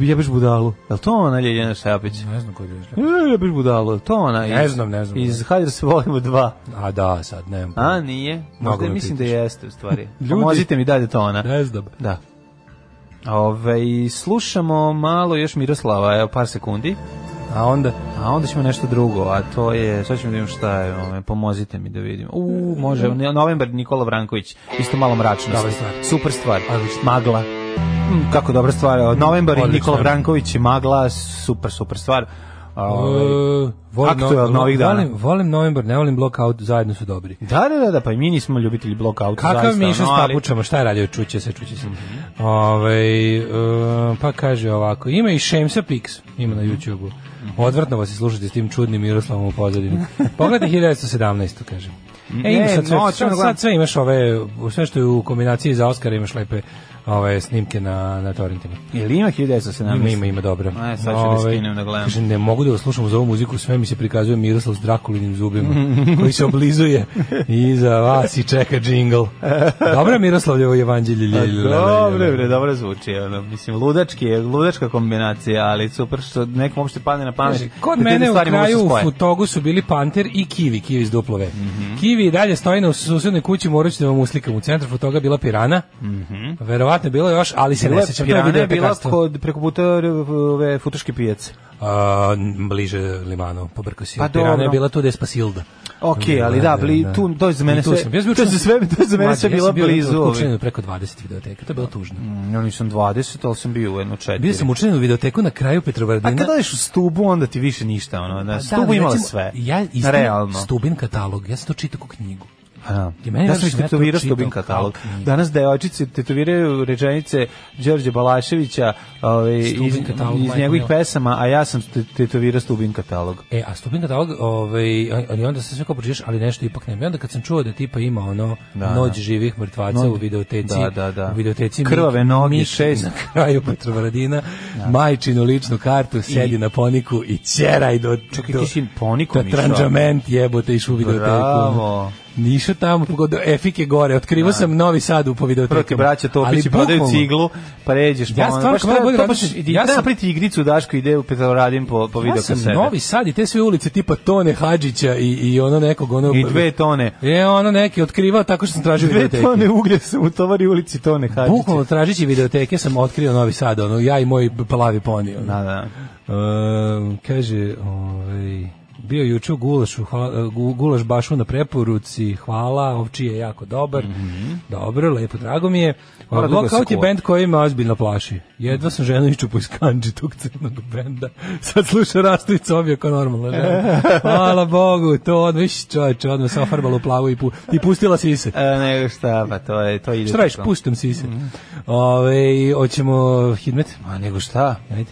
[SPEAKER 5] Jebeš budalu. Je li to ona Ljiljana Šljapić?
[SPEAKER 6] Ne znam koji je
[SPEAKER 5] E, Jebeš budalu, je li to ona?
[SPEAKER 6] Ne
[SPEAKER 5] iz-
[SPEAKER 6] znam, ne znam.
[SPEAKER 5] Iz Hajde da se volimo dva.
[SPEAKER 6] A da, sad nemam.
[SPEAKER 5] A, nije.
[SPEAKER 6] Mnogo
[SPEAKER 5] Možda
[SPEAKER 6] me
[SPEAKER 5] mislim da
[SPEAKER 6] pitaš.
[SPEAKER 5] jeste u stvari.
[SPEAKER 6] Ljudi.
[SPEAKER 5] Pomozite mi da li je to ona.
[SPEAKER 6] Ne znam.
[SPEAKER 5] Da. Ove, slušamo malo još Miroslava, evo par sekundi,
[SPEAKER 6] A onda?
[SPEAKER 5] a onda ćemo nešto drugo, a to je, sad ćemo da vidimo šta je, ove, pomozite mi da vidimo. U, može, ne- novembar Nikola Vranković, isto malo mračno.
[SPEAKER 6] Dobra stvar.
[SPEAKER 5] Super stvar, magla. Mm, Kako dobra stvar, novembar i
[SPEAKER 6] Odlično.
[SPEAKER 5] Nikola Vranković i magla, super, super stvar. A, ovaj,
[SPEAKER 6] E, volim
[SPEAKER 5] aktuelno
[SPEAKER 6] no-
[SPEAKER 5] ovih dana.
[SPEAKER 6] Volim, volim novembar, ne volim blockout, zajedno su dobri.
[SPEAKER 5] Da, da, da, da, pa i mi nismo ljubitelji blokauta.
[SPEAKER 6] Kakav
[SPEAKER 5] zaista,
[SPEAKER 6] Miša
[SPEAKER 5] ono,
[SPEAKER 6] s
[SPEAKER 5] ali-
[SPEAKER 6] papučama, šta je radio, čuće se, čuće se. Ovaj, e, pa kaže ovako, ima i Šemsa Pix, ima na YouTube-u. Odvratno vas je slušati s tim čudnim Miroslavom u pozadini. Pogledajte 1917. kažem. E, ima
[SPEAKER 5] Ne,
[SPEAKER 6] sad sve,
[SPEAKER 5] noćno
[SPEAKER 6] sad,
[SPEAKER 5] gledam.
[SPEAKER 6] sad sve imaš ove, sve što je u kombinaciji za Oscara imaš lepe ove snimke na, na torrentima.
[SPEAKER 5] Ili ima 1917?
[SPEAKER 6] Ima, ima, ima dobro.
[SPEAKER 5] Aj, sad ću da
[SPEAKER 6] Ovaj,
[SPEAKER 5] skinem da gledam.
[SPEAKER 6] Kaže, ne mogu da vas slušam uz ovu muziku, sve mi se prikazuje Miroslav s Drakulinim zubima, koji se oblizuje i za vas i čeka džingl. Dobro je Miroslavljevo evanđelje.
[SPEAKER 5] Pa
[SPEAKER 6] lje- lje- lje-
[SPEAKER 5] Dobro,
[SPEAKER 6] lje-
[SPEAKER 5] bre, dobro zvuči, ono, mislim, ludački je, ludačka kombinacija, ali super što nekom uopšte padne na pamet.
[SPEAKER 6] Kaže, kod
[SPEAKER 5] da te
[SPEAKER 6] mene u
[SPEAKER 5] stvari mogu se
[SPEAKER 6] kraju u
[SPEAKER 5] spojiti.
[SPEAKER 6] Futogu su bili Panter i Kivi, Kivi iz duplove.
[SPEAKER 5] Mhm.
[SPEAKER 6] Kivi i dalje stoji na susednoj kući, morat ću da vam uslikam. U centru Futoga bila Pirana, verovatno je bilo još, ali se ne
[SPEAKER 5] Mhm. Bila-
[SPEAKER 6] sećam. to je
[SPEAKER 5] Pirana je bila
[SPEAKER 6] videotekarstvo.
[SPEAKER 5] kod, preko puta ove futuške pijace.
[SPEAKER 6] A, n- bliže limanu, pobrko si.
[SPEAKER 5] Pa
[SPEAKER 6] Pirana je
[SPEAKER 5] dobro.
[SPEAKER 6] bila tu gde je Spasilda.
[SPEAKER 5] Ok, ali da, bli, tu, to je za
[SPEAKER 6] I
[SPEAKER 5] mene
[SPEAKER 6] tu
[SPEAKER 5] sve,
[SPEAKER 6] sam. Ja sam bio
[SPEAKER 5] to je za sve, to je za mene
[SPEAKER 6] Mlađe,
[SPEAKER 5] sve
[SPEAKER 6] ja sam
[SPEAKER 5] bila
[SPEAKER 6] bio
[SPEAKER 5] blizu.
[SPEAKER 6] od-
[SPEAKER 5] ovi.
[SPEAKER 6] učlanjen u preko 20 videoteka, to je bilo tužno.
[SPEAKER 5] Mm, Ja nisam 20, ali sam bio u jedno četiri.
[SPEAKER 6] Bio sam učlanjen u videoteku na kraju Petrovaradina.
[SPEAKER 5] A da, kada odeš u stubu, onda ti više ništa, ono, na stubu
[SPEAKER 6] ali
[SPEAKER 5] imala
[SPEAKER 6] recimo,
[SPEAKER 5] sve.
[SPEAKER 6] Ja istim,
[SPEAKER 5] Realno.
[SPEAKER 6] Stubin katalog, ja sam to čitao ko knjigu.
[SPEAKER 5] A,
[SPEAKER 6] I meni
[SPEAKER 5] ja
[SPEAKER 6] je
[SPEAKER 5] sam
[SPEAKER 6] verovatno
[SPEAKER 5] istetovirao
[SPEAKER 6] čitao
[SPEAKER 5] Stubin katalog.
[SPEAKER 6] kao knjigu.
[SPEAKER 5] Danas devojčice tetoviraju rečenice Đorđe Balaševića ovaj,
[SPEAKER 6] Stubin
[SPEAKER 5] iz,
[SPEAKER 6] katalog,
[SPEAKER 5] iz
[SPEAKER 6] majko
[SPEAKER 5] njegovih
[SPEAKER 6] mila.
[SPEAKER 5] pesama, a ja sam te- tetovirao Stubin katalog.
[SPEAKER 6] E, a Stubin katalog, ovaj, ali onda se sve kao pročitaš, ali nešto ipak nema. I onda kad sam čuo da tipa ima ono
[SPEAKER 5] Da,
[SPEAKER 6] noć
[SPEAKER 5] da.
[SPEAKER 6] živih mrtvaca
[SPEAKER 5] Noć-
[SPEAKER 6] u videoteci,
[SPEAKER 5] Da, da, da.
[SPEAKER 6] u videoteci
[SPEAKER 5] Krvave
[SPEAKER 6] Mik-
[SPEAKER 5] noge,
[SPEAKER 6] Mik
[SPEAKER 5] šest. Da.
[SPEAKER 6] na kraju Petrovaradina, majčinu ličnu kartu, sedi na poniku i ćeraj do...
[SPEAKER 5] Čekaj,
[SPEAKER 6] do-
[SPEAKER 5] ti si ponikom
[SPEAKER 6] Da
[SPEAKER 5] išao?
[SPEAKER 6] tranđament jebote išao u videoteku.
[SPEAKER 5] Bravo.
[SPEAKER 6] Nišao tamo, pogodio Efike gore, otkrivao
[SPEAKER 5] Da.
[SPEAKER 6] sam novi sad u po videotekama.
[SPEAKER 5] Proke braća
[SPEAKER 6] Ali
[SPEAKER 5] Topići prodaju
[SPEAKER 6] bukvalno,
[SPEAKER 5] ciglu, pređeš pa
[SPEAKER 6] Ja
[SPEAKER 5] ono,
[SPEAKER 6] stvarno
[SPEAKER 5] baš
[SPEAKER 6] kad
[SPEAKER 5] treba-
[SPEAKER 6] budem
[SPEAKER 5] to
[SPEAKER 6] radio-
[SPEAKER 5] baš idi-
[SPEAKER 6] ja
[SPEAKER 5] treba
[SPEAKER 6] sam-
[SPEAKER 5] napraviti igricu Daško ide u Petrovaradin po, po
[SPEAKER 6] Ja sam
[SPEAKER 5] videokasete.
[SPEAKER 6] novi sad i te sve ulice tipa Tone Hadžića i, i ono nekog ono...
[SPEAKER 5] I dve tone.
[SPEAKER 6] Je, ono neki otkrivao tako što sam tražio
[SPEAKER 5] Dve
[SPEAKER 6] videoteke.
[SPEAKER 5] tone uglja sam u tovari ulici tone Hadžića.
[SPEAKER 6] Bukvalno tražeći videoteke sam otkrio Novi Sad, ono, ja i moj plavi ponio.
[SPEAKER 5] Da, da.
[SPEAKER 6] Ehm, kaže, ovaj, bio juče u gulašu, hva- gu- gulaš bašu na preporuci, hvala, ovčiji je jako dobar,
[SPEAKER 5] Mhm.
[SPEAKER 6] dobro, lepo, drago mi je.
[SPEAKER 5] Mora dugo
[SPEAKER 6] Lockout
[SPEAKER 5] se
[SPEAKER 6] je
[SPEAKER 5] kuva.
[SPEAKER 6] bend koji me ozbiljno plaši. Jedva sam ženu iščupo iz kanđi tog crnog benda. Sad sluša rastovica obje kao normalna žena. Hvala Bogu, to odmah, viš čovječe, odmah se ofarbala u plavu i, pu, i pustila sise.
[SPEAKER 5] E, nego šta, pa to je, to ide.
[SPEAKER 6] Šta radiš,
[SPEAKER 5] tako.
[SPEAKER 6] pustim sise. Ove, hoćemo hidmet?
[SPEAKER 5] Ma nego šta?
[SPEAKER 6] Ajde.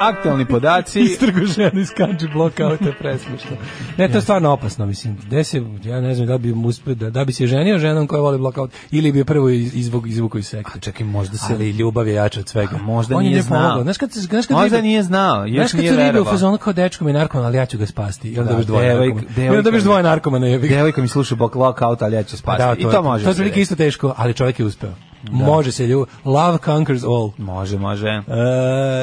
[SPEAKER 5] Aktualni podaci.
[SPEAKER 6] Istrgu ženu iz kanđi blokauta, presmišno. Ne,
[SPEAKER 5] Da.
[SPEAKER 6] to je stvarno opasno, mislim. Gde se, ja ne znam da li bi mu uspio, da, da bi se ženio ženom koja voli blokaut, ili bi je prvo iz- izvuk, izvuku iz sekte.
[SPEAKER 5] čekaj, možda se-
[SPEAKER 6] Ali ljubav je jača od svega.
[SPEAKER 5] A možda
[SPEAKER 6] On je
[SPEAKER 5] nije
[SPEAKER 6] njoj pomogao.
[SPEAKER 5] znao.
[SPEAKER 6] Znaš kad, se- znaš kad
[SPEAKER 5] Možda
[SPEAKER 6] ribe-
[SPEAKER 5] nije znao, još
[SPEAKER 6] Znaš kad
[SPEAKER 5] nije
[SPEAKER 6] su ribe u
[SPEAKER 5] verovao.
[SPEAKER 6] fazonu kao dečko mi je narkoman, ali ja ću ga spasti. I onda
[SPEAKER 5] Da,
[SPEAKER 6] dobiš dvoje
[SPEAKER 5] devojka-
[SPEAKER 6] narkomana. I onda dobiš
[SPEAKER 5] devojka-
[SPEAKER 6] dvoje narkomana. jebi ga.
[SPEAKER 5] Devojka mi sluša bok lockout, ali ja ću spasti.
[SPEAKER 6] Da,
[SPEAKER 5] I to može.
[SPEAKER 6] To je
[SPEAKER 5] se Da.
[SPEAKER 6] otprilike
[SPEAKER 5] reći.
[SPEAKER 6] isto teško, ali čovjek je uspeo. Može se ljubav. Love conquers all.
[SPEAKER 5] Može, može.
[SPEAKER 6] E,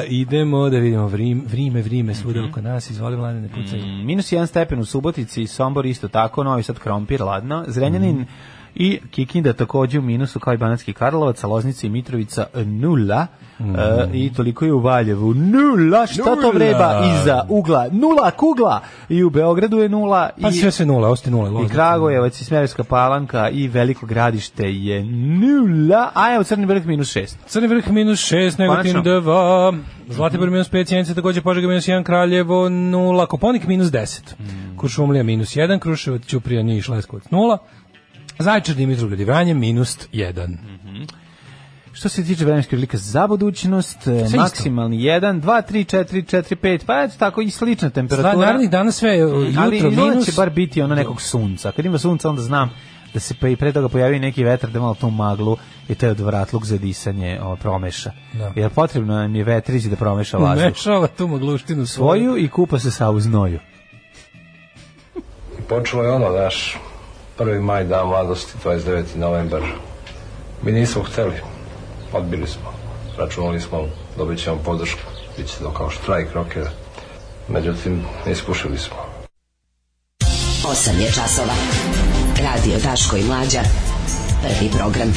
[SPEAKER 6] idemo da vidimo vrim, vrime, vrime,
[SPEAKER 5] Mhm.
[SPEAKER 6] svuda oko nas, izvoli mlade, ne pucaj.
[SPEAKER 5] Mm, Minus jedan stepen u Subotici, Sombor isto tako, Novi Sad Krompir, ladno. Zrenjanin I Kikinda takođe u minusu kao i Banatski Karlovac, a Loznica i Mitrovica e, nula. E, I toliko je u Valjevu. Nula! Šta to
[SPEAKER 6] Nula!
[SPEAKER 5] vreba iza ugla? Nula kugla! I u Beogradu je nula.
[SPEAKER 6] Pa
[SPEAKER 5] i,
[SPEAKER 6] sve sve nula, ostaje nula.
[SPEAKER 5] I
[SPEAKER 6] Loznica.
[SPEAKER 5] Kragujevac i Smederevska palanka i Veliko gradište je nula, a evo Crni vrh minus šest.
[SPEAKER 6] Crni vrh minus 6, Negotin
[SPEAKER 5] Konačno.
[SPEAKER 6] 2, Zlatibor minus 5, Sjenica takođe, Požega minus 1, Kraljevo 0, Koponik minus 10,
[SPEAKER 5] Hmm.
[SPEAKER 6] Kuršumlija minus 1, Kruševac, Ćuprija, Niš, Leskovac 0, Zajčar, Dimitrov, i Vranje minus 1.
[SPEAKER 5] Što se tiče vremenske prilike za budućnost, e,
[SPEAKER 6] isto.
[SPEAKER 5] maksimalni 1, 2, 3, 4, 4, 5, pa eto tako i slična temperatura.
[SPEAKER 6] Sla, naravnih dana sve, je,
[SPEAKER 5] ali
[SPEAKER 6] da, jutro
[SPEAKER 5] izgleda
[SPEAKER 6] minus,
[SPEAKER 5] će bar biti ono nekog sunca. Kad ima sunca onda znam da se pa i pre toga pojavi neki vetar da malo tu maglu i taj odvratluk za disanje o, promeša.
[SPEAKER 6] Da.
[SPEAKER 5] Jer potrebno nam je vetrić da promeša vazduh.
[SPEAKER 6] umešava tu magluštinu svoju.
[SPEAKER 5] Svoju i kupa se sa u znoju.
[SPEAKER 9] Počelo je ono, znaš, 1. maj, dan mladosti, 29. novembar. Mi nismo hteli, odbili smo. Računali smo, dobit ćemo podršku, bit će to kao štrajk rokera. Međutim, iskušili smo.
[SPEAKER 4] 8 je časova. Radio Daško i Mlađa. Prvi program.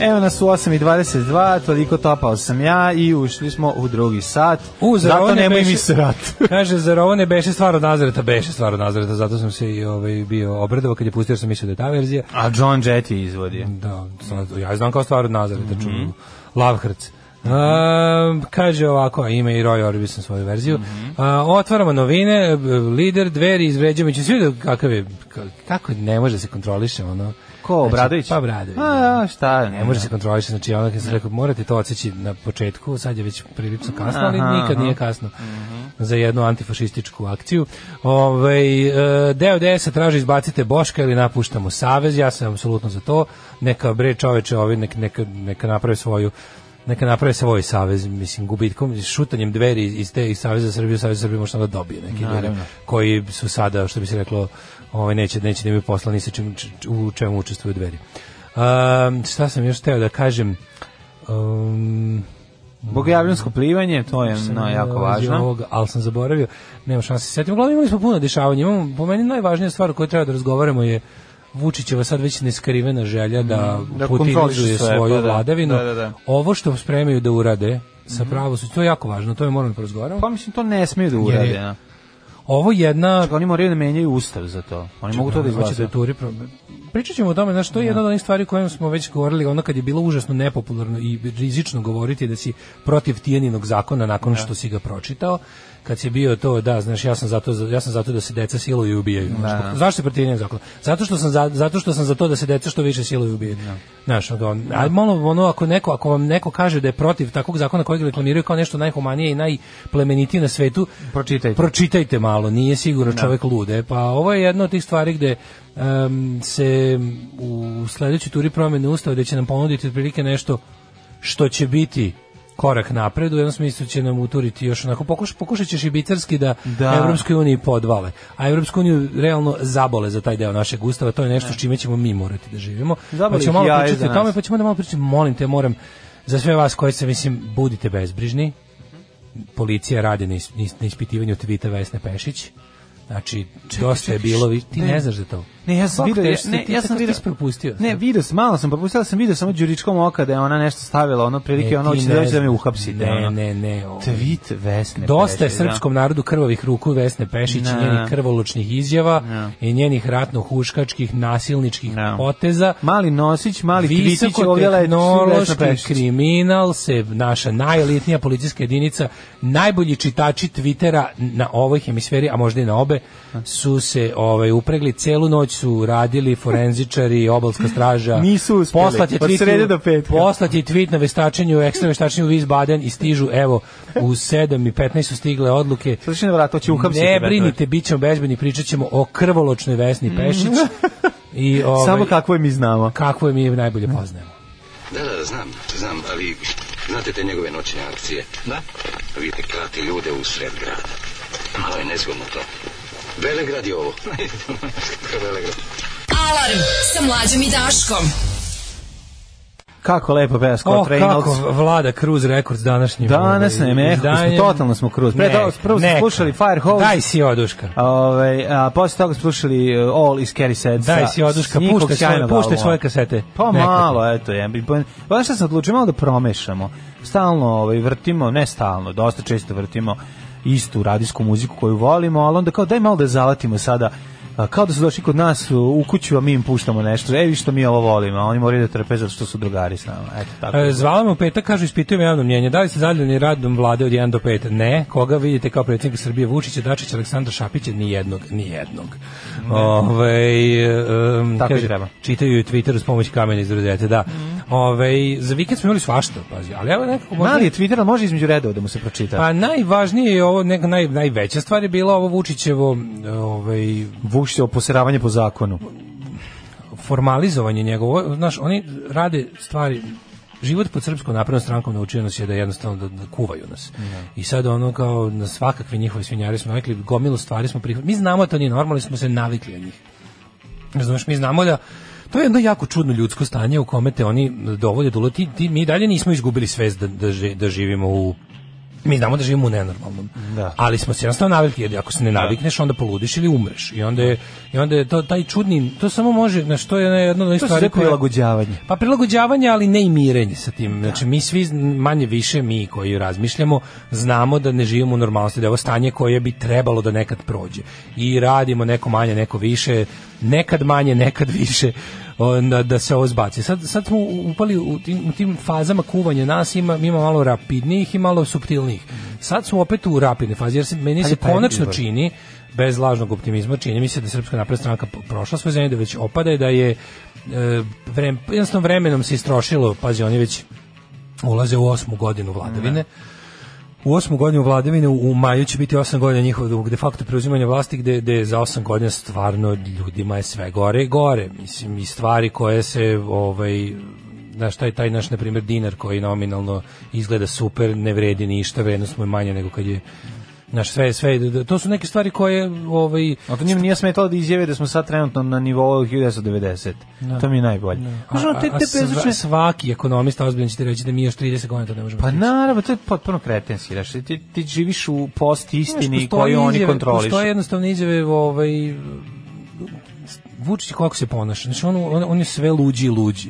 [SPEAKER 5] Evo nas u 8.22, toliko topao sam ja i ušli smo u drugi sat.
[SPEAKER 6] U, zar ovo
[SPEAKER 5] Zato
[SPEAKER 6] ne
[SPEAKER 5] nemoj
[SPEAKER 6] beše-
[SPEAKER 5] mi srat.
[SPEAKER 6] Kaže, zar ovo ne beše stvar od Nazareta? Beše stvar od Nazareta, zato sam se i ovaj, bio obradovao kad je pustio, jer sam mislio da je ta verzija.
[SPEAKER 5] A John Jett je izvodio.
[SPEAKER 6] Da, sad, ja znam kao stvar od Nazareta, mm
[SPEAKER 5] Mhm.
[SPEAKER 6] -hmm. Lavhrc. Um, kaže ovako, a ime i Roy Orbison svoju verziju. Mm
[SPEAKER 5] Mhm.
[SPEAKER 6] -hmm. uh, otvaramo novine, b- lider, dveri, izvređamo, ću svi da kakav je, ka- kako ne može da se kontroliše ono.
[SPEAKER 5] Ko, Obradović?
[SPEAKER 6] Znači, pa Obradović.
[SPEAKER 5] A, a, šta?
[SPEAKER 6] Ne može se kontrolišati, znači ono kad sam rekao, morate to odsjeći na početku, sad je već prilično kasno, ali
[SPEAKER 5] Aha,
[SPEAKER 6] nikad
[SPEAKER 5] aha. Mhm.
[SPEAKER 6] nije kasno za jednu antifašističku akciju. Ovaj e, deo DS traži izbacite Boška ili napuštamo savez. Ja sam apsolutno za to. Neka bre čoveče, ovi nek, neka neka naprave svoju neka naprave svoj savez, mislim, gubitkom, šutanjem dveri iz te iz Saveza za Srbiju, Savez za Srbiju možda da dobije neki ljudi koji su sada, što bi se reklo, ovaj, neće, neće da imaju posla ni sa čim, č- u čemu učestvuju dveri. Um, šta sam još teo da kažem? Um,
[SPEAKER 5] Bogojavljansko plivanje, to je no, jako važno.
[SPEAKER 6] Ovog, ali sam zaboravio, nema šanse se setim. Uglavnom imali smo puno dešavanja. Imamo, po meni najvažnija stvar o kojoj treba da razgovaramo je Vučićeva sad već neskrivena želja da,
[SPEAKER 5] da
[SPEAKER 6] da
[SPEAKER 5] kontroliše
[SPEAKER 6] putinizuje
[SPEAKER 5] sve,
[SPEAKER 6] svoju
[SPEAKER 5] pa da,
[SPEAKER 6] vladavinu.
[SPEAKER 5] da, da, da. Mhm.
[SPEAKER 6] Ovo što spremaju da urade sa pravosuđem, to je jako važno, to je moramo da porazgovaramo.
[SPEAKER 5] Pa mislim, to ne smije da urade.
[SPEAKER 6] je-
[SPEAKER 5] Ja.
[SPEAKER 6] Ovo jedna
[SPEAKER 5] Oni moraju da menjaju ustav za to. Oni mogu to da
[SPEAKER 6] Hoće
[SPEAKER 5] izglasa.
[SPEAKER 6] da turi pro- Pričat ćemo o tome, znaš, to je jedna od onih stvari kojom smo već govorili, ono kad je bilo užasno nepopularno i rizično govoriti da si protiv tijeninog zakona
[SPEAKER 5] Da.
[SPEAKER 6] nakon što si ga pročitao, kad si bio to, da, znaš, ja sam zato, za- ja sam zato da se deca siluju i ubijaju.
[SPEAKER 5] Da.
[SPEAKER 6] Znaš, pa- Zašto se protiv tijeninog zakona? Zato što, sam za, zato što sam za to da se deca što više siluju i ubijaju.
[SPEAKER 5] Da.
[SPEAKER 6] Znaš, od on, a malo, ono, ako, neko, ako vam neko kaže da je protiv takvog zakona kojeg reklamiraju kao nešto najhumanije i najplemenitije na svetu,
[SPEAKER 5] Pročitajte.
[SPEAKER 6] pročitajte malo, nije
[SPEAKER 5] Da.
[SPEAKER 6] sigurno čovjek lude. Pa ovo je jedna od tih stvari gde em, se u sledećoj turi promene ustava gde će nam ponuditi otprilike nešto što će biti korak napred, u jednom smislu će nam uturiti još onako, pokuš, pokušat će šibicarski da,
[SPEAKER 5] Da.
[SPEAKER 6] da. Evropskoj uniji podvale, a Evropsku uniju realno zabole za taj deo našeg ustava, to je nešto s čime ćemo mi morati da živimo.
[SPEAKER 5] Zabole
[SPEAKER 6] pa ćemo
[SPEAKER 5] ih
[SPEAKER 6] malo
[SPEAKER 5] jaje
[SPEAKER 6] pričati
[SPEAKER 5] za
[SPEAKER 6] o tome,
[SPEAKER 5] nas.
[SPEAKER 6] pa ćemo da malo pričati, molim te, moram, za sve vas koji se, mislim, budite bezbrižni, policija radi na, is, na is- na ispitivanju tvita Vesne Pešić. Znači, dosta je bilo, vi- ti ne znaš za to.
[SPEAKER 5] Ne, ja sam
[SPEAKER 6] Kako
[SPEAKER 5] vidio,
[SPEAKER 6] teško si
[SPEAKER 5] ne,
[SPEAKER 6] ti,
[SPEAKER 5] ja
[SPEAKER 6] kako
[SPEAKER 5] sam
[SPEAKER 6] ti
[SPEAKER 5] vidio,
[SPEAKER 6] si propustio.
[SPEAKER 5] Ne, vidio sam, malo sam propustio, ali sam vidio samo đuričkom oka da je ona nešto stavila, ono prilike,
[SPEAKER 6] Ne,
[SPEAKER 5] ono
[SPEAKER 6] ti
[SPEAKER 5] hoće
[SPEAKER 6] ne
[SPEAKER 5] da dođe da me
[SPEAKER 6] znaš.
[SPEAKER 5] uhapsite.
[SPEAKER 6] Ne,
[SPEAKER 5] ono.
[SPEAKER 6] ne, ne, ovo-
[SPEAKER 5] Tweet Vesne.
[SPEAKER 6] Dosta je
[SPEAKER 5] Pešić, da.
[SPEAKER 6] srpskom narodu krvavih ruku Vesne Pešić
[SPEAKER 5] Ne.
[SPEAKER 6] i njenih krvolučnih izjava
[SPEAKER 5] Ne.
[SPEAKER 6] i njenih ratno-huškačkih, nasilničkih
[SPEAKER 5] Ne.
[SPEAKER 6] poteza.
[SPEAKER 5] Mali Nosić, mali Tvitić, ovdje leči Vesna Pešić.
[SPEAKER 6] Visokotehnološki kriminal se naša najelitnija policijska jedinica, najbolji čitači Twittera na ovoj hemisferi, a možda i na obe, su se ovaj upregli celu noć su radili forenzičari, obalska straža.
[SPEAKER 5] Nisu uspeli.
[SPEAKER 6] Poslat je
[SPEAKER 5] Od
[SPEAKER 6] tweet
[SPEAKER 5] srede
[SPEAKER 6] u-
[SPEAKER 5] do petka.
[SPEAKER 6] Poslat je tweet na veštačenju, ekstra veštačenju u Wiesbaden i stižu evo u 7 i 15 su stigle odluke.
[SPEAKER 5] Slušaj na vrat, to će uhapsiti.
[SPEAKER 6] Ne
[SPEAKER 5] verovatno.
[SPEAKER 6] brinite, bit ćemo bežbeni, pričat ćemo o krvoločnoj Vesni Pešić. I, ovaj,
[SPEAKER 5] Samo kako je mi znamo.
[SPEAKER 6] kakvo je mi najbolje poznajemo.
[SPEAKER 9] Da, da, znam, znam, a vi znate te njegove noćne akcije? Da. Vidite, klati ljude u sred grada. Malo je nezgodno to. Velegrad je ovo. Velegrad.
[SPEAKER 4] Alarm sa Mlađom i Daškom.
[SPEAKER 5] Kako lepo peva Scott
[SPEAKER 6] O,
[SPEAKER 5] Reynolds.
[SPEAKER 6] kako vlada Cruise Records današnji.
[SPEAKER 5] Danas nam je mehko, smo, totalno smo Cruise. Pre
[SPEAKER 6] Ne,
[SPEAKER 5] toga prvo smo
[SPEAKER 6] neka.
[SPEAKER 5] slušali Firehose.
[SPEAKER 6] Daj si oduška.
[SPEAKER 5] Ove, a posle toga smo slušali e, All is Carrie Sad.
[SPEAKER 6] Daj
[SPEAKER 5] sa-
[SPEAKER 6] si oduška,
[SPEAKER 5] s njihovog
[SPEAKER 6] puštaj svoje,
[SPEAKER 5] sjajnog
[SPEAKER 6] puštaj
[SPEAKER 5] albuma.
[SPEAKER 6] svoje kasete.
[SPEAKER 5] Pa
[SPEAKER 6] Neka ti.
[SPEAKER 5] malo, eto, jedan bi- pa- Pa šta sam odlučio, malo da promešamo. Stalno ovaj, vrtimo, ne stalno, dosta često vrtimo istu radijsku muziku koju volimo, ali onda kao daj malo da zalatimo sada a, kao da su došli kod nas u, u kuću, a mi im puštamo nešto. E, vi što mi ovo volimo, a oni moraju da trpe zato što su drugari s nama. Eto, tako.
[SPEAKER 6] E, Zvala me u petak, kažu, ispitujem javno mnjenje. Da li ste zadovoljni radom vlade od 1 do 5? Ne. Koga vidite kao predsjednik Srbije? Vučića, Dačića, Aleksandra Šapića? Nijednog, nijednog. Ovaj, em,
[SPEAKER 5] Tako i treba. Mhm.
[SPEAKER 6] Čitaju i Twitter s pomoći kamena iz rodete, da. Ovaj, za vikend smo imali svašta, pazi. Ali evo nekako... možda-
[SPEAKER 5] Mali je Twitter, ali može između redova da mu se pročita.
[SPEAKER 6] Pa najvažnije je ovo, neka naj, najveća stvar je bila ovo Vučićevo ovaj,
[SPEAKER 5] Vuš se oposeravanje po zakonu.
[SPEAKER 6] formalizovanje njegovo, znaš, oni rade stvari život pod srpskom naprednom strankom naučio nas je da jednostavno da, da kuvaju nas. I sad ono kao na svakakve njihove svinjare smo navikli, gomilu stvari smo prihvatili. Mi znamo da to nije normalno, ali smo se navikli na njih. Znaš, mi znamo da to je jedno jako čudno ljudsko stanje u kome te oni dovode do luda. ti, ti, mi dalje nismo izgubili svest da, da, ži- da živimo u mi znamo da živimo u nenormalnom.
[SPEAKER 5] Da.
[SPEAKER 6] Ali smo se jednostavno navikli, jer ako se ne navikneš, onda poludiš ili umreš. I onda je, i onda je to taj čudni, to samo može, na što je jedno od onih
[SPEAKER 5] To
[SPEAKER 6] stvari
[SPEAKER 5] se
[SPEAKER 6] koje-
[SPEAKER 5] prilagođavanje.
[SPEAKER 6] pa prilagođavanje, ali ne i mirenje sa tim. Znači, mi svi, zn- manje više mi koji razmišljamo, znamo da ne živimo u normalnosti, da je ovo stanje koje bi trebalo da nekad prođe. I radimo neko manje, neko više, nekad manje, nekad više, onda da se ovo zbaci. Sad, sad smo upali u tim, u tim fazama kuvanja nas, ima, ima malo rapidnijih i malo suptilnijih. Sad smo opet u rapidne fazi, jer se, meni
[SPEAKER 5] Ajde,
[SPEAKER 6] se
[SPEAKER 5] taj
[SPEAKER 6] konačno
[SPEAKER 5] izbor.
[SPEAKER 6] čini bez lažnog optimizma čini mi se da je srpska napredna stranka po- prošla svoje zemlje da već opada i da je e, vrem, jednostavno vremenom se istrošilo pazi oni već ulaze u osmu godinu
[SPEAKER 5] Da.
[SPEAKER 6] vladavine u osmu godinu vladavine u, u maju će biti osam godina njihovog de facto preuzimanja vlasti gde, gde za osam godina stvarno ljudima je sve gore i gore mislim i stvari koje se ovaj znaš, taj, taj naš, na primjer, dinar koji nominalno izgleda super, ne vredi ništa, vrednost mu je manja nego kad je Znaš, sve, sve, to su neke stvari koje, ovaj,
[SPEAKER 5] A to njima nije smetalo da izjave da smo sad trenutno na nivou 1990.
[SPEAKER 6] Da.
[SPEAKER 5] To mi je najbolje. Znaš, ono, te,
[SPEAKER 6] a- a
[SPEAKER 5] te bezočne...
[SPEAKER 6] sva- svaki ekonomista ozbiljan će ti reći da mi još 30 godina to ne možemo. da
[SPEAKER 5] Pa
[SPEAKER 6] stići.
[SPEAKER 5] naravno, to je potpuno kretenski. Znaš, ti, ti živiš u post
[SPEAKER 6] Znaš,
[SPEAKER 5] istini
[SPEAKER 6] postoje
[SPEAKER 5] koju oni
[SPEAKER 6] izjave-
[SPEAKER 5] kontrolišu.
[SPEAKER 6] Postoje jednostavno izjave, ovaj, Vučić kako se ponaša. Znači, on, on, on je sve luđi i luđi.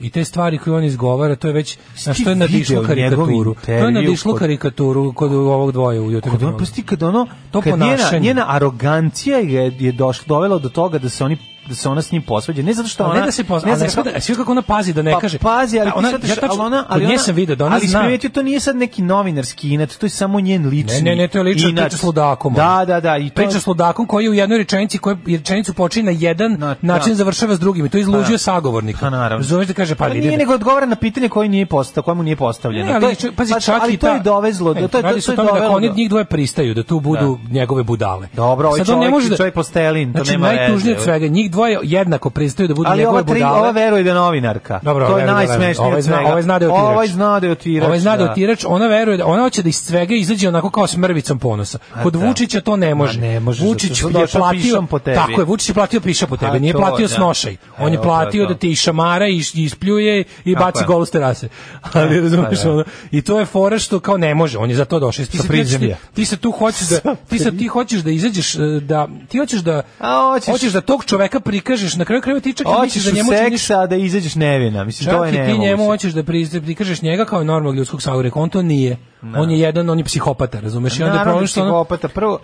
[SPEAKER 6] I te stvari koje on izgovara, to je već, znaš,
[SPEAKER 5] ti
[SPEAKER 6] to je
[SPEAKER 5] video
[SPEAKER 6] nadišlo
[SPEAKER 5] njegov
[SPEAKER 6] karikaturu. To je
[SPEAKER 5] intervju
[SPEAKER 6] nadišlo
[SPEAKER 5] kod-
[SPEAKER 6] karikaturu kod ovog dvoje u jutru.
[SPEAKER 5] Kod ono, pusti, kad ono,
[SPEAKER 6] To
[SPEAKER 5] kad njena,
[SPEAKER 6] ponašanje.
[SPEAKER 5] njena arogancija je, je došla, dovela do toga da se oni da se ona s njim posvađa. Ne zato što
[SPEAKER 6] Ali
[SPEAKER 5] ona...
[SPEAKER 6] ne da se pozna, ne
[SPEAKER 5] zato
[SPEAKER 6] znam,
[SPEAKER 5] što-
[SPEAKER 6] da, sve kako ona pazi da ne
[SPEAKER 5] pa,
[SPEAKER 6] kaže.
[SPEAKER 5] Pazi, ali
[SPEAKER 6] Da, ona,
[SPEAKER 5] ti
[SPEAKER 6] ja
[SPEAKER 5] shvataš,
[SPEAKER 6] tačno,
[SPEAKER 5] ali ona, ali
[SPEAKER 6] kod nje
[SPEAKER 5] ona-
[SPEAKER 6] sam video da ona
[SPEAKER 5] ali
[SPEAKER 6] zna.
[SPEAKER 5] primetio, to nije sad neki novinarski inat, to je samo njen lični.
[SPEAKER 6] Ne, ne, ne, to je lično
[SPEAKER 5] inat.
[SPEAKER 6] priča s ludakom.
[SPEAKER 5] Da, da, da, i to
[SPEAKER 6] priča s ludakom koji je u jednoj rečenici koja rečenicu počinje na jedan
[SPEAKER 5] Na-
[SPEAKER 6] način
[SPEAKER 5] da.
[SPEAKER 6] završava s drugim i to izluđuje
[SPEAKER 5] Pa,
[SPEAKER 6] sagovornika.
[SPEAKER 5] Pa naravno.
[SPEAKER 6] Razumeš da kaže pa
[SPEAKER 5] ali
[SPEAKER 6] vidi.
[SPEAKER 5] nije nego odgovara na pitanje koje nije postao, koje mu nije postavljeno.
[SPEAKER 6] Ne,
[SPEAKER 5] To
[SPEAKER 6] ali,
[SPEAKER 5] je-
[SPEAKER 6] čak- pazi,
[SPEAKER 5] pa-
[SPEAKER 6] čak
[SPEAKER 5] ali
[SPEAKER 6] i
[SPEAKER 5] to
[SPEAKER 6] ta-
[SPEAKER 5] je dovezlo,
[SPEAKER 6] Ne,
[SPEAKER 5] da to je to,
[SPEAKER 6] radi se
[SPEAKER 5] to
[SPEAKER 6] o
[SPEAKER 5] je
[SPEAKER 6] tome da
[SPEAKER 5] dovelo.
[SPEAKER 6] oni
[SPEAKER 5] do-
[SPEAKER 6] njih dvoje pristaju da tu budu njegove budale.
[SPEAKER 5] Dobro, ovaj
[SPEAKER 6] Sad on ne
[SPEAKER 5] čovjek-
[SPEAKER 6] može da-
[SPEAKER 5] čovjek postelin, to
[SPEAKER 6] znači,
[SPEAKER 5] nema veze,
[SPEAKER 6] najtužnije od
[SPEAKER 5] evo.
[SPEAKER 6] svega, njih dvoje jednako pristaju da budu
[SPEAKER 5] Ali
[SPEAKER 6] njegove
[SPEAKER 5] ova, tri,
[SPEAKER 6] budale.
[SPEAKER 5] ova veruje da je novinarka.
[SPEAKER 6] Dobro,
[SPEAKER 5] to
[SPEAKER 6] ova
[SPEAKER 5] je
[SPEAKER 6] veruje da je
[SPEAKER 5] najsmešnije
[SPEAKER 6] novinarka. Ovaj
[SPEAKER 5] od
[SPEAKER 6] zna-
[SPEAKER 5] svega.
[SPEAKER 6] ovaj zna da je otirač.
[SPEAKER 5] Ovaj zna da je otirač.
[SPEAKER 6] Ovaj zna da je otirač, ona veruje da ona hoće da iz svega izađe onako kao s mrvicom ponosa. Kod
[SPEAKER 5] da.
[SPEAKER 6] Vučića to ne može.
[SPEAKER 5] Ma ne može,
[SPEAKER 6] Vučić
[SPEAKER 5] zato što
[SPEAKER 6] je
[SPEAKER 5] došao
[SPEAKER 6] platio
[SPEAKER 5] pišom po tebi.
[SPEAKER 6] Tako je, Vučić je platio piša po tebi,
[SPEAKER 5] A
[SPEAKER 6] nije
[SPEAKER 5] to,
[SPEAKER 6] platio
[SPEAKER 5] da.
[SPEAKER 6] snošaj. On je
[SPEAKER 5] Evo, to je
[SPEAKER 6] platio
[SPEAKER 5] to.
[SPEAKER 6] da ti išamara i iš- i ispljuje i
[SPEAKER 5] Tako
[SPEAKER 6] baci
[SPEAKER 5] je.
[SPEAKER 6] gol s terase. Ali razumeš
[SPEAKER 5] Pa da.
[SPEAKER 6] ono, i to je fora što kao ne može, on je za to došao. Ti
[SPEAKER 5] Sa
[SPEAKER 6] se, ti,
[SPEAKER 5] prizemlja.
[SPEAKER 6] ti se tu hoćeš da ti se ti hoćeš da izađeš e, da ti hoćeš da
[SPEAKER 5] A, hoćeš-
[SPEAKER 6] hoćeš da tog čoveka prikažeš na kraju krajeva ti čak i
[SPEAKER 5] Hoćeš
[SPEAKER 6] misliš da
[SPEAKER 5] u
[SPEAKER 6] njemu činiš
[SPEAKER 5] seksa, a da izađeš nevina. Mislim, to
[SPEAKER 6] Čak
[SPEAKER 5] je
[SPEAKER 6] i ti
[SPEAKER 5] nemoguće.
[SPEAKER 6] njemu hoćeš da priz- prikažeš njega kao normalnog ljudskog sagovornika, on to nije. On je jedan, on je psihopata, razumeš? I onda je
[SPEAKER 5] Da. Naravno
[SPEAKER 6] problem
[SPEAKER 5] da
[SPEAKER 6] što ono,
[SPEAKER 5] psihopata. Prvo,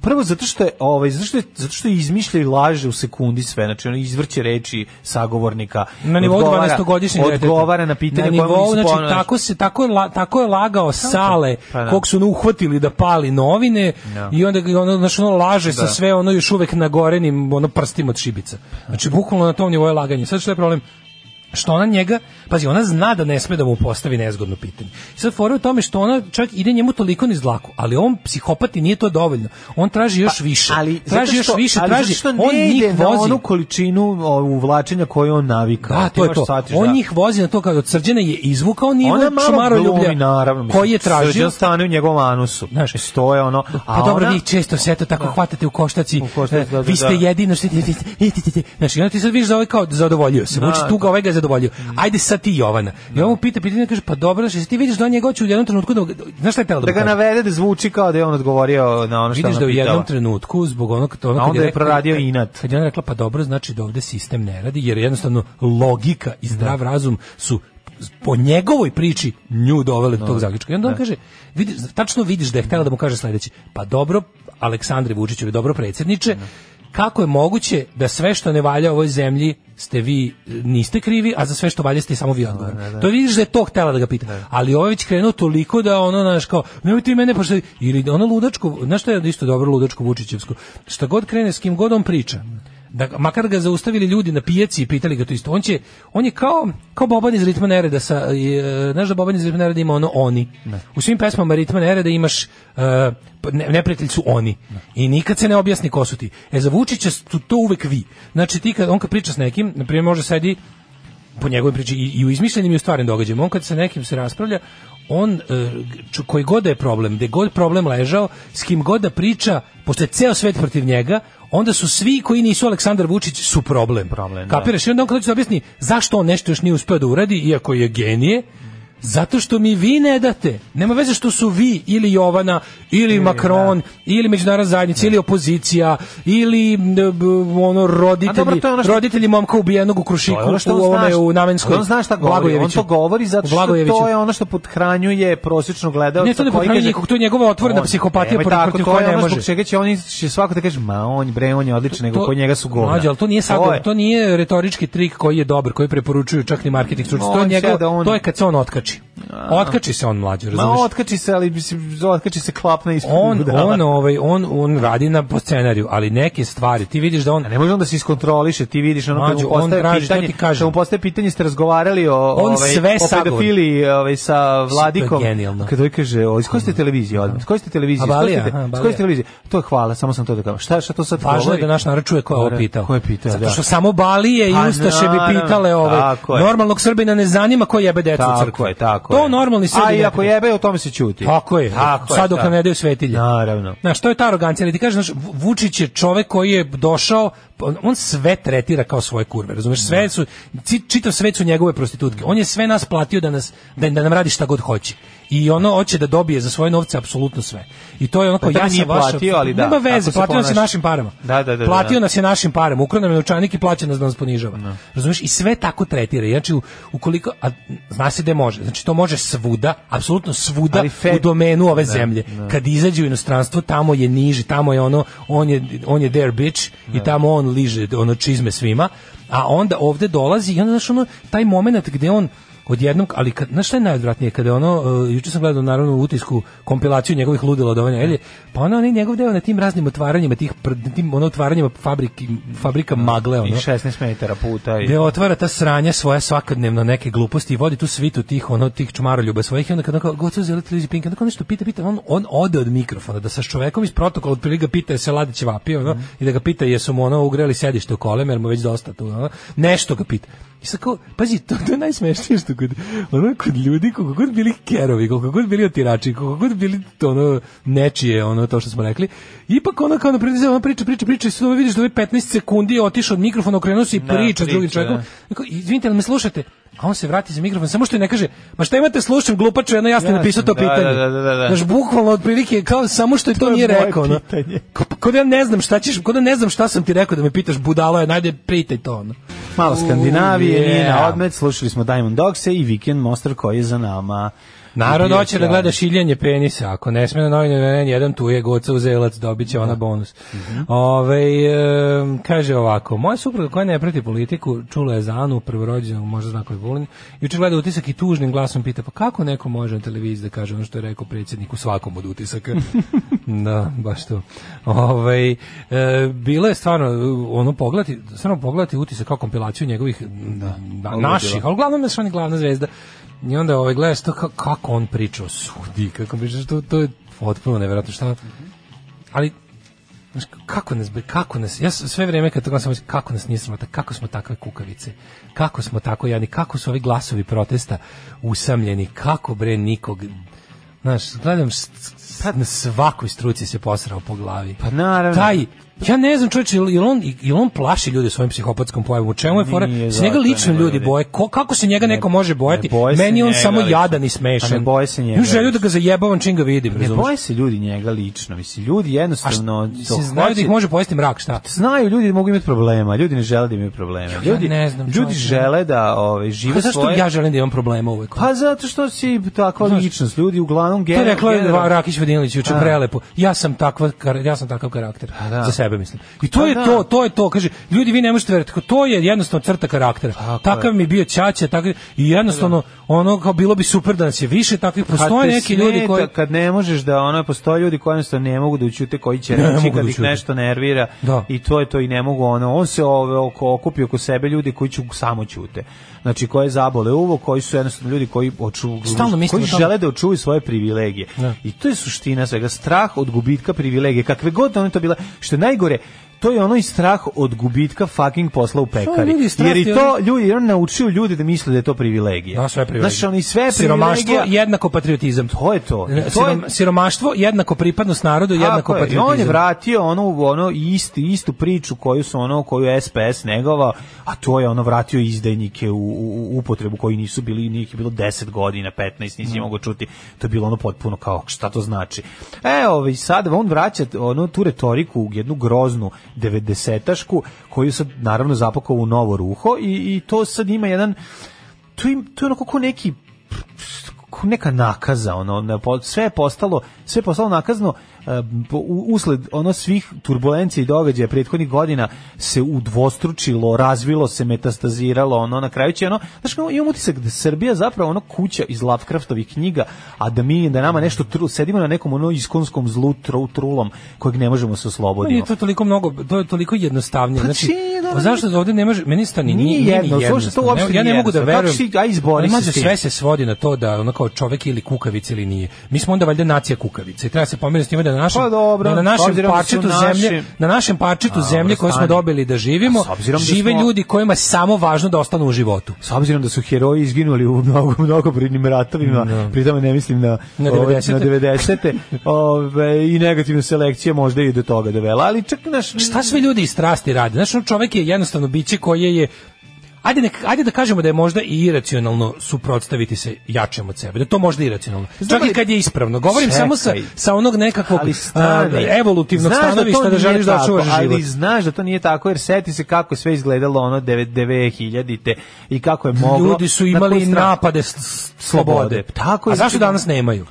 [SPEAKER 5] prvo zato što je ovaj zato što je, zato što izmišlja i laže u sekundi sve znači on izvrće reči sagovornika
[SPEAKER 6] na nivou
[SPEAKER 5] odgovara-
[SPEAKER 6] 12-godišnjeg deteta.
[SPEAKER 5] odgovara na pitanje
[SPEAKER 6] Na
[SPEAKER 5] koje mu
[SPEAKER 6] nivou,
[SPEAKER 5] nisu
[SPEAKER 6] znači,
[SPEAKER 5] ponovno-
[SPEAKER 6] tako, se, tako, je la- tako je lagao Sale,
[SPEAKER 5] Pa da.
[SPEAKER 6] kog su ono uhvatili da pali novine
[SPEAKER 5] Da.
[SPEAKER 6] i onda ga ono, znači, ono laže sa sve ono još uvek nagorenim ono, prstima od šibica. Znači, bukvalno na tom nivou je laganje. Sad što je problem? što ona njega, pazi, ona zna da ne sme da mu postavi nezgodno pitanje. I sad fora je u tome što ona čak ide njemu toliko niz dlaku, ali on psihopati nije to dovoljno. On traži još više.
[SPEAKER 5] Pa, ali
[SPEAKER 6] traži
[SPEAKER 5] zato
[SPEAKER 6] još
[SPEAKER 5] što-
[SPEAKER 6] više,
[SPEAKER 5] ali
[SPEAKER 6] traži.
[SPEAKER 5] zato što
[SPEAKER 6] on
[SPEAKER 5] ne
[SPEAKER 6] njih
[SPEAKER 5] ide na
[SPEAKER 6] vozi.
[SPEAKER 5] onu količinu o, uvlačenja koju on navikao
[SPEAKER 6] Da,
[SPEAKER 5] Ti
[SPEAKER 6] to je
[SPEAKER 5] moraš
[SPEAKER 6] to.
[SPEAKER 5] shvatiš,
[SPEAKER 6] on
[SPEAKER 5] da.
[SPEAKER 6] njih vozi na to kad od Srđana je izvukao nivo
[SPEAKER 5] ona malo glumi, naravno. mislim,
[SPEAKER 6] koji je tražio.
[SPEAKER 5] Srđan stane u njegovom anusu.
[SPEAKER 6] Znaš,
[SPEAKER 5] Znaš, to je ono.
[SPEAKER 6] Pa dobro, vi često se eto tako hvatate u koštaci.
[SPEAKER 5] Da. U koštac, da,
[SPEAKER 6] e,
[SPEAKER 5] da,
[SPEAKER 6] vi ste
[SPEAKER 5] da.
[SPEAKER 6] jedino što... Znači, onda ti sad vidiš da ovaj kao zadovoljio se. Vučić
[SPEAKER 5] Da, Mm.
[SPEAKER 6] tuga, ovaj ga zadovoljio. Ajde sad ti Jovana. I on mu pita pitanje, kaže pa dobro, što ti vidiš da on je goće u jednom trenutku da, znaš šta je telo da,
[SPEAKER 5] Da
[SPEAKER 6] mu
[SPEAKER 5] ga
[SPEAKER 6] kaže?
[SPEAKER 5] navede da zvuči kao da je on odgovorio na ono što
[SPEAKER 6] Vidiš
[SPEAKER 5] ona
[SPEAKER 6] da u jednom
[SPEAKER 5] pitala.
[SPEAKER 6] trenutku zbog onog to
[SPEAKER 5] A
[SPEAKER 6] ono kad
[SPEAKER 5] onda je
[SPEAKER 6] rekla-
[SPEAKER 5] proradio inat.
[SPEAKER 6] Kad je ona rekla pa dobro znači da ovde sistem ne radi jer jednostavno logika
[SPEAKER 5] Da.
[SPEAKER 6] i zdrav razum su po njegovoj priči nju dovele do tog zaključka. I
[SPEAKER 5] da.
[SPEAKER 6] onda on kaže, vidi, tačno vidiš da je htela da mu kaže sledeće, pa dobro, Aleksandre Vučićevi, dobro
[SPEAKER 5] Da.
[SPEAKER 6] predsjedniče, kako je moguće da sve što ne valja u ovoj zemlji ste vi e, niste krivi, a za sve što valja ste samo vi odgovorni. To vidiš da je to htela da ga pita. Ali ovo je već krenuo toliko da ono znaš kao nemoj ti mene pošto ili ono ludačko, znaš što je isto dobro ludačko Vučićevsko. Šta god krene s kim god on priča. Da, ga- makar ga zaustavili ljudi na pijaci i pitali ga to isto. On, će, on je kao, kao Boban iz Ritma Nereda. Sa, e, znaš da Boban iz Ritma Nereda ima ono oni. U svim pesmama Ritma Nereda imaš e, pa ne, neprijatelj su oni. I nikad se ne objasni ko su ti. E, za Vučića su to uvek vi. Znači, ti kad, on kad priča s nekim, na primjer, može sedi po njegovoj priči i, i u izmišljenim i u stvarnim događajima. On kad se nekim se raspravlja, on e, ču- koji god da je problem, gde god problem ležao, s kim god da priča, pošto je ceo svet protiv njega, onda su svi koji nisu Aleksandar Vučić su problem.
[SPEAKER 5] Problem, da.
[SPEAKER 6] Kapiraš? I onda on kad hoće da objasni zašto on nešto još nije uspeo da uradi, iako je genije, Zato što mi vi ne date. Nema veze što su vi ili Jovana ili Macron
[SPEAKER 5] da.
[SPEAKER 6] ili međunarodna zajednica ili opozicija ili m, b, ono
[SPEAKER 5] A dobro,
[SPEAKER 6] roditelji
[SPEAKER 5] to je ono što-
[SPEAKER 6] roditelji momka ubijenog u Krušiku
[SPEAKER 5] To je ono što
[SPEAKER 6] u
[SPEAKER 5] on
[SPEAKER 6] ovome
[SPEAKER 5] zna-
[SPEAKER 6] u Namenskoj.
[SPEAKER 5] ali On zna šta govori, on
[SPEAKER 6] Blagojeviću.
[SPEAKER 5] to govori zato
[SPEAKER 6] U
[SPEAKER 5] što
[SPEAKER 6] Blagojeviću.
[SPEAKER 5] to je ono što pothranjuje prosječno gledalca.
[SPEAKER 6] Ne, to ne
[SPEAKER 5] koji
[SPEAKER 6] pothranjuje
[SPEAKER 5] kaže-
[SPEAKER 6] nikog, to je njegova otvorena
[SPEAKER 5] On-
[SPEAKER 6] psihopatija
[SPEAKER 5] Nemoj
[SPEAKER 6] protiv-
[SPEAKER 5] tako,
[SPEAKER 6] protiv
[SPEAKER 5] to
[SPEAKER 6] koje
[SPEAKER 5] je
[SPEAKER 6] ne
[SPEAKER 5] ono
[SPEAKER 6] može.
[SPEAKER 5] zbog čega će oni će svako da kaže, ma on bre, on je odličan, nego kod njega su govna.
[SPEAKER 6] Mlađe, ali to nije sad,
[SPEAKER 5] To
[SPEAKER 6] to,
[SPEAKER 5] je-
[SPEAKER 6] nije retorički trik koji je dobar, koji preporučuju čak ni marketing stručnjaci.
[SPEAKER 5] On
[SPEAKER 6] To je
[SPEAKER 5] će
[SPEAKER 6] njegov,
[SPEAKER 5] da on-
[SPEAKER 6] to je kad se on otkači. Otkači se on mlađe,
[SPEAKER 5] Ma
[SPEAKER 6] razumeš?
[SPEAKER 5] otkači se, ali mislim, otkači se da. klapna ispred
[SPEAKER 6] on,
[SPEAKER 5] budala.
[SPEAKER 6] on, ovaj, on, on radi na po scenariju, ali neke stvari, ti vidiš da on,
[SPEAKER 5] A ne može on da se iskontroliše, ti vidiš ono kad
[SPEAKER 6] Mlađo,
[SPEAKER 5] mu
[SPEAKER 6] on
[SPEAKER 5] postaje
[SPEAKER 6] traži, to
[SPEAKER 5] pitanje,
[SPEAKER 6] ti kažem.
[SPEAKER 5] kad mu postaje pitanje ste razgovarali o,
[SPEAKER 6] On
[SPEAKER 5] ovaj,
[SPEAKER 6] sve
[SPEAKER 5] o
[SPEAKER 6] sagovori.
[SPEAKER 5] pedofiliji ovaj, sa Vladikom.
[SPEAKER 6] je genijalno.
[SPEAKER 5] Kad ovaj kaže, o, iz koje ste televizije odmah? Iz koje ste televizije?
[SPEAKER 6] A
[SPEAKER 5] Iz koje
[SPEAKER 6] Balija,
[SPEAKER 5] ste-
[SPEAKER 6] aha,
[SPEAKER 5] iz koje
[SPEAKER 6] Balija.
[SPEAKER 5] ste televizije? To je hvala, samo sam to da kažem. Šta, šta to sad
[SPEAKER 6] Važno je
[SPEAKER 5] govori?
[SPEAKER 6] da naš narod čuje ko je ovo
[SPEAKER 5] Dobro,
[SPEAKER 6] pitao.
[SPEAKER 5] ko je pitao,
[SPEAKER 6] Zato
[SPEAKER 5] da.
[SPEAKER 6] što samo Balije i
[SPEAKER 5] Pa
[SPEAKER 6] Ustaše bi
[SPEAKER 5] naravno,
[SPEAKER 6] pitale ove.
[SPEAKER 5] tako je.
[SPEAKER 6] Normalnog Srbina ne zanima ko jebe decu u
[SPEAKER 5] Tako
[SPEAKER 6] crkvi.
[SPEAKER 5] je, tako
[SPEAKER 6] To
[SPEAKER 5] je.
[SPEAKER 6] normalni Srbin.
[SPEAKER 5] A i
[SPEAKER 6] ne
[SPEAKER 5] ako
[SPEAKER 6] pita.
[SPEAKER 5] jebe, o tome se ćuti.
[SPEAKER 6] Tako je.
[SPEAKER 5] Tako je, da.
[SPEAKER 6] Sad dok
[SPEAKER 5] tako.
[SPEAKER 6] nam ne daju svetilje.
[SPEAKER 5] Naravno.
[SPEAKER 6] Znaš, to je ta arogancija, ali ti kažeš, znaš, Vu- Vučić je čovek koji je došao, on- on sve tretira kao svoje kurve, razumeš?
[SPEAKER 5] Da.
[SPEAKER 6] Sve su, ci- čitav svet su njegove prostitutke. On je sve nas platio da, nas, da, da nam radi šta god hoće. I ono hoće da dobije za svoje novce apsolutno sve. I to je onako,
[SPEAKER 5] Pa to
[SPEAKER 6] ja sam
[SPEAKER 5] nije
[SPEAKER 6] vaša...
[SPEAKER 5] platio, ali da,
[SPEAKER 6] Nema veze,
[SPEAKER 5] tako se
[SPEAKER 6] platio nas je
[SPEAKER 5] ponaša.
[SPEAKER 6] našim parama.
[SPEAKER 5] Da, da, da,
[SPEAKER 6] Platio
[SPEAKER 5] da.
[SPEAKER 6] nas je našim parama. Ukrao nam je učanik i plaća nas da nas ponižava. Razumeš? I sve tako tretira. Znači, u- ukoliko... A, zna se da može. Znači, to može svuda, apsolutno svuda
[SPEAKER 5] Ali Fed-
[SPEAKER 6] u domenu ove zemlje. Kad izađe u inostranstvo, tamo je niži, tamo je ono, on je, on je their bitch i tamo on liže ono čizme svima, a onda ovde dolazi i onda, znaš, ono, taj moment gde on odjednom, ali kad, znaš šta je najodvratnije, kada ono, uh, juče sam gledao naravno u utisku kompilaciju njegovih ludila od Ovanja Elje, pa ono, on je njegov deo na tim raznim otvaranjima, tih, pr- na tim ono otvaranjima fabriki, fabrika magle, ono,
[SPEAKER 5] I 16 metara puta. I...
[SPEAKER 6] gde otvara ta sranja svoje svakodnevno neke gluposti i vodi tu svitu tih ono tih čmaroljuba svojih i onda kad on kao gotovo zeli televiziju Pink onda kao nešto pita pita on on ode od mikrofona da sa čovekom iz protokola otprilike ga pita je se Ladić vapio ono, i da ga pita jesu mu ono ugreli sedište u kolem jer mu je već dosta tu ono, nešto ga pita I sad kao, pazi, to, to je najsmešnije što kod, ono, kod ljudi, koliko god bili kerovi, koliko god bili otirači, koliko god bili to, ono, nečije, ono, to što smo rekli, ipak ono kao, na primjer, ona priča, priča, priča, i sad ovo vidiš da ove 15 sekundi je otišao od mikrofona, okrenuo se i
[SPEAKER 5] Da,
[SPEAKER 6] priča s drugim
[SPEAKER 5] priča,
[SPEAKER 6] čovjekom.
[SPEAKER 5] da.
[SPEAKER 6] Rekao, izvinite, ali me slušate? A on se vrati za mikrofon, samo što je ne kaže, ma šta imate, slušam, glupaču, jedno jasno je napisao to
[SPEAKER 5] da, da,
[SPEAKER 6] pitanje.
[SPEAKER 5] da, da, da.
[SPEAKER 6] Znaš, bukvalno, otprilike, kao samo što je to, nije
[SPEAKER 5] moje
[SPEAKER 6] rekao. ono.
[SPEAKER 5] pitanje.
[SPEAKER 6] Kao, pa, kao da ja ne znam šta ćeš, kao da ne znam šta sam ti rekao da me pitaš, budalo je, najde, pritaj to. Ono.
[SPEAKER 5] Malo Skandinavije,
[SPEAKER 6] U,
[SPEAKER 5] nije na
[SPEAKER 6] yeah.
[SPEAKER 5] odmet, slušali smo Diamond Dogse i Weekend Monster koji je za nama.
[SPEAKER 6] Narod
[SPEAKER 5] I bio
[SPEAKER 6] hoće da
[SPEAKER 5] sjajno.
[SPEAKER 6] gleda šiljenje penisa. Ako ne sme na novinu na jedan tu je goca uzelac, dobit će
[SPEAKER 5] Da.
[SPEAKER 6] ona bonus.
[SPEAKER 5] Mhm.
[SPEAKER 6] Ove, kaže ovako, moja supruga koja ne prati politiku, čula je za Anu, prvorođenog, možda zna koji Vulin, juče gleda utisak i tužnim glasom pita, pa kako neko može na televiziji da kaže ono što je rekao predsjednik u svakom od utisaka? da, baš to. Ove, e, bilo je stvarno, e, ono, pogledati, stvarno pogledati utisak kao kompilaciju njegovih da, naših, ali uglavnom je stvarno glavna zvezda. I onda ovaj gledaš to ka- kako on priča o sudi, kako priča to to je potpuno neverovatno šta. Ali znaš, kako nas be- kako nas ja s- sve vreme kad to gledam sam mislim, kako nas nije sramota, kako smo takve kukavice, kako smo tako jadni, kako su ovi glasovi protesta usamljeni, kako bre nikog Znaš, gledam, s- s- na svakoj struci se posrao po glavi.
[SPEAKER 5] Pa naravno.
[SPEAKER 6] Taj Ja ne znam, čoveče, jel jel on, jel on plaši ljude svojim psihopatskom pojavom? U čemu je fora?
[SPEAKER 5] Nije
[SPEAKER 6] Se njega
[SPEAKER 5] zato,
[SPEAKER 6] lično
[SPEAKER 5] nego
[SPEAKER 6] ljudi
[SPEAKER 5] ljudi.
[SPEAKER 6] boje. Ko, kako se njega neko može bojati?
[SPEAKER 5] ne boje se
[SPEAKER 6] Meni je on
[SPEAKER 5] njega
[SPEAKER 6] samo
[SPEAKER 5] lično.
[SPEAKER 6] jadan i smešan.
[SPEAKER 5] A ne boje se njega
[SPEAKER 6] Imam želju da
[SPEAKER 5] lično.
[SPEAKER 6] ga zajebavam čim ga vidim,
[SPEAKER 5] Ne
[SPEAKER 6] razumiješ?
[SPEAKER 5] boje se ljudi njega lično. Mislim, ljudi jednostavno... to
[SPEAKER 6] se znaju da ih
[SPEAKER 5] hoće-
[SPEAKER 6] može pojesti mrak, šta?
[SPEAKER 5] znaju ljudi da mogu imati problema, ljudi ne žele da imaju problema. Ljudi,
[SPEAKER 6] ne znam,
[SPEAKER 5] ljudi
[SPEAKER 6] čovječe.
[SPEAKER 5] žele da ove,
[SPEAKER 6] Pa
[SPEAKER 5] žive
[SPEAKER 6] zašto
[SPEAKER 5] svoje...
[SPEAKER 6] ja želim da imam problema uvek?
[SPEAKER 5] Pa zato što si takva
[SPEAKER 6] Znaš,
[SPEAKER 5] ličnost, ljudi uglavnom
[SPEAKER 6] To
[SPEAKER 5] gener,
[SPEAKER 6] je rekla
[SPEAKER 5] generalno-
[SPEAKER 6] Ra- Rakić Vodinilić juče
[SPEAKER 5] A.
[SPEAKER 6] prelepo. Ja sam takva kar- ja sam takav karakter
[SPEAKER 5] da.
[SPEAKER 6] za sebe mislim. I to
[SPEAKER 5] Pa
[SPEAKER 6] je
[SPEAKER 5] da.
[SPEAKER 6] to, to je to. Kaže ljudi vi ne možete verovati, Kao, to je jednostavno crta karaktera. Takav mi je bio ćaća, takav i jednostavno ono kao bilo bi super da nas je više takvih
[SPEAKER 5] Kad
[SPEAKER 6] postoje
[SPEAKER 5] Pa da. te
[SPEAKER 6] neki
[SPEAKER 5] smeta,
[SPEAKER 6] ljudi koji
[SPEAKER 5] kad ne možeš da ono postoje ljudi koji jednostavno ne mogu da ućute koji će
[SPEAKER 6] Ne
[SPEAKER 5] reći
[SPEAKER 6] mogu
[SPEAKER 5] kad
[SPEAKER 6] da
[SPEAKER 5] ih
[SPEAKER 6] ućute.
[SPEAKER 5] nešto nervira
[SPEAKER 6] Da.
[SPEAKER 5] i to je to i ne mogu ono on se ove oko okupi oko sebe ljudi koji ću samo ćute znači koje zabole uvo koji su jednostavno ljudi koji oču
[SPEAKER 6] Stalno mislim
[SPEAKER 5] koji
[SPEAKER 6] o tome.
[SPEAKER 5] žele da očuvaju svoje privilegije
[SPEAKER 6] Da.
[SPEAKER 5] i to je suština svega strah od gubitka privilegije kakve god one to bila što je najgore to je ono i strah od gubitka fucking posla u pekari.
[SPEAKER 6] ljudi, strah
[SPEAKER 5] Jer i
[SPEAKER 6] je
[SPEAKER 5] to ljudi, jer on naučio ljude da misle da je to privilegija.
[SPEAKER 6] Da, sve privilegije.
[SPEAKER 5] Znaš, oni sve
[SPEAKER 6] Siromaštvo
[SPEAKER 5] privilegija-
[SPEAKER 6] jednako patriotizam.
[SPEAKER 5] To je to. I to je-
[SPEAKER 6] Sirom- E, Siromaštvo jednako pripadnost narodu,
[SPEAKER 5] Tako
[SPEAKER 6] jednako
[SPEAKER 5] je. I
[SPEAKER 6] patriotizam.
[SPEAKER 5] On je vratio ono ono isti istu priču koju su ono koju je SPS negova, a to je ono vratio izdajnike u, u, u upotrebu koji nisu bili njih je bilo 10 godina, 15, nisi
[SPEAKER 6] Da.
[SPEAKER 5] mogao čuti. To je bilo ono potpuno kao šta to znači. E, ovaj sad on vraća ono tu retoriku u jednu groznu 90-tašku koju sad naravno zapakao u novo ruho i, i to sad ima jedan to im to je onako ko neki ko neka nakaza ono na po- sve je postalo sve je postalo nakazno e, po- u- usled ono svih turbulencija i događaja prethodnih godina se udvostručilo razvilo se metastaziralo ono na kraju će ono znači imam utisak da je Srbija zapravo ono kuća iz Lovecraftovih knjiga a da mi da nama nešto tru, sedimo na nekom ono iskonskom zlu tru, trulom kojeg ne možemo se
[SPEAKER 6] Meni
[SPEAKER 5] osloboditi
[SPEAKER 6] je to toliko mnogo, to je toliko jednostavnije.
[SPEAKER 5] Pa
[SPEAKER 6] znači,
[SPEAKER 5] čini, da,
[SPEAKER 6] a zašto da ovde ne može, meni stani,
[SPEAKER 5] Nije
[SPEAKER 6] nije, nije
[SPEAKER 5] jedno,
[SPEAKER 6] ni
[SPEAKER 5] slušaj, to
[SPEAKER 6] jednostavno.
[SPEAKER 5] uopšte
[SPEAKER 6] ja ne
[SPEAKER 5] nije
[SPEAKER 6] mogu da
[SPEAKER 5] jednostavno.
[SPEAKER 6] verujem.
[SPEAKER 5] Kako si- aj, izbori
[SPEAKER 6] Ali,
[SPEAKER 5] se
[SPEAKER 6] mađo,
[SPEAKER 5] s tim.
[SPEAKER 6] sve se svodi na to da ono kao čovek ili kukavica ili nije. Mi smo onda valjda nacija kukavica i treba se pomiriti s time da na našem,
[SPEAKER 5] Pa dobro,
[SPEAKER 6] da na
[SPEAKER 5] s
[SPEAKER 6] našem
[SPEAKER 5] obzirom da su
[SPEAKER 6] parčetu
[SPEAKER 5] naši-
[SPEAKER 6] zemlje, na našem parčetu
[SPEAKER 5] A,
[SPEAKER 6] zemlje
[SPEAKER 5] dobro,
[SPEAKER 6] koje smo
[SPEAKER 5] stani.
[SPEAKER 6] dobili da živimo,
[SPEAKER 5] A s obzirom da
[SPEAKER 6] žive
[SPEAKER 5] smo-
[SPEAKER 6] ljudi kojima je samo važno da ostanu u životu.
[SPEAKER 5] s obzirom da su heroji izginuli u mnogo mnogo prinim ratovima, pri tome ne mislim na
[SPEAKER 6] Da. Na
[SPEAKER 5] ove,
[SPEAKER 6] 90-te.
[SPEAKER 5] na 90-te, ove, i negativna selekcija možda i do toga dovela, ali čak naš
[SPEAKER 6] Šta sve ljudi iz strasti rade? Znači, ono, čovek je jednostavno biće koje je Ajde, nek, ajde da kažemo da je možda i iracionalno suprotstaviti se jačem od sebe. Da je to možda iracionalno.
[SPEAKER 5] Znam,
[SPEAKER 6] Čak i
[SPEAKER 5] ali-
[SPEAKER 6] kad je ispravno. Govorim samo sa,
[SPEAKER 5] da Čekaj.
[SPEAKER 6] sa onog nekakvog
[SPEAKER 5] ali
[SPEAKER 6] a, da,
[SPEAKER 5] stani.
[SPEAKER 6] evolutivnog
[SPEAKER 5] Znaš
[SPEAKER 6] stanovišta
[SPEAKER 5] to
[SPEAKER 6] da,
[SPEAKER 5] nije
[SPEAKER 6] želiš da
[SPEAKER 5] tako,
[SPEAKER 6] čuvaš život.
[SPEAKER 5] Ali znaš da to nije tako, jer seti se kako je sve izgledalo ono 9000-te i kako je moglo.
[SPEAKER 6] Ljudi su
[SPEAKER 5] na
[SPEAKER 6] imali
[SPEAKER 5] koju stranu.
[SPEAKER 6] napade s- s- slobode.
[SPEAKER 5] Slobode. Tako je.
[SPEAKER 6] A zašto danas nemaju?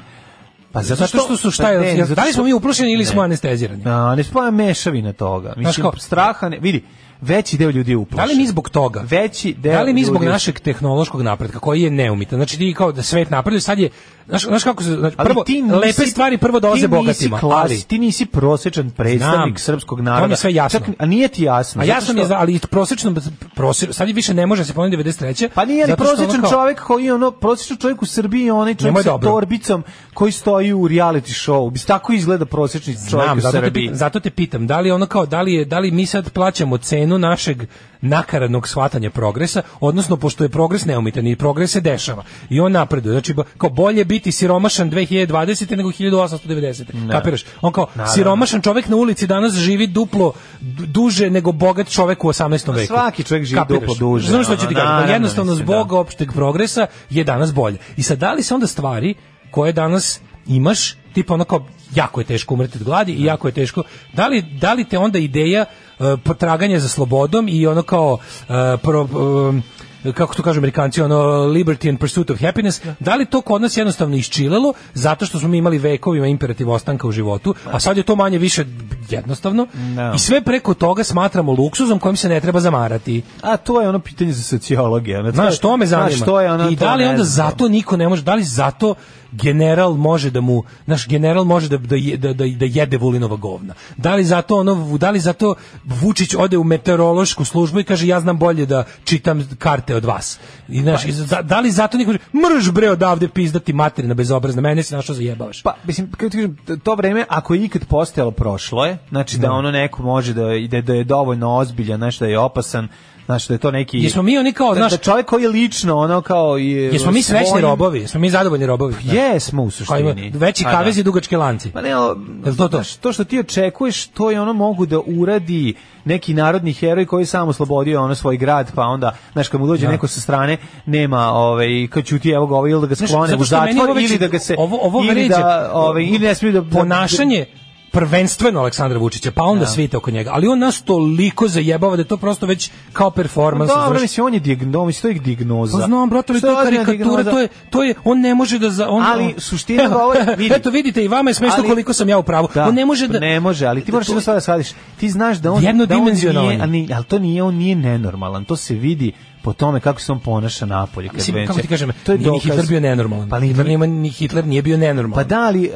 [SPEAKER 5] Pa
[SPEAKER 6] Zato što, su šta
[SPEAKER 5] pa
[SPEAKER 6] je,
[SPEAKER 5] ne,
[SPEAKER 6] jer
[SPEAKER 5] zato
[SPEAKER 6] da li
[SPEAKER 5] što-
[SPEAKER 6] smo mi uplušeni ili smo anestezirani? Da
[SPEAKER 5] A, ne spava mešavina toga. Mislim,
[SPEAKER 6] kao-
[SPEAKER 5] straha ne... Vidi, veći deo ljudi je
[SPEAKER 6] Da
[SPEAKER 5] uplašen.
[SPEAKER 6] li mi zbog toga?
[SPEAKER 5] Veći deo
[SPEAKER 6] Da li mi zbog
[SPEAKER 5] ljudi-
[SPEAKER 6] našeg tehnološkog napretka koji je neumitan? Znači ti kao da svet napreduje, sad je znaš, znaš kako se znači,
[SPEAKER 5] Ali
[SPEAKER 6] prvo
[SPEAKER 5] ti nisi-
[SPEAKER 6] lepe stvari prvo
[SPEAKER 5] ti
[SPEAKER 6] dolaze
[SPEAKER 5] nisi
[SPEAKER 6] bogatima,
[SPEAKER 5] klas-
[SPEAKER 6] ali
[SPEAKER 5] ti nisi prosječan predstavnik
[SPEAKER 6] Znam.
[SPEAKER 5] srpskog
[SPEAKER 6] To mi je
[SPEAKER 5] naroda.
[SPEAKER 6] sve jasno.
[SPEAKER 5] Čak, a nije ti jasno.
[SPEAKER 6] A
[SPEAKER 5] zato
[SPEAKER 6] jasno
[SPEAKER 5] što-
[SPEAKER 6] mi je, za- ali prosečno, prosečno, sad više ne može da se pomeni 93.
[SPEAKER 5] Pa nije li
[SPEAKER 6] zato što ono
[SPEAKER 5] prosječan
[SPEAKER 6] kao-
[SPEAKER 5] čovjek koji je ono prosječan čovjek u Srbiji je onaj
[SPEAKER 6] Njemu
[SPEAKER 5] čovjek
[SPEAKER 6] je
[SPEAKER 5] sa
[SPEAKER 6] dobro.
[SPEAKER 5] torbicom koji stoji u reality show. Bis tako izgleda prosječni čovjek
[SPEAKER 6] Znam,
[SPEAKER 5] u
[SPEAKER 6] zato te,
[SPEAKER 5] Srbiji.
[SPEAKER 6] pitam, zato te pitam, da li je ono kao, da li, je, da li mi sad plaćamo cenu našeg nakaradnog shvatanja progresa, odnosno pošto je progres neumitan i progres se dešava i on napreduje, znači bo- kao bolje biti siromašan 2020. nego 1890. Kapiraš? On
[SPEAKER 5] Da,
[SPEAKER 6] kao, siromašan čovek na ulici danas živi duplo du- duže nego bogat čovek u 18. veku.
[SPEAKER 5] svaki čovek živi duplo duže,
[SPEAKER 6] Znaš što ću
[SPEAKER 5] ono,
[SPEAKER 6] ti kažem?
[SPEAKER 5] naravno,
[SPEAKER 6] Jednostavno
[SPEAKER 5] mislim,
[SPEAKER 6] zbog
[SPEAKER 5] da.
[SPEAKER 6] opšteg progresa je danas bolje. I sad da li se onda stvari koje danas imaš, tipa ono kao jako je teško umreti od gladi i jako je teško, da li, da li te onda ideja e, potraganja za slobodom i ono kao e, pro, e, kako to kažu Amerikanci, ono liberty and pursuit of happiness, da li to kod nas jednostavno iščilelo zato što smo mi imali vekovima imperativ ostanka u životu, a sad je to manje više jednostavno
[SPEAKER 5] Da.
[SPEAKER 6] i sve preko toga smatramo luksuzom kojim se ne treba zamarati.
[SPEAKER 5] A to je ono pitanje za sociologe. Ono,
[SPEAKER 6] Znaš, to me zanima.
[SPEAKER 5] Znaš, to je ono,
[SPEAKER 6] I
[SPEAKER 5] to
[SPEAKER 6] da li
[SPEAKER 5] ne
[SPEAKER 6] onda
[SPEAKER 5] znam.
[SPEAKER 6] zato niko ne može, da li zato general može da mu, naš general može da, da, je- da, da, da jede Vulinova govna. Da li zato ono, da li zato Vučić ode u meteorološku službu i kaže ja znam bolje da čitam karte od vas. I
[SPEAKER 5] Pa
[SPEAKER 6] znaš, i za- da li zato niko može, mrš bre odavde pizdati materina bezobrazna, mene si našao zajebavaš.
[SPEAKER 5] Pa, mislim, kako ti kažem, t- to vreme, ako je ikad postojalo, prošlo je. Znači da ono neko može da, da, da je dovoljno ozbiljan, znaš, da je opasan, Znaš, da je to neki...
[SPEAKER 6] Jesmo mi oni kao,
[SPEAKER 5] da,
[SPEAKER 6] Pa znaš,
[SPEAKER 5] da čovjek koji je lično, ono kao... I,
[SPEAKER 6] jesmo mi srećni
[SPEAKER 5] svojim-
[SPEAKER 6] robovi, jesmo mi zadovoljni robovi. znaš.
[SPEAKER 5] Jesmo u
[SPEAKER 6] Kao ima
[SPEAKER 5] suštini.
[SPEAKER 6] veći
[SPEAKER 5] Pa da.
[SPEAKER 6] kavez i dugačke lanci.
[SPEAKER 5] Pa ne, al-
[SPEAKER 6] Jel to to?
[SPEAKER 5] znaš, to što ti očekuješ, to je ono mogu da uradi neki narodni heroj koji je sam oslobodio ono svoj grad, pa onda, znaš, kad mu dođe
[SPEAKER 6] Da.
[SPEAKER 5] neko sa strane, nema, ovaj, kad ćuti, evo ga, ovaj, ili da ga
[SPEAKER 6] Znaš,
[SPEAKER 5] sklone
[SPEAKER 6] zato
[SPEAKER 5] u
[SPEAKER 6] što meni
[SPEAKER 5] zatvor,
[SPEAKER 6] ovo već-
[SPEAKER 5] ili da ga se,
[SPEAKER 6] ovo- ovo
[SPEAKER 5] ili
[SPEAKER 6] vređa.
[SPEAKER 5] da, ovaj, ili ne smiju da...
[SPEAKER 6] ponašanje prvenstveno Aleksandra Vučića, pa onda svita oko njega. Ali on nas toliko zajebava da je to prosto već kao
[SPEAKER 5] Pa
[SPEAKER 6] performans.
[SPEAKER 5] Dobro,
[SPEAKER 6] znaš.
[SPEAKER 5] mislim, on je dijagnoza, mislim, to je dijagnoza.
[SPEAKER 6] Pa znam, brate, ali
[SPEAKER 5] Što
[SPEAKER 6] to je
[SPEAKER 5] ozbiljna
[SPEAKER 6] karikatura,
[SPEAKER 5] dijagnoza?
[SPEAKER 6] to je, to je, on ne može da... Za, on,
[SPEAKER 5] Ali
[SPEAKER 6] on-
[SPEAKER 5] suština govora- vidi.
[SPEAKER 6] Eto, vidite, i vama je smešno
[SPEAKER 5] Ali-
[SPEAKER 6] koliko sam ja u pravu.
[SPEAKER 5] Da,
[SPEAKER 6] on ne može da...
[SPEAKER 5] Ne može, ali ti moraš
[SPEAKER 6] to-
[SPEAKER 5] jednu stvar da shvatiš. Ti znaš da on
[SPEAKER 6] Jednodimenzionalan
[SPEAKER 5] da on nije, a
[SPEAKER 6] je.
[SPEAKER 5] ni- ali to nije on nije nenormalan. To se vidi po tome kako se on ponaša napolje kad
[SPEAKER 6] Mislim, kako
[SPEAKER 5] venče.
[SPEAKER 6] ti kažem, to je ni
[SPEAKER 5] dokaz-
[SPEAKER 6] Hitler bio nenormalan.
[SPEAKER 5] Pa,
[SPEAKER 6] Pa
[SPEAKER 5] ali-
[SPEAKER 6] Hitler, nema, ni Hitler nije bio nenormalan.
[SPEAKER 5] pa da, ali e,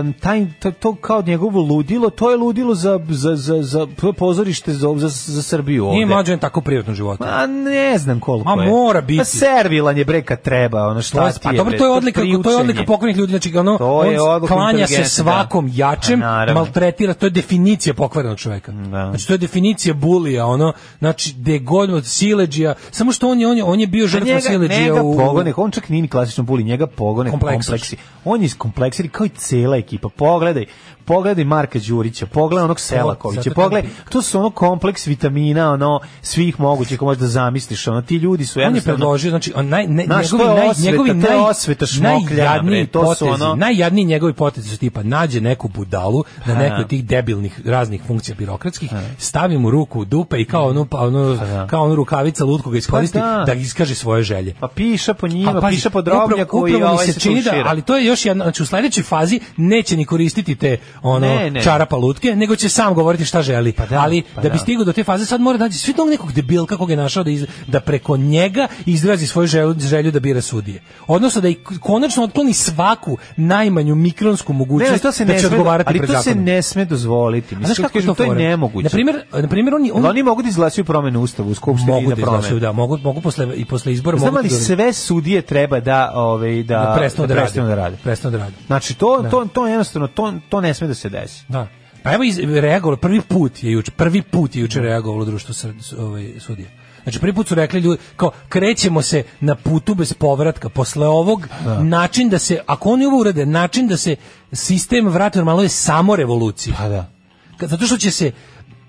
[SPEAKER 5] em, taj, to, to kao njegovo ludilo, to je ludilo za, za, za, za to je pozorište za, za, za Srbiju ovde.
[SPEAKER 6] Nije mlađen tako u privatnom životu.
[SPEAKER 5] Ma ne znam koliko
[SPEAKER 6] Ma,
[SPEAKER 5] je.
[SPEAKER 6] mora biti.
[SPEAKER 5] Pa servilan je bre kad treba, ono
[SPEAKER 6] To
[SPEAKER 5] šta
[SPEAKER 6] je,
[SPEAKER 5] ti
[SPEAKER 6] pa
[SPEAKER 5] je,
[SPEAKER 6] dobro,
[SPEAKER 5] bre,
[SPEAKER 6] to je odlika, to je
[SPEAKER 5] priučenje.
[SPEAKER 6] odlika pokvarenih ljudi, znači ono,
[SPEAKER 5] To je
[SPEAKER 6] on
[SPEAKER 5] odlika
[SPEAKER 6] klanja se
[SPEAKER 5] inteligencije,
[SPEAKER 6] svakom
[SPEAKER 5] da.
[SPEAKER 6] jačem,
[SPEAKER 5] A, naravno.
[SPEAKER 6] maltretira, to je definicija pokvarenog čoveka.
[SPEAKER 5] Da.
[SPEAKER 6] Znači to je definicija bulija, ono, znači de god od sileđija, samo što on je on je, on je bio
[SPEAKER 5] Pa
[SPEAKER 6] žrtva sileđija
[SPEAKER 5] njega
[SPEAKER 6] u
[SPEAKER 5] pogone, on čak nije ni klasično buli, njega pogone
[SPEAKER 6] Kompleksaš.
[SPEAKER 5] kompleksi. On je iskompleksiri kao i cela ekipa. Pogledaj, pogledaj Marka Đurića, pogledaj onog Selakovića,
[SPEAKER 6] zato
[SPEAKER 5] pogledaj,
[SPEAKER 6] kažem-
[SPEAKER 5] to su ono kompleks vitamina, ono, svih mogućih, ko možeš da zamisliš, ono, ti ljudi su
[SPEAKER 6] On je
[SPEAKER 5] jednostavno...
[SPEAKER 6] predložio, znači, on naj, ne,
[SPEAKER 5] Znaš,
[SPEAKER 6] njegovi,
[SPEAKER 5] to je
[SPEAKER 6] naj,
[SPEAKER 5] osveta,
[SPEAKER 6] njegovi
[SPEAKER 5] to je
[SPEAKER 6] naj-
[SPEAKER 5] osveta šmokljana,
[SPEAKER 6] najjadniji
[SPEAKER 5] bre, to su
[SPEAKER 6] potezi,
[SPEAKER 5] ono-
[SPEAKER 6] najjadniji njegovi potezi su tipa, nađe neku budalu na nekoj od tih debilnih raznih funkcija birokratskih, stavi mu ruku u dupe i kao ono, pa ono, kao ono rukavica lutku ga iskoristi
[SPEAKER 5] Pa da.
[SPEAKER 6] da iskaže svoje želje.
[SPEAKER 5] Pa piša po njima,
[SPEAKER 6] A, pazi,
[SPEAKER 5] piša po
[SPEAKER 6] upravo-
[SPEAKER 5] drobnjaku i
[SPEAKER 6] upravo mi
[SPEAKER 5] ovaj se
[SPEAKER 6] čini da,
[SPEAKER 5] tušira.
[SPEAKER 6] ali to je još jedna, znači u sledećoj fazi neće ni koristiti te ono
[SPEAKER 5] Ne, ne.
[SPEAKER 6] čarapa lutke, nego će sam govoriti šta želi.
[SPEAKER 5] da,
[SPEAKER 6] ali
[SPEAKER 5] pa
[SPEAKER 6] da bi
[SPEAKER 5] da.
[SPEAKER 6] stigao do te faze sad mora naći svi tog nekog debilka kog je našao da, iz, da preko njega izrazi svoju želju, želju da bira sudije. Odnosno da i konačno otkloni svaku najmanju mikronsku mogućnost
[SPEAKER 5] ne, to se ne
[SPEAKER 6] da će
[SPEAKER 5] sme,
[SPEAKER 6] odgovarati
[SPEAKER 5] ali
[SPEAKER 6] pred
[SPEAKER 5] to se
[SPEAKER 6] zakonom.
[SPEAKER 5] ne sme dozvoliti.
[SPEAKER 6] A znaš
[SPEAKER 5] Mislim,
[SPEAKER 6] kako
[SPEAKER 5] kažem,
[SPEAKER 6] je to,
[SPEAKER 5] to je
[SPEAKER 6] fora?
[SPEAKER 5] nemoguće.
[SPEAKER 6] Na primjer, na primjer oni,
[SPEAKER 5] Jel
[SPEAKER 6] oni,
[SPEAKER 5] oni mogu da izglasaju promene ustavu u skupštini
[SPEAKER 6] mogu
[SPEAKER 5] i
[SPEAKER 6] da
[SPEAKER 5] da promene.
[SPEAKER 6] izglasaju, da, mogu, mogu posle, i posle izbora
[SPEAKER 5] Znam
[SPEAKER 6] mogu
[SPEAKER 5] ali
[SPEAKER 6] da-
[SPEAKER 5] Pa sve sudije treba da, ovaj, da,
[SPEAKER 6] da prestanu da,
[SPEAKER 5] prestanu da rade.
[SPEAKER 6] Prestanu da rade.
[SPEAKER 5] Znači to to to jednostavno to to ne sme da se desi.
[SPEAKER 6] Da. Pa evo iz, reagovalo, prvi put je juče, prvi put je juče
[SPEAKER 5] Da.
[SPEAKER 6] reagovalo društvo sr, s- ovaj, sudija. Znači prvi put su rekli ljudi kao krećemo se na putu bez povratka posle ovog način da se ako oni ovo urade način da se sistem vrati normalno je samo revolucija.
[SPEAKER 5] Pa da.
[SPEAKER 6] Kad- Zato što će se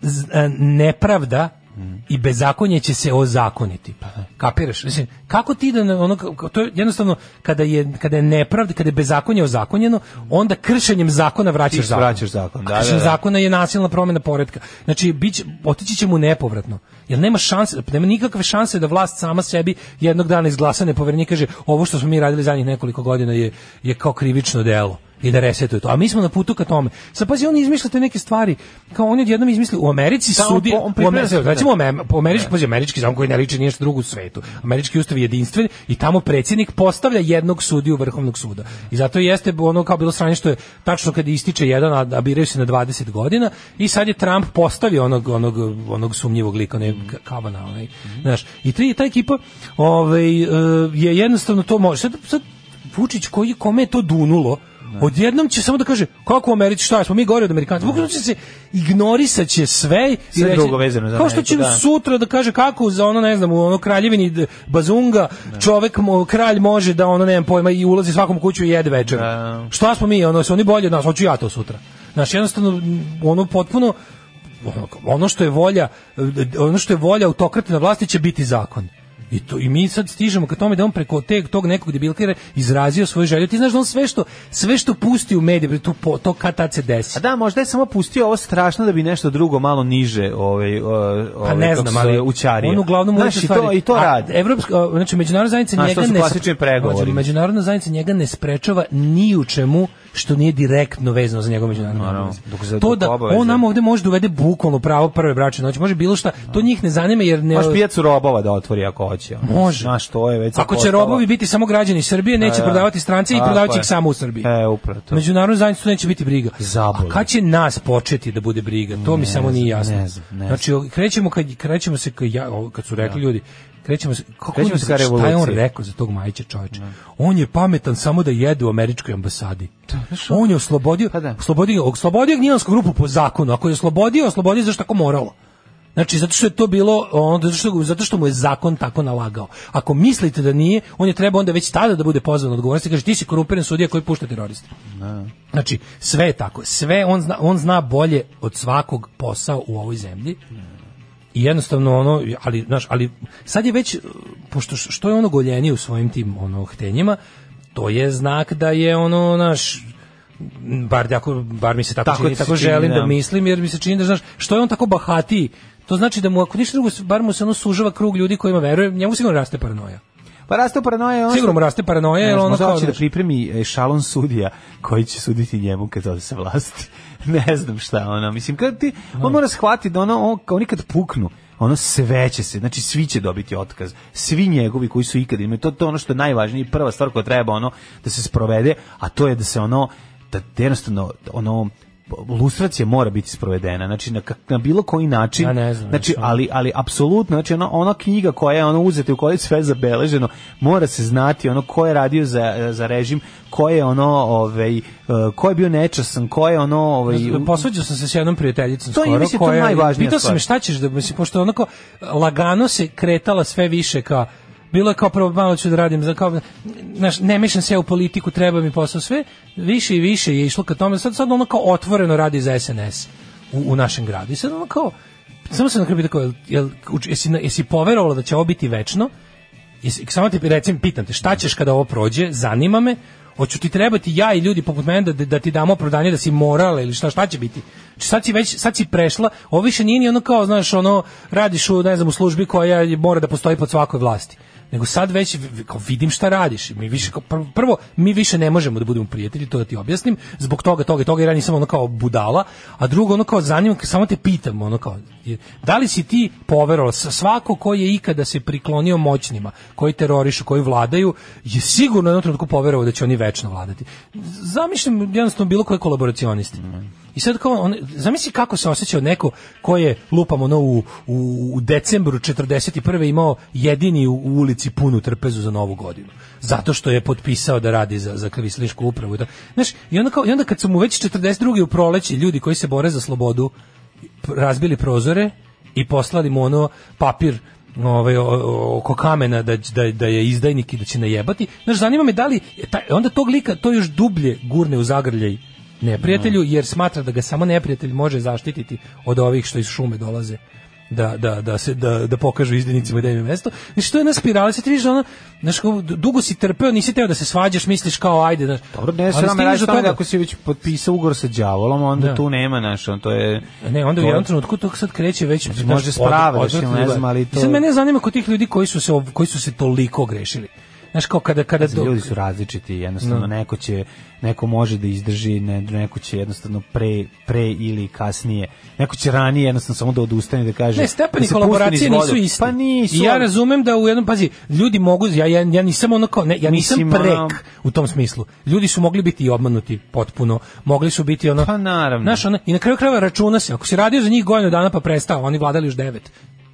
[SPEAKER 6] z- e, nepravda
[SPEAKER 5] Mm.
[SPEAKER 6] i bezakonje će se ozakoniti.
[SPEAKER 5] Pa da.
[SPEAKER 6] Kapiraš? Mislim, kako ti da na- ono ka- ka- to je jednostavno kada je kada je nepravda, kada je bezakonje ozakonjeno, onda kršenjem zakona vraćaš
[SPEAKER 5] Ti
[SPEAKER 6] zakon.
[SPEAKER 5] vraćaš zakon, da,
[SPEAKER 6] A kršenje
[SPEAKER 5] da, da.
[SPEAKER 6] zakona je nasilna promena poretka. Znači bić otići će mu nepovratno. Jer nema šanse, nema nikakve šanse da vlast sama sebi jednog dana izglasa nepoverenika kaže ovo što smo mi radili zadnjih nekoliko godina je je kao krivično delo i da resetuje to. A mi smo na putu ka tome. Sad pazi, oni izmišljaju te neke stvari. Kao oni odjednom izmislili, u Americi
[SPEAKER 5] Da, on
[SPEAKER 6] sudi...
[SPEAKER 5] po- on
[SPEAKER 6] u Americi,
[SPEAKER 5] priprema se,
[SPEAKER 6] recimo, Amer- po američki, pazi, američki zakon koji ne liči ništa drugo u svetu. Američki ustav je jedinstven i tamo predsjednik postavlja jednog sudiju Vrhovnog suda. I zato jeste ono kao bilo sranje što je tačno kad ističe jedan, a, a biraju se na 20 godina i sad je Trump postavio onog, onog, onog sumnjivog lika, ne, Kavana, onaj, znaš. I tri, ta ekipa ovaj, e, je jednostavno to može. Sad, sad Vučić koji kome je to dunulo, Odjednom će samo da kaže kako u Americi šta smo mi gori od Amerikanaca. Bukvalno će se ignorisaće sve i
[SPEAKER 5] Sve
[SPEAKER 6] reći-
[SPEAKER 5] drugo vezano za
[SPEAKER 6] Kao što
[SPEAKER 5] Ameriku,
[SPEAKER 6] će
[SPEAKER 5] da.
[SPEAKER 6] sutra da kaže kako za ono ne znam u ono kraljevini d- Bazunga
[SPEAKER 5] Da.
[SPEAKER 6] čovek mo, kralj može da ono nemam pojma i ulazi svakom u kuću i jede večer.
[SPEAKER 5] Da.
[SPEAKER 6] Šta smo mi ono su oni bolji od nas, hoću ja to sutra. Znaš, jednostavno m, ono potpuno ono, ono što je volja e, ono što je volja autokrata na vlasti će biti zakon. I, to, I mi sad stižemo ka tome da on preko te, tog nekog debilkira izrazio svoju želju. Ti znaš da on sve što, sve što pusti u medije, to, po- to kad tad se desi.
[SPEAKER 5] A da, možda je samo pustio ovo strašno da bi nešto drugo malo niže, ovaj o- ovaj
[SPEAKER 6] Pa ne znam, ali
[SPEAKER 5] učari.
[SPEAKER 6] On uglavnom ulične
[SPEAKER 5] znači, i
[SPEAKER 6] stvari.
[SPEAKER 5] to i to
[SPEAKER 6] A,
[SPEAKER 5] radi.
[SPEAKER 6] Evropska, a, znači međunarodna zajednica
[SPEAKER 5] Znaš,
[SPEAKER 6] njega
[SPEAKER 5] to su
[SPEAKER 6] ne
[SPEAKER 5] klasični pregovori.
[SPEAKER 6] Znači, međunarodna zajednica njega ne sprečava ni u čemu što nije direktno vezano za njegov međunarodni
[SPEAKER 5] Naravno,
[SPEAKER 6] obaveze.
[SPEAKER 5] dok za-
[SPEAKER 6] To
[SPEAKER 5] dok
[SPEAKER 6] da
[SPEAKER 5] obaveze.
[SPEAKER 6] on nam ovde može da uvede bukvalno pravo prve bračne noći, može bilo šta, to njih ne zanima jer ne
[SPEAKER 5] Može pijacu robova da otvori ako hoće. ono.
[SPEAKER 6] E, Može.
[SPEAKER 5] Znaš, to je već
[SPEAKER 6] Ako će
[SPEAKER 5] postalo-
[SPEAKER 6] robovi biti samo građani Srbije, neće
[SPEAKER 5] Da, da.
[SPEAKER 6] prodavati strance i
[SPEAKER 5] Tako
[SPEAKER 6] prodavaće
[SPEAKER 5] je.
[SPEAKER 6] ih samo u Srbiji.
[SPEAKER 5] E, upravo to.
[SPEAKER 6] Međunarodnu zajednicu to neće biti briga.
[SPEAKER 5] Zaboli.
[SPEAKER 6] A kad će nas početi da bude briga? To mi samo nije jasno.
[SPEAKER 5] ne znam, ne znam. Da.
[SPEAKER 6] znači, o- krećemo kad krećemo se ka ja, o, kad su rekli ljudi, krećemo se kako
[SPEAKER 5] Krećemo
[SPEAKER 6] on-
[SPEAKER 5] se ka
[SPEAKER 6] Šta je on
[SPEAKER 5] revoluciji. Da.
[SPEAKER 6] rekao za tog Majića čoveče? On je pametan samo da jede u američkoj ambasadi. On je oslobodio,
[SPEAKER 5] Da, Pa da.
[SPEAKER 6] oslobodio, oslobodio Gnjilansku grupu po zakonu. Ako je oslobodio, oslobodio je zašto tako moralo. Znači, zato što je to bilo, onda, zato, što, zato što mu je zakon tako nalagao. Ako mislite da nije, on je trebao onda već tada da bude pozvan odgovornosti. Kaže, ti si korumpiran sudija koji pušta teroriste. Znači, sve je tako. Sve on zna, on zna bolje od svakog posao u ovoj zemlji. I jednostavno ono, ali znaš, ali sad je već pošto š- što je ono goljenje u svojim tim ono htenjima, to je znak da je ono naš bar da ako bar mi se tako,
[SPEAKER 5] Tako
[SPEAKER 6] tako
[SPEAKER 5] ti
[SPEAKER 6] čini,
[SPEAKER 5] se
[SPEAKER 6] tako
[SPEAKER 5] čini,
[SPEAKER 6] želim
[SPEAKER 5] da.
[SPEAKER 6] da mislim jer mi se čini da znaš što je on tako bahati to znači da mu ako ništa drugo bar mu se ono sužava krug ljudi kojima veruje njemu sigurno raste paranoja
[SPEAKER 5] Pa raste paranoja. ono
[SPEAKER 6] sigurno
[SPEAKER 5] što-
[SPEAKER 6] mu raste paranoja
[SPEAKER 5] Ne,
[SPEAKER 6] jer ono
[SPEAKER 5] možda
[SPEAKER 6] kao
[SPEAKER 5] hoće da
[SPEAKER 6] znaš,
[SPEAKER 5] pripremi e, šalon sudija koji će suditi njemu kad ode sa vlasti. ne znam šta ono. Mislim, kad ti, on mora shvatiti da ono, on, kao nikad puknu ono sve će se, znači svi će dobiti otkaz, svi njegovi koji su ikad imali, to, to je ono što je najvažnije i prva stvar koja treba ono da se sprovede, a to je da se ono, da jednostavno ono, lustracija mora biti sprovedena, znači na, kak- na bilo koji način,
[SPEAKER 6] Ja ne znam,
[SPEAKER 5] znači,
[SPEAKER 6] znači, ono-
[SPEAKER 5] ali ali apsolutno znači ona ona knjiga koja je ono uzeta i u kojoj je sve zabeleženo mora se znati ono ko je radio za, za režim ko je ono ovaj eh, ko je bio nečasan ko je ono ovaj
[SPEAKER 6] Posvađao sam se s jednom prijateljicom
[SPEAKER 5] To je,
[SPEAKER 6] skoro
[SPEAKER 5] mislim, to je najvažnija
[SPEAKER 6] pitao sam
[SPEAKER 5] stvar.
[SPEAKER 6] je šta ćeš da mislim pošto onako lagano se kretala sve više ka bilo je kao prvo malo ću da radim za kao znaš, ne mešam se ja u politiku treba mi posao sve više i više je išlo ka tome sad sad ono kao otvoreno radi za SNS u, u našem gradu i sad ono kao samo se na kraju pitao kao, jel, jel, uč- jesi, na- jesi poverovala da će ovo biti večno Jesi, samo ti recim, pitam te, šta ćeš kada ovo prođe, zanima me, hoću ti trebati ja i ljudi poput mene da, da ti damo opravdanje da si morala ili šta, šta će biti? Znači sad si već, sad si prešla, ovo više nije ni ono kao, znaš, ono, radiš u, ne znam, u službi koja je- mora da postoji pod svakoj vlasti. Nego sad već vi- kao vidim šta radiš. Mi više kao, prvo- prvo mi više ne možemo da budemo prijatelji, to da ti objasnim. Zbog toga, toga i toga jer ja nisam ono kao budala, a drugo ono kao zanima samo te pitam ono kao je- da li si ti poverovao sa svako ko je ikada se priklonio moćnima, koji terorišu, koji vladaju, je sigurno u jednom trenutku poverovao da će oni večno vladati. Zamišljam jednostavno bilo koje kolaboracionisti. I sad kao, on, zamisli kako se osjećao neko ko je, lupam ono, u, u, u decembru 41. imao jedini u, u ulici punu trpezu za novu godinu. Zato što je potpisao da radi za, za klavislišku upravu. i Da, znaš, i, onda kao, I onda kad su mu već 42. u proleći ljudi koji se bore za slobodu p- razbili prozore i poslali mu ono papir ovaj, o- o- oko kamena da, će- da, da je izdajnik i da će najebati. Znaš, zanima me da li, taj, onda tog lika to još dublje gurne u zagrljaj neprijatelju, jer smatra da ga samo neprijatelj može zaštititi od ovih što iz šume dolaze da, da, da, se, da, da pokažu izdajnicima da im je mesto. Znači, to je jedna spirala, se ti vidiš da ono, znaš, kao, dugo si trpeo, nisi teo da se svađaš, misliš kao, ajde, znaš.
[SPEAKER 5] Dobro, ne
[SPEAKER 6] Ali
[SPEAKER 5] sram
[SPEAKER 6] stigneš
[SPEAKER 5] radi
[SPEAKER 6] do
[SPEAKER 5] tome da
[SPEAKER 6] toga-
[SPEAKER 5] ako si već potpisao ugovor sa đavolom, onda
[SPEAKER 6] Da.
[SPEAKER 5] tu nema naš, on to je
[SPEAKER 6] Ne, onda u
[SPEAKER 5] to je-
[SPEAKER 6] jednom trenutku to Znači, sad kreće već znaš,
[SPEAKER 5] možda s prava,
[SPEAKER 6] odvratno
[SPEAKER 5] da se ne
[SPEAKER 6] izgleda.
[SPEAKER 5] znam, ali to-
[SPEAKER 6] Sad mene zanima kod tih ljudi koji su se ov- koji su se toliko grešili. Znaš kao kada kada do-
[SPEAKER 5] Znači, ljudi su različiti, jednostavno
[SPEAKER 6] No.
[SPEAKER 5] neko će neko može da izdrži, ne, neko će jednostavno pre pre ili kasnije. Neko će ranije jednostavno samo da odustane da kaže
[SPEAKER 6] Ne,
[SPEAKER 5] da
[SPEAKER 6] stepeni
[SPEAKER 5] se pusti niz
[SPEAKER 6] kolaboracije
[SPEAKER 5] vodu.
[SPEAKER 6] nisu isti.
[SPEAKER 5] Pa nisu.
[SPEAKER 6] I ja
[SPEAKER 5] ali-
[SPEAKER 6] razumem da u jednom, pazi, ljudi mogu, ja, ja, ja nisam ono kao, ne, ja nisam
[SPEAKER 5] Mislim, ono-
[SPEAKER 6] prek u tom smislu. Ljudi su mogli biti i obmanuti potpuno, mogli su biti ono...
[SPEAKER 5] Pa naravno.
[SPEAKER 6] Znaš, ono, i na kraju krajeva računa se, ako si radio za njih godinu dana pa prestao, oni vladali još devet.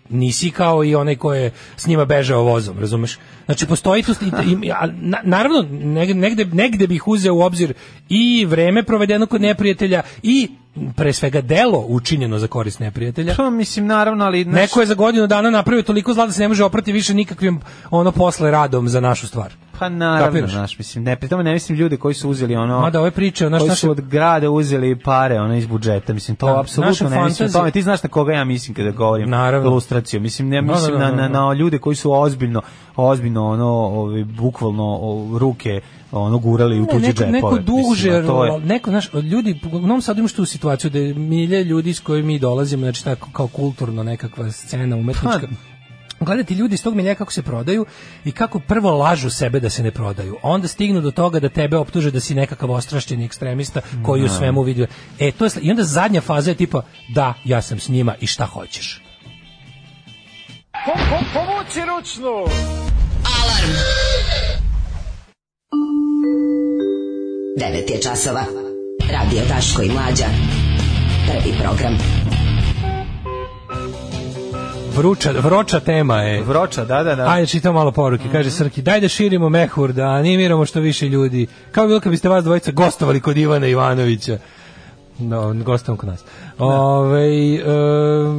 [SPEAKER 6] Nisi kao i onaj ko je s njima bežao vozom, razumeš? Znači, postoji tu... i- i- a, na- naravno, neg- negde, negde bih uzeo u obzir i vreme provedeno kod neprijatelja i pre svega delo učinjeno za korist neprijatelja.
[SPEAKER 5] Pa mislim naravno, ali znaš,
[SPEAKER 6] Neko je za godinu dana napravio toliko zla da se ne može oprati više nikakvim ono posle radom za našu stvar.
[SPEAKER 5] pa naravno,
[SPEAKER 6] Kapiraš?
[SPEAKER 5] znaš, mislim, ne, pri tome ne mislim ljude koji su uzeli ono
[SPEAKER 6] Mada ove priče, ono
[SPEAKER 5] koji
[SPEAKER 6] šta
[SPEAKER 5] su od grada uzeli pare ono iz budžeta, mislim to
[SPEAKER 6] Da, naša
[SPEAKER 5] apsolutno ne mislim o
[SPEAKER 6] fantazija-
[SPEAKER 5] tome. Ti znaš na koga ja mislim kada govorim
[SPEAKER 6] Naravno.
[SPEAKER 5] ilustraciju. Mislim ne
[SPEAKER 6] Da,
[SPEAKER 5] mislim
[SPEAKER 6] da, da,
[SPEAKER 5] na, na,
[SPEAKER 6] da.
[SPEAKER 5] na ljude koji su ozbiljno ozbiljno ono ovaj bukvalno o, ruke ono gurali u
[SPEAKER 6] Ne,
[SPEAKER 5] tuđe
[SPEAKER 6] neko,
[SPEAKER 5] džepove.
[SPEAKER 6] neko duže,
[SPEAKER 5] mislim, a to je,
[SPEAKER 6] neko, znaš, ljudi, u Novom Sadu imaš tu situaciju da je milje ljudi s kojim mi dolazimo, znači tako kao kulturno nekakva scena umetnička.
[SPEAKER 5] Pa-
[SPEAKER 6] Gledati ljudi iz tog milja kako se prodaju i kako prvo lažu sebe da se ne prodaju. a Onda stignu do toga da tebe optuže da si nekakav ostrašćeni ekstremista koji
[SPEAKER 5] Da.
[SPEAKER 6] u svemu vidi. E, to je, sl- I onda zadnja faza je tipa da, ja sam s njima i šta hoćeš.
[SPEAKER 4] Alarm. 9 je časova. Radio Daško i Mlađa. Prvi program.
[SPEAKER 6] Vruća, vroča tema je.
[SPEAKER 5] Vroča, da, da, da.
[SPEAKER 6] Ajde, čitam malo poruke. Kaže Srki, daj da širimo mehur, da animiramo što više ljudi. Kao bi bilo kad biste vas dvojica gostovali kod Ivana Ivanovića. No, gostom kod nas. Ovaj em,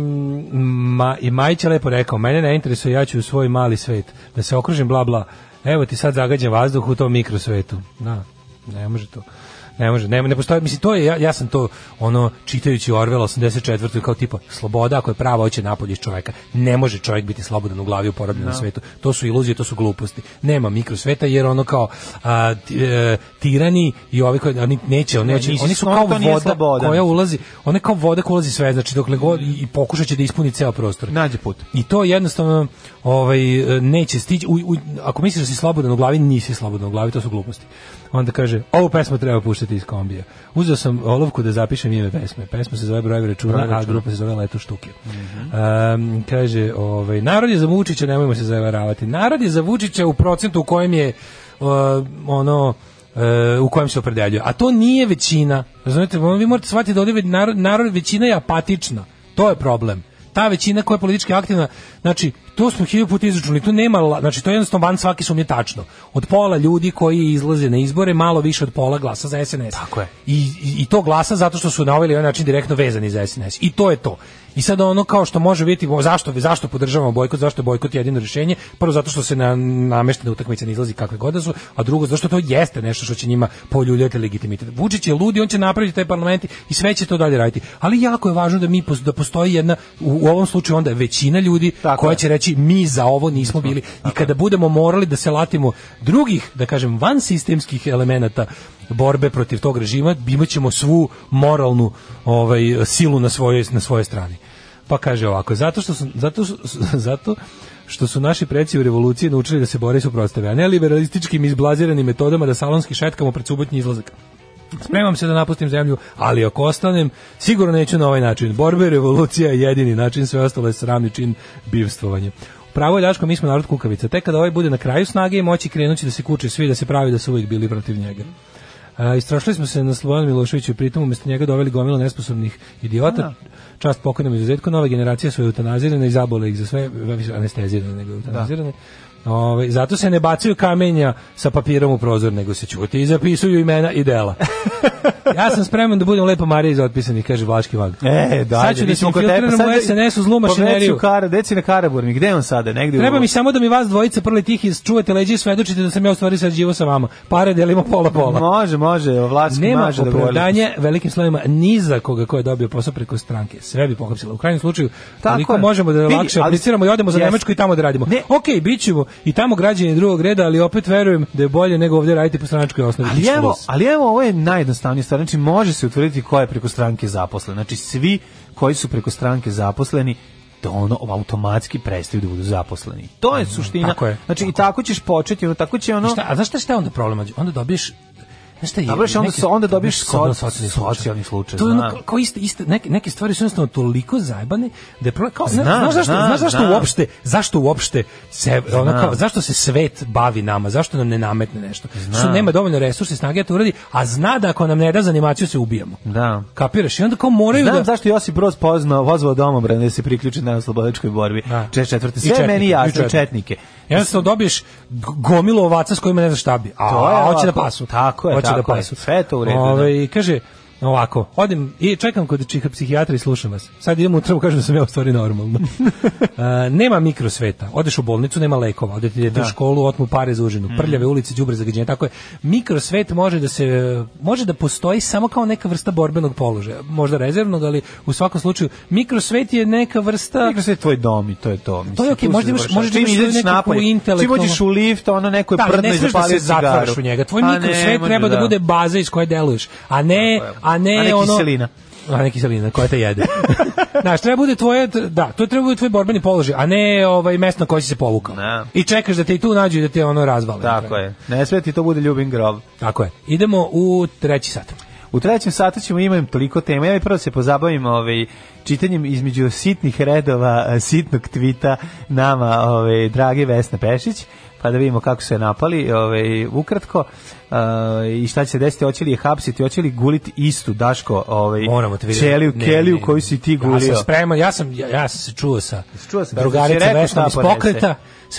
[SPEAKER 6] ma, I Majić je lepo rekao, mene ne interesuje, ja ću u svoj mali svet, da se okružim, bla, bla. Evo ti sad zagađen vazduh u tom mikrosvetu. Da, ne može to. Ne može, ne, ne postoji, mislim, to je, ja, ja sam to, ono, čitajući Orwell 84. kao tipa, sloboda ako je prava, hoće napolje iz čoveka. Ne može čovjek biti slobodan u glavi u porobljenom svetu. To su iluzije, to su gluposti. Nema mikrosveta jer ono kao a, ti- e, tirani i ovi koji, oni neće, oni,
[SPEAKER 5] Ne,
[SPEAKER 6] neće,
[SPEAKER 5] nisi
[SPEAKER 6] Znači, oni su
[SPEAKER 5] sklon,
[SPEAKER 6] kao
[SPEAKER 5] to nije
[SPEAKER 6] voda
[SPEAKER 5] slobodan.
[SPEAKER 6] koja ulazi, ona je kao voda koja ulazi sve, znači dokle god i, i pokušat će da ispuni ceo prostor.
[SPEAKER 5] Nađe put.
[SPEAKER 6] I to jednostavno ovaj, e, neće stići. U, u, ako misliš da si slobodan u glavi, nisi slobodan u glavi, to su gluposti. Onda kaže, ovu pesmu treba puštati iz kombija. Uzeo sam olovku da zapišem ime pesme. Pesma se zove Brojevi računa, Mhm. a grupa se zove Leto štuke. Um, kaže, ovaj, narod je za Vučića, nemojmo se zavaravati. Narod je za Vučića u procentu u kojem je uh, ono e, u kojem se opredeljuje. A to nije većina. Razumete, vi morate shvatiti da ovdje narod, narod većina je apatična. To je problem ta većina koja je politički aktivna, znači, to smo hiljadu puta izračunali, tu nema, la- znači, to je jednostavno van svaki sumnje tačno. Od pola ljudi koji izlaze na izbore, malo više od pola glasa za SNS. Tako je. I, i, i to glasa zato što su na ovaj ili onaj način direktno vezani za SNS. I to je to. I sad ono kao što može vidjeti, o, zašto, zašto podržavamo bojkot, zašto je bojkot jedino rješenje, prvo zato što se na nameštene utakmice ne izlazi kakve god da su, a drugo zato što to jeste nešto što će njima poljuljati legitimitet. Vučić je ludi, on će napraviti taj parlament i sve će to da dalje raditi. Ali jako je važno da mi pos- da postoji jedna u, u ovom slučaju onda je većina ljudi
[SPEAKER 5] Tako
[SPEAKER 6] koja
[SPEAKER 5] je.
[SPEAKER 6] će reći mi za ovo nismo bili i kada budemo morali da se latimo drugih, da kažem, van sistemskih elemenata borbe protiv tog režima, imaćemo svu moralnu ovaj silu na svojoj na svojoj strani. Pa kaže ovako, zato što su, zato, su- zato što su naši preci u revoluciji naučili da se bore suprotstave, a ne liberalističkim izblaziranim metodama da salonski šetkamo pred subotnji izlazak. Spremam se da napustim zemlju, ali ako ostanem, sigurno neću na ovaj način. Borbe, revolucija je jedini način, sve ostalo je sramni čin bivstvovanje. Pravo je Daško, mi smo narod kukavica. Tek kada ovaj bude na kraju snage i moći krenući da se kuče svi, da se pravi da su uvijek bili protiv njega. A, istrošili smo se na Slobodanu Miloševiću i pritom umjesto njega doveli gomilu nesposobnih idiota. Čast pokojnom izuzetku, nova generacija su eutanazirane i zabole ih za sve, više anestezirane nego eutanazirane. Ove, zato se ne bacaju kamenja sa papirom u prozor, nego se čuti i zapisuju imena i dela. ja sam spreman da budem lepa Marija iz otpisanih, kaže Vlaški vag.
[SPEAKER 5] E, da,
[SPEAKER 6] Sad ću da se infiltriram u SNS u zlu mašineriju.
[SPEAKER 5] Kara, deci na Karaburmi, gde je on sada? Negde
[SPEAKER 6] Treba
[SPEAKER 5] u...
[SPEAKER 6] mi samo da mi vas dvojica prli tih čuvate leđe i svedočite da sam ja u stvari sarađivao sa vama. Pare delimo pola-pola.
[SPEAKER 5] Može, može, Vlaški
[SPEAKER 6] Nema
[SPEAKER 5] maže da dovoljno.
[SPEAKER 6] opravdanja velikim slovima ni za koga ko je dobio posao preko stranke. Sve bi pohapsila. U krajnjem slučaju,
[SPEAKER 5] Tako
[SPEAKER 6] toliko
[SPEAKER 5] je.
[SPEAKER 6] možemo da
[SPEAKER 5] Vidi,
[SPEAKER 6] lakše
[SPEAKER 5] ali-
[SPEAKER 6] apliciramo i odemo za
[SPEAKER 5] Jes.
[SPEAKER 6] Nemačku i tamo da radimo.
[SPEAKER 5] Ne.
[SPEAKER 6] Ok, bit ćemo i tamo građani drugog reda, ali opet verujem da je bolje nego ovdje raditi po stranačkoj osnovi.
[SPEAKER 5] Ali
[SPEAKER 6] Kiš
[SPEAKER 5] evo,
[SPEAKER 6] plus.
[SPEAKER 5] ali evo, ovo je najjednostavnija stvar. Znači, može se utvrditi ko je preko stranke zaposlen. Znači, svi koji su preko stranke zaposleni, da ono automatski prestaju da budu zaposleni. To je suština.
[SPEAKER 6] Mhm, tako je.
[SPEAKER 5] Znači, i tako ćeš početi, ono, tako će ono...
[SPEAKER 6] I šta, a znaš šta, šta je onda problem? mlađe? Onda dobiješ Znaš šta je?
[SPEAKER 5] Dobro, što onda
[SPEAKER 6] neke-
[SPEAKER 5] so- onda dobiješ
[SPEAKER 6] neke- kao
[SPEAKER 5] soc-
[SPEAKER 6] socijalni slučaj.
[SPEAKER 5] socijalni slučaj,
[SPEAKER 6] To je ono
[SPEAKER 5] znam.
[SPEAKER 6] kao- kao iste, iste, neke, neke stvari su jednostavno toliko zajebane da je pro, kao, zna,
[SPEAKER 5] Znam,
[SPEAKER 6] znaš zašto,
[SPEAKER 5] znam,
[SPEAKER 6] znaš zašto
[SPEAKER 5] znam.
[SPEAKER 6] uopšte, zašto uopšte se, ono
[SPEAKER 5] Znam.
[SPEAKER 6] kao, zašto se svet bavi nama, zašto nam ne nametne nešto. Što nema dovoljno resursa i snage da to uradi, a zna da ako nam ne da za animaciju se ubijamo.
[SPEAKER 5] Da.
[SPEAKER 6] Kapiraš? I onda kao moraju
[SPEAKER 5] Znam
[SPEAKER 6] da...
[SPEAKER 5] zašto Josip Broz pozvao vozvao domobrane da se priključi na slobodačkoj borbi.
[SPEAKER 6] Da.
[SPEAKER 5] 44.
[SPEAKER 6] I
[SPEAKER 5] Sve je
[SPEAKER 6] četnike,
[SPEAKER 5] meni jasno,
[SPEAKER 6] i
[SPEAKER 5] i četnike.
[SPEAKER 6] Jednostavno dobiješ g- gomilu ovaca s kojima ne znaš šta bi. A,
[SPEAKER 5] To je
[SPEAKER 6] a hoće da
[SPEAKER 5] ovako.
[SPEAKER 6] pasu.
[SPEAKER 5] Tako je,
[SPEAKER 6] hoće
[SPEAKER 5] tako
[SPEAKER 6] da
[SPEAKER 5] je.
[SPEAKER 6] pasu.
[SPEAKER 5] Sve je to u redu, da.
[SPEAKER 6] Ovaj, kaže, ovako, odim i čekam kod čika psihijatra i slušam vas. Sad idem u trvu, kažem da sam ja u stvari normalno. A, nema mikrosveta. Odeš u bolnicu, nema lekova. Odete idete
[SPEAKER 5] Da.
[SPEAKER 6] u školu, otmu pare za užinu.
[SPEAKER 5] Mhm.
[SPEAKER 6] Prljave ulice, đubre zagađenje, tako je. Mikrosvet može da se može da postoji samo kao neka vrsta borbenog položaja, možda rezervnog, ali u svakom slučaju mikrosvet je neka vrsta
[SPEAKER 5] Igra se tvoj dom i to je to. Mislim,
[SPEAKER 6] To je okej,
[SPEAKER 5] tu se
[SPEAKER 6] možda imaš-
[SPEAKER 5] završava.
[SPEAKER 6] možda
[SPEAKER 5] Čim
[SPEAKER 6] imaš svoju
[SPEAKER 5] izađeš
[SPEAKER 6] nekakvu
[SPEAKER 5] napolje,
[SPEAKER 6] intelektualnu-
[SPEAKER 5] Čim uđeš u lift, ono neko je
[SPEAKER 6] Da, ali
[SPEAKER 5] prdno
[SPEAKER 6] ne
[SPEAKER 5] i
[SPEAKER 6] smiješ da
[SPEAKER 5] zapalio
[SPEAKER 6] se
[SPEAKER 5] cigaru.
[SPEAKER 6] zatvaraš u njega. Tvoj
[SPEAKER 5] Pa
[SPEAKER 6] mikrosvet
[SPEAKER 5] nemoj,
[SPEAKER 6] treba da
[SPEAKER 5] da.
[SPEAKER 6] bude baza iz koje deluješ, a ne, a ne,
[SPEAKER 5] A ne
[SPEAKER 6] ono...
[SPEAKER 5] kiselina.
[SPEAKER 6] A ne kiselina, koja te jede. Znaš, treba bude tvoje, da, to treba bude tvoj borbeni položaj, a ne ovaj, mesto na koje si se povukao.
[SPEAKER 5] Da.
[SPEAKER 6] I čekaš da te i tu nađu i da te ono razvale.
[SPEAKER 5] Tako je. Ne sve ti to bude Ljubin grob.
[SPEAKER 6] Tako je. Idemo u treći sat.
[SPEAKER 5] U trećem satu ćemo imati toliko tema. Ja bih prvo se da pozabavim ovaj, čitanjem između sitnih redova, e, sitnog tvita nama, ove, drage Vesna Pešić, pa da vidimo kako su je napali, ove, ukratko, e, i šta će se desiti, hoće li je hapsiti, hoće li guliti istu, Daško, ove,
[SPEAKER 6] Moramo te vidjeti.
[SPEAKER 5] Ćeliju,
[SPEAKER 6] Ne,
[SPEAKER 5] Keliju
[SPEAKER 6] ne.
[SPEAKER 5] koju si ti
[SPEAKER 6] Ja
[SPEAKER 5] gulio.
[SPEAKER 6] sam spreman, ja sam, ja, ja sam se čuo sa
[SPEAKER 5] Čuo sam, da si
[SPEAKER 6] drugarica
[SPEAKER 5] rekao
[SPEAKER 6] Vesnom
[SPEAKER 5] šta
[SPEAKER 6] iz
[SPEAKER 5] ponese.
[SPEAKER 6] pokreta, s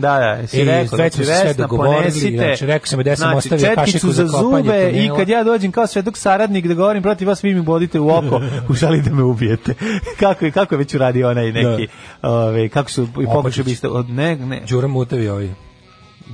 [SPEAKER 5] Da, da, si
[SPEAKER 6] i
[SPEAKER 5] rekao,
[SPEAKER 6] već smo se sve
[SPEAKER 5] Vesna,
[SPEAKER 6] dogovorili.
[SPEAKER 5] ponesite.
[SPEAKER 6] Znači, rekao sam joj da sam
[SPEAKER 5] Znači,
[SPEAKER 6] ostavio kašiku
[SPEAKER 5] četkicu
[SPEAKER 6] za kopanje.
[SPEAKER 5] zube i
[SPEAKER 6] tunela.
[SPEAKER 5] kad ja dođem kao svedok saradnik da govorim protiv vas, vi mi bodite u oko u žali da me ubijete. kako, je, kako je već uradio onaj
[SPEAKER 6] Da.
[SPEAKER 5] neki, ove, kako su i pokušali
[SPEAKER 6] Opačić.
[SPEAKER 5] biste, od ne, ne,
[SPEAKER 6] Đura Mutavi ovi.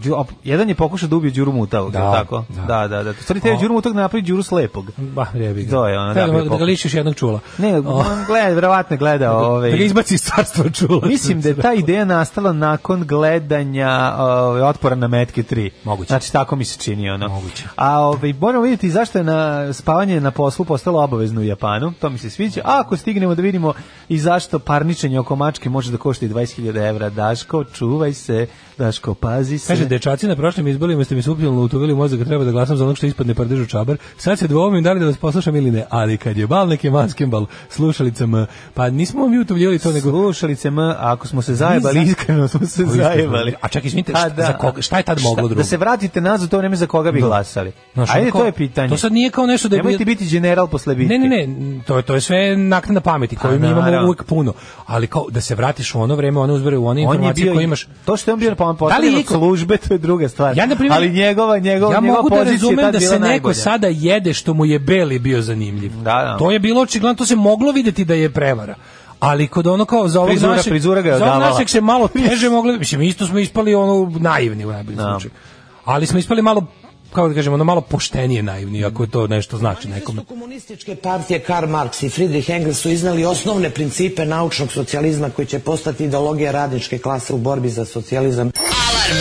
[SPEAKER 5] Đu- op- jedan je pokušao da ubije Đuru Mutavog,
[SPEAKER 6] Da,
[SPEAKER 5] da, tako?
[SPEAKER 6] da.
[SPEAKER 5] Da, da, da. U stvari, te
[SPEAKER 6] O.
[SPEAKER 5] Đuru Mutavog napravi Đuru Slepog.
[SPEAKER 6] Bah, jebi ga.
[SPEAKER 5] To je ono, da,
[SPEAKER 6] Treba
[SPEAKER 5] bio
[SPEAKER 6] da, ga
[SPEAKER 5] pokušaj.
[SPEAKER 6] lišiš jednog čula.
[SPEAKER 5] Ne,
[SPEAKER 6] O,
[SPEAKER 5] on gleda, verovatno gleda ove...
[SPEAKER 6] da ga izbaci iz carstva čula.
[SPEAKER 5] Mislim da je ta ideja nastala nakon gledanja ovaj, otpora na metke 3.
[SPEAKER 6] Moguće.
[SPEAKER 5] Znači tako mi se čini ono.
[SPEAKER 6] Moguće.
[SPEAKER 5] A ovaj moramo vidjeti zašto je na spavanje na poslu postalo obavezno u Japanu. To mi se sviđa. A ako stignemo da vidimo i zašto parničenje oko mačke može da košta i 20.000 evra. Daško, čuvaj se. Daško, pazi se.
[SPEAKER 6] Kaže, dečaci na prošlim izborima ste mi supljeno utovili mozak da treba da glasam za onog što ispadne pardežu čabar. Sad se dvomim da li da vas poslušam ili ne, ali kad je bal neki maskembal slušalicama, pa nismo mi utovljivali to nego...
[SPEAKER 5] Slušalice M, ako smo se zajebali,
[SPEAKER 6] Mi za-
[SPEAKER 5] iskreno smo se
[SPEAKER 6] Iskreno.
[SPEAKER 5] zajebali.
[SPEAKER 6] A čekaj, izvinite,
[SPEAKER 5] A,
[SPEAKER 6] šta- za koga- šta je tad moglo drugo? Da.
[SPEAKER 5] Da se vratite nazad u to vreme za koga bi glasali.
[SPEAKER 6] Znaš, ono
[SPEAKER 5] Ajde,
[SPEAKER 6] kao-
[SPEAKER 5] to je pitanje.
[SPEAKER 6] To sad nije kao nešto da je...
[SPEAKER 5] Nemojte biti general posle bitke.
[SPEAKER 6] Ne, ne, ne, to je to je sve naknadna pameti koju mi imamo
[SPEAKER 5] naravno.
[SPEAKER 6] uvek puno. Ali kao da se vratiš u ono vreme, one uzbere u one
[SPEAKER 5] On je
[SPEAKER 6] informacije
[SPEAKER 5] bio,
[SPEAKER 6] koje imaš.
[SPEAKER 5] To što je on bio pa on
[SPEAKER 6] Da li je
[SPEAKER 5] postavljen od
[SPEAKER 6] iko-
[SPEAKER 5] službe, to je druga stvar.
[SPEAKER 6] Ja, na primjer,
[SPEAKER 5] ali njegova, njegova,
[SPEAKER 6] ja
[SPEAKER 5] njegova
[SPEAKER 6] mogu da
[SPEAKER 5] pozicija je
[SPEAKER 6] razumem
[SPEAKER 5] tad
[SPEAKER 6] da
[SPEAKER 5] bila
[SPEAKER 6] se neko
[SPEAKER 5] najbolja.
[SPEAKER 6] sada jede što mu je Beli bio zanimljiv.
[SPEAKER 5] Da, da.
[SPEAKER 6] To je bilo očigledno, to se moglo videti da je prevara. Ali kod ono kao za ovog
[SPEAKER 5] Frizura-
[SPEAKER 6] našeg,
[SPEAKER 5] frizura ga je
[SPEAKER 6] za ovog
[SPEAKER 5] odavala.
[SPEAKER 6] našeg se malo teže moglo, mislim isto smo ispali ono naivni u najboljem
[SPEAKER 5] Da.
[SPEAKER 6] slučaju. Ali smo ispali malo kako da kažemo, ono malo poštenije naivni, ako to nešto znači nekome.
[SPEAKER 10] Manifestu komunističke partije Karl Marx i Friedrich Engels su iznali osnovne principe naučnog socijalizma koji će postati ideologija radničke klase u borbi za socijalizam.
[SPEAKER 4] Alarm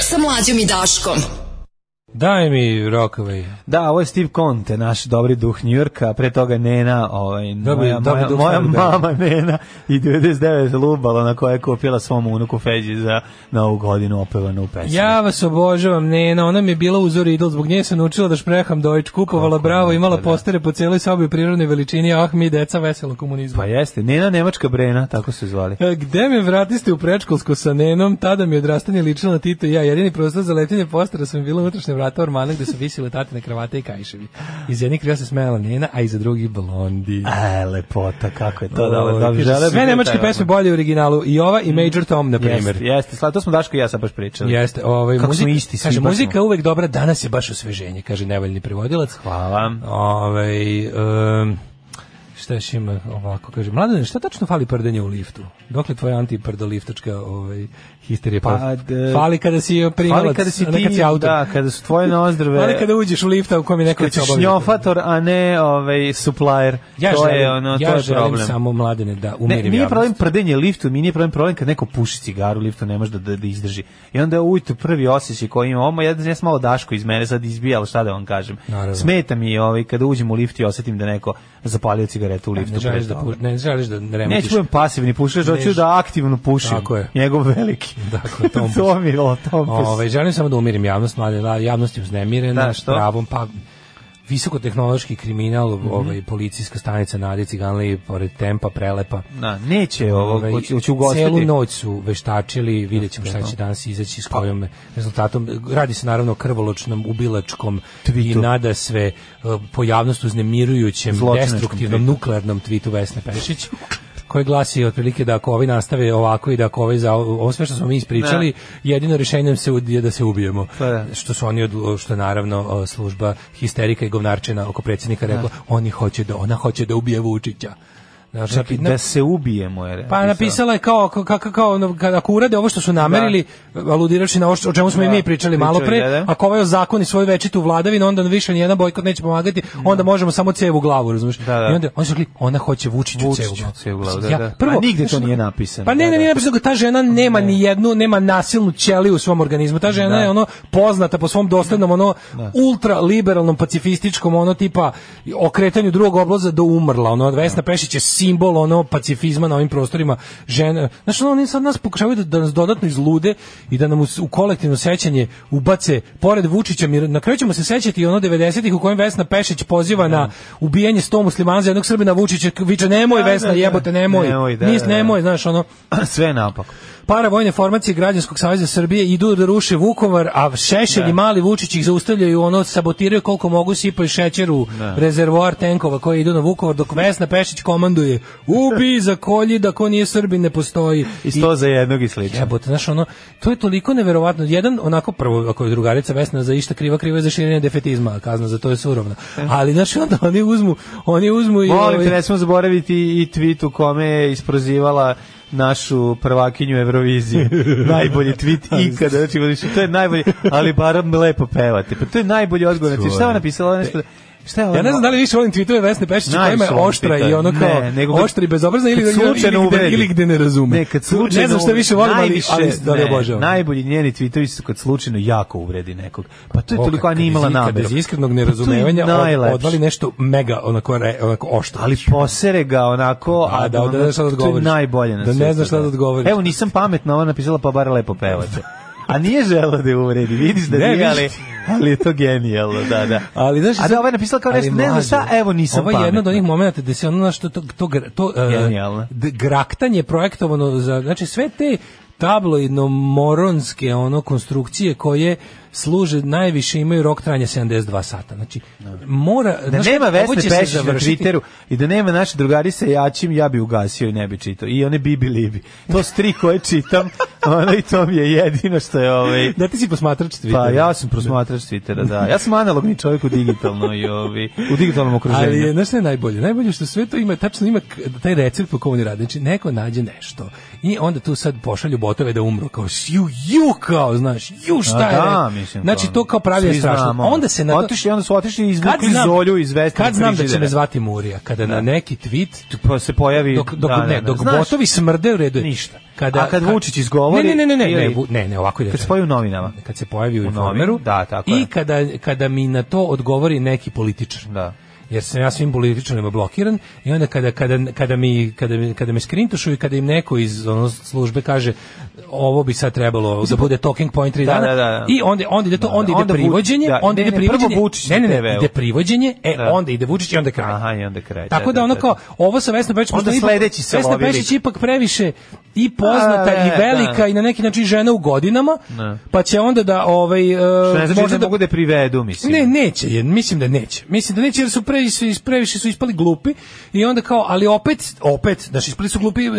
[SPEAKER 4] sa mlađom i Daškom.
[SPEAKER 6] Daj mi Rockaway.
[SPEAKER 5] Da, ovo je Steve Conte, naš dobri duh Njurka, pre toga Nena, ovaj,
[SPEAKER 6] Dobri-
[SPEAKER 5] moja,
[SPEAKER 6] dobri
[SPEAKER 5] moja,
[SPEAKER 6] duh da.
[SPEAKER 5] moja
[SPEAKER 6] Starog Bela.
[SPEAKER 5] mama Nena i 99 lubalo na koje je kupila svom unuku Feđi za novu godinu opevanu pesmu.
[SPEAKER 6] Ja vas obožavam, Nena, ona mi je bila uzor idol, zbog nje sam naučila da špreham dojč, kupovala bravo, imala
[SPEAKER 5] da,
[SPEAKER 6] postere po cijeloj sobi u prirodnoj veličini, ah mi deca veselo komunizma.
[SPEAKER 5] Pa jeste, Nena Nemačka Brena, tako se zvali.
[SPEAKER 6] E, Gde me vratiste u prečkolsku sa Nenom, tada mi je odrastanje ličilo na Tito i ja. Jedini prostor za lepljenje postara sam bila unutrašnja vrata ormana gde su visile tatine kravate i kajševi. Iz jednih krila se smejala Nena, a iza drugih blondi.
[SPEAKER 5] E, lepota, kako je to dobro.
[SPEAKER 6] Oj,
[SPEAKER 5] dobro,
[SPEAKER 6] kaže,
[SPEAKER 5] želeo bih
[SPEAKER 6] Sve
[SPEAKER 5] da
[SPEAKER 6] nemačke
[SPEAKER 5] taj
[SPEAKER 6] pesme
[SPEAKER 5] album.
[SPEAKER 6] bolje u originalu, i ova i Major Tom, na primjer.
[SPEAKER 5] Jeste, jeste, sla- to smo Daško i ja sad baš pričali.
[SPEAKER 6] Jeste, ovaj
[SPEAKER 5] Da. Kako smo
[SPEAKER 6] muzika,
[SPEAKER 5] isti, svi
[SPEAKER 6] kaže
[SPEAKER 5] baš smo.
[SPEAKER 6] muzika je uvek dobra, danas je baš osveženje, kaže nevaljni prevodilac.
[SPEAKER 5] Hvala.
[SPEAKER 6] Ovaj em, šta još ima ovako kaže mladen šta tačno fali prdenje u liftu dokle tvoja antiprdoliftačka ovaj histerija
[SPEAKER 5] Pa,
[SPEAKER 6] Pa,
[SPEAKER 5] d-
[SPEAKER 6] fali kada si primalac
[SPEAKER 5] Fali kada si
[SPEAKER 6] a ne
[SPEAKER 5] ti,
[SPEAKER 6] kad si autor
[SPEAKER 5] da, kada su tvoje nozdrave.
[SPEAKER 6] fali kada uđeš u lifta u kom je neko
[SPEAKER 5] Kad
[SPEAKER 6] će
[SPEAKER 5] si
[SPEAKER 6] obaviti.
[SPEAKER 5] šnjofator, a ne ovaj, supplier.
[SPEAKER 6] ja
[SPEAKER 5] to
[SPEAKER 6] želim,
[SPEAKER 5] je, ono,
[SPEAKER 6] ja
[SPEAKER 5] to je
[SPEAKER 6] želim
[SPEAKER 5] problem.
[SPEAKER 6] samo mladene da
[SPEAKER 5] Ne,
[SPEAKER 6] umirim
[SPEAKER 5] nije
[SPEAKER 6] javnost.
[SPEAKER 5] problem prdenje liftu, mi nije problem problem kad neko puši cigaru u liftu, ne može da, da, da izdrži. I onda je ujutru prvi osjećaj koji ima, ovo ja, ja sam malo daško iz mene sad izbija, ali šta da vam kažem.
[SPEAKER 6] Naravno.
[SPEAKER 5] Smeta mi ovaj, kada uđem u lift i osetim da neko zapalio cigaretu u liftu.
[SPEAKER 6] ne želiš
[SPEAKER 5] pre
[SPEAKER 6] da
[SPEAKER 5] toga.
[SPEAKER 6] pu- ne želiš da remetiš
[SPEAKER 5] Neću budem pasivni pušač, hoću
[SPEAKER 6] Ne-
[SPEAKER 5] da aktivno pušim.
[SPEAKER 6] Tako je.
[SPEAKER 5] Njegov veliki.
[SPEAKER 6] Dakle, tompus.
[SPEAKER 5] to mi je o, tompus.
[SPEAKER 6] Ove, želim samo da umirim javnost, mlade, la- javnost je uznemirena,
[SPEAKER 5] Ovaj, Da,
[SPEAKER 6] da,
[SPEAKER 5] što? Mhm.
[SPEAKER 6] pravom, pa visokotehnološki kriminal, ovaj, policijska stanica Nade Ciganli, pored tempa, prelepa.
[SPEAKER 5] Na, neće ovo,
[SPEAKER 6] Ovaj,
[SPEAKER 5] hoću hoću ugostiti.
[SPEAKER 6] Celu noć su veštačili, vidjet ćemo šta će danas izaći s
[SPEAKER 5] Pa.
[SPEAKER 6] kojom rezultatom. Radi se naravno o krvoločnom, ubilačkom i nada sve eh, pojavnost uznemirujućem,
[SPEAKER 5] Zločinačkom
[SPEAKER 6] destruktivnom,
[SPEAKER 5] twitu.
[SPEAKER 6] nuklearnom tvitu Vesne Pešić koji glasi otprilike da ako ovi nastave ovako i da ako ovi za ovo sve što smo mi ispričali, jedino rješenjem se u- je da se ubijemo.
[SPEAKER 5] Da. Pa da.
[SPEAKER 6] Što su oni odlu- što je naravno eh, služba histerika i govnarčina oko predsjednika rekla, oni hoće da ona hoće da ubije Vučića. Znači,
[SPEAKER 5] Čak i
[SPEAKER 6] na-
[SPEAKER 5] da se ubijemo. Je,
[SPEAKER 6] pa napisala je kao kao kao, kao ono, kad ako urade ovo što su namerili, aludirajući na ovo što- o čemu smo i
[SPEAKER 5] Da,
[SPEAKER 6] mi pričali malo pre,
[SPEAKER 5] pričali, da, da.
[SPEAKER 6] ako ovaj zakoni svoju večitu vladavinu, onda više ni jedan bojkot neće pomagati, onda možemo samo cev u glavu, razumiješ?
[SPEAKER 5] Da, da.
[SPEAKER 6] I onda oni su rekli, ona hoće Vučiću cev u
[SPEAKER 5] Vučiću
[SPEAKER 6] glavu.
[SPEAKER 5] cev u glavu, da, da.
[SPEAKER 6] prvo,
[SPEAKER 5] A nigde to
[SPEAKER 6] znaš,
[SPEAKER 5] nije napisano,
[SPEAKER 6] Pa ne,
[SPEAKER 5] da,
[SPEAKER 6] ne,
[SPEAKER 5] da.
[SPEAKER 6] nije napisano, ta žena nema ni jednu, nema nasilnu ćeliju u svom organizmu. Ta
[SPEAKER 5] Da.
[SPEAKER 6] žena je ono poznata po svom doslednom ono ultra
[SPEAKER 5] Da.
[SPEAKER 6] liberalnom pacifističkom ono tipa okretanju drugog obloza do umrla. Ono Vesna Pešić je simbol ono pacifizma na ovim prostorima žena. Znaš, ono, oni sad nas pokušavaju da, da nas dodatno izlude i da nam u, u kolektivno sećanje ubace pored Vučića, mir, na kraju ćemo se sećati i ono 90-ih u kojem Vesna Pešić poziva na ubijanje 100 muslimana za jednog Srbina Vučića, viče nemoj
[SPEAKER 5] Da,
[SPEAKER 6] Vesna,
[SPEAKER 5] da, da.
[SPEAKER 6] jebote nemoj.
[SPEAKER 5] Nemoj, da,
[SPEAKER 6] Nis
[SPEAKER 5] da, da.
[SPEAKER 6] nemoj, znaš, ono
[SPEAKER 5] Sve napako.
[SPEAKER 6] para vojne formacije Građanskog saveza Srbije idu da ruše Vukovar, a Šešelj
[SPEAKER 5] Da.
[SPEAKER 6] i Mali Vučić ih zaustavljaju, ono sabotiraju koliko mogu, sipaju šećer u
[SPEAKER 5] Da.
[SPEAKER 6] rezervoar tenkova koji idu na Vukovar, dok Vesna Pešić komanduje ubi, zakolji, da ko nije Srbin ne postoji.
[SPEAKER 5] I sto za jednog i slično.
[SPEAKER 6] Jebote, znaš, ono, to je toliko neverovatno. Jedan, onako, prvo, ako je drugarica Vesna za išta kriva, kriva je za širenje defetizma, a kazna za to je surovna. Ali, znaš, onda oni uzmu, oni uzmu i...
[SPEAKER 5] E. Molim te,
[SPEAKER 6] ovaj,
[SPEAKER 5] ne smemo zaboraviti i tweet u kome je isprozivala našu prvakinju Eurovizije. najbolji tweet ikada. Znači, voliš, to je najbolji, ali barem lepo pevate. Pa to je najbolji odgovor. Znači, šta je ona napisala? Ona Nešto, šta je ona?
[SPEAKER 6] Ja ne znam da li više volim tweetove Vesne Pešić
[SPEAKER 5] Najviše
[SPEAKER 6] kojima je
[SPEAKER 5] volim
[SPEAKER 6] oštra
[SPEAKER 5] tweetove.
[SPEAKER 6] i ono kao
[SPEAKER 5] Ne,
[SPEAKER 6] ne,
[SPEAKER 5] nego
[SPEAKER 6] nego
[SPEAKER 5] kad-
[SPEAKER 6] oštra i bezobrazna ili,
[SPEAKER 5] kad
[SPEAKER 6] ili, ili,
[SPEAKER 5] slučajno
[SPEAKER 6] gde,
[SPEAKER 5] uvredi.
[SPEAKER 6] ili gde ne razume.
[SPEAKER 5] Ne, kad
[SPEAKER 6] Tu-
[SPEAKER 5] slučajno
[SPEAKER 6] ne znam šta više volim, ali,
[SPEAKER 5] najviše-
[SPEAKER 6] ali da li
[SPEAKER 5] ne,
[SPEAKER 6] obožavam.
[SPEAKER 5] Najbolji njeni tweetovi su kad slučajno jako uvredi nekog. Pa to je
[SPEAKER 6] O,
[SPEAKER 5] toliko, a
[SPEAKER 6] kad-
[SPEAKER 5] nije
[SPEAKER 6] kad
[SPEAKER 5] imala
[SPEAKER 6] iz- kad
[SPEAKER 5] nameru.
[SPEAKER 6] Iz iskrenog
[SPEAKER 5] Pa to je
[SPEAKER 6] nerazumevanja od,
[SPEAKER 5] najlepše.
[SPEAKER 6] odvali nešto mega onako, re- onako oštro.
[SPEAKER 5] ali posere ga onako, a,
[SPEAKER 6] A, da, da ne znaš šta da
[SPEAKER 5] to je
[SPEAKER 6] odgovoriš.
[SPEAKER 5] najbolje na
[SPEAKER 6] Da ne
[SPEAKER 5] svetu,
[SPEAKER 6] znaš šta da odgovoriš.
[SPEAKER 5] Evo, nisam pametna, ona napisala, pa bar lepo pevate. A nije žela da je uvredi, vidiš da
[SPEAKER 6] Ne,
[SPEAKER 5] nije, ali,
[SPEAKER 6] vidiš.
[SPEAKER 5] ali je to genijalno, da, da.
[SPEAKER 6] Ali znaš,
[SPEAKER 5] a da, ova je napisala kao
[SPEAKER 6] ali
[SPEAKER 5] nešto, ne znam
[SPEAKER 6] mlađe,
[SPEAKER 5] šta, evo nisam
[SPEAKER 6] Ovo je
[SPEAKER 5] pametna.
[SPEAKER 6] jedno od onih momenata gde se ono znaš, to to to, gra- to e,
[SPEAKER 5] Genijalno.
[SPEAKER 6] d- graktanje projektovano za znači sve te tabloidno moronske ono konstrukcije koje služe najviše imaju rok trajanja 72 sata. Znači mora
[SPEAKER 5] Da
[SPEAKER 6] znaš,
[SPEAKER 5] nema
[SPEAKER 6] ovo
[SPEAKER 5] Vesne
[SPEAKER 6] će se
[SPEAKER 5] Pešić na
[SPEAKER 6] završiti-
[SPEAKER 5] Twitteru i da nema naše drugari sa jačim, ja bi ugasio i ne bi čitao. I one bibi libi. To su tri koje čitam, ono i to mi je jedino što je ovaj...
[SPEAKER 6] Da ti si posmatrač Twittera.
[SPEAKER 5] Pa ja sam prosmatrač Twittera, da. Ja sam analogni čovjek u digitalno i ovi, u digitalnom okruženju.
[SPEAKER 6] Ali je, znaš šta je najbolje? Najbolje je što sve to ima, tačno ima k- taj recept po komu oni rade. Znači, neko nađe nešto i onda tu sad pošalju botove da umru. Kao, ju, ju, kao, znaš, ju, šta
[SPEAKER 5] A
[SPEAKER 6] je?
[SPEAKER 5] da,
[SPEAKER 6] re-
[SPEAKER 5] mislim.
[SPEAKER 6] znači, to kao pravi je
[SPEAKER 5] svi
[SPEAKER 6] strašno.
[SPEAKER 5] znamo.
[SPEAKER 6] Onda se na to...
[SPEAKER 5] Otišli, onda su otišli i
[SPEAKER 6] Kad
[SPEAKER 5] izvukli
[SPEAKER 6] znam-
[SPEAKER 5] Zolju iz Vesne
[SPEAKER 6] Kad znam da će
[SPEAKER 5] frižidera.
[SPEAKER 6] me zvati Murija, kada na neki tweet
[SPEAKER 5] Pa se pojavi...
[SPEAKER 6] dok dok
[SPEAKER 5] da, da,
[SPEAKER 6] ne,
[SPEAKER 5] da.
[SPEAKER 6] dok
[SPEAKER 5] Znaš,
[SPEAKER 6] botovi smrde u redu je.
[SPEAKER 5] Ništa. A kad Vučić izgovori-
[SPEAKER 6] Ne, ne, ne, ne, ne,
[SPEAKER 5] Ili-
[SPEAKER 6] ne, Vu- ne, ne, ovako ide.
[SPEAKER 5] Kad se pojavi u novinama.
[SPEAKER 6] Kad se pojavi u,
[SPEAKER 5] U
[SPEAKER 6] informeru.
[SPEAKER 5] novin- da, tako
[SPEAKER 6] I
[SPEAKER 5] je.
[SPEAKER 6] kada kada mi na to odgovori neki političar.
[SPEAKER 5] Da.
[SPEAKER 6] Jer sam ja svim političarima blokiran i onda kada, kada, kada, mi, kada, mi- kada me skrintušu i kada im neko iz ono, službe kaže ovo bi sad trebalo da bude talking point 3
[SPEAKER 5] Da,
[SPEAKER 6] dana
[SPEAKER 5] da, da.
[SPEAKER 6] i onda, onda ide to,
[SPEAKER 5] Da,
[SPEAKER 6] onda ide
[SPEAKER 5] onda Vuč-
[SPEAKER 6] privođenje,
[SPEAKER 5] da,
[SPEAKER 6] onda
[SPEAKER 5] ne,
[SPEAKER 6] ide
[SPEAKER 5] ne, prvo
[SPEAKER 6] privođenje,
[SPEAKER 5] Vučić
[SPEAKER 6] ne, ne,
[SPEAKER 5] na
[SPEAKER 6] ne,
[SPEAKER 5] TV-u.
[SPEAKER 6] ide privođenje, e,
[SPEAKER 5] Da.
[SPEAKER 6] onda ide Vučić i onda kraj.
[SPEAKER 5] Aha, i onda kraj.
[SPEAKER 6] Tako da ono kao, ovo sa Vesnom Pešić,
[SPEAKER 5] Onda
[SPEAKER 6] možda ipak-
[SPEAKER 5] sledeći se
[SPEAKER 6] Vesna
[SPEAKER 5] lovi lik.
[SPEAKER 6] Pešić ipak previše i poznata
[SPEAKER 5] A, ne,
[SPEAKER 6] i velika
[SPEAKER 5] da.
[SPEAKER 6] i na neki način žena u godinama,
[SPEAKER 5] Ne.
[SPEAKER 6] pa će onda da ovaj, e,
[SPEAKER 5] Što ne znači
[SPEAKER 6] možda
[SPEAKER 5] da mogu da je privedu, mislim.
[SPEAKER 6] ne, neće, jer mislim da neće. Mislim da neće jer su previše su is- previše su ispali glupi i onda kao, ali opet, opet, znači ispali su glupi, e,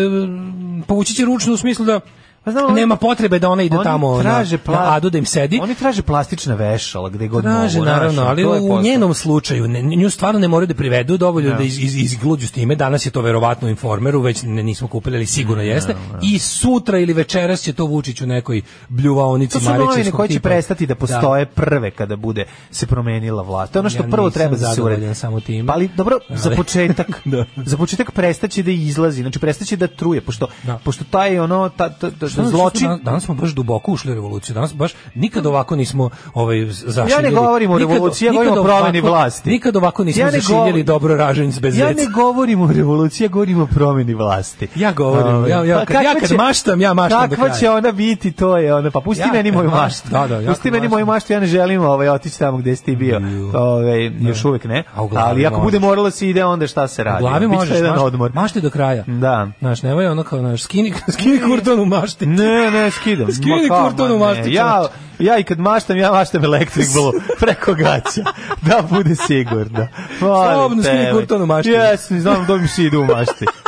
[SPEAKER 6] povući će ručno u smislu da
[SPEAKER 5] Pa znam, oni-
[SPEAKER 6] nema potrebe da ona ide
[SPEAKER 5] oni
[SPEAKER 6] tamo na,
[SPEAKER 5] traže pla-
[SPEAKER 6] na Adu da im sedi.
[SPEAKER 5] Oni traže plastična vešala gde god
[SPEAKER 6] Traže,
[SPEAKER 5] mogu. znaš,
[SPEAKER 6] naravno,
[SPEAKER 5] ono,
[SPEAKER 6] ali
[SPEAKER 5] to je
[SPEAKER 6] u
[SPEAKER 5] poznato.
[SPEAKER 6] njenom slučaju, ne, nju stvarno ne moraju da privedu dovoljno da iz, iz, izgluđu s time, danas je to verovatno u informeru, već ne, nismo kupili, ali sigurno
[SPEAKER 5] Da,
[SPEAKER 6] jeste, i sutra ili večeras će to Vučić u nekoj bljuvaonici
[SPEAKER 5] To su novine
[SPEAKER 6] Marićevskog
[SPEAKER 5] koje će
[SPEAKER 6] tipa.
[SPEAKER 5] prestati da
[SPEAKER 6] Da.
[SPEAKER 5] postoje prve kada bude se promenila vlast. To je ono što
[SPEAKER 6] Ja
[SPEAKER 5] prvo
[SPEAKER 6] nisam
[SPEAKER 5] treba da se
[SPEAKER 6] zadovoljan
[SPEAKER 5] uredi.
[SPEAKER 6] samo time.
[SPEAKER 5] Pa ali dobro, za
[SPEAKER 6] Ali-
[SPEAKER 5] početak,
[SPEAKER 6] Da.
[SPEAKER 5] za početak prestaće da izlazi, znači prestaće da truje, pošto,
[SPEAKER 6] Da.
[SPEAKER 5] pošto taj ono, ta, ta, ta,
[SPEAKER 6] Šta znači
[SPEAKER 5] zločin...
[SPEAKER 6] Danas, da- danas smo baš duboko ušli u revoluciju. Danas baš nikad ovako nismo ovaj zašli.
[SPEAKER 5] Ja ne govorim o revoluciji, ja govorim o promeni vlasti.
[SPEAKER 6] Nikad ovako nismo
[SPEAKER 5] Ja ne
[SPEAKER 6] zašiljeli
[SPEAKER 5] govorim-
[SPEAKER 6] dobro ražanj bez
[SPEAKER 5] Ja
[SPEAKER 6] zeca.
[SPEAKER 5] ne govorim o revoluciji, ja govorim o promeni vlasti.
[SPEAKER 6] Ja govorim,
[SPEAKER 5] Ovaj,
[SPEAKER 6] ja- ja
[SPEAKER 5] pa
[SPEAKER 6] kad- ja
[SPEAKER 5] kakva
[SPEAKER 6] kad
[SPEAKER 5] će-
[SPEAKER 6] maštam, ja maštam do
[SPEAKER 5] Kakva
[SPEAKER 6] kraja.
[SPEAKER 5] će ona biti, to je ona. Pa pusti
[SPEAKER 6] Ja
[SPEAKER 5] meni
[SPEAKER 6] kad
[SPEAKER 5] moju
[SPEAKER 6] maštam,
[SPEAKER 5] maštu.
[SPEAKER 6] da, da, ja
[SPEAKER 5] pusti
[SPEAKER 6] kad
[SPEAKER 5] meni moju
[SPEAKER 6] maštam.
[SPEAKER 5] maštu, ja ne želim ovaj, otići tamo gde si ti bio.
[SPEAKER 6] Bio. Da.
[SPEAKER 5] Ovaj, još uvek ne.
[SPEAKER 6] A u glavi
[SPEAKER 5] Ali ako
[SPEAKER 6] možeš.
[SPEAKER 5] bude moralo da se ide, onda šta se
[SPEAKER 6] U
[SPEAKER 5] radi?
[SPEAKER 6] glavi
[SPEAKER 5] Biće
[SPEAKER 6] možeš,
[SPEAKER 5] jedan
[SPEAKER 6] maš-
[SPEAKER 5] odmor.
[SPEAKER 6] mašti do kraja.
[SPEAKER 5] Da.
[SPEAKER 6] Znaš, nemoj ono kao, znaš, skini, skini kurton u mašti.
[SPEAKER 5] Ne, ne, skidam.
[SPEAKER 6] Skini
[SPEAKER 5] Ma kao,
[SPEAKER 6] kurton
[SPEAKER 5] ma
[SPEAKER 6] u
[SPEAKER 5] ne.
[SPEAKER 6] mašti,
[SPEAKER 5] Ja,
[SPEAKER 6] čoveče.
[SPEAKER 5] ja i kad maštam, ja maštam elektrik blu preko gaća. Da bude sigurno. Molim
[SPEAKER 6] Slobodno skini
[SPEAKER 5] te,
[SPEAKER 6] kurton u mašti.
[SPEAKER 5] Jesam, znam da mi se ide u mašti.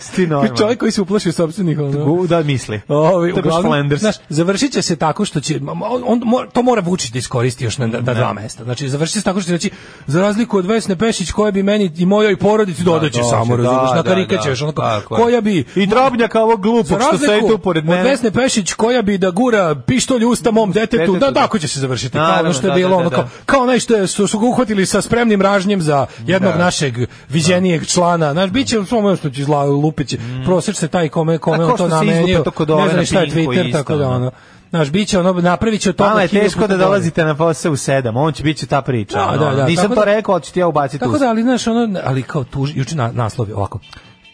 [SPEAKER 5] Sti normalno.
[SPEAKER 6] Čovjek koji se uplašio sopstvenih ono.
[SPEAKER 5] U, da misli.
[SPEAKER 6] Ovi,
[SPEAKER 5] to je baš
[SPEAKER 6] uglavnom,
[SPEAKER 5] Flanders. Pa
[SPEAKER 6] znaš, završit će se tako što će, ma- ma- on, on, mora- to mora Vučić da iskoristi još na, na, na dva mesta. Znači, završit će se tako što će reći, za razliku od Vesne Pešić, koja bi meni i mojoj porodici dodaće
[SPEAKER 5] dođe,
[SPEAKER 6] samo,
[SPEAKER 5] da,
[SPEAKER 6] razumiješ, na
[SPEAKER 5] da,
[SPEAKER 6] karikaće
[SPEAKER 5] da.
[SPEAKER 6] još, onako,
[SPEAKER 5] Tako je.
[SPEAKER 6] koja bi...
[SPEAKER 5] I drobnjaka ovog
[SPEAKER 6] Za
[SPEAKER 5] glupog što stoji tu pored
[SPEAKER 6] od
[SPEAKER 5] mene.
[SPEAKER 6] Vesne Pešić koja bi da gura pištolj u usta mom detetu,
[SPEAKER 5] Detetu,
[SPEAKER 6] da
[SPEAKER 5] da.
[SPEAKER 6] tako će se završiti. Kao ono
[SPEAKER 5] Naravno,
[SPEAKER 6] što je
[SPEAKER 5] da,
[SPEAKER 6] bilo,
[SPEAKER 5] da,
[SPEAKER 6] ono
[SPEAKER 5] da,
[SPEAKER 6] kao,
[SPEAKER 5] da.
[SPEAKER 6] kao onaj što je, su, su ga uhvatili sa spremnim ražnjem za jednog
[SPEAKER 5] Da.
[SPEAKER 6] našeg viđenijeg člana. Znaš, bit će u svom što će zla lupiće. Prosječ se taj kome, kome
[SPEAKER 5] Mm. A
[SPEAKER 6] on
[SPEAKER 5] ko
[SPEAKER 6] to
[SPEAKER 5] što se
[SPEAKER 6] namenio.
[SPEAKER 5] izlupa to kod
[SPEAKER 6] Ne
[SPEAKER 5] ove
[SPEAKER 6] znam
[SPEAKER 5] na
[SPEAKER 6] ni šta je
[SPEAKER 5] Pinku
[SPEAKER 6] Twitter,
[SPEAKER 5] isto,
[SPEAKER 6] tako da
[SPEAKER 5] ono.
[SPEAKER 6] ono. Znaš, bit će ono, napravit će to.
[SPEAKER 5] Vama je teško da dolazite na posao u sedam, on će biti ta priča.
[SPEAKER 6] Da,
[SPEAKER 5] ono.
[SPEAKER 6] da, da,
[SPEAKER 5] Nisam
[SPEAKER 6] tako
[SPEAKER 5] to
[SPEAKER 6] da-
[SPEAKER 5] rekao, ali ću ti ja ubaciti u
[SPEAKER 6] Tako da, ali znaš, ono, ali kao tuži, juče na, naslovi, ovako,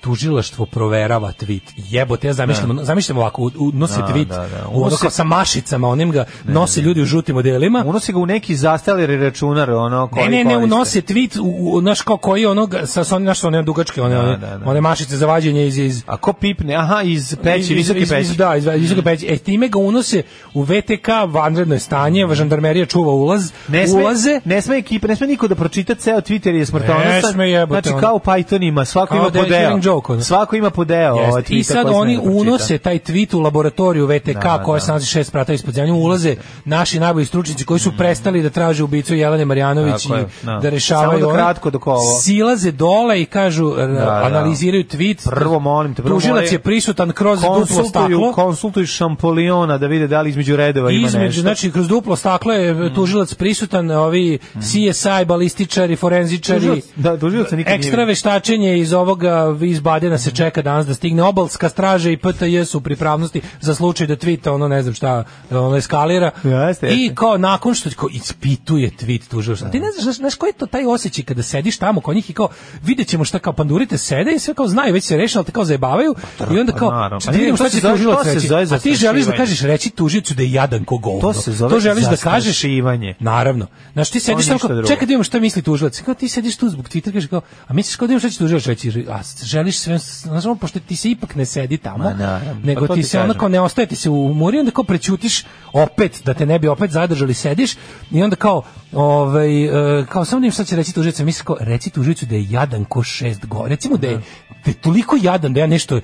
[SPEAKER 6] tužilaštvo proverava tweet. Jebote, ja zamišljam, zamišljam ovako, u- u- nosi
[SPEAKER 5] Da,
[SPEAKER 6] tweet,
[SPEAKER 5] da, da.
[SPEAKER 6] u ono kao sa mašicama, onim ga nose ljudi u žutim odelima,
[SPEAKER 5] Unosi ga u neki zastareli računar, ono koji
[SPEAKER 6] Ne, ne, ne,
[SPEAKER 5] koriste.
[SPEAKER 6] unose tweet, u, u, znaš kao koji onog, sa, sa onim, znaš, sa one dugačke, one,
[SPEAKER 5] Da,
[SPEAKER 6] one,
[SPEAKER 5] da, da.
[SPEAKER 6] one mašice za vađenje iz, iz,
[SPEAKER 5] A ko pipne? Aha, iz peći, visoke
[SPEAKER 6] iz- iz-
[SPEAKER 5] peći. Mm.
[SPEAKER 6] Da, iz iz visoke peći. E, time ga unose u VTK vanredno je stanje, žandarmerija čuva ulaz,
[SPEAKER 5] Mm. Ne sme,
[SPEAKER 6] ulaze,
[SPEAKER 5] ne sme ekipa, ne sme niko da pročita ceo Twitter je smrtonosan.
[SPEAKER 6] Ne sme, jebote,
[SPEAKER 5] Znači
[SPEAKER 6] ono.
[SPEAKER 5] kao u Pythonima, svako
[SPEAKER 6] Kao
[SPEAKER 5] ima po
[SPEAKER 6] Dead
[SPEAKER 5] deo.
[SPEAKER 6] Killing Joke, ono.
[SPEAKER 5] Svako ima po deo.
[SPEAKER 6] Jeste.
[SPEAKER 5] ovaj
[SPEAKER 6] I
[SPEAKER 5] tweeta
[SPEAKER 6] sad
[SPEAKER 5] koji sme
[SPEAKER 6] oni
[SPEAKER 5] da pročita.
[SPEAKER 6] unose taj tweet u laboratoriju VTK
[SPEAKER 5] Da,
[SPEAKER 6] koja
[SPEAKER 5] da.
[SPEAKER 6] se nalazi šest sprata ispod zemlje, ulaze naši najbolji stručnjaci koji su prestali da traže ubicu Jelene Marjanović
[SPEAKER 5] Mhm. Tako
[SPEAKER 6] i
[SPEAKER 5] je, da.
[SPEAKER 6] da rešavaju
[SPEAKER 5] Samo do
[SPEAKER 6] ono.
[SPEAKER 5] kratko dok ovo.
[SPEAKER 6] Silaze dole i kažu, r-
[SPEAKER 5] da.
[SPEAKER 6] analiziraju tweet.
[SPEAKER 5] Prvo, molim te, prvo
[SPEAKER 6] Tužilac
[SPEAKER 5] moraju-
[SPEAKER 6] je prisutan kroz duplo
[SPEAKER 5] konsultuju,
[SPEAKER 6] staklo.
[SPEAKER 5] konsultuju šampoliona da vide da li između redova ima
[SPEAKER 6] Između,
[SPEAKER 5] nešto. Mm.
[SPEAKER 6] znači, kroz duplo staklo je tužilac prisutan, ovi CSI, balističari, forenzičari,
[SPEAKER 5] Tužilac- Mm. da, tužilac se nikad nije
[SPEAKER 6] ekstra
[SPEAKER 5] vidio. Mm.
[SPEAKER 6] veštačenje iz ovoga, iz Badena se čeka danas da stigne, obalska straža i PTJ su u pripravnosti za slučaj da tvita, ono, ne znam šta, ono, eskalira.
[SPEAKER 5] Jeste,
[SPEAKER 6] I
[SPEAKER 5] jeste. Da.
[SPEAKER 6] kao nakon što kao, ispituje tweet tužilaštva. Ti ne znaš, znaš, znaš koji je to taj osjećaj kada sediš tamo kod njih i kao, vidjet ćemo šta kao pandurite sede i sve kao znaju, već se rešeno, ali te kao zajebavaju i onda
[SPEAKER 5] pa
[SPEAKER 6] kao,
[SPEAKER 5] naravno.
[SPEAKER 6] šta
[SPEAKER 5] Pa
[SPEAKER 6] da
[SPEAKER 5] nije,
[SPEAKER 6] vidimo
[SPEAKER 5] to
[SPEAKER 6] šta
[SPEAKER 5] se
[SPEAKER 6] će
[SPEAKER 5] zove-
[SPEAKER 6] tužilac
[SPEAKER 5] to se
[SPEAKER 6] reći.
[SPEAKER 5] zove
[SPEAKER 6] A ti želiš da
[SPEAKER 5] zastrašivanje.
[SPEAKER 6] kažeš reći tužiocu da je jadan ko govno.
[SPEAKER 5] To se zove
[SPEAKER 6] to želiš da kažeš
[SPEAKER 5] zastrašivanje.
[SPEAKER 6] Naravno. Znaš, ti sediš
[SPEAKER 5] To
[SPEAKER 6] tamo
[SPEAKER 5] ništa
[SPEAKER 6] kao,
[SPEAKER 5] drugo.
[SPEAKER 6] čekaj da vidimo šta misli tužilac. Kao ti sediš tu zbog Twittera, kažeš kao, a misliš kao da imam šta će tužilac reći, a želiš sve, znaš, ono, pošto ti se ipak ne sedi tamo,
[SPEAKER 5] Ma, naravno.
[SPEAKER 6] nego
[SPEAKER 5] Pa to
[SPEAKER 6] ti
[SPEAKER 5] ti
[SPEAKER 6] se ono
[SPEAKER 5] kažem.
[SPEAKER 6] kao ne ostaje ti se u muri, onda kao prećutiš opet, da te ne bi opet zadržali, sediš i onda kao, ovaj, e, kao samo da im šta će reći tužilac, misliš kao, reci tužilacu da je jadan ko šest go, recimo da je, da je toliko jadan da ja nešto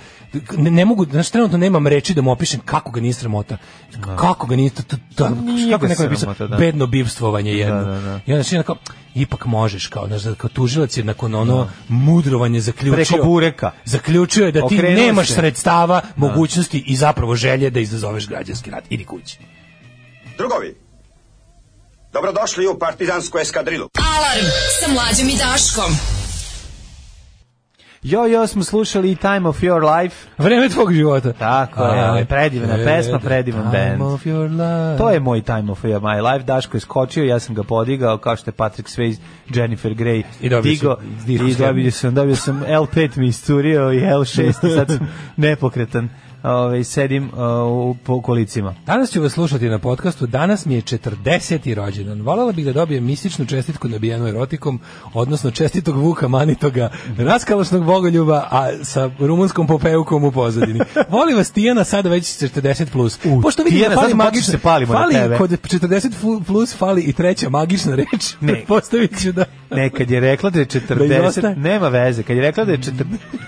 [SPEAKER 6] ne, ne mogu, znaš, trenutno nemam reči da mu opišem kako ga nije sramota. Kako ga nije, to, to,
[SPEAKER 5] Da.
[SPEAKER 6] to,
[SPEAKER 5] Nije
[SPEAKER 6] kako
[SPEAKER 5] ga
[SPEAKER 6] neko je pisao,
[SPEAKER 5] sramota, da.
[SPEAKER 6] bedno bivstvovanje jedno.
[SPEAKER 5] da, da.
[SPEAKER 6] I onda si onako, ipak možeš, kao, znaš, kao tužilac je nakon ono mudrovanje zaključio.
[SPEAKER 5] Da. Preko bureka.
[SPEAKER 6] Zaključio je da ti
[SPEAKER 5] Okrenuo
[SPEAKER 6] nemaš
[SPEAKER 5] se. Da.
[SPEAKER 6] sredstava, mogućnosti i zapravo želje da izazoveš građanski rat. Idi kući.
[SPEAKER 11] Drugovi, dobrodošli u partizansku eskadrilu.
[SPEAKER 4] Alarm sa mlađom i Daškom.
[SPEAKER 5] Jo, jo, smo slušali i Time of Your Life.
[SPEAKER 6] Vreme tvog života.
[SPEAKER 5] Tako je,
[SPEAKER 6] Aj,
[SPEAKER 5] predivna
[SPEAKER 6] e,
[SPEAKER 5] pesma, predivan
[SPEAKER 6] time
[SPEAKER 5] band.
[SPEAKER 6] of your life.
[SPEAKER 5] To je moj time of your- my life. Daško je skočio, ja sam ga podigao, kao što je Patrick Swayze, Jennifer Grey
[SPEAKER 6] I dobio si
[SPEAKER 5] digao.
[SPEAKER 6] disku
[SPEAKER 5] I
[SPEAKER 6] skemu.
[SPEAKER 5] dobio sam, dobio sam L5 mi isturio i L6 i sad sam nepokretan. Ove, sedim o, u, po kolicima.
[SPEAKER 6] Danas ću vas slušati na podcastu. Danas mi je 40. rođendan. Volela bih da dobijem mističnu čestitku da nabijenu erotikom, odnosno čestitog Vuka Manitoga, raskalošnog bogoljuba, a sa rumunskom popevkom u pozadini. Voli vas Tijana sada već 40 plus. Pošto vidim
[SPEAKER 5] Tijana,
[SPEAKER 6] da fali
[SPEAKER 5] sad smo počeli
[SPEAKER 6] magična,
[SPEAKER 5] se palimo na
[SPEAKER 6] fali
[SPEAKER 5] tebe.
[SPEAKER 6] kod 40 fu- plus fali i treća magična reč.
[SPEAKER 5] Ne.
[SPEAKER 6] Pretpostavit ću da...
[SPEAKER 5] Ne, kad je rekla da je
[SPEAKER 6] Da im
[SPEAKER 5] 40,
[SPEAKER 6] ostaje?
[SPEAKER 5] nema veze, kad je rekla da je 40,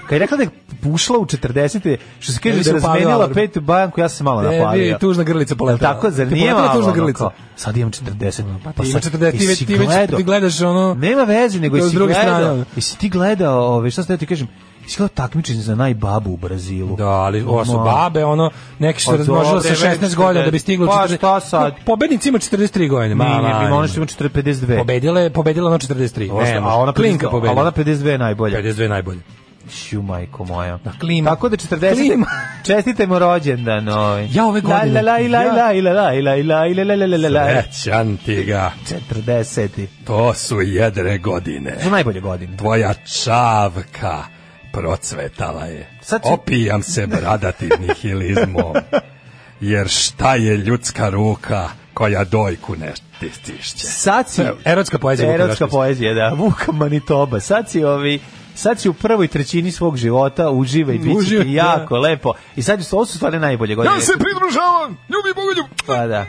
[SPEAKER 5] kad je rekla da je ušla u 40, što se
[SPEAKER 6] Ja
[SPEAKER 5] kaže
[SPEAKER 6] bi
[SPEAKER 5] da
[SPEAKER 6] se
[SPEAKER 5] je
[SPEAKER 6] upalio,
[SPEAKER 5] razmenila
[SPEAKER 6] ali-
[SPEAKER 5] pet banku, ja sam se malo
[SPEAKER 6] Tebi
[SPEAKER 5] napalio.
[SPEAKER 6] E, tužna grlica poletela.
[SPEAKER 5] Jel Tako, zar
[SPEAKER 6] Ti
[SPEAKER 5] nije
[SPEAKER 6] poletela
[SPEAKER 5] malo?
[SPEAKER 6] tužna
[SPEAKER 5] ono
[SPEAKER 6] grlica.
[SPEAKER 5] kao, Sad imam 40. Pa,
[SPEAKER 6] ti
[SPEAKER 5] sad,
[SPEAKER 6] imaš 40, ti već-
[SPEAKER 5] jesi
[SPEAKER 6] ti već-
[SPEAKER 5] gledao?
[SPEAKER 6] ti gledaš ono-
[SPEAKER 5] Nema veze, nego
[SPEAKER 6] Da, s
[SPEAKER 5] jesi
[SPEAKER 6] druge strane,
[SPEAKER 5] gledao.
[SPEAKER 6] ono.
[SPEAKER 5] Jesi ti gledao, ove, šta ste ti kažem, jesi gledao takmičenje za najbabu u Brazilu?
[SPEAKER 6] Da, ali ovo su
[SPEAKER 5] Ma.
[SPEAKER 6] babe, ono, neki što
[SPEAKER 5] Pa
[SPEAKER 6] razmnožilo
[SPEAKER 5] dobre,
[SPEAKER 6] sa 16
[SPEAKER 5] već
[SPEAKER 6] godina da bi
[SPEAKER 5] 40.
[SPEAKER 6] stiglo... u
[SPEAKER 5] Pa
[SPEAKER 6] 40.
[SPEAKER 5] šta sad?
[SPEAKER 6] Pobednici ima 43 godine. Ma,
[SPEAKER 5] Nije, da
[SPEAKER 6] ma,
[SPEAKER 5] nije,
[SPEAKER 6] ima.
[SPEAKER 5] ima ono što ima 452.
[SPEAKER 6] Pobedila je, pobedila na 43.
[SPEAKER 5] Ovo što-
[SPEAKER 6] Ne,
[SPEAKER 5] a ona
[SPEAKER 6] Klinka
[SPEAKER 5] 52, Ali ona
[SPEAKER 6] pobedila.
[SPEAKER 5] 52 je najbolja.
[SPEAKER 6] 52 najbolje.
[SPEAKER 5] Ću, majko moja.
[SPEAKER 6] Da, klima.
[SPEAKER 5] Tako da 40.
[SPEAKER 6] Klima.
[SPEAKER 5] Čestitajmo rođendan, ovaj.
[SPEAKER 6] Ja ove godine-
[SPEAKER 5] La, la, la, la, la, la, la, la, la, la, la, la, la, la, la.
[SPEAKER 6] Srećan ti ga,
[SPEAKER 5] 40.
[SPEAKER 6] to su jedre godine.
[SPEAKER 5] Su najbolje godine.
[SPEAKER 6] Tvoja čavka procvetala je.
[SPEAKER 5] Sad će-
[SPEAKER 6] Opijam se bradati nihilizmom. Jer šta je ljudska ruka koja dojku ne tišće?
[SPEAKER 5] Sad si...
[SPEAKER 6] Evo, erotska poezija Vuka
[SPEAKER 5] Erotska
[SPEAKER 6] Draškovića.
[SPEAKER 5] poezija, da. Vuka Manitoba. Sad si ovi... Sad si u prvoj trećini svog života, uživaj, bit će
[SPEAKER 6] Uživaj,
[SPEAKER 5] ti
[SPEAKER 6] da.
[SPEAKER 5] jako lepo. I sad su, ovo su stvarno najbolje godine.
[SPEAKER 6] pridružavam! Ljubi Bogoljub!
[SPEAKER 5] Pa da.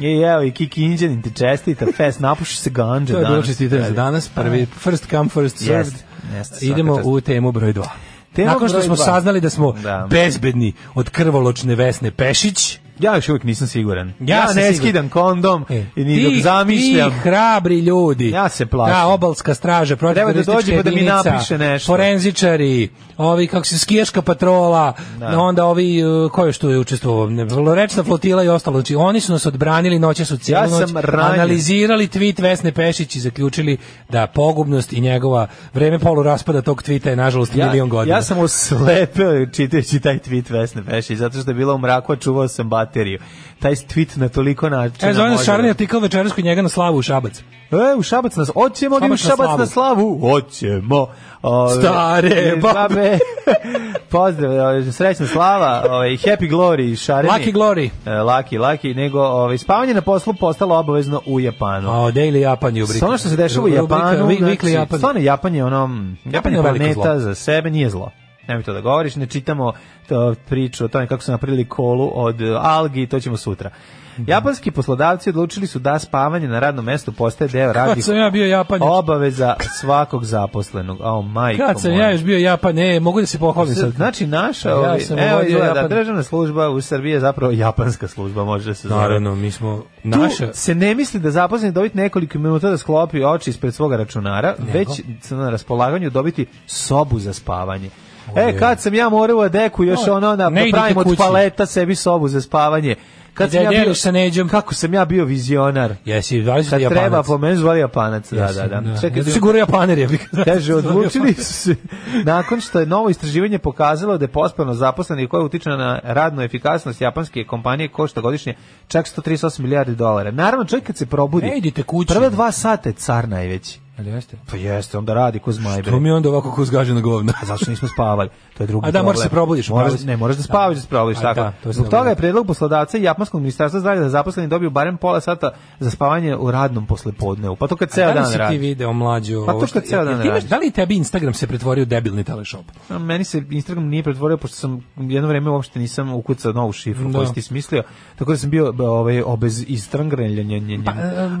[SPEAKER 5] I evo, i Kiki Inđanin ti čestita, fest, napuši se ganđa
[SPEAKER 6] To je
[SPEAKER 5] danas. Da,
[SPEAKER 6] bilo čestitanje za danas, prvi first come first served.
[SPEAKER 5] Jest, jest, svaka
[SPEAKER 6] Idemo
[SPEAKER 5] čast.
[SPEAKER 6] u temu broj 2.
[SPEAKER 5] Tema
[SPEAKER 6] Nakon što
[SPEAKER 5] broj
[SPEAKER 6] smo
[SPEAKER 5] dva.
[SPEAKER 6] saznali da smo
[SPEAKER 5] Da.
[SPEAKER 6] bezbedni od krvoločne Vesne Pešić,
[SPEAKER 5] Ja još uvijek nisam siguran.
[SPEAKER 6] Ja
[SPEAKER 5] Ja,
[SPEAKER 6] sam
[SPEAKER 5] ne
[SPEAKER 6] siguran.
[SPEAKER 5] skidam kondom
[SPEAKER 6] E,
[SPEAKER 5] i ni dok zamišljam.
[SPEAKER 6] Ti hrabri ljudi.
[SPEAKER 5] Ja se plašim.
[SPEAKER 6] Ta obalska straža,
[SPEAKER 5] Treba da
[SPEAKER 6] protivteroristička
[SPEAKER 5] dođe pa da mi
[SPEAKER 6] jedinica,
[SPEAKER 5] napiše nešto.
[SPEAKER 6] Forenzičari, ovi kako se skijaška patrola,
[SPEAKER 5] Da.
[SPEAKER 6] onda ovi uh, ko je što je učestvovao, ne, Lorečna flotila i ostalo. Znači oni su nas odbranili noće su cijelu
[SPEAKER 5] Ja
[SPEAKER 6] noć
[SPEAKER 5] sam ranjen.
[SPEAKER 6] analizirali tweet Vesne Pešić i zaključili da pogubnost i njegova vreme polu raspada tog tvita je nažalost milion godina.
[SPEAKER 5] Ja sam oslepeo čitajući taj tweet Vesne Pešić, zato što je bila u mraku, a čuvao sam bat materiju. Taj tweet na toliko načina.
[SPEAKER 6] E, zove nas
[SPEAKER 5] može- da
[SPEAKER 6] Šarni artikl večeras kod njega na slavu u Šabac.
[SPEAKER 5] E, u Šabac nas, hoćemo da idemo u
[SPEAKER 6] Šabac na
[SPEAKER 5] Šabac na
[SPEAKER 6] slavu.
[SPEAKER 5] slavu, hoćemo. Ove,
[SPEAKER 6] Stare
[SPEAKER 5] e,
[SPEAKER 6] babe.
[SPEAKER 5] Pozdrav, ove, srećna slava, ove, happy glory, šareni.
[SPEAKER 6] Lucky glory.
[SPEAKER 5] E, lucky, lucky, nego ove, spavanje na poslu postalo obavezno u Japanu.
[SPEAKER 6] A, Daily Japan je u
[SPEAKER 5] Sve ono što se dešava u Japanu,
[SPEAKER 6] Weekly
[SPEAKER 5] znači,
[SPEAKER 6] Japan.
[SPEAKER 5] stvarno Japan je onom, Japan je
[SPEAKER 6] je veliko
[SPEAKER 5] planeta
[SPEAKER 6] zlo.
[SPEAKER 5] za sebe, nije zlo. Nemoj to da govoriš, ne čitamo to priču o tome kako su napravili kolu od e, algi, to ćemo sutra.
[SPEAKER 6] Mhm.
[SPEAKER 5] Japanski poslodavci odlučili su da spavanje na radnom mestu postaje deo radnih
[SPEAKER 6] sam ja bio Japanjač?
[SPEAKER 5] obaveza svakog zaposlenog. O, majko
[SPEAKER 6] Kad sam
[SPEAKER 5] moja.
[SPEAKER 6] ja još bio Japan, e, mogu da se pohvalim sad.
[SPEAKER 5] Znači, naša
[SPEAKER 6] Ja
[SPEAKER 5] ovi-
[SPEAKER 6] sam
[SPEAKER 5] evo,
[SPEAKER 6] vodio
[SPEAKER 5] izgleda,
[SPEAKER 6] Japan.
[SPEAKER 5] državna služba u Srbiji je zapravo japanska služba, može da se zove.
[SPEAKER 6] Naravno, mi smo
[SPEAKER 5] Tu
[SPEAKER 6] naša.
[SPEAKER 5] se ne misli da zaposleni dobiti nekoliko minuta da sklopi oči ispred svoga računara, već se na raspolaganju dobiti sobu za spavanje. E, kad sam ja morao u Adeku još
[SPEAKER 6] No,
[SPEAKER 5] ono na,
[SPEAKER 6] ne
[SPEAKER 5] da
[SPEAKER 6] idite
[SPEAKER 5] pravim od
[SPEAKER 6] kući.
[SPEAKER 5] paleta sebi sobu za spavanje. Kad
[SPEAKER 6] I da
[SPEAKER 5] sam ja bio,
[SPEAKER 6] deliš sa neđom.
[SPEAKER 5] Kako sam ja bio vizionar.
[SPEAKER 6] Jesi, zvali su
[SPEAKER 5] Kad
[SPEAKER 6] ti Japanac.
[SPEAKER 5] treba, po meni zvali Japanac. Da, da, da. Čekaj,
[SPEAKER 6] Čekaj, sigurno Japaner je. bih-
[SPEAKER 5] Kaže,
[SPEAKER 6] Zvali
[SPEAKER 5] odlučili
[SPEAKER 6] Japanac.
[SPEAKER 5] su se, nakon što je novo istraživanje pokazalo da je pospravno zaposlenih koja utiče na radnu efikasnost japanske kompanije košta godišnje čak 138 milijardi dolara. Naravno, čovjek kad se probudi,
[SPEAKER 6] Ne idite kući.
[SPEAKER 5] prva dva sata je car najveći.
[SPEAKER 6] Ali jeste.
[SPEAKER 5] Pa jeste, onda radi ko zmaj. bre.
[SPEAKER 6] To mi je onda ovako ko zgaženo govno.
[SPEAKER 5] A zašto nismo spavali? To je drugi
[SPEAKER 6] A da, moraš
[SPEAKER 5] problem.
[SPEAKER 6] se probudiš, u pravu
[SPEAKER 5] Moraš,
[SPEAKER 6] si.
[SPEAKER 5] ne, moraš da spavaš da se probudiš,
[SPEAKER 6] A
[SPEAKER 5] tako.
[SPEAKER 6] da, to sam
[SPEAKER 5] Zbog
[SPEAKER 6] dobro
[SPEAKER 5] toga je
[SPEAKER 6] rekao.
[SPEAKER 5] predlog poslodavca i Japanskog ministarstva zdravlja da zaposleni dobiju barem pola sata za spavanje u radnom poslepodnevu. Pa to kad ceo
[SPEAKER 6] da li
[SPEAKER 5] dan
[SPEAKER 6] si ti
[SPEAKER 5] radi.
[SPEAKER 6] video mlađu?
[SPEAKER 5] Pa to
[SPEAKER 6] ovo
[SPEAKER 5] što ceo dan
[SPEAKER 6] jel ti imaš-
[SPEAKER 5] radi.
[SPEAKER 6] Da li tebi Instagram se pretvorio u debilni teleshop?
[SPEAKER 5] A Meni se Instagram nije pretvorio pošto sam jedno vreme uopšte nisam ukucao novu šifru
[SPEAKER 6] Da.
[SPEAKER 5] koju si ti smislio, tako da sam bio b- ovaj obez istrangrenjenjenjen.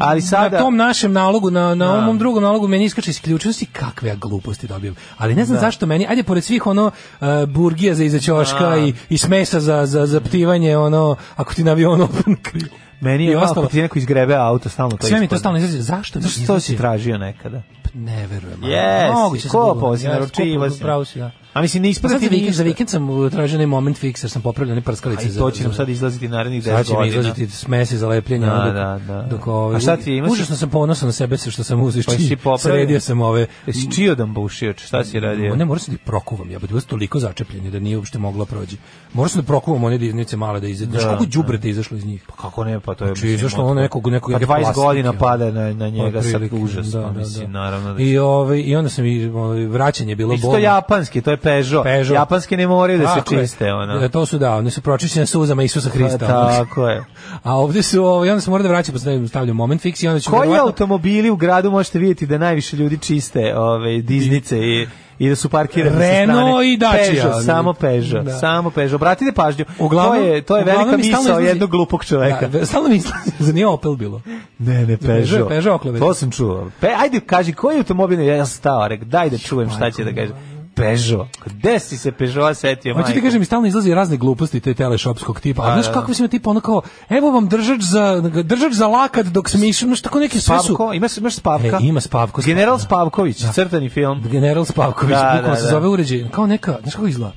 [SPEAKER 5] Ali
[SPEAKER 6] Pa, e, na
[SPEAKER 5] sada
[SPEAKER 6] tom našem nalogu, na, na
[SPEAKER 5] Da.
[SPEAKER 6] ovom mom drugom nalogu meni iskače isključenosti kakve ja gluposti dobijem. Ali ne znam
[SPEAKER 5] Da.
[SPEAKER 6] zašto meni, ajde pored svih ono uh, burgija za iza ćoška i, i smesa za, za, za ptivanje, ono, ako ti na avion open kriv.
[SPEAKER 5] meni je
[SPEAKER 6] i
[SPEAKER 5] malo
[SPEAKER 6] ostalo.
[SPEAKER 5] kad ti neko izgrebe auto stalno to.
[SPEAKER 6] Sve mi to
[SPEAKER 5] ispadne.
[SPEAKER 6] stalno izlazi. Zašto? mi
[SPEAKER 5] Znaš što si
[SPEAKER 6] izlazi?
[SPEAKER 5] tražio nekada?
[SPEAKER 6] Ne verujem. ali
[SPEAKER 5] Yes,
[SPEAKER 6] moguće sam
[SPEAKER 5] kopao
[SPEAKER 6] bilo.
[SPEAKER 5] si,
[SPEAKER 6] Ja,
[SPEAKER 5] naručivao
[SPEAKER 6] kopao,
[SPEAKER 5] si.
[SPEAKER 6] Pravo si, da.
[SPEAKER 5] A mislim ne
[SPEAKER 6] Pa
[SPEAKER 5] ispada
[SPEAKER 6] sad za
[SPEAKER 5] ti
[SPEAKER 6] vikend, za
[SPEAKER 5] ništa.
[SPEAKER 6] vikend sam uh, tražio onaj moment fix jer sam popravljao one
[SPEAKER 5] A
[SPEAKER 6] prskalice.
[SPEAKER 5] i to će nam sad izlaziti narednih 10
[SPEAKER 6] Sad će mi
[SPEAKER 5] godina.
[SPEAKER 6] izlaziti smese za lepljenje.
[SPEAKER 5] Da,
[SPEAKER 6] ono dok,
[SPEAKER 5] da, da.
[SPEAKER 6] Dok ovo,
[SPEAKER 5] A šta ti je, imaš-
[SPEAKER 6] Užasno sam ponosan na sebe sa što sam uzeo.
[SPEAKER 5] Pa si popravio?
[SPEAKER 6] Sredio sam ove...
[SPEAKER 5] Jesi čio da bušioč? Šta si radio?
[SPEAKER 6] Ne, morao sam da ih prokuvam, ja bih bio toliko začepljen da nije uopšte mogla prođi. Morao sam da prokuvam one diznice male da izađe. Da, kako đubrete izašlo iz njih?
[SPEAKER 5] Pa kako ne, pa to je...
[SPEAKER 6] Znači,
[SPEAKER 5] mislim,
[SPEAKER 6] izašlo
[SPEAKER 5] otkud-
[SPEAKER 6] ono nekog, nekog
[SPEAKER 5] Pa
[SPEAKER 6] neke
[SPEAKER 5] 20
[SPEAKER 6] plastike,
[SPEAKER 5] godina
[SPEAKER 6] ono.
[SPEAKER 5] pada na, na njega sad
[SPEAKER 6] Pa Otprilike, da,
[SPEAKER 5] užasno, mislim, naravno da
[SPEAKER 6] I, ovaj, I onda sam i ovaj, vraćanje je bilo
[SPEAKER 5] Isto
[SPEAKER 6] bolno.
[SPEAKER 5] japanski, to je Peugeot.
[SPEAKER 6] Peugeot.
[SPEAKER 5] Japanski ne moraju da se
[SPEAKER 6] Tako je.
[SPEAKER 5] čiste, ono.
[SPEAKER 6] E, To su da, oni su pročišćene suzama Isusa
[SPEAKER 5] Pa,
[SPEAKER 6] Hrista. ono.
[SPEAKER 5] tako je.
[SPEAKER 6] A ovdje su, ovaj, onda se mora da vraća, pa stavljam, stavljam moment fix i onda ću...
[SPEAKER 5] Koji
[SPEAKER 6] verovatno-
[SPEAKER 5] automobili u gradu možete vidjeti da najviše ljudi čiste ove diznice i i da su parkirani sa
[SPEAKER 6] Renault
[SPEAKER 5] strane.
[SPEAKER 6] i Dacia.
[SPEAKER 5] Peugeot, samo Peugeot,
[SPEAKER 6] Da.
[SPEAKER 5] samo Peugeot. Obratite pažnju,
[SPEAKER 6] Uglavnom,
[SPEAKER 5] to je, to je
[SPEAKER 6] uglavnom
[SPEAKER 5] velika
[SPEAKER 6] mi stalno
[SPEAKER 5] misao
[SPEAKER 6] izlazi-
[SPEAKER 5] jednog glupog čoveka.
[SPEAKER 6] Da, stalno mi izlazi, za nije Opel bilo.
[SPEAKER 5] Ne, ne, Peugeot.
[SPEAKER 6] Peugeot, Peugeot okleveta.
[SPEAKER 5] To sam čuo. Pe, ajde, kaži, koji automobil je ja sam stao? Rek, daj da čujem šta će da kaže. Peugeot. Gde si se Peugeot setio,
[SPEAKER 6] Pa Hoću ti
[SPEAKER 5] majko?
[SPEAKER 6] kažem, mi stalno izlazi razne gluposti te teleshopskog tipa. A,
[SPEAKER 5] Da, da,
[SPEAKER 6] znaš
[SPEAKER 5] da.
[SPEAKER 6] kako mislim tipa ono kao, evo vam držač za, držač za lakat dok smišljam, znaš tako neke sve su...
[SPEAKER 5] Spavko, ima, imaš Spavka?
[SPEAKER 6] E, ima Spavko,
[SPEAKER 5] General
[SPEAKER 6] da.
[SPEAKER 5] Spavković, crtani film.
[SPEAKER 6] General Spavković,
[SPEAKER 5] Da,
[SPEAKER 6] da,
[SPEAKER 5] da,
[SPEAKER 6] se
[SPEAKER 5] da. Mm.
[SPEAKER 6] zove uređaj, kao neka, znaš kako izgleda?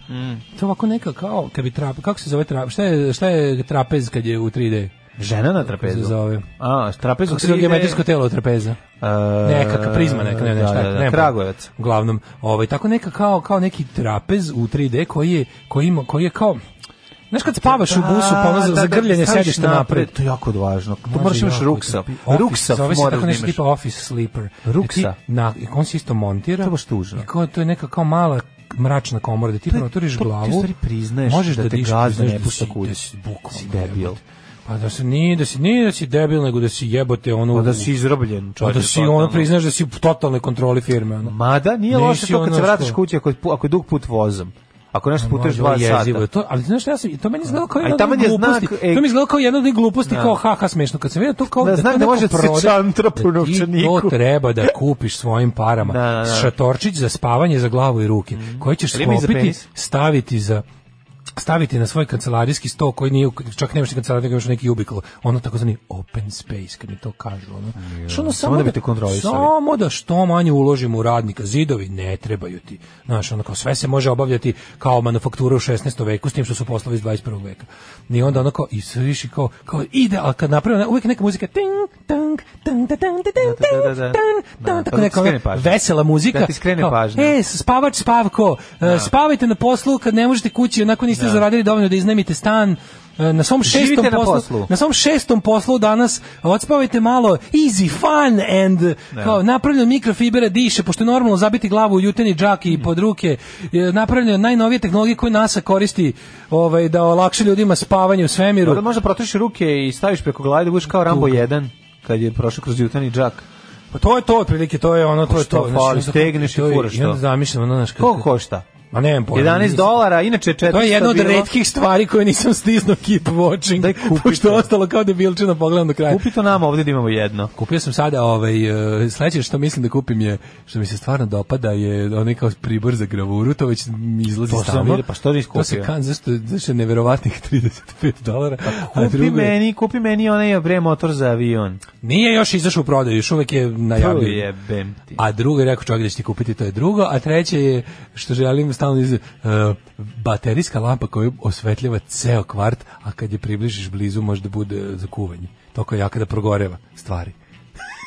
[SPEAKER 6] To je ovako neka kao, kad bi trapez, kako se zove trapez, šta je, šta je trapez kad je u 3D?
[SPEAKER 5] Žena na
[SPEAKER 6] Kako
[SPEAKER 5] trapezu.
[SPEAKER 6] se zove?
[SPEAKER 5] A, trapezu
[SPEAKER 6] Kako se zove
[SPEAKER 5] 3D?
[SPEAKER 6] geometrijsko telo od trapeza?
[SPEAKER 5] E,
[SPEAKER 6] Nekakva prizma, neka, ne, ne,
[SPEAKER 5] da,
[SPEAKER 6] šta,
[SPEAKER 5] da, da,
[SPEAKER 6] ne,
[SPEAKER 5] Kragujevac.
[SPEAKER 6] Uglavnom, ovaj, tako neka kao, kao neki trapez u 3D koji je, koji ima, koji je kao, Znaš kad spavaš u busu, pa ono za,
[SPEAKER 5] Da, da,
[SPEAKER 6] za grljanje
[SPEAKER 5] da, staviš
[SPEAKER 6] sediš napred.
[SPEAKER 5] To je jako važno. To
[SPEAKER 6] Može
[SPEAKER 5] moraš imaš
[SPEAKER 6] jako
[SPEAKER 5] ruksa.
[SPEAKER 6] trpi. Office,
[SPEAKER 5] Ruksa
[SPEAKER 6] zove se
[SPEAKER 5] moraš
[SPEAKER 6] tako
[SPEAKER 5] da
[SPEAKER 6] nešto
[SPEAKER 5] imaš.
[SPEAKER 6] tipa office sleeper.
[SPEAKER 5] Ruksa.
[SPEAKER 6] Da ti na, on se isto montira.
[SPEAKER 5] To je baš tužno.
[SPEAKER 6] I kao, to je neka kao mala mrачна komora da ti
[SPEAKER 5] To je-
[SPEAKER 6] proturiš
[SPEAKER 5] to- ti u
[SPEAKER 6] glavu.
[SPEAKER 5] stvari priznaješ
[SPEAKER 6] možeš
[SPEAKER 5] da te
[SPEAKER 6] dišeš,
[SPEAKER 5] gazda
[SPEAKER 6] priznaješ
[SPEAKER 5] ne
[SPEAKER 6] da
[SPEAKER 5] pušta
[SPEAKER 6] si-
[SPEAKER 5] kući.
[SPEAKER 6] Da si bukvalno
[SPEAKER 5] Si debil.
[SPEAKER 6] jebote. Pa da se nije, da si nije da si debil, nego da si jebote ono.
[SPEAKER 5] Pa da si izrobljen,
[SPEAKER 6] Pa
[SPEAKER 5] čovječe,
[SPEAKER 6] da si
[SPEAKER 5] totalno.
[SPEAKER 6] ono priznaš da si u totalnoj kontroli firme ono.
[SPEAKER 5] Mada nije
[SPEAKER 6] Nisi
[SPEAKER 5] loše to kad se
[SPEAKER 6] ono
[SPEAKER 5] vratiš
[SPEAKER 6] što-
[SPEAKER 5] kući ako je, pu- ako je dug put vozom. Ako nešto putuješ
[SPEAKER 6] Može,
[SPEAKER 5] dva
[SPEAKER 6] ovo je
[SPEAKER 5] sata.
[SPEAKER 6] jezivo je To, ali znaš šta, ja sam, to meni izgleda kao
[SPEAKER 5] A i
[SPEAKER 6] jedna od
[SPEAKER 5] taman je
[SPEAKER 6] onih
[SPEAKER 5] znak,
[SPEAKER 6] gluposti.
[SPEAKER 5] ej.
[SPEAKER 6] to mi izgleda kao jedna od onih gluposti, kao haha smešno. Kad sam vidio to kao
[SPEAKER 5] Da, znak
[SPEAKER 6] to
[SPEAKER 5] da
[SPEAKER 6] neko
[SPEAKER 5] može da se
[SPEAKER 6] prodaje,
[SPEAKER 5] čantra po
[SPEAKER 6] da ti
[SPEAKER 5] novčaniku.
[SPEAKER 6] to treba da kupiš svojim parama.
[SPEAKER 5] Da, da, da.
[SPEAKER 6] Šatorčić za spavanje za glavu i ruke, koji ćeš
[SPEAKER 5] Ali ima i za
[SPEAKER 6] sklopiti,
[SPEAKER 5] penis.
[SPEAKER 6] staviti za staviti na svoj kancelarijski sto koji nije čak nemaš ni kancelariju nego imaš neki ubikl ono takozvani open space kad mi to kažu ono što ono
[SPEAKER 5] samo da bi te kontrolisali.
[SPEAKER 6] samo da što manje uložimo u radnika, zidovi ne trebaju ti. Znaš, ono kao sve se može obavljati kao manufaktura u 16. veku, s tim što su poslovi iz 21. veka. I onda ono kao, i sve više kao, kao ide, ali kad napravimo, uvijek neka muzika, ting, tang, tang, tang, tang, tang,
[SPEAKER 5] Da, da, da, da.
[SPEAKER 6] tang,
[SPEAKER 5] Da,
[SPEAKER 6] tang,
[SPEAKER 5] pa da
[SPEAKER 6] tako
[SPEAKER 5] ti
[SPEAKER 6] neka
[SPEAKER 5] skrene
[SPEAKER 6] ono
[SPEAKER 5] pažnju.
[SPEAKER 6] vesela muzika.
[SPEAKER 5] Da ti skrene
[SPEAKER 6] Kao,
[SPEAKER 5] pažnju.
[SPEAKER 6] E, spavač Spavko, e, spavajte na poslu kad ne možete kući, onako niste zaradili dovoljno da iznajmite stan, e, na svom
[SPEAKER 5] Živite
[SPEAKER 6] šestom
[SPEAKER 5] na
[SPEAKER 6] poslu,
[SPEAKER 5] poslu.
[SPEAKER 6] na svom šestom poslu danas odspavajte malo easy fun and kao napravljeno mikrofibera diše pošto je normalno zabiti glavu u juteni džak i pod ruke e, napravljeno je najnovije tehnologije koje NASA koristi ovaj da olakša ljudima spavanje u svemiru
[SPEAKER 5] Dobro, možda protiš ruke i staviš preko glave da budeš kao Rambo 1 kad je prošao kroz jutani džak.
[SPEAKER 6] Pa to je to otprilike, to je ono, to je
[SPEAKER 5] Šta
[SPEAKER 6] to.
[SPEAKER 5] fali,
[SPEAKER 6] Pa znaš,
[SPEAKER 5] stegneš i
[SPEAKER 6] to je-
[SPEAKER 5] furaš
[SPEAKER 6] I onda
[SPEAKER 5] to.
[SPEAKER 6] zamišljam, ono, znaš, kako...
[SPEAKER 5] Koliko košta?
[SPEAKER 6] Ma nemam pojma.
[SPEAKER 5] 11 dolara, inače 400
[SPEAKER 6] Pa To je jedna od
[SPEAKER 5] bilo.
[SPEAKER 6] retkih stvari koje nisam stisnuo keep watching, Daj, pošto je ostalo kao debilčina pogledam do kraja.
[SPEAKER 5] Kupi to nama ovdje da imamo jedno.
[SPEAKER 6] Kupio sam sada ovaj e, sledeće što mislim da kupim je što mi se stvarno dopada je onaj kao pribor za gravuru, to već mi izlazi
[SPEAKER 5] To sam
[SPEAKER 6] stalno.
[SPEAKER 5] vidio, pa što nisi
[SPEAKER 6] To se
[SPEAKER 5] kupio?
[SPEAKER 6] kan zašto zašto je neverovatnih 35 dolara. a
[SPEAKER 5] Kupi
[SPEAKER 6] drugo je-
[SPEAKER 5] meni, kupi meni onaj bre motor za avion.
[SPEAKER 6] Nije još izašao u prodaju, još uvek je najavljen.
[SPEAKER 5] Tu jebem ti.
[SPEAKER 6] A drugo je rekao čovjek da će ti kupiti, to je drugo. A treće je, što želim stalno iz... e, baterijska lampa koja osvetljava ceo kvart, a kad je približiš blizu možda bude za kuvanje. Toko je jaka da progoreva stvari.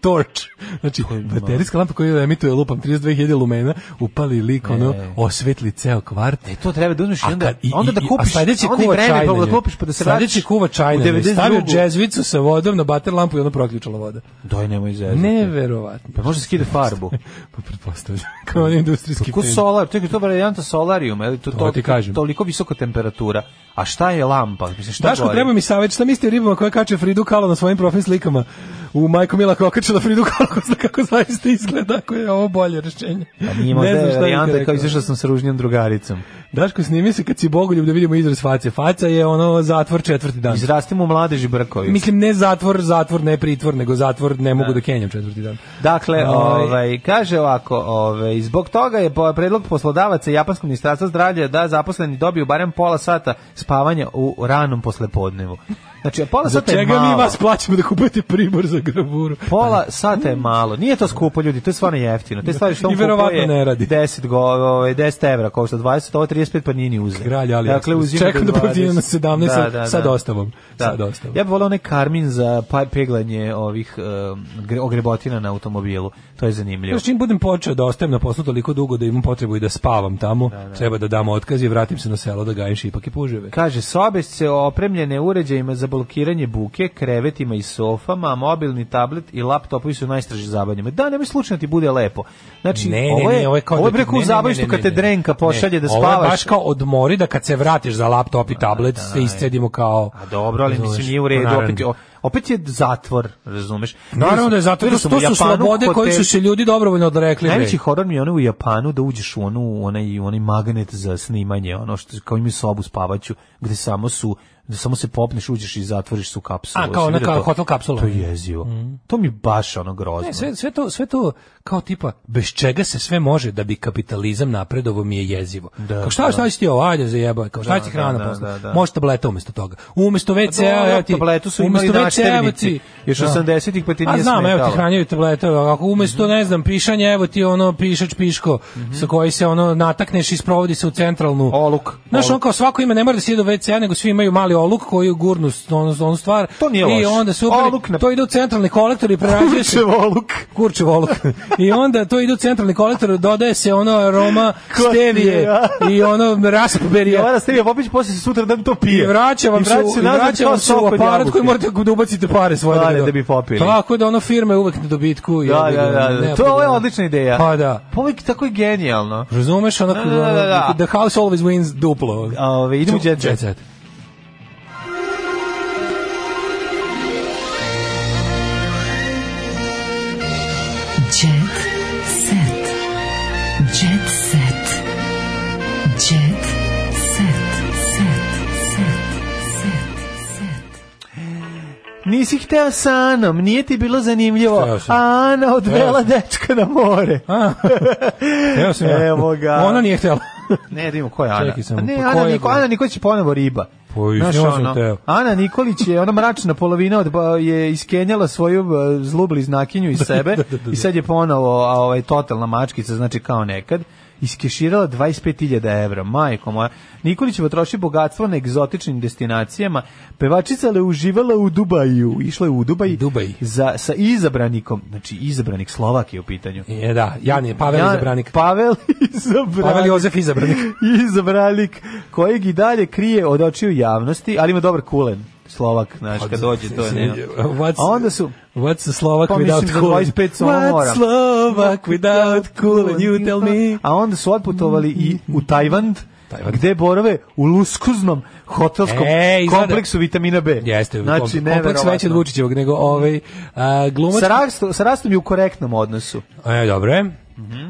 [SPEAKER 6] Torch. Znači, baterijska lampa koja emituje lupam 32.000 lumena, upali lik, ono, osvetli ceo kvart.
[SPEAKER 5] E to treba da uzmeš i
[SPEAKER 6] A
[SPEAKER 5] onda,
[SPEAKER 6] kad- i-
[SPEAKER 5] onda da
[SPEAKER 6] i-
[SPEAKER 5] kupiš,
[SPEAKER 6] a sledeći
[SPEAKER 5] onda i
[SPEAKER 6] kuva
[SPEAKER 5] vreme pa
[SPEAKER 6] čajna
[SPEAKER 5] da
[SPEAKER 6] je.
[SPEAKER 5] kupiš pa da se
[SPEAKER 6] Sledeći
[SPEAKER 5] vratiš
[SPEAKER 6] kuva
[SPEAKER 5] u
[SPEAKER 6] čajna je.
[SPEAKER 5] 92.
[SPEAKER 6] Stavio džezvicu sa vodom na bater lampu i ona proključala voda.
[SPEAKER 5] Doj, nemoj zezati.
[SPEAKER 6] Neverovatno.
[SPEAKER 5] Pa može skide farbu.
[SPEAKER 6] Pa pretpostavljam. Kao on industrijski
[SPEAKER 5] Kako
[SPEAKER 6] pen.
[SPEAKER 5] solar, čekaj, to je varijanta solariuma, je li to,
[SPEAKER 6] To
[SPEAKER 5] to,
[SPEAKER 6] ti kažem.
[SPEAKER 5] toliko visoka temperatura. A šta je lampa? Mislim, šta
[SPEAKER 6] Daško,
[SPEAKER 5] gori?
[SPEAKER 6] treba mi savjet, šta misli o ribama koja kače Fridu Kahlo na svojim profil slikama? U Majko Mila koja kačela Fridu Kahlo, ko zna kako zaista izgleda, ako je ovo bolje rešenje.
[SPEAKER 5] Pa nije
[SPEAKER 6] Ne
[SPEAKER 5] možda
[SPEAKER 6] znam šta bih
[SPEAKER 5] varijanta kao
[SPEAKER 6] rekao.
[SPEAKER 5] izašao sam sa ružnjom drugaricom.
[SPEAKER 6] Daško, snimi se kad si bogoljub da vidimo izraz face. Faca je ono zatvor četvrti dan.
[SPEAKER 5] Izrastimo mladeži brkovi.
[SPEAKER 6] Mislim, ne zatvor, zatvor, ne pritvor, nego zatvor ne mogu da kenjam četvrti dan.
[SPEAKER 5] Dakle,
[SPEAKER 6] Ovaj.
[SPEAKER 5] ovaj, kaže ovako, ovaj, zbog toga je po- predlog poslodavaca i Japanskog ministarstva zdravlja da zaposleni dobiju barem pola sata spavanja u ranom poslepodnevu. Znači, a pola
[SPEAKER 6] Za
[SPEAKER 5] sata je
[SPEAKER 6] čega mi
[SPEAKER 5] malo.
[SPEAKER 6] vas plaćamo da kupujete pribor za gravuru?
[SPEAKER 5] Pola sata je malo. Nije to skupo, ljudi, to je stvarno jeftino. Te stvari što on
[SPEAKER 6] I verovatno
[SPEAKER 5] kupuje
[SPEAKER 6] ne radi.
[SPEAKER 5] 10, go, ovaj, 10 evra, kao što 20, ovo 35 pa nije ni uzeo.
[SPEAKER 6] Kralj Ali
[SPEAKER 5] Dakle,
[SPEAKER 6] Ekspres.
[SPEAKER 5] uzima
[SPEAKER 6] Čekam da podijem na 17 sa- sa dostavom.
[SPEAKER 5] Da.
[SPEAKER 6] Sa dostavom.
[SPEAKER 5] Ja bih volao onaj karmin za pa- peglanje ovih um, gre- ogrebotina na automobilu. To je zanimljivo.
[SPEAKER 6] Još čim budem počeo da ostajem na poslu toliko dugo da imam potrebu i da spavam tamo, treba da dam otkaz i vratim se na selo da gajim šipak i puževe.
[SPEAKER 5] Kaže, sobe se opremljene uređajima za blokiranje buke, krevetima i sofama, a mobilni tablet i laptopovi su najstraži zabavljama. Da, nemoj slučajno ti bude lepo. Znači, ovo je,
[SPEAKER 6] kao
[SPEAKER 5] ovo je
[SPEAKER 6] da ti-
[SPEAKER 5] preko
[SPEAKER 6] ne,
[SPEAKER 5] u
[SPEAKER 6] ne, ne,
[SPEAKER 5] zabavištu
[SPEAKER 6] ne, ne,
[SPEAKER 5] kad te
[SPEAKER 6] ne.
[SPEAKER 5] drenka pošalje
[SPEAKER 6] Ne,
[SPEAKER 5] da
[SPEAKER 6] Ovo je
[SPEAKER 5] spavaš. Da,
[SPEAKER 6] baš kao odmori da kad se vratiš za laptop i tablet se iscedimo kao...
[SPEAKER 5] A dobro, ali mislim
[SPEAKER 6] Razumeš?
[SPEAKER 5] nije u redu,
[SPEAKER 6] Naravno.
[SPEAKER 5] opet, je- o- opet je zatvor, razumeš? Vidio
[SPEAKER 6] Naravno
[SPEAKER 5] sam-
[SPEAKER 6] da je zato,
[SPEAKER 5] vidio
[SPEAKER 6] to
[SPEAKER 5] sam
[SPEAKER 6] su
[SPEAKER 5] u Japanu
[SPEAKER 6] slobode
[SPEAKER 5] hotel-
[SPEAKER 6] koji su se ljudi dobrovoljno odrekli. bre.
[SPEAKER 5] Najveći horor mi je ono u Japanu da uđeš u onu, onaj, onaj magnet za snimanje, ono što kao imaju sobu spavaću, gde samo su da samo se popneš, uđeš i zatvoriš se u kapsulu.
[SPEAKER 6] A, kao
[SPEAKER 5] Jesi
[SPEAKER 6] ona
[SPEAKER 5] vidio
[SPEAKER 6] kao
[SPEAKER 5] to?
[SPEAKER 6] hotel kapsula. Mhm.
[SPEAKER 5] To je jezivo. To mi je baš ono grozno.
[SPEAKER 6] Ne, E, sve, sve, to, sve to kao tipa bez čega se sve može da bi kapitalizam napredovo mi je jezivo. kao šta, šta će ti ovo, ajde zajebaj, kao šta
[SPEAKER 5] pa Da,
[SPEAKER 6] će ti
[SPEAKER 5] da,
[SPEAKER 6] hrana
[SPEAKER 5] da,
[SPEAKER 6] posle,
[SPEAKER 5] da, da.
[SPEAKER 6] može tableta umesto toga. Umesto WC-a,
[SPEAKER 5] Pa dobro,
[SPEAKER 6] evo ti,
[SPEAKER 5] tabletu su imali
[SPEAKER 6] umesto
[SPEAKER 5] naštevnici,
[SPEAKER 6] WC-a, evo ti-
[SPEAKER 5] još
[SPEAKER 6] Da.
[SPEAKER 5] 80-ih pa ti
[SPEAKER 6] A
[SPEAKER 5] nije
[SPEAKER 6] znam, evo ti
[SPEAKER 5] smetalo.
[SPEAKER 6] hranjaju tablete, ako umesto, ne znam, pišanje, evo ti ono pišač piško,
[SPEAKER 5] Mhm.
[SPEAKER 6] sa koji se ono natakneš i sprovodi se u centralnu...
[SPEAKER 5] Oluk.
[SPEAKER 6] Znaš,
[SPEAKER 5] Oluk.
[SPEAKER 6] on kao svako ima, ne mora da se ide do WC-a, nego svi imaju mali oluk koji gurnu s- onu, onu stvar.
[SPEAKER 5] To nije
[SPEAKER 6] I
[SPEAKER 5] loše.
[SPEAKER 6] onda se ubere-
[SPEAKER 5] Oluk na-
[SPEAKER 6] to ide u centralni kolektor i prerađuje se...
[SPEAKER 5] voluk.
[SPEAKER 6] Kurčev oluk. I onda to ide u centralni kolektor, dodaje se ono aroma
[SPEAKER 5] Ko ti je,
[SPEAKER 6] stevije
[SPEAKER 5] a?
[SPEAKER 6] i ono raspberija.
[SPEAKER 5] Jovana Stevija Popić posle se sutra dan to
[SPEAKER 6] I
[SPEAKER 5] pije.
[SPEAKER 6] vraća vam se,
[SPEAKER 5] vraća
[SPEAKER 6] u- i
[SPEAKER 5] nazad
[SPEAKER 6] vraća
[SPEAKER 5] kao
[SPEAKER 6] vam se
[SPEAKER 5] sok
[SPEAKER 6] u
[SPEAKER 5] od
[SPEAKER 6] aparat
[SPEAKER 5] jabuke.
[SPEAKER 6] koji morate da ubacite pare svoje
[SPEAKER 5] Pare
[SPEAKER 6] ga-
[SPEAKER 5] da bi popili.
[SPEAKER 6] Tako da ono firma je uvek na dobitku. i
[SPEAKER 5] Da,
[SPEAKER 6] onda
[SPEAKER 5] da,
[SPEAKER 6] ga-
[SPEAKER 5] da. da.
[SPEAKER 6] nema
[SPEAKER 5] To ovo je
[SPEAKER 6] problema.
[SPEAKER 5] odlična ideja.
[SPEAKER 6] Pa da.
[SPEAKER 5] Pa uvijek tako je genijalno.
[SPEAKER 6] Razumeš, ono,
[SPEAKER 5] Da, da, da, da.
[SPEAKER 6] the house always wins duplo.
[SPEAKER 5] A, ove, idemo u Jet Set.
[SPEAKER 4] Jet set. Jet set. Jet set. Set. Set. Set. Set.
[SPEAKER 5] Nisi hteo sa Anom, nije ti bilo zanimljivo.
[SPEAKER 6] Hteo sam.
[SPEAKER 5] A Ana odvela
[SPEAKER 6] Hteo sam.
[SPEAKER 5] dečka na more.
[SPEAKER 6] A, evo sam ja.
[SPEAKER 5] Evo ga.
[SPEAKER 6] Ona nije htjela.
[SPEAKER 5] Ne, da vidimo ko je Ana.
[SPEAKER 6] Čekaj samo,
[SPEAKER 5] A ne,
[SPEAKER 6] pa ko
[SPEAKER 5] Ana,
[SPEAKER 6] je
[SPEAKER 5] Niko,
[SPEAKER 6] bre?
[SPEAKER 5] Ana Nikolić je ponovo riba.
[SPEAKER 6] Pa i
[SPEAKER 5] Znaš,
[SPEAKER 6] s njom sam
[SPEAKER 5] ono,
[SPEAKER 6] teo.
[SPEAKER 5] Ana Nikolić je ona mračna polovina od ba- je iskenjala svoju e,
[SPEAKER 6] Da,
[SPEAKER 5] zlu bliznakinju iz sebe i sad je ponovo a, ovaj totalna mačkica, znači kao nekad. iskeširala 25.000 evra. Majko moja. Nikolićeva troši bogatstvo na egzotičnim destinacijama. Pevačica le uživala u Dubaju. Išla je u Dubaj,
[SPEAKER 6] Dubaj.
[SPEAKER 5] Za, sa izabranikom. Znači, izabranik Slovak je u pitanju.
[SPEAKER 6] Je, da, Jan je Pavel Izabranik.
[SPEAKER 5] Pavel Izabranik.
[SPEAKER 6] Pavel Jozef Izabranik.
[SPEAKER 5] Izabranik, kojeg i dalje krije od očiju javnosti, ali ima dobar kulen. Slovak, znaš,
[SPEAKER 6] Pa da,
[SPEAKER 5] kad dođe, to je nema.
[SPEAKER 6] What's-
[SPEAKER 5] A onda su,
[SPEAKER 6] What's a Slovak
[SPEAKER 5] Pa mislim
[SPEAKER 6] without
[SPEAKER 5] za
[SPEAKER 6] cool?
[SPEAKER 5] 25 samo moram.
[SPEAKER 6] What's Slovak without cool? And you tell me.
[SPEAKER 5] A onda su otputovali i u Tajvand, gde borave u luskuznom hotelskom
[SPEAKER 6] E, izgleda-
[SPEAKER 5] kompleksu vitamina B.
[SPEAKER 6] Jeste,
[SPEAKER 5] znači,
[SPEAKER 6] kompleks veći od
[SPEAKER 5] neverovatno.
[SPEAKER 6] Vučićevog, nego ovaj a, glumac...
[SPEAKER 5] Sa rastom, sa rastom je u korektnom odnosu.
[SPEAKER 6] E, dobro je.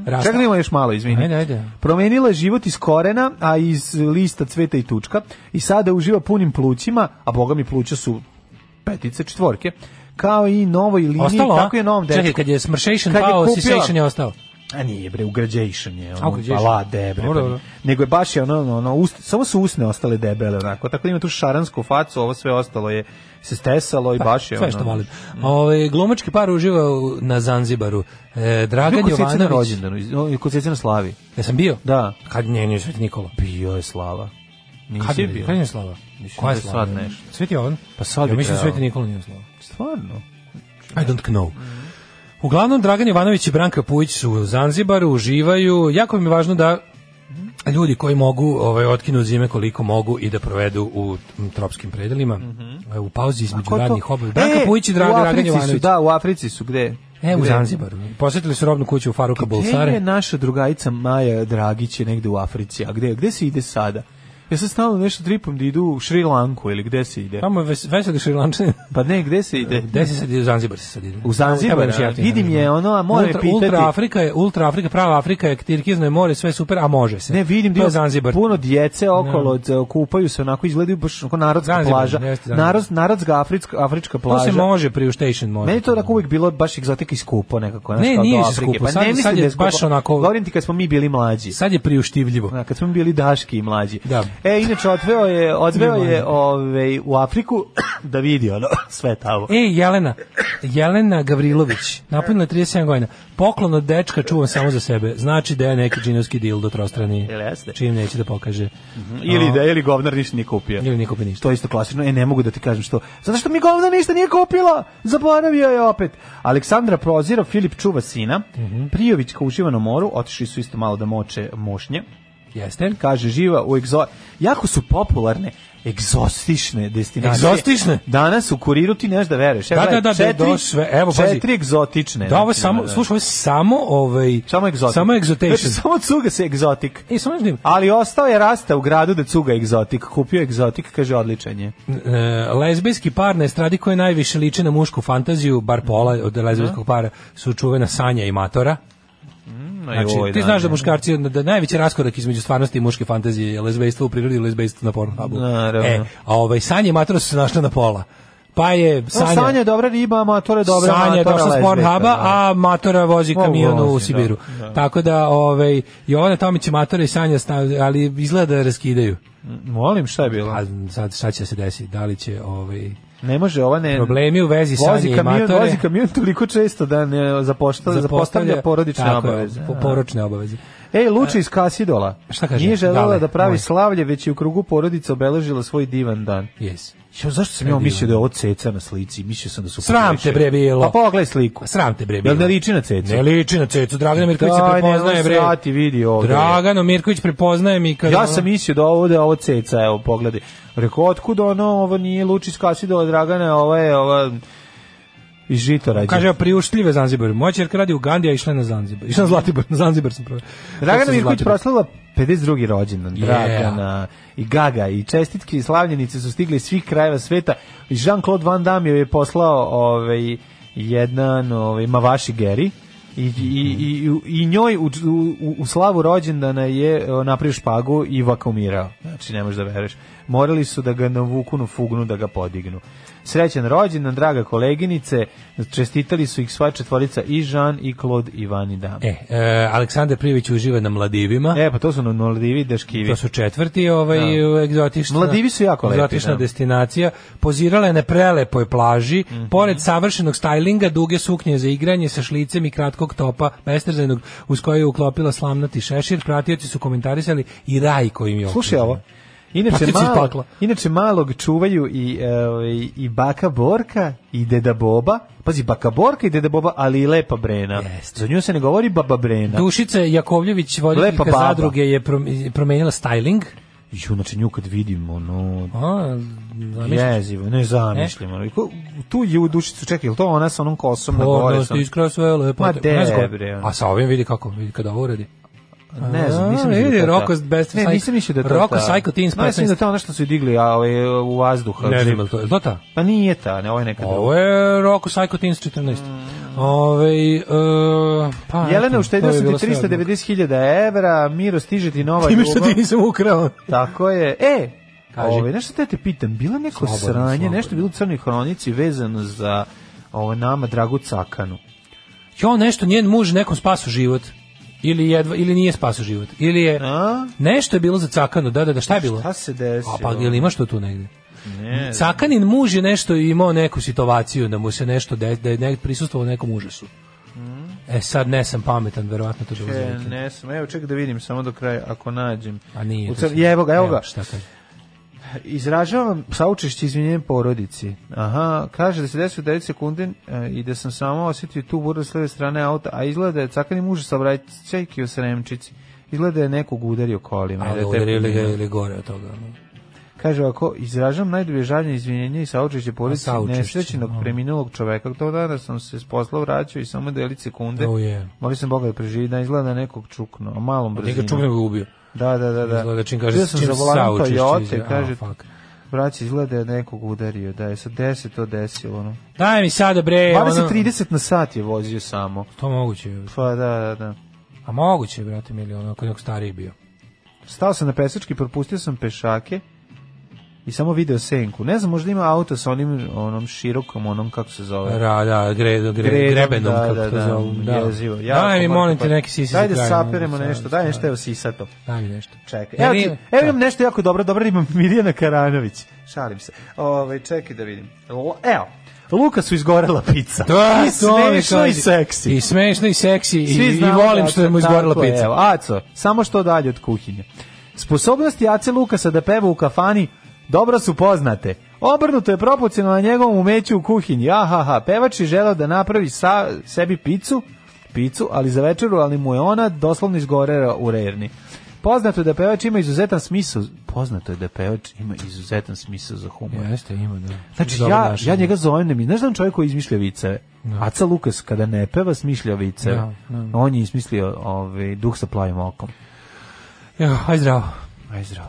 [SPEAKER 6] Rasta-
[SPEAKER 5] Čekaj da imamo još malo, izvini.
[SPEAKER 6] Ajde, ajde.
[SPEAKER 5] Promenila je život iz korena, a iz lista cveta i tučka i sada uživa punim plućima, a boga mi pluća su petice, četvorke, kao i novoj liniji,
[SPEAKER 6] Ostalo, a?
[SPEAKER 5] tako je novom dečku.
[SPEAKER 6] Čekaj, kad je Smršation
[SPEAKER 5] Kad je
[SPEAKER 6] pao,
[SPEAKER 5] kupila-
[SPEAKER 6] Sisation je ostao.
[SPEAKER 5] A nije bre, u građation je,
[SPEAKER 6] A,
[SPEAKER 5] ono,
[SPEAKER 6] u
[SPEAKER 5] balade,
[SPEAKER 6] građation.
[SPEAKER 5] bre.
[SPEAKER 6] Dobro,
[SPEAKER 5] pa
[SPEAKER 6] dobro.
[SPEAKER 5] Nego je baš je ono, ono, ono ust, samo su usne ostale debele, onako, tako da ima tu šaransku facu, ovo sve ostalo je se stesalo i baš je
[SPEAKER 6] Pa, Sve
[SPEAKER 5] ono. Mhm.
[SPEAKER 6] što volim. Ove, glumački par uživa u- na Zanzibaru. E, Dragan
[SPEAKER 5] Bio kod na
[SPEAKER 6] Jovanović.
[SPEAKER 5] rođendanu, iz- o, kod Cecina Slavi.
[SPEAKER 6] Ja sam bio?
[SPEAKER 5] Da.
[SPEAKER 6] Kad nje nije Sveti Nikola?
[SPEAKER 5] Bio je Slava. Nisi
[SPEAKER 6] Kad je
[SPEAKER 5] bio?
[SPEAKER 6] Kad je Slava?
[SPEAKER 5] Mislim
[SPEAKER 6] Koja
[SPEAKER 5] da
[SPEAKER 6] je
[SPEAKER 5] je
[SPEAKER 6] Slava?
[SPEAKER 5] sad nešto.
[SPEAKER 6] Sveti Jovan?
[SPEAKER 5] Pa sad
[SPEAKER 6] Ja
[SPEAKER 5] bi
[SPEAKER 6] mislim da
[SPEAKER 5] trebalo.
[SPEAKER 6] Sveti Nikola nije Slava.
[SPEAKER 5] Stvarno?
[SPEAKER 6] I don't know. Uglavnom, Dragan Jovanović i Branka Pujić su u Zanzibaru, uživaju. Jako mi je važno da ljudi koji mogu ovaj, otkinu zime koliko mogu i da provedu u mm, tropskim predelima, u pauzi između
[SPEAKER 5] Mhm. Ko to?
[SPEAKER 6] radnih obaveza. Znači, Branka
[SPEAKER 5] E,
[SPEAKER 6] Pujić i
[SPEAKER 5] u
[SPEAKER 6] Dragan, Dragan
[SPEAKER 5] Africi su,
[SPEAKER 6] Jovanović.
[SPEAKER 5] Da, u Africi su, gde?
[SPEAKER 6] E, u
[SPEAKER 5] Gde?
[SPEAKER 6] Zanzibaru. Posjetili su robnu kuću u Faruka
[SPEAKER 5] Gde je
[SPEAKER 6] Bulsare.
[SPEAKER 5] naša drugajica Maja Dragić je negde u Africi, a gde, gde se ide sada? Ja sam stalno nešto tripom da idu u Šri Lanku ili gde se ide?
[SPEAKER 6] Tamo je ves- veseli šrilančani.
[SPEAKER 5] Pa ne, gde se ide?
[SPEAKER 6] Gde se sad ide? U Zanzibar se sad ide.
[SPEAKER 5] U Zanzibar,
[SPEAKER 6] Tamo je još
[SPEAKER 5] a?
[SPEAKER 6] jeftinije.
[SPEAKER 5] Vidim je ono, a moram je
[SPEAKER 6] ultra,
[SPEAKER 5] pitati.
[SPEAKER 6] Ultra Afrika je, ultra Afrika, prava Afrika je, Tirkizno je more, sve je super, a može se.
[SPEAKER 5] Ne, vidim
[SPEAKER 6] to
[SPEAKER 5] da
[SPEAKER 6] je
[SPEAKER 5] ima
[SPEAKER 6] Zanzibar.
[SPEAKER 5] puno djece okolo, d- kupaju se onako, izgledaju baš onako narodska
[SPEAKER 6] Zanzibar,
[SPEAKER 5] plaža.
[SPEAKER 6] jeste Zanzibar.
[SPEAKER 5] Narod, narodska afrička, afrička plaža.
[SPEAKER 6] To se može pri station može.
[SPEAKER 5] Meni je to onako uvijek bilo baš egzotika i skupo nekako. znaš,
[SPEAKER 6] Ne,
[SPEAKER 5] kao do
[SPEAKER 6] nije se
[SPEAKER 5] Afrike.
[SPEAKER 6] skupo,
[SPEAKER 5] Pa
[SPEAKER 6] sad-
[SPEAKER 5] ne mislim
[SPEAKER 6] sad
[SPEAKER 5] da
[SPEAKER 6] je
[SPEAKER 5] je skupo.
[SPEAKER 6] baš onako-
[SPEAKER 5] Govorim ti kad smo mi bili mlađi.
[SPEAKER 6] Sad je priuštivljivo.
[SPEAKER 5] Da, kad smo mi bili daški i mlađi.
[SPEAKER 6] Da.
[SPEAKER 5] E, inače, odveo je, odveo
[SPEAKER 6] Bili
[SPEAKER 5] je ovaj, u Afriku da vidi ono, sve tamo.
[SPEAKER 6] E, Jelena, Jelena Gavrilović, napunila je 37 godina. Poklon od dečka čuvam samo za sebe. Znači da je neki džinovski dil do trostrani.
[SPEAKER 5] Jel jeste?
[SPEAKER 6] Čim neće da pokaže.
[SPEAKER 5] Ili da, ili govnar ništa nije kupio.
[SPEAKER 6] Ili nije kupio ništa.
[SPEAKER 5] To je isto klasično. E, ne mogu da ti kažem što. Zato što mi govnar ništa nije kupila. Zaboravio je opet. Aleksandra prozira, Filip čuva sina.
[SPEAKER 6] Mhm.
[SPEAKER 5] Prijović kao uživa na moru. Otišli su isto malo da moče mošnje.
[SPEAKER 6] Jeste?
[SPEAKER 5] Kaže, živa u egzo... Jako su popularne egzostične destinacije.
[SPEAKER 6] Egzostične?
[SPEAKER 5] Danas u kuriru ti neš da veruješ.
[SPEAKER 6] Da,
[SPEAKER 5] gledaj,
[SPEAKER 6] da, da, da je
[SPEAKER 5] četiri-
[SPEAKER 6] do sve. Evo, pazi.
[SPEAKER 5] Četiri egzotične.
[SPEAKER 6] Da, ovo
[SPEAKER 5] Znači,
[SPEAKER 6] samo, slušaj, ovo je samo ovaj...
[SPEAKER 5] Samo egzotik.
[SPEAKER 6] Samo exotation.
[SPEAKER 5] Znači, samo cuga se egzotik.
[SPEAKER 6] E, samo nešto.
[SPEAKER 5] Ali ostao je rasta u gradu da cuga egzotik. Kupio egzotik, kaže odličan je.
[SPEAKER 6] E, lezbijski par na estradi koje najviše liče na mušku fantaziju, bar pola od
[SPEAKER 5] Mhm.
[SPEAKER 6] lezbijskog para su čuvena Sanja i Matora. Znači,
[SPEAKER 5] Joj,
[SPEAKER 6] ti
[SPEAKER 5] da,
[SPEAKER 6] znaš da
[SPEAKER 5] ne.
[SPEAKER 6] muškarci, da je najveći raskorak između stvarnosti i muške fantazije je lezbejstvo u prirodi i lezbejstvo na Pornhubu.
[SPEAKER 5] Naravno.
[SPEAKER 6] E, a ovaj, Sanja i Matora su se našla na pola. Pa je
[SPEAKER 5] No,
[SPEAKER 6] Sanja...
[SPEAKER 5] Sanja je dobra riba, amator je dobra
[SPEAKER 6] Sanja je
[SPEAKER 5] amatora
[SPEAKER 6] došla s
[SPEAKER 5] lezbijka,
[SPEAKER 6] Pornhuba,
[SPEAKER 5] da.
[SPEAKER 6] a Matora vozi
[SPEAKER 5] Mogu
[SPEAKER 6] kamion u
[SPEAKER 5] vozi, da,
[SPEAKER 6] Sibiru.
[SPEAKER 5] da.
[SPEAKER 6] Tako da, ovaj, Jovana Tomić i Matora i Sanja, stav- ali izgleda da raskidaju.
[SPEAKER 5] Molim, šta je bilo?
[SPEAKER 6] A sad šta će se desiti? Da li će ovaj,
[SPEAKER 5] Ne može, ova ne...
[SPEAKER 6] Problemi u vezi
[SPEAKER 5] vozi
[SPEAKER 6] Sanje i
[SPEAKER 5] kamion,
[SPEAKER 6] Matore.
[SPEAKER 5] Vozi kamion toliko često da ne zapošta, zapostavlja porodične
[SPEAKER 6] tako je,
[SPEAKER 5] obaveze. da.
[SPEAKER 6] po- poročne obaveze.
[SPEAKER 5] Ej, Luča iz Kasidola.
[SPEAKER 6] Šta kaže?
[SPEAKER 5] Nije želela
[SPEAKER 6] Dale,
[SPEAKER 5] da pravi
[SPEAKER 6] moj.
[SPEAKER 5] slavlje, već je u krugu porodica obeležila svoj divan dan.
[SPEAKER 6] Yes.
[SPEAKER 5] Jo, zašto sam ja mislio da je ovo ceca na slici? Mislio sam da su
[SPEAKER 6] Sram
[SPEAKER 5] pogreše.
[SPEAKER 6] te, bre, bilo.
[SPEAKER 5] Pa pogledaj sliku.
[SPEAKER 6] Sram te bre.
[SPEAKER 5] Jel ne
[SPEAKER 6] bilo.
[SPEAKER 5] liči na cecu?
[SPEAKER 6] Ne liči na cecu, Dragana Mirković se
[SPEAKER 5] Daj,
[SPEAKER 6] prepoznaje
[SPEAKER 5] nemoj
[SPEAKER 6] bre.
[SPEAKER 5] srati, vidi ovde.
[SPEAKER 6] Dragano Mirković prepoznaje mi kad
[SPEAKER 5] Ja sam mislio da ovo da je ovo ceca, evo pogledaj. Rekao otkud ono, ovo nije Lučić Kasidola Dragana, ovo je ova iz Žitorađa.
[SPEAKER 6] Kaže, evo, priuštljive Zanzibar. Moja čerka radi u Gandhi, a išla je na Zanzibar. Išla na Zlatibor, na Zanzibar sam prvo.
[SPEAKER 5] Dragana
[SPEAKER 6] Sam
[SPEAKER 5] Mirković
[SPEAKER 6] Zlatibor.
[SPEAKER 5] proslavila 52. rođendan.
[SPEAKER 6] Yeah.
[SPEAKER 5] Dragana i Gaga i čestitke i slavljenice su stigle iz svih krajeva sveta. I Jean-Claude Van Damme joj je poslao ovaj jedan ovaj Mavaši Geri. I, i, i, i njoj u, u, u slavu rođendana je e, napravio špagu i vakumirao. Znači, ne možeš da veruješ. morali su da ga navuku na fugnu da ga podignu. Srećan rođendan, draga koleginice, čestitali su ih sva četvorica i Jean i Claude i Van i Dam.
[SPEAKER 6] E, e, Aleksandar Prijević uživa na Mladivima.
[SPEAKER 5] E, pa to su na Mladivi deškivi.
[SPEAKER 6] To su četvrti ovaj egzotična.
[SPEAKER 5] Mladivi su jako lepi,
[SPEAKER 6] Egzotična
[SPEAKER 5] da.
[SPEAKER 6] destinacija. Pozirala je na prelepoj plaži,
[SPEAKER 5] Mhm.
[SPEAKER 6] pored savršenog stajlinga, duge suknje za igranje sa šlicem i kratkog topa, bestrzajnog, uz koje je uklopila slamnati šešir. Pratioci su komentarisali i raj kojim je
[SPEAKER 5] Slušaj
[SPEAKER 6] okružen.
[SPEAKER 5] ovo. Inače
[SPEAKER 6] Praktično iz
[SPEAKER 5] malo,
[SPEAKER 6] pakla.
[SPEAKER 5] inače malog čuvaju i e, ovaj, i baka Borka i deda Boba. Pazi baka Borka i deda Boba, ali i lepa Brena. Za nju se ne govori baba Brena.
[SPEAKER 6] Da. Dušica Jakovljević, voditeljka
[SPEAKER 5] Lepa baba.
[SPEAKER 6] zadruge, je prom- promenila styling.
[SPEAKER 5] Ju, znači nju kad vidim, ono...
[SPEAKER 6] A, zamišljaš?
[SPEAKER 5] Jezivo, ne
[SPEAKER 6] E?
[SPEAKER 5] zamišljam. ono. Ko- Tu ju dušicu, čekaj, je li to ona sa onom kosom na gore?
[SPEAKER 6] Ponosno,
[SPEAKER 5] Sam...
[SPEAKER 6] da, iskra svoje lepote.
[SPEAKER 5] Ma de,
[SPEAKER 6] Ne znam ko-
[SPEAKER 5] bre, ono.
[SPEAKER 6] A sa ovim vidi kako, vidi kada ovo uradi.
[SPEAKER 5] Ne znam, nisam
[SPEAKER 6] A,
[SPEAKER 5] mislio da
[SPEAKER 6] vidi,
[SPEAKER 5] je to ta-
[SPEAKER 6] Rocco Best
[SPEAKER 5] Ne,
[SPEAKER 6] Psycho-
[SPEAKER 5] nisam mislio da je to
[SPEAKER 6] Rocco
[SPEAKER 5] ta.
[SPEAKER 6] Psycho Teens
[SPEAKER 5] Ma, ja sam
[SPEAKER 6] 15.
[SPEAKER 5] mislio da je to ono što su digli a, ovaj, u vazduh.
[SPEAKER 6] Ne znam, je li to, je li to ta?
[SPEAKER 5] Pa nije ta, ne, ovo je neka druga.
[SPEAKER 6] Ovo je Rocco Psycho Teens 14. Ovaj e, pa,
[SPEAKER 5] Mm. Jelena,
[SPEAKER 6] eto,
[SPEAKER 5] uštedio
[SPEAKER 6] to je
[SPEAKER 5] sam
[SPEAKER 6] bilo
[SPEAKER 5] ti
[SPEAKER 6] sve od njega.
[SPEAKER 5] 390.000 evra, Miro, stiže ti nova
[SPEAKER 6] Time što
[SPEAKER 5] ljubav.
[SPEAKER 6] ti nisam ukrao.
[SPEAKER 5] Tako je. E,
[SPEAKER 6] Kaži.
[SPEAKER 5] Ove, nešto te te pitam, bilo je neko
[SPEAKER 6] Slobodno,
[SPEAKER 5] sranje,
[SPEAKER 6] slobodno.
[SPEAKER 5] nešto je bilo u crnoj hronici vezano za ovo, nama Dragu Cakanu.
[SPEAKER 6] Jo, nešto njen muž nekom spasu život. Ili jedva, ili nije spasu život. Ili je
[SPEAKER 5] A?
[SPEAKER 6] nešto je bilo za cakanu. Da, da, da, šta je bilo?
[SPEAKER 5] Šta se desilo?
[SPEAKER 6] A pa ili imaš to tu negde?
[SPEAKER 5] Ne,
[SPEAKER 6] Cakanin muž je nešto imao neku situaciju da mu se nešto de, da je ne, prisustvovao nekom užasu. E sad ne sam pametan, verovatno to bilo za
[SPEAKER 5] e,
[SPEAKER 6] vikend.
[SPEAKER 5] ne sam. Evo, Mm. čekaj da vidim samo do kraja, ako nađem.
[SPEAKER 6] A nije.
[SPEAKER 5] U
[SPEAKER 6] to
[SPEAKER 5] cr-
[SPEAKER 6] sam-
[SPEAKER 5] Evo ga, evo ga.
[SPEAKER 6] Šta kaže?
[SPEAKER 5] Izražavam saučešće i izvinjenje porodici. Aha, kaže da se desio u 9 sekunde e, i da sam samo osjetio tu buru s leve strane auta, a izgleda da je cakani muž sa vraćajki u sremčici. Izgleda da je nekog udario kolima. i da
[SPEAKER 6] Ali
[SPEAKER 5] je taj
[SPEAKER 6] udarili ga
[SPEAKER 5] preminuo.
[SPEAKER 6] ili gore od toga. ono.
[SPEAKER 5] Kaže ovako, izražavam najdublje žaljenje, izvinjenje i saučešće porodici
[SPEAKER 6] A, saučešće,
[SPEAKER 5] nesrećenog
[SPEAKER 6] a.
[SPEAKER 5] preminulog čoveka. To dana sam se s posla vraćao i samo delit sekunde.
[SPEAKER 6] O, je.
[SPEAKER 5] Molio sam Boga da preživi, da izgleda da je nekog čukno, a malom
[SPEAKER 6] Njega
[SPEAKER 5] brzinom.
[SPEAKER 6] čukne ga ubio.
[SPEAKER 5] Da, da, da. da.
[SPEAKER 6] Izgleda čim kaže,
[SPEAKER 5] Bio sam
[SPEAKER 6] čim
[SPEAKER 5] za volanom
[SPEAKER 6] saučešće
[SPEAKER 5] Toyota,
[SPEAKER 6] izgleda. A,
[SPEAKER 5] kaže,
[SPEAKER 6] fuck.
[SPEAKER 5] braći, izgleda da je nekog udario, da je sa 10 to desilo. Ono.
[SPEAKER 6] Daj mi sada bre, E, ono...
[SPEAKER 5] 20-30 na sat je vozio samo.
[SPEAKER 6] To moguće.
[SPEAKER 5] Pa da, da, da.
[SPEAKER 6] A moguće, brate, ili ono, ako je neko stariji bio.
[SPEAKER 5] Stao sam na pesački, propustio sam pešake i samo video senku. Ne znam, možda ima auto sa onim onom širokom, onom kako se zove.
[SPEAKER 6] Ra, da, gre, gre,
[SPEAKER 5] Gredom,
[SPEAKER 6] grebenom,
[SPEAKER 5] da,
[SPEAKER 6] kako
[SPEAKER 5] da,
[SPEAKER 6] to
[SPEAKER 5] da,
[SPEAKER 6] zovu. Da.
[SPEAKER 5] jezivo.
[SPEAKER 6] Daj mi,
[SPEAKER 5] Jako
[SPEAKER 6] molim
[SPEAKER 5] mrtvo.
[SPEAKER 6] te, neki sisi
[SPEAKER 5] Daj da
[SPEAKER 6] za kraj,
[SPEAKER 5] sapiremo
[SPEAKER 6] ono,
[SPEAKER 5] nešto,
[SPEAKER 6] sad,
[SPEAKER 5] daj
[SPEAKER 6] sad.
[SPEAKER 5] nešto, evo sisato.
[SPEAKER 6] Daj mi nešto.
[SPEAKER 5] Čekaj.
[SPEAKER 6] Ne,
[SPEAKER 5] Evo,
[SPEAKER 6] nije-
[SPEAKER 5] ti, evo imam nešto jako dobro, dobro imam Mirjana Karanović. Šalim se. Ovaj čekaj da vidim. L- Evo. Luka su izgorela pizza.
[SPEAKER 6] Da,
[SPEAKER 5] I
[SPEAKER 6] to mi
[SPEAKER 5] smešno i
[SPEAKER 6] kaže.
[SPEAKER 5] seksi.
[SPEAKER 6] I smešno i seksi i,
[SPEAKER 5] Svi
[SPEAKER 6] i
[SPEAKER 5] znamo
[SPEAKER 6] volim
[SPEAKER 5] da
[SPEAKER 6] što je
[SPEAKER 5] Aco-
[SPEAKER 6] mu izgorila
[SPEAKER 5] tako je,
[SPEAKER 6] pizza.
[SPEAKER 5] evo, Aco, samo što dalje od kuhinje. Sposobnosti Ace Lukasa da peva u kafani dobro su poznate. Obrnuto je proporcionalno njegovom umeću u kuhinji. Ahaha, pevač je želeo da napravi sa, sebi picu, picu, ali za večeru, ali mu je ona doslovno izgorela u rerni. Poznato je da pevač ima izuzetan smisao. Poznato je da pevač ima izuzetan smisao za humor.
[SPEAKER 6] Jeste, ima, da.
[SPEAKER 5] Znači,
[SPEAKER 6] Dobro
[SPEAKER 5] ja,
[SPEAKER 6] našao.
[SPEAKER 5] ja njega zovem ne mi. Znaš da on čovjek koji izmišlja viceve? Aca Lukas kada ne peva, smišlja viceve.
[SPEAKER 6] Da, da.
[SPEAKER 5] On je izmislio ovaj, duh sa plavim okom.
[SPEAKER 6] Evo, aj zdravo.
[SPEAKER 5] Aj zdravo.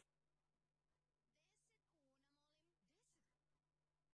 [SPEAKER 4] 10.